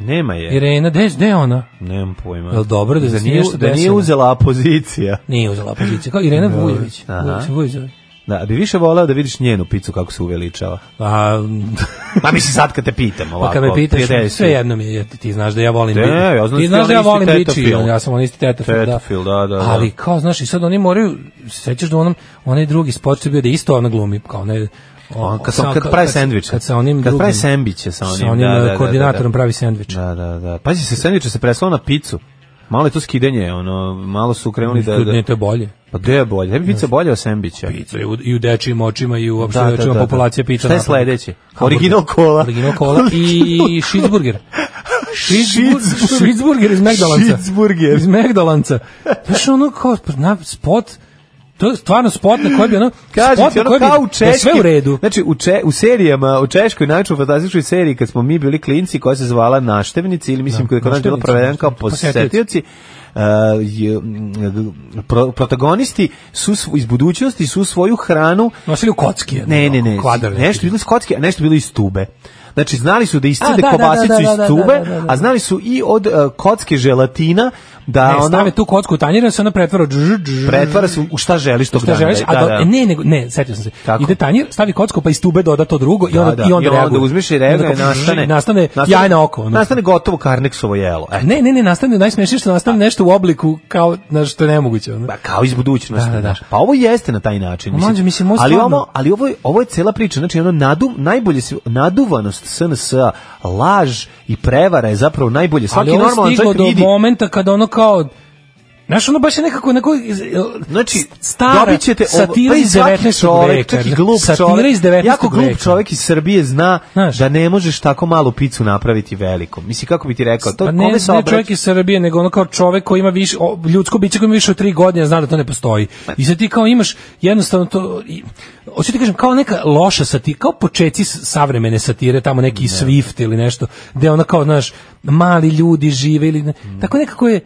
[SPEAKER 6] Nema je.
[SPEAKER 7] Irena, gde gde je ona?
[SPEAKER 6] Nemam pojma.
[SPEAKER 7] Jel dobro da se
[SPEAKER 6] nije,
[SPEAKER 7] nešto
[SPEAKER 6] da nije
[SPEAKER 7] desilo?
[SPEAKER 6] uzela opozicija.
[SPEAKER 7] Nije uzela poziciju, kao Irena Vujović.
[SPEAKER 6] Aha.
[SPEAKER 7] Vujović, Vujović. zove.
[SPEAKER 6] Da, bi više voleo da vidiš njenu picu kako se uveličava.
[SPEAKER 7] A,
[SPEAKER 6] Pa mislim sad kad te pitam ovako.
[SPEAKER 7] Pa kad me pitaš,
[SPEAKER 6] prijateljski.
[SPEAKER 7] sve jedno mi je, ti, ti znaš da ja volim
[SPEAKER 6] Ne,
[SPEAKER 7] biti.
[SPEAKER 6] ja znam da
[SPEAKER 7] ti znaš
[SPEAKER 6] si
[SPEAKER 7] da ja
[SPEAKER 6] onaj isti
[SPEAKER 7] volim biti,
[SPEAKER 6] tetofil.
[SPEAKER 7] ja sam on isti tetofil,
[SPEAKER 6] Tetofil, da, da, da.
[SPEAKER 7] Ali kao, znaš, i sad oni moraju, sećaš da onom, onaj drugi spot što je bio da isto ona glumi, kao ne,
[SPEAKER 6] On, kad, sam, kad pravi sandviče.
[SPEAKER 7] Kad sa onim
[SPEAKER 6] kad
[SPEAKER 7] drugim,
[SPEAKER 6] pravi sandviče sa onim,
[SPEAKER 7] sa onim e,
[SPEAKER 6] da, da, da, da,
[SPEAKER 7] koordinatorom
[SPEAKER 6] da.
[SPEAKER 7] pravi sandvič.
[SPEAKER 6] Da, da, da. Pazi se, sandviče se preslao na picu. Malo je to skidenje, ono, malo su krenuli da... da
[SPEAKER 7] Ne, to je bolje.
[SPEAKER 6] pa gde je bolje? Ne bi pica bolja od sandvića.
[SPEAKER 7] Pica i u, i u dečijim očima i u opšte
[SPEAKER 6] Da, da,
[SPEAKER 7] očima
[SPEAKER 6] da, da.
[SPEAKER 7] populacije pica.
[SPEAKER 6] Šta je
[SPEAKER 7] napravljena.
[SPEAKER 6] sledeće?
[SPEAKER 7] Hamburger.
[SPEAKER 6] Original kola.
[SPEAKER 7] Original kola i šizburger.
[SPEAKER 6] Šizburger.
[SPEAKER 7] Šizburger iz Megdalanca.
[SPEAKER 6] Šizburger.
[SPEAKER 7] Iz Megdalanca. Znaš, ono kao na spot, to je stvarno spot na koji bi ono,
[SPEAKER 6] Kažem
[SPEAKER 7] spot
[SPEAKER 6] ti,
[SPEAKER 7] na
[SPEAKER 6] ono
[SPEAKER 7] koji bi,
[SPEAKER 6] kao u
[SPEAKER 7] da je
[SPEAKER 6] češkim,
[SPEAKER 7] sve u redu.
[SPEAKER 6] Znači, u, če, u serijama, u češkoj, najčešćoj fantastičnoj seriji, kad smo mi bili klinci, koja se zvala Naštevnici, ili mislim,
[SPEAKER 7] Da,
[SPEAKER 6] koja je kod nas bila
[SPEAKER 7] Naštevnici,
[SPEAKER 6] provedena kao
[SPEAKER 7] Naštevnici. Pa
[SPEAKER 6] posetioci, Uh, je, mm, pro, protagonisti su sv, iz budućnosti su svoju hranu
[SPEAKER 7] Nosili u kocki. ono, jedno,
[SPEAKER 6] ne ne ne
[SPEAKER 7] Kvadar.
[SPEAKER 6] nešto bilo iz kocke a nešto bilo iz tube znači znali su da
[SPEAKER 7] A,
[SPEAKER 6] iscede
[SPEAKER 7] da, da,
[SPEAKER 6] kobasicu
[SPEAKER 7] da, da, da,
[SPEAKER 6] iz tube
[SPEAKER 7] da, da, da.
[SPEAKER 6] a znali su i od uh, kocke želatina da ono-
[SPEAKER 7] Ne,
[SPEAKER 6] ona
[SPEAKER 7] stave tu kocku u tanjir, da se ona pretvara. dž- dž- dž-
[SPEAKER 6] pretvara se u- u šta želiš tog
[SPEAKER 7] šta
[SPEAKER 6] dana
[SPEAKER 7] želiš,
[SPEAKER 6] da-
[SPEAKER 7] a
[SPEAKER 6] da,
[SPEAKER 7] do, e,
[SPEAKER 6] da.
[SPEAKER 7] ne, nego, ne, setio sam se.
[SPEAKER 6] Tako.
[SPEAKER 7] Ide tanjir, stavi kocku, pa iz tube doda to drugo i
[SPEAKER 6] Da,
[SPEAKER 7] onda,
[SPEAKER 6] da,
[SPEAKER 7] i onda, reaguje.
[SPEAKER 6] uzmeš i
[SPEAKER 7] I
[SPEAKER 6] reaguje,
[SPEAKER 7] onda kao dž-
[SPEAKER 6] nastane,
[SPEAKER 7] nastane, jajna oko. ono.
[SPEAKER 6] Nastane gotovo karneksovo jelo. E,
[SPEAKER 7] Ne, ne, ne, nastane najsmešnije što nastane nešto u obliku kao na što je nemoguće. Ono.
[SPEAKER 6] ba, kao iz budućnosti.
[SPEAKER 7] Da, da, da.
[SPEAKER 6] znaš. Pa ovo jeste na taj način.
[SPEAKER 7] Ma, mlađe, mislim, ovo je
[SPEAKER 6] ali,
[SPEAKER 7] stvarno-
[SPEAKER 6] ovo, ali ovo, je, ovo je cela priča. Znači, ono nadu, najbolje, se- naduvanost SNS, laž i prevara je zapravo najbolje. Svaki
[SPEAKER 7] Ali ovo je
[SPEAKER 6] normalan
[SPEAKER 7] stiglo
[SPEAKER 6] čovjek
[SPEAKER 7] do
[SPEAKER 6] vidi...
[SPEAKER 7] momenta kada ono kao Znaš, ono baš je nekako, nekako
[SPEAKER 6] Znači,
[SPEAKER 7] s- stara
[SPEAKER 6] dobit ćete ovo-
[SPEAKER 7] satira
[SPEAKER 6] pa i
[SPEAKER 7] iz
[SPEAKER 6] svaki
[SPEAKER 7] 19.
[SPEAKER 6] čovjek,
[SPEAKER 7] veka.
[SPEAKER 6] čak i glup
[SPEAKER 7] satira
[SPEAKER 6] čovjek,
[SPEAKER 7] iz 19.
[SPEAKER 6] jako glup
[SPEAKER 7] veka.
[SPEAKER 6] čovjek iz Srbije zna
[SPEAKER 7] Znaš.
[SPEAKER 6] da ne možeš tako malu picu napraviti velikom. Mislim, kako bi ti rekao, to
[SPEAKER 7] Pa ne,
[SPEAKER 6] kome se
[SPEAKER 7] ne
[SPEAKER 6] obraća-
[SPEAKER 7] čovjek iz Srbije, nego ono kao čovjek koji ima više, o, ljudsko biće koji ima više od tri godine, zna da to ne postoji. I sad ti kao imaš jednostavno to, i, hoću ti kažem, kao neka loša satira, kao počeci s- savremene satire, tamo neki Swift ili nešto, gde ono kao, znaš, mali ljudi žive ili, ne-
[SPEAKER 6] Mm.
[SPEAKER 7] tako nekako je,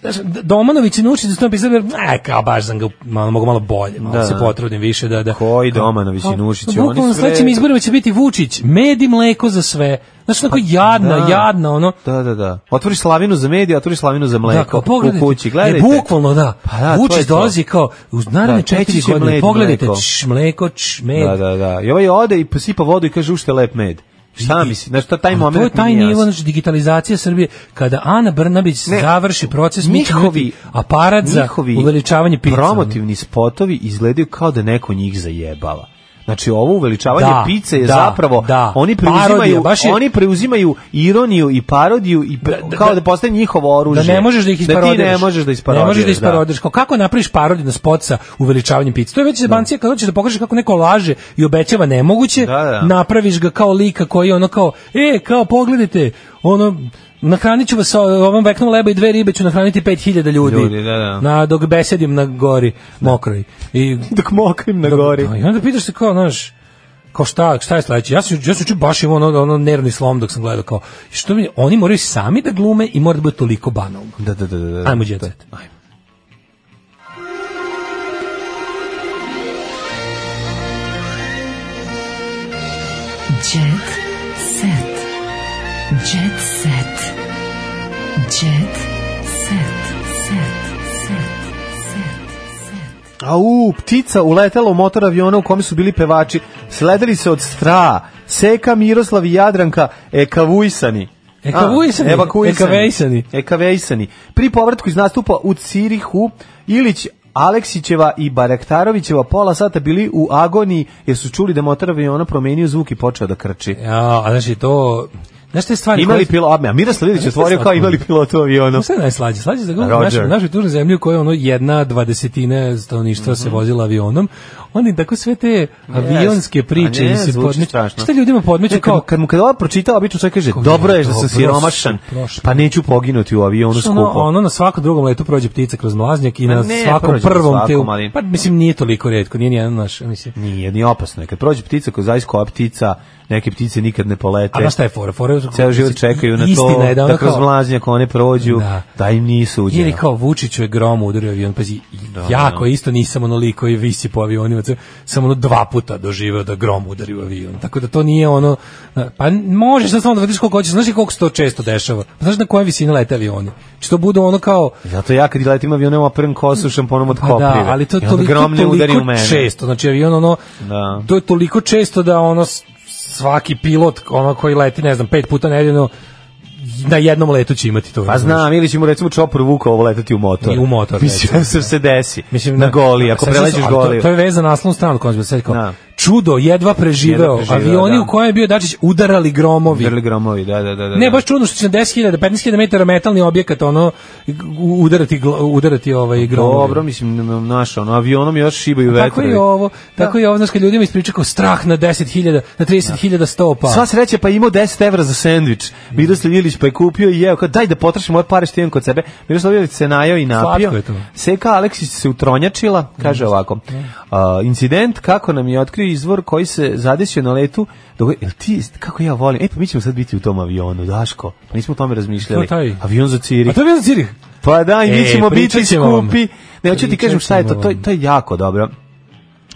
[SPEAKER 7] Znaš, D- Domanović je naučio da se to napisao, jer, e, kao baš sam ga, malo, mogu malo bolje, malo
[SPEAKER 6] Da.
[SPEAKER 7] se potrudim više da... da
[SPEAKER 6] Koji Domanović i Nušić,
[SPEAKER 7] Bukvalno
[SPEAKER 6] oni
[SPEAKER 7] na
[SPEAKER 6] sve-
[SPEAKER 7] sledećim izborima će biti Vučić, med i mleko za sve. Znaš, onako jadna,
[SPEAKER 6] Pa da.
[SPEAKER 7] jadna, ono,
[SPEAKER 6] Da, da, da. Otvoriš slavinu za medije, otvoriš slavinu za mleko
[SPEAKER 7] da, kao,
[SPEAKER 6] Pa u
[SPEAKER 7] pogledajte.
[SPEAKER 6] kući. Gledajte.
[SPEAKER 7] E, bukvalno, da.
[SPEAKER 6] Pa da, to je
[SPEAKER 7] Vučić
[SPEAKER 6] to.
[SPEAKER 7] dolazi kao, uz naravne
[SPEAKER 6] Da,
[SPEAKER 7] da, četiri
[SPEAKER 6] peći će
[SPEAKER 7] godine,
[SPEAKER 6] med,
[SPEAKER 7] pogledajte,
[SPEAKER 6] mleko.
[SPEAKER 7] mleko. čš, mleko, čš, med.
[SPEAKER 6] Da, da, da. I ovaj ode i posipa vodu i kaže ušte lep med. Šta
[SPEAKER 7] I-
[SPEAKER 6] misli? Znaš, to taj
[SPEAKER 7] Ali
[SPEAKER 6] moment
[SPEAKER 7] to je taj
[SPEAKER 6] mi nije
[SPEAKER 7] nivo
[SPEAKER 6] jasno.
[SPEAKER 7] znači digitalizacija Srbije kada Ana Brnabić
[SPEAKER 6] Ne,
[SPEAKER 7] završi proces mi ćemo
[SPEAKER 6] njihovi-
[SPEAKER 7] imati aparat za
[SPEAKER 6] njihovi
[SPEAKER 7] uveličavanje pizza
[SPEAKER 6] Promotivni spotovi izgledaju kao da neko njih zajebava. Znači ovo uveličavanje
[SPEAKER 7] Da,
[SPEAKER 6] pice je
[SPEAKER 7] da,
[SPEAKER 6] zapravo
[SPEAKER 7] da.
[SPEAKER 6] oni preuzimaju
[SPEAKER 7] Parodija, baš je-
[SPEAKER 6] oni preuzimaju ironiju i parodiju i pre-
[SPEAKER 7] Da, da,
[SPEAKER 6] kao da
[SPEAKER 7] da.
[SPEAKER 6] postaje njihovo
[SPEAKER 7] da
[SPEAKER 6] oružje.
[SPEAKER 7] ne možeš da ih isparodiraš.
[SPEAKER 6] Da ti ne možeš da isparodiraš.
[SPEAKER 7] Ne možeš da
[SPEAKER 6] da.
[SPEAKER 7] isparodiraš. Kao kako napraviš parodiju na spot sa uveličavanjem pizza? To je već zebancija kad hoćeš da pokažeš kako neko laže i obećava nemoguće,
[SPEAKER 6] Da, da.
[SPEAKER 7] napraviš ga kao lika koji ono kao, e, kao pogledajte, ono, nahranit ću vas sa ovom veknom leba i dve ribe ću nahraniti 5000 ljudi.
[SPEAKER 6] Ljudi, da, da.
[SPEAKER 7] Na, dok besedim na gori mokroj. I,
[SPEAKER 6] Dok mokrim na gori.
[SPEAKER 7] Da, I onda pitaš se kao, znaš, kao šta, šta je sledeće? Ja sam ju- ja sam juče baš imao ono, ono nervni slom dok sam gledao kao, što mi, oni moraju sami da glume i mora da bude toliko banalno.
[SPEAKER 6] Da, da, da, da. da.
[SPEAKER 7] Ajmo, Jet Set.
[SPEAKER 6] Ajmo.
[SPEAKER 4] Jet set. Jet set. Jet set. Set. Set.
[SPEAKER 6] Au, ptica uletela u motor aviona u kome su bili pevači. Sledili se od stra. Seka, Miroslav i Jadranka ekavujsani.
[SPEAKER 7] Ekavujsani,
[SPEAKER 6] A, evakuisani.
[SPEAKER 7] ekavejsani.
[SPEAKER 6] Ekavejsani. Pri povratku iz nastupa u Cirihu, Ilić Aleksićeva i Baraktarovićeva pola sata bili u
[SPEAKER 7] E,
[SPEAKER 6] agoniji jer su čuli da motor aviona promenio zvuk i počeo da krči.
[SPEAKER 7] Ja, a znači to Znaš te stvari
[SPEAKER 6] Imali
[SPEAKER 7] koje-
[SPEAKER 6] pilo, a Miroslav Ilić
[SPEAKER 7] Znaš
[SPEAKER 6] je
[SPEAKER 7] šta
[SPEAKER 6] otvorio kao
[SPEAKER 7] slatko?
[SPEAKER 6] imali pilotu u avionu.
[SPEAKER 7] No sve je najslađe, slađe za
[SPEAKER 6] Roger.
[SPEAKER 7] našu, našu tužnu zemlju koja je ono jedna dvadesetina stanovništva
[SPEAKER 6] Mhm.
[SPEAKER 7] se vozila avionom. Oni tako sve te avionske priče
[SPEAKER 6] A ne,
[SPEAKER 7] im se
[SPEAKER 6] zvuči
[SPEAKER 7] podmeću.
[SPEAKER 6] strašno.
[SPEAKER 7] Šta ljudima podmeću
[SPEAKER 6] Ne, kad,
[SPEAKER 7] kao
[SPEAKER 6] mu- kad mu kad ova pročita, obično čovjek kaže,
[SPEAKER 7] Kao,
[SPEAKER 6] dobro je da sam
[SPEAKER 7] dobro,
[SPEAKER 6] siromašan,
[SPEAKER 7] prošlo.
[SPEAKER 6] pa neću poginuti u avionu
[SPEAKER 7] Što ono,
[SPEAKER 6] skupo.
[SPEAKER 7] ono na svakom drugom letu prođe ptica kroz mlaznjak i
[SPEAKER 6] Ma
[SPEAKER 7] na
[SPEAKER 6] ne,
[SPEAKER 7] svakom
[SPEAKER 6] prođe na
[SPEAKER 7] prvom te
[SPEAKER 6] svakom, ali-
[SPEAKER 7] pa mislim nije toliko retko nije ni jedan naš mislim
[SPEAKER 6] Nije, nije opasno. je. Kad prođe ptica, ko zaista koja ptica, neke ptice nikad ne polete.
[SPEAKER 7] A znaš šta je fora? Fora je-
[SPEAKER 6] Ceo život čekaju na to,
[SPEAKER 7] Istina je da ono
[SPEAKER 6] da kroz
[SPEAKER 7] kao-
[SPEAKER 6] mlaznjak one prođu, da,
[SPEAKER 7] Da.
[SPEAKER 6] im nisu uđeno.
[SPEAKER 7] Ili kao Vučiću je grom udario avion, pazi, jako je isto nisam onoliko i visi po avionima, to- sam ono dva puta doživeo da grom udari u avion. Tako da to nije ono, na- pa možeš sad samo da vidiš koliko hoćeš, znaš i koliko se to često dešava. Pa znaš na koje visine lete avioni? Či to bude ono kao,
[SPEAKER 6] Zato ja kad letim avionom oprem kosu šamponom od
[SPEAKER 7] pa
[SPEAKER 6] koprive.
[SPEAKER 7] da, ali to
[SPEAKER 6] I
[SPEAKER 7] je
[SPEAKER 6] onda
[SPEAKER 7] toliko,
[SPEAKER 6] grom ne udari u
[SPEAKER 7] toliko
[SPEAKER 6] mene.
[SPEAKER 7] često, znači avion ono,
[SPEAKER 6] Da.
[SPEAKER 7] to je toliko često da ono s- svaki pilot, ono koji leti, ne znam, pet puta nedeljno, na jednom letu će imati to. Znači,
[SPEAKER 6] Pa
[SPEAKER 7] razumeš?
[SPEAKER 6] znam, ili ćemo recimo čopor Vukovo letati u motor.
[SPEAKER 7] I u motor,
[SPEAKER 6] Mislim,
[SPEAKER 7] recimo,
[SPEAKER 6] se, se desi.
[SPEAKER 7] Mislim,
[SPEAKER 6] na
[SPEAKER 7] da-
[SPEAKER 6] goli, ako
[SPEAKER 7] Sad sam-
[SPEAKER 6] preleđeš
[SPEAKER 7] ali
[SPEAKER 6] goli.
[SPEAKER 7] To, to je veza na naslovnu stranu konzerva, sad kao,
[SPEAKER 6] Da.
[SPEAKER 7] čudo, jedva preživeo,
[SPEAKER 6] Jedva preživeo,
[SPEAKER 7] avioni
[SPEAKER 6] da.
[SPEAKER 7] u kojem je bio Dačić udarali gromovi.
[SPEAKER 6] Grli gromovi, da, da, da. da
[SPEAKER 7] Ne, baš čudno što će na 10.000, 15.000 metara metalni objekat, ono, u- udarati, gl- udarati ovaj gromovi.
[SPEAKER 6] Dobro, mislim, n- naš, ono, avionom još šibaju vetrovi.
[SPEAKER 7] Tako je ovo, tako je ovo, znaš, kad ljudima ispriča kao strah na 10.000, na 30.000 stopa.
[SPEAKER 6] Sva sreća, pa je imao 10 evra za sendvič. Miroslav Ilić pa je kupio i jeo, kao, daj da potrošim ove pare što imam kod sebe. Miroslav Ilić se najao i napio.
[SPEAKER 7] Slatko je to.
[SPEAKER 6] Seka Aleksić se utronjačila, kaže ovako, a, incident kako nam je otkrio izvor koji se zadesio na letu, dok, "E, jel ti, kako ja volim, e pa mi ćemo sad biti u tom avionu, Daško, pa nismo o tome razmišljali.
[SPEAKER 7] To je taj.
[SPEAKER 6] Avion za Cirih.
[SPEAKER 7] A to je bio Cirih.
[SPEAKER 6] Pa da, i mi
[SPEAKER 7] E,
[SPEAKER 6] ćemo biti
[SPEAKER 7] pričat ćemo vam.
[SPEAKER 6] skupi. Ne, hoću ti
[SPEAKER 7] Pričat
[SPEAKER 6] kažem šta je to,
[SPEAKER 7] ćemo
[SPEAKER 6] to, to je jako dobro.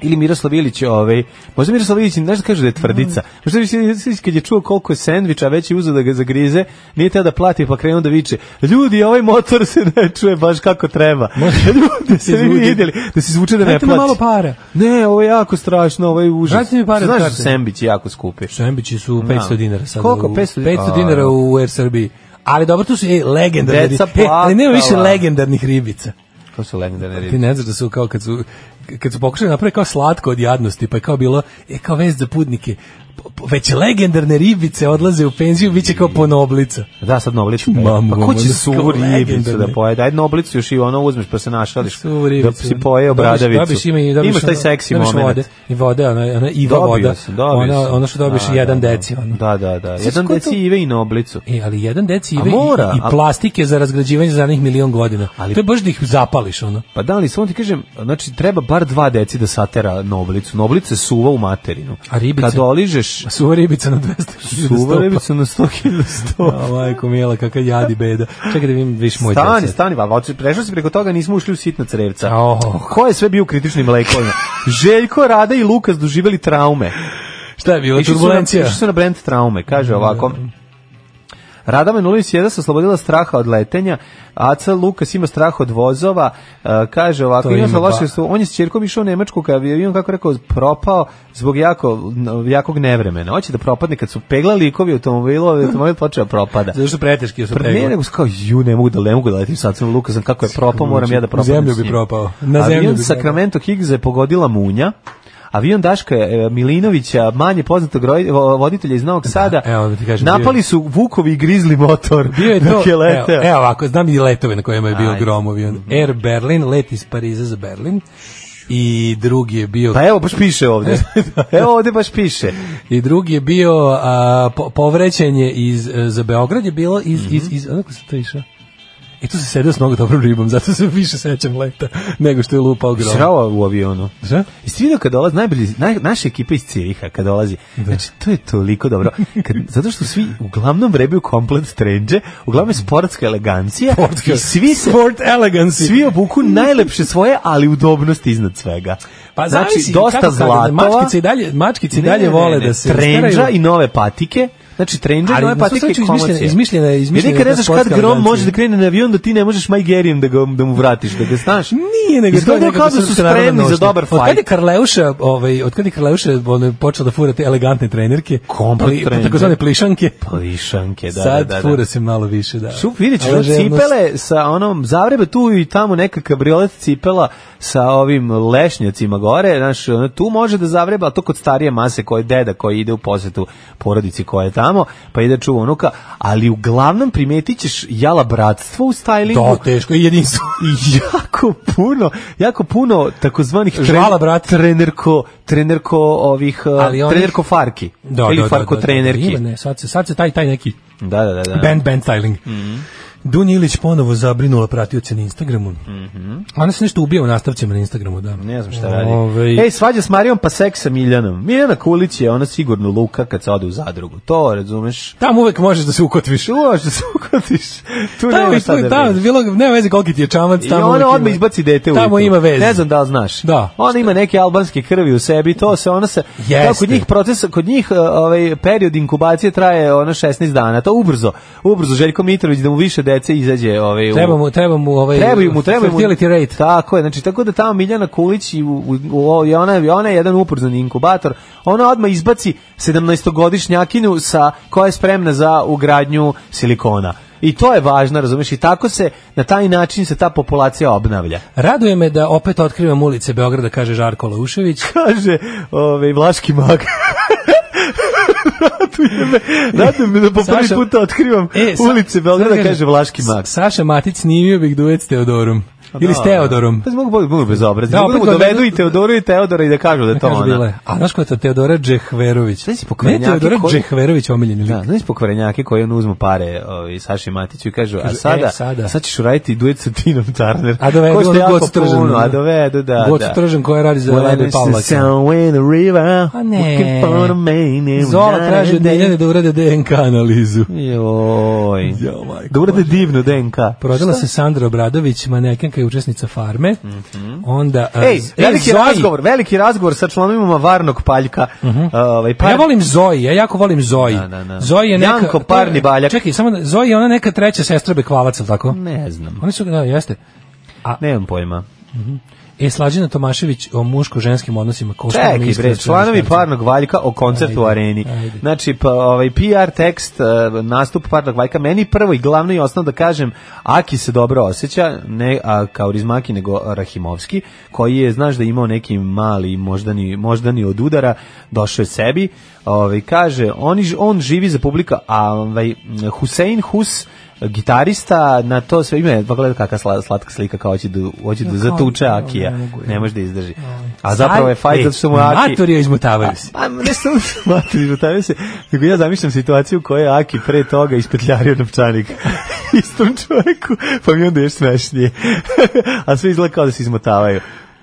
[SPEAKER 6] Ili Miroslav Ilić, ovaj, možda Miroslav Ilić, znaš da kaže da je
[SPEAKER 7] Mm.
[SPEAKER 6] tvrdica. Možda Miroslav Ilić kad je čuo koliko je sendviča, već je uzeo da ga zagrize, nije teo da plati, pa krenuo da viče, ljudi, ovaj motor se ne čuje baš kako treba. ljudi, da se vi
[SPEAKER 7] Ljudi.
[SPEAKER 6] vidjeli, da se zvuče da ne
[SPEAKER 7] Dajte mi
[SPEAKER 6] plaće.
[SPEAKER 7] malo para.
[SPEAKER 6] Ne, ovo je jako strašno, ovo je užas.
[SPEAKER 7] Vratite mi pare od
[SPEAKER 6] Znaš da
[SPEAKER 7] karte.
[SPEAKER 6] sandviči jako skupi.
[SPEAKER 7] Šembići su 500 dinara sad.
[SPEAKER 6] Koliko?
[SPEAKER 7] u-
[SPEAKER 6] 500
[SPEAKER 7] 500
[SPEAKER 6] A.
[SPEAKER 7] dinara u Air Srbiji. Ali dobro, tu su e, legendarne
[SPEAKER 6] Deca
[SPEAKER 7] ribice. E, ali nema više
[SPEAKER 6] plakala.
[SPEAKER 7] legendarnih ribica.
[SPEAKER 6] To su legendarne ribe.
[SPEAKER 7] Ti ne znaš da su kao kad su kad su pokušali napraviti kao slatko od jadnosti, pa je kao bilo e kao vez za putnike. Po- po- Već legendarne ribice odlaze u penziju, biće kao ponoblica.
[SPEAKER 6] Da, sad noblicu.
[SPEAKER 7] Mamu, ono
[SPEAKER 6] pa ko
[SPEAKER 7] mamu,
[SPEAKER 6] će suvu
[SPEAKER 7] kao
[SPEAKER 6] ribicu
[SPEAKER 7] legendarno.
[SPEAKER 6] da pojede? Ajde noblicu još i ono uzmeš pa se našališ.
[SPEAKER 7] Suvu ribicu.
[SPEAKER 6] Da si pojeo
[SPEAKER 7] ono. Dobiš-
[SPEAKER 6] bradavicu.
[SPEAKER 7] Dobiš, ima i dobiš
[SPEAKER 6] Imaš taj
[SPEAKER 7] ono-
[SPEAKER 6] seksi
[SPEAKER 7] dobiš
[SPEAKER 6] moment.
[SPEAKER 7] Vode, I vode, ona, ona iva
[SPEAKER 6] Dobio
[SPEAKER 7] voda.
[SPEAKER 6] sam, dobio
[SPEAKER 7] ona,
[SPEAKER 6] sam.
[SPEAKER 7] ono što dobiješ
[SPEAKER 6] Da,
[SPEAKER 7] jedan
[SPEAKER 6] da, da.
[SPEAKER 7] deci. Ono.
[SPEAKER 6] Da, da, da.
[SPEAKER 7] Znaš
[SPEAKER 6] Jedan
[SPEAKER 7] ko
[SPEAKER 6] deci
[SPEAKER 7] to-
[SPEAKER 6] ive i noblicu.
[SPEAKER 7] E, ali jedan deci
[SPEAKER 6] A
[SPEAKER 7] ive i,
[SPEAKER 6] mora,
[SPEAKER 7] i,
[SPEAKER 6] a-
[SPEAKER 7] plastike za razgrađivanje za zadnjih milion godina.
[SPEAKER 6] Ali-
[SPEAKER 7] to je baš da ih zapališ, ono.
[SPEAKER 6] Pa da, ali samo ti kažem, znači treba bar dva deci da satera noblicu. Noblica je suva u materinu.
[SPEAKER 7] A ribice?
[SPEAKER 6] Kad oližeš
[SPEAKER 7] Pa Suva ribica na 200.
[SPEAKER 6] suva ribica na 100 kg.
[SPEAKER 7] O, majko mila, kakav jadi beda. Čekaj da vidim viš moj
[SPEAKER 6] Stani,
[SPEAKER 7] deset.
[SPEAKER 6] stani, va, prešao si preko toga, nismo ušli u sitna crevca.
[SPEAKER 7] Oho.
[SPEAKER 6] Ko je sve bio u kritičnim lekovima? Željko, Rada i Lukas doživeli traume.
[SPEAKER 7] Šta je bilo?
[SPEAKER 6] Išli su na-
[SPEAKER 7] Turbulencija.
[SPEAKER 6] Išli su na brand traume, kaže ovako. Rada Menulović je da se oslobodila straha od letenja, Aca Lukas ima strah od vozova, e, kaže ovako,
[SPEAKER 7] To
[SPEAKER 6] ima
[SPEAKER 7] ima,
[SPEAKER 6] loše
[SPEAKER 7] ba.
[SPEAKER 6] su, on je s ćerkom išao u Nemačku kad je avion, kako rekao, propao zbog jako, jakog nevremena. Hoće da propadne kad su pegla likovi automobila, ovaj automobil počeo da propada.
[SPEAKER 7] Zato što preteški su
[SPEAKER 6] Pre, ne, nego kao, ju, ne mogu da, ne mogu da letim sad, sam Lukasom, kako je propao, moram ja da
[SPEAKER 7] U
[SPEAKER 6] propadnem
[SPEAKER 7] zemlju
[SPEAKER 6] s
[SPEAKER 7] bi
[SPEAKER 6] njim.
[SPEAKER 7] propao. Na
[SPEAKER 6] avion
[SPEAKER 7] zemlju bi propao.
[SPEAKER 6] Sacramento Higgsa je pogodila munja, avion Daška e, Milinovića, manje poznatog roj- vo- voditelja iz Novog Sada,
[SPEAKER 7] evo da ti kažem, bio
[SPEAKER 6] napali
[SPEAKER 7] je-
[SPEAKER 6] su vukovi i grizli motor
[SPEAKER 7] Bio je Mhm. to,
[SPEAKER 6] dok je
[SPEAKER 7] evo,
[SPEAKER 6] leteo.
[SPEAKER 7] evo ovako, znam i letove na kojima je bio
[SPEAKER 6] Ajde.
[SPEAKER 7] gromovi. ono. Air Berlin, let iz Pariza za Berlin. I drugi je bio...
[SPEAKER 6] Pa evo, baš piše ovde. evo ovde baš piše.
[SPEAKER 7] I drugi je bio a, po, povrećenje iz, e, za Beograd je bilo iz...
[SPEAKER 6] Mhm.
[SPEAKER 7] iz, iz odakle se to išao? I tu se sedeo s mnogo dobrom ribom, zato se više sećam leta nego što je lupao grom.
[SPEAKER 6] Srao u avionu.
[SPEAKER 7] Šta?
[SPEAKER 6] I svi vidio kad dolazi najbolji, naj, naša ekipa iz Ciriha kad dolazi, znači to je toliko dobro, kad, zato što svi uglavnom vrebeju komplet strange, uglavnom je sportska elegancija i svi se
[SPEAKER 7] Sport elegancy.
[SPEAKER 6] svi obuku najlepše svoje, ali udobnost iznad svega.
[SPEAKER 7] Pa
[SPEAKER 6] znači,
[SPEAKER 7] zavisi
[SPEAKER 6] dosta
[SPEAKER 7] kako kažem,
[SPEAKER 6] zlatova,
[SPEAKER 7] Mačkice i dalje, mačkice i
[SPEAKER 6] Ne,
[SPEAKER 7] dalje
[SPEAKER 6] ne, ne,
[SPEAKER 7] vole
[SPEAKER 6] ne,
[SPEAKER 7] da se
[SPEAKER 6] trenđa
[SPEAKER 7] staraju.
[SPEAKER 6] i nove patike, Znači, trenđa, i
[SPEAKER 7] Ali
[SPEAKER 6] nove
[SPEAKER 7] na svu
[SPEAKER 6] patike i
[SPEAKER 7] sreću izmišljena-
[SPEAKER 6] komacije.
[SPEAKER 7] izmišljena je-
[SPEAKER 6] Jer
[SPEAKER 7] izmišljena je
[SPEAKER 6] nikad ne
[SPEAKER 7] ta
[SPEAKER 6] znaš
[SPEAKER 7] sportska
[SPEAKER 6] kad grom
[SPEAKER 7] elegancija.
[SPEAKER 6] može da krene na avion, da ti ne možeš Majgerijem da, ga, da mu vratiš, da ga znaš.
[SPEAKER 7] Nije, nego
[SPEAKER 6] Izgledaju
[SPEAKER 7] to je
[SPEAKER 6] kao
[SPEAKER 7] nekako
[SPEAKER 6] da su
[SPEAKER 7] srpska narodna
[SPEAKER 6] spremni za
[SPEAKER 7] nošnja.
[SPEAKER 6] dobar
[SPEAKER 7] Od kad je
[SPEAKER 6] fajt.
[SPEAKER 7] Karleuša, ovaj, od kad je Karleuša ono, počela da fura te elegantne trenerke,
[SPEAKER 6] Komplet trenerke.
[SPEAKER 7] takozvane plišanke,
[SPEAKER 6] Plišanke, Pa da,
[SPEAKER 7] sad
[SPEAKER 6] da, da. da.
[SPEAKER 7] fura se malo više, da.
[SPEAKER 6] Šup, vidjet ćeš, ono
[SPEAKER 7] Ležernost.
[SPEAKER 6] cipele sa onom, zavrebe tu i tamo neka kabriolet cipela sa ovim lešnjacima gore, znaš, ono, tu može da zavreba, ali to kod starije mase, koji je deda koji ide u posetu porodici koja je tamo, pa ide čuva unuka, ali uglavnom primetit ćeš jala bratstvo u stylingu.
[SPEAKER 7] Da, teško, i jedinstvo.
[SPEAKER 6] I jako puno, jako puno takozvanih tren-
[SPEAKER 7] Žvala, brat.
[SPEAKER 6] trenerko, trenerko ovih, uh,
[SPEAKER 7] Ali onih-
[SPEAKER 6] trenerko farki.
[SPEAKER 7] Da,
[SPEAKER 6] ili
[SPEAKER 7] da, da,
[SPEAKER 6] farko
[SPEAKER 7] da, da,
[SPEAKER 6] trenerki.
[SPEAKER 7] ima, ne, sad se, sad se taj, taj neki
[SPEAKER 6] Da, da, Mhm. da. da.
[SPEAKER 7] band, band styling. Dunja Ilić ponovo zabrinula pratioce na Instagramu. Ona se nešto ubija u nastavcima na Instagramu, da.
[SPEAKER 6] Mhm. Ne znam šta radi.
[SPEAKER 7] Ovaj,
[SPEAKER 6] Ej, svađa s Marijom pa seks sa Miljanom. Miljana Kulić je ona sigurno luka kad se ode u zadrugu. To razumeš?
[SPEAKER 7] Tamo uvek možeš da se ukotviš.
[SPEAKER 6] Tu možeš da se ukotiš. Tu
[SPEAKER 7] Tamo,
[SPEAKER 6] nema
[SPEAKER 7] je
[SPEAKER 6] šta da
[SPEAKER 7] tamo,
[SPEAKER 6] brineš.
[SPEAKER 7] bilo, nema veze koliki ti je čamac.
[SPEAKER 6] I
[SPEAKER 7] Tamo
[SPEAKER 6] ona
[SPEAKER 7] uvek
[SPEAKER 6] odmah
[SPEAKER 7] ima-
[SPEAKER 6] izbaci dete u
[SPEAKER 7] Tamo
[SPEAKER 6] jutru.
[SPEAKER 7] ima veze.
[SPEAKER 6] Ne znam da li znaš.
[SPEAKER 7] Da.
[SPEAKER 6] Ona ima neke albanske krvi u sebi, to se ona se...
[SPEAKER 7] Jeste.
[SPEAKER 6] Tako, kod njih proces, kod njih uh, ovaj, period inkubacije traje ono 16 dana. To ubrzo. Ubrzo Željko Mitrović da mu više dece izađe ovaj, u-
[SPEAKER 7] Treba mu, treba mu, ovaj,
[SPEAKER 6] Trebaju mu, trebaju mu.
[SPEAKER 7] fertility rate.
[SPEAKER 6] Tako je, znači tako da tamo Miljana Kulić i u, u, u, i ona, i ona je jedan uporzan inkubator. Ona odmah izbaci 17-godišnjakinu sa koja je spremna za ugradnju silikona. I to je važno, razumeš? I tako se, na taj način se ta populacija obnavlja.
[SPEAKER 7] Raduje me da opet otkrivam ulice Beograda, kaže Žarko Laušević.
[SPEAKER 6] Kaže, ovaj, vlaški mag. Raduje me, raduje me da po prvi
[SPEAKER 7] E, Saša-
[SPEAKER 6] puta otkrivam
[SPEAKER 7] E, sa-
[SPEAKER 6] ulice
[SPEAKER 7] sad
[SPEAKER 6] Beograda,
[SPEAKER 7] kažem,
[SPEAKER 6] kaže vlaški mag.
[SPEAKER 7] S- Saša Matić snimio bih duet s Teodorom. Ili s Teodorom.
[SPEAKER 6] Pa mogu mogu mogu bezobrazni.
[SPEAKER 7] Da,
[SPEAKER 6] Mogu Da,
[SPEAKER 7] opet
[SPEAKER 6] mu dovedu
[SPEAKER 7] dovedu-
[SPEAKER 6] i Teodoru i Teodora i da kažu da je to
[SPEAKER 7] Kaže
[SPEAKER 6] ona.
[SPEAKER 7] bila je. A znaš ko je to? Teodora Džehverović.
[SPEAKER 6] Znaš si
[SPEAKER 7] Ne,
[SPEAKER 6] pokvarenjaki
[SPEAKER 7] Teodora
[SPEAKER 6] koji-
[SPEAKER 7] Džehverović, omiljeni
[SPEAKER 6] Da,
[SPEAKER 7] lik.
[SPEAKER 6] znaš pokvarenjake koji on uzmu pare ovaj, Saši Matiću i kažu, a
[SPEAKER 7] Kažu,
[SPEAKER 6] sada,
[SPEAKER 7] e, sada.
[SPEAKER 6] sad ćeš uraditi duet sa Tinom Turner.
[SPEAKER 7] A dovedu
[SPEAKER 6] Košta
[SPEAKER 7] onu
[SPEAKER 6] jako
[SPEAKER 7] Gocu Tržan,
[SPEAKER 6] puno,
[SPEAKER 7] ono.
[SPEAKER 6] A dovedu, da,
[SPEAKER 7] Gocu
[SPEAKER 6] da.
[SPEAKER 7] Tržan koja radi za Ledu i Pavlaća. A Pa ne.
[SPEAKER 6] pa ono ne.
[SPEAKER 7] Zola traži od Miljane da urade DNK analizu.
[SPEAKER 6] Joj.
[SPEAKER 7] Jo, majko Pa,
[SPEAKER 6] Da urade divno DNK.
[SPEAKER 7] Prodala se Sandra Obradović, manekenka i učesnica Farme. Onda... a,
[SPEAKER 6] Mhm. Ej,
[SPEAKER 7] z-
[SPEAKER 6] veliki
[SPEAKER 7] Zoji.
[SPEAKER 6] razgovor, veliki razgovor sa članovima Varnog paljka. Ovaj,
[SPEAKER 7] Pa
[SPEAKER 6] par-
[SPEAKER 7] ja volim Zoji, ja jako volim Zoji.
[SPEAKER 6] Da, da, da.
[SPEAKER 7] Zoji je neka...
[SPEAKER 6] Janko Parni Baljak.
[SPEAKER 7] Čekaj, samo da- Zoji je ona neka treća sestra Bekvalac, ili tako?
[SPEAKER 6] Ne znam.
[SPEAKER 7] Oni su, da, jeste.
[SPEAKER 6] Nemam pojma.
[SPEAKER 7] E, Slađana Tomašević o muško-ženskim odnosima. Ko što mi
[SPEAKER 6] Čekaj
[SPEAKER 7] isto
[SPEAKER 6] bre,
[SPEAKER 7] isto
[SPEAKER 6] članovi
[SPEAKER 7] isto.
[SPEAKER 6] Parnog Valjka o koncertu u
[SPEAKER 7] Ajde,
[SPEAKER 6] areni.
[SPEAKER 7] ajde.
[SPEAKER 6] Znači, pa, ovaj PR tekst, eh, nastup Parnog Valjka, meni prvo i glavno i osnovno da kažem, Aki se dobro osjeća, ne a, kao Rizmaki, nego Rahimovski, koji je, znaš da je imao neki mali moždani, moždani od udara, došao je sebi, ovaj, kaže, on, on živi za publika, a ovaj, Husein Hus, gitarista na to sve ime pa gledaj kakva sla- slatka slika kao hoće da hoće da zatuče
[SPEAKER 7] kao-
[SPEAKER 6] Akija
[SPEAKER 7] ne mogu, ja.
[SPEAKER 6] ne može da izdrži a zapravo je
[SPEAKER 7] Ej,
[SPEAKER 6] fajt zato što mu je Aki...
[SPEAKER 7] Matori E, je izmutavaju se.
[SPEAKER 6] Pa ne samo što matori izmutavaju se, nego ja zamišljam situaciju u kojoj je Aki pre toga ispetljario novčanik istom čovjeku, pa mi onda još smešnije. A sve izgleda kao da se izmotavaju.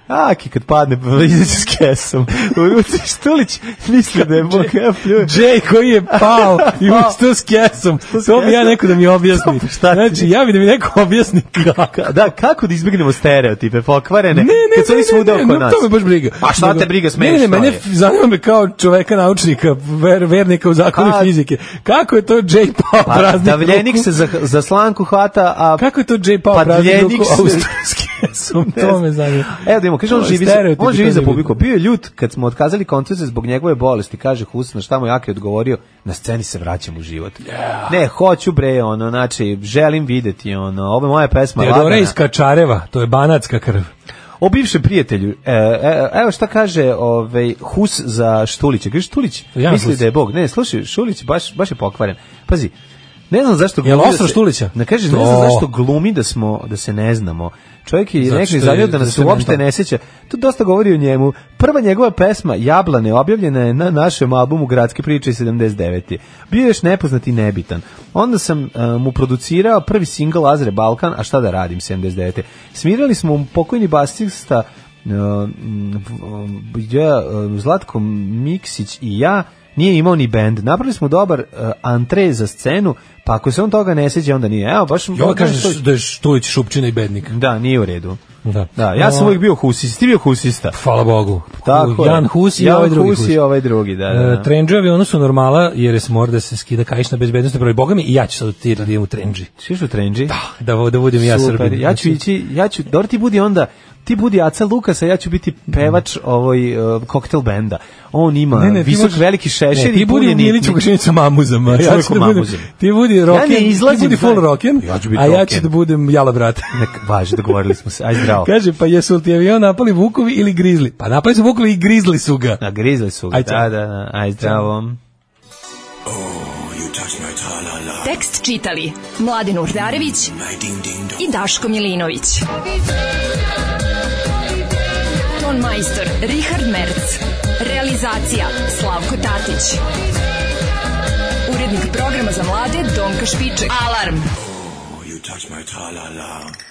[SPEAKER 6] Aki kad padne, pa izaći s kesom. U ruci Štulić misli da je Bog ja pljuje.
[SPEAKER 7] Jay koji je pao i ustao s kesom.
[SPEAKER 6] s
[SPEAKER 7] To bi ja
[SPEAKER 6] kesom?
[SPEAKER 7] neko da mi objasni.
[SPEAKER 6] šta ti?
[SPEAKER 7] Znači, ja bi da mi neko objasni kako.
[SPEAKER 6] Ka- Da, kako da izbjegnemo stereotipe pokvarene?
[SPEAKER 7] Ne, ne,
[SPEAKER 6] kad su
[SPEAKER 7] ne,
[SPEAKER 6] oni svuda
[SPEAKER 7] ne,
[SPEAKER 6] oko
[SPEAKER 7] ne,
[SPEAKER 6] nas.
[SPEAKER 7] to me baš briga.
[SPEAKER 6] A šta te briga, smeješ,
[SPEAKER 7] Ne, ne,
[SPEAKER 6] šta
[SPEAKER 7] mene
[SPEAKER 6] je?
[SPEAKER 7] f- zanima me kao čoveka naučnika, ver, vernika u zakonu
[SPEAKER 6] Ka-
[SPEAKER 7] fizike. Kako je to Jay pao
[SPEAKER 6] Pa,
[SPEAKER 7] praznik
[SPEAKER 6] davljenik se za, za slanku hvata, a
[SPEAKER 7] Kako je to Jay pao
[SPEAKER 6] Pa
[SPEAKER 7] praznik
[SPEAKER 6] Dljenik
[SPEAKER 7] ruku
[SPEAKER 6] se-
[SPEAKER 7] austrijski? Sam
[SPEAKER 6] Ne
[SPEAKER 7] to
[SPEAKER 6] znam.
[SPEAKER 7] me zanima.
[SPEAKER 6] Evo da imamo, kaže on
[SPEAKER 7] To je
[SPEAKER 6] živi, za-
[SPEAKER 7] stereotip
[SPEAKER 6] on
[SPEAKER 7] i
[SPEAKER 6] živi
[SPEAKER 7] to
[SPEAKER 6] za
[SPEAKER 7] je
[SPEAKER 6] publiku.
[SPEAKER 7] bitno.
[SPEAKER 6] Bio je ljut kad smo otkazali koncert zbog njegove bolesti, kaže Husna, šta mu je Aki odgovorio, na sceni se vraćam u život. Ne, hoću bre, ono, znači, želim videti, ono, ovo je moja pesma
[SPEAKER 7] Teodora
[SPEAKER 6] Lagana.
[SPEAKER 7] iz Kačareva, to je banatska krv.
[SPEAKER 6] O bivšem prijatelju, e, e, evo šta kaže ovaj, Hus za Štulića. Kaže, Štulić
[SPEAKER 7] Jan
[SPEAKER 6] misli
[SPEAKER 7] Hus.
[SPEAKER 6] da je Bog. Ne, slušaj, Štulić baš, baš je pokvaren. Pazi, ne znam zašto
[SPEAKER 7] Jel
[SPEAKER 6] glumi
[SPEAKER 7] ostro
[SPEAKER 6] se-
[SPEAKER 7] Štulića?
[SPEAKER 6] Ne kaže,
[SPEAKER 7] To.
[SPEAKER 6] ne znam zašto glumi da smo da se ne znamo. Čovjek je
[SPEAKER 7] Zato
[SPEAKER 6] nekako
[SPEAKER 7] što je-
[SPEAKER 6] izjavio da
[SPEAKER 7] zato
[SPEAKER 6] nas
[SPEAKER 7] što je
[SPEAKER 6] uopšte
[SPEAKER 7] mental.
[SPEAKER 6] ne seća. To dosta govori o njemu. Prva njegova pesma Jablane objavljena je na našem albumu Gradske priče iz 79. Bio je još nepoznat i nebitan. Onda sam e, mu producirao prvi singl Azre Balkan, a šta da radim 79. Smirali smo mu pokojni basista e, m, ja, e, Zlatko Miksić i ja nije imao ni bend. Napravili smo dobar e, antre za scenu, pa ako se on toga ne seća, onda nije. Evo, baš...
[SPEAKER 7] I ovo kaže
[SPEAKER 6] baš
[SPEAKER 7] š-
[SPEAKER 6] to-
[SPEAKER 7] da je Štulić šupčina i bednik.
[SPEAKER 6] Da, nije u redu.
[SPEAKER 7] Da.
[SPEAKER 6] Da, ja sam
[SPEAKER 7] O,
[SPEAKER 6] uvijek bio husista. Ti bio husista.
[SPEAKER 7] Hvala Bogu.
[SPEAKER 6] Tako je.
[SPEAKER 7] Jan Hus i
[SPEAKER 6] Jan
[SPEAKER 7] ovaj drugi
[SPEAKER 6] Hus
[SPEAKER 7] Hus.
[SPEAKER 6] i ovaj drugi, da, da, da.
[SPEAKER 7] E, trendži avionu su normala jer je mora da se skida kajiš na bezbednostne broj. Boga mi i ja ću sad otirati da idem u trendži.
[SPEAKER 6] Svi su trendži?
[SPEAKER 7] Da, vo- da budem ja
[SPEAKER 6] Super.
[SPEAKER 7] Srbin. Znači,
[SPEAKER 6] Ja ću ići, ja ću, dobro ti budi onda, ti budi Aca Lukasa, ja ću biti pevač ovoj uh, koktel benda. On ima
[SPEAKER 7] Ne, ne, ti
[SPEAKER 6] visok
[SPEAKER 7] možeš-
[SPEAKER 6] veliki šešir
[SPEAKER 7] Ne, ti
[SPEAKER 6] i
[SPEAKER 7] budi
[SPEAKER 6] punje
[SPEAKER 7] u Miliću
[SPEAKER 6] nitnik.
[SPEAKER 7] Košinić sa mamuzama.
[SPEAKER 6] Ja
[SPEAKER 7] Ja
[SPEAKER 6] čovjek u
[SPEAKER 7] ću da budem,
[SPEAKER 6] mamuzima.
[SPEAKER 7] ti budi rocken, ti
[SPEAKER 6] izlazim,
[SPEAKER 7] budi full
[SPEAKER 6] znaš.
[SPEAKER 7] rocken,
[SPEAKER 6] Ja ću biti
[SPEAKER 7] a ja
[SPEAKER 6] rocken.
[SPEAKER 7] ću da budem jala brate.
[SPEAKER 6] Nek- Važi, dogovorili smo se. Aj zdravo.
[SPEAKER 7] Kaže, pa jesu li ti avion napali vukovi ili grizli? Pa napali su vukovi i grizli su ga.
[SPEAKER 6] Na grizli su. ga.
[SPEAKER 7] Aj,
[SPEAKER 6] Da,
[SPEAKER 7] čao.
[SPEAKER 6] da, da. Aj zdravo.
[SPEAKER 9] Alarm.
[SPEAKER 4] Tekst čitali Mladin Urdarević i Daško Milinović. Ton majstor Richard Merc. Realizacija Slavko Tatić. Urednik programa za mlade Donka Špiček. Alarm!
[SPEAKER 12] Oh, you touch my tra-la-la.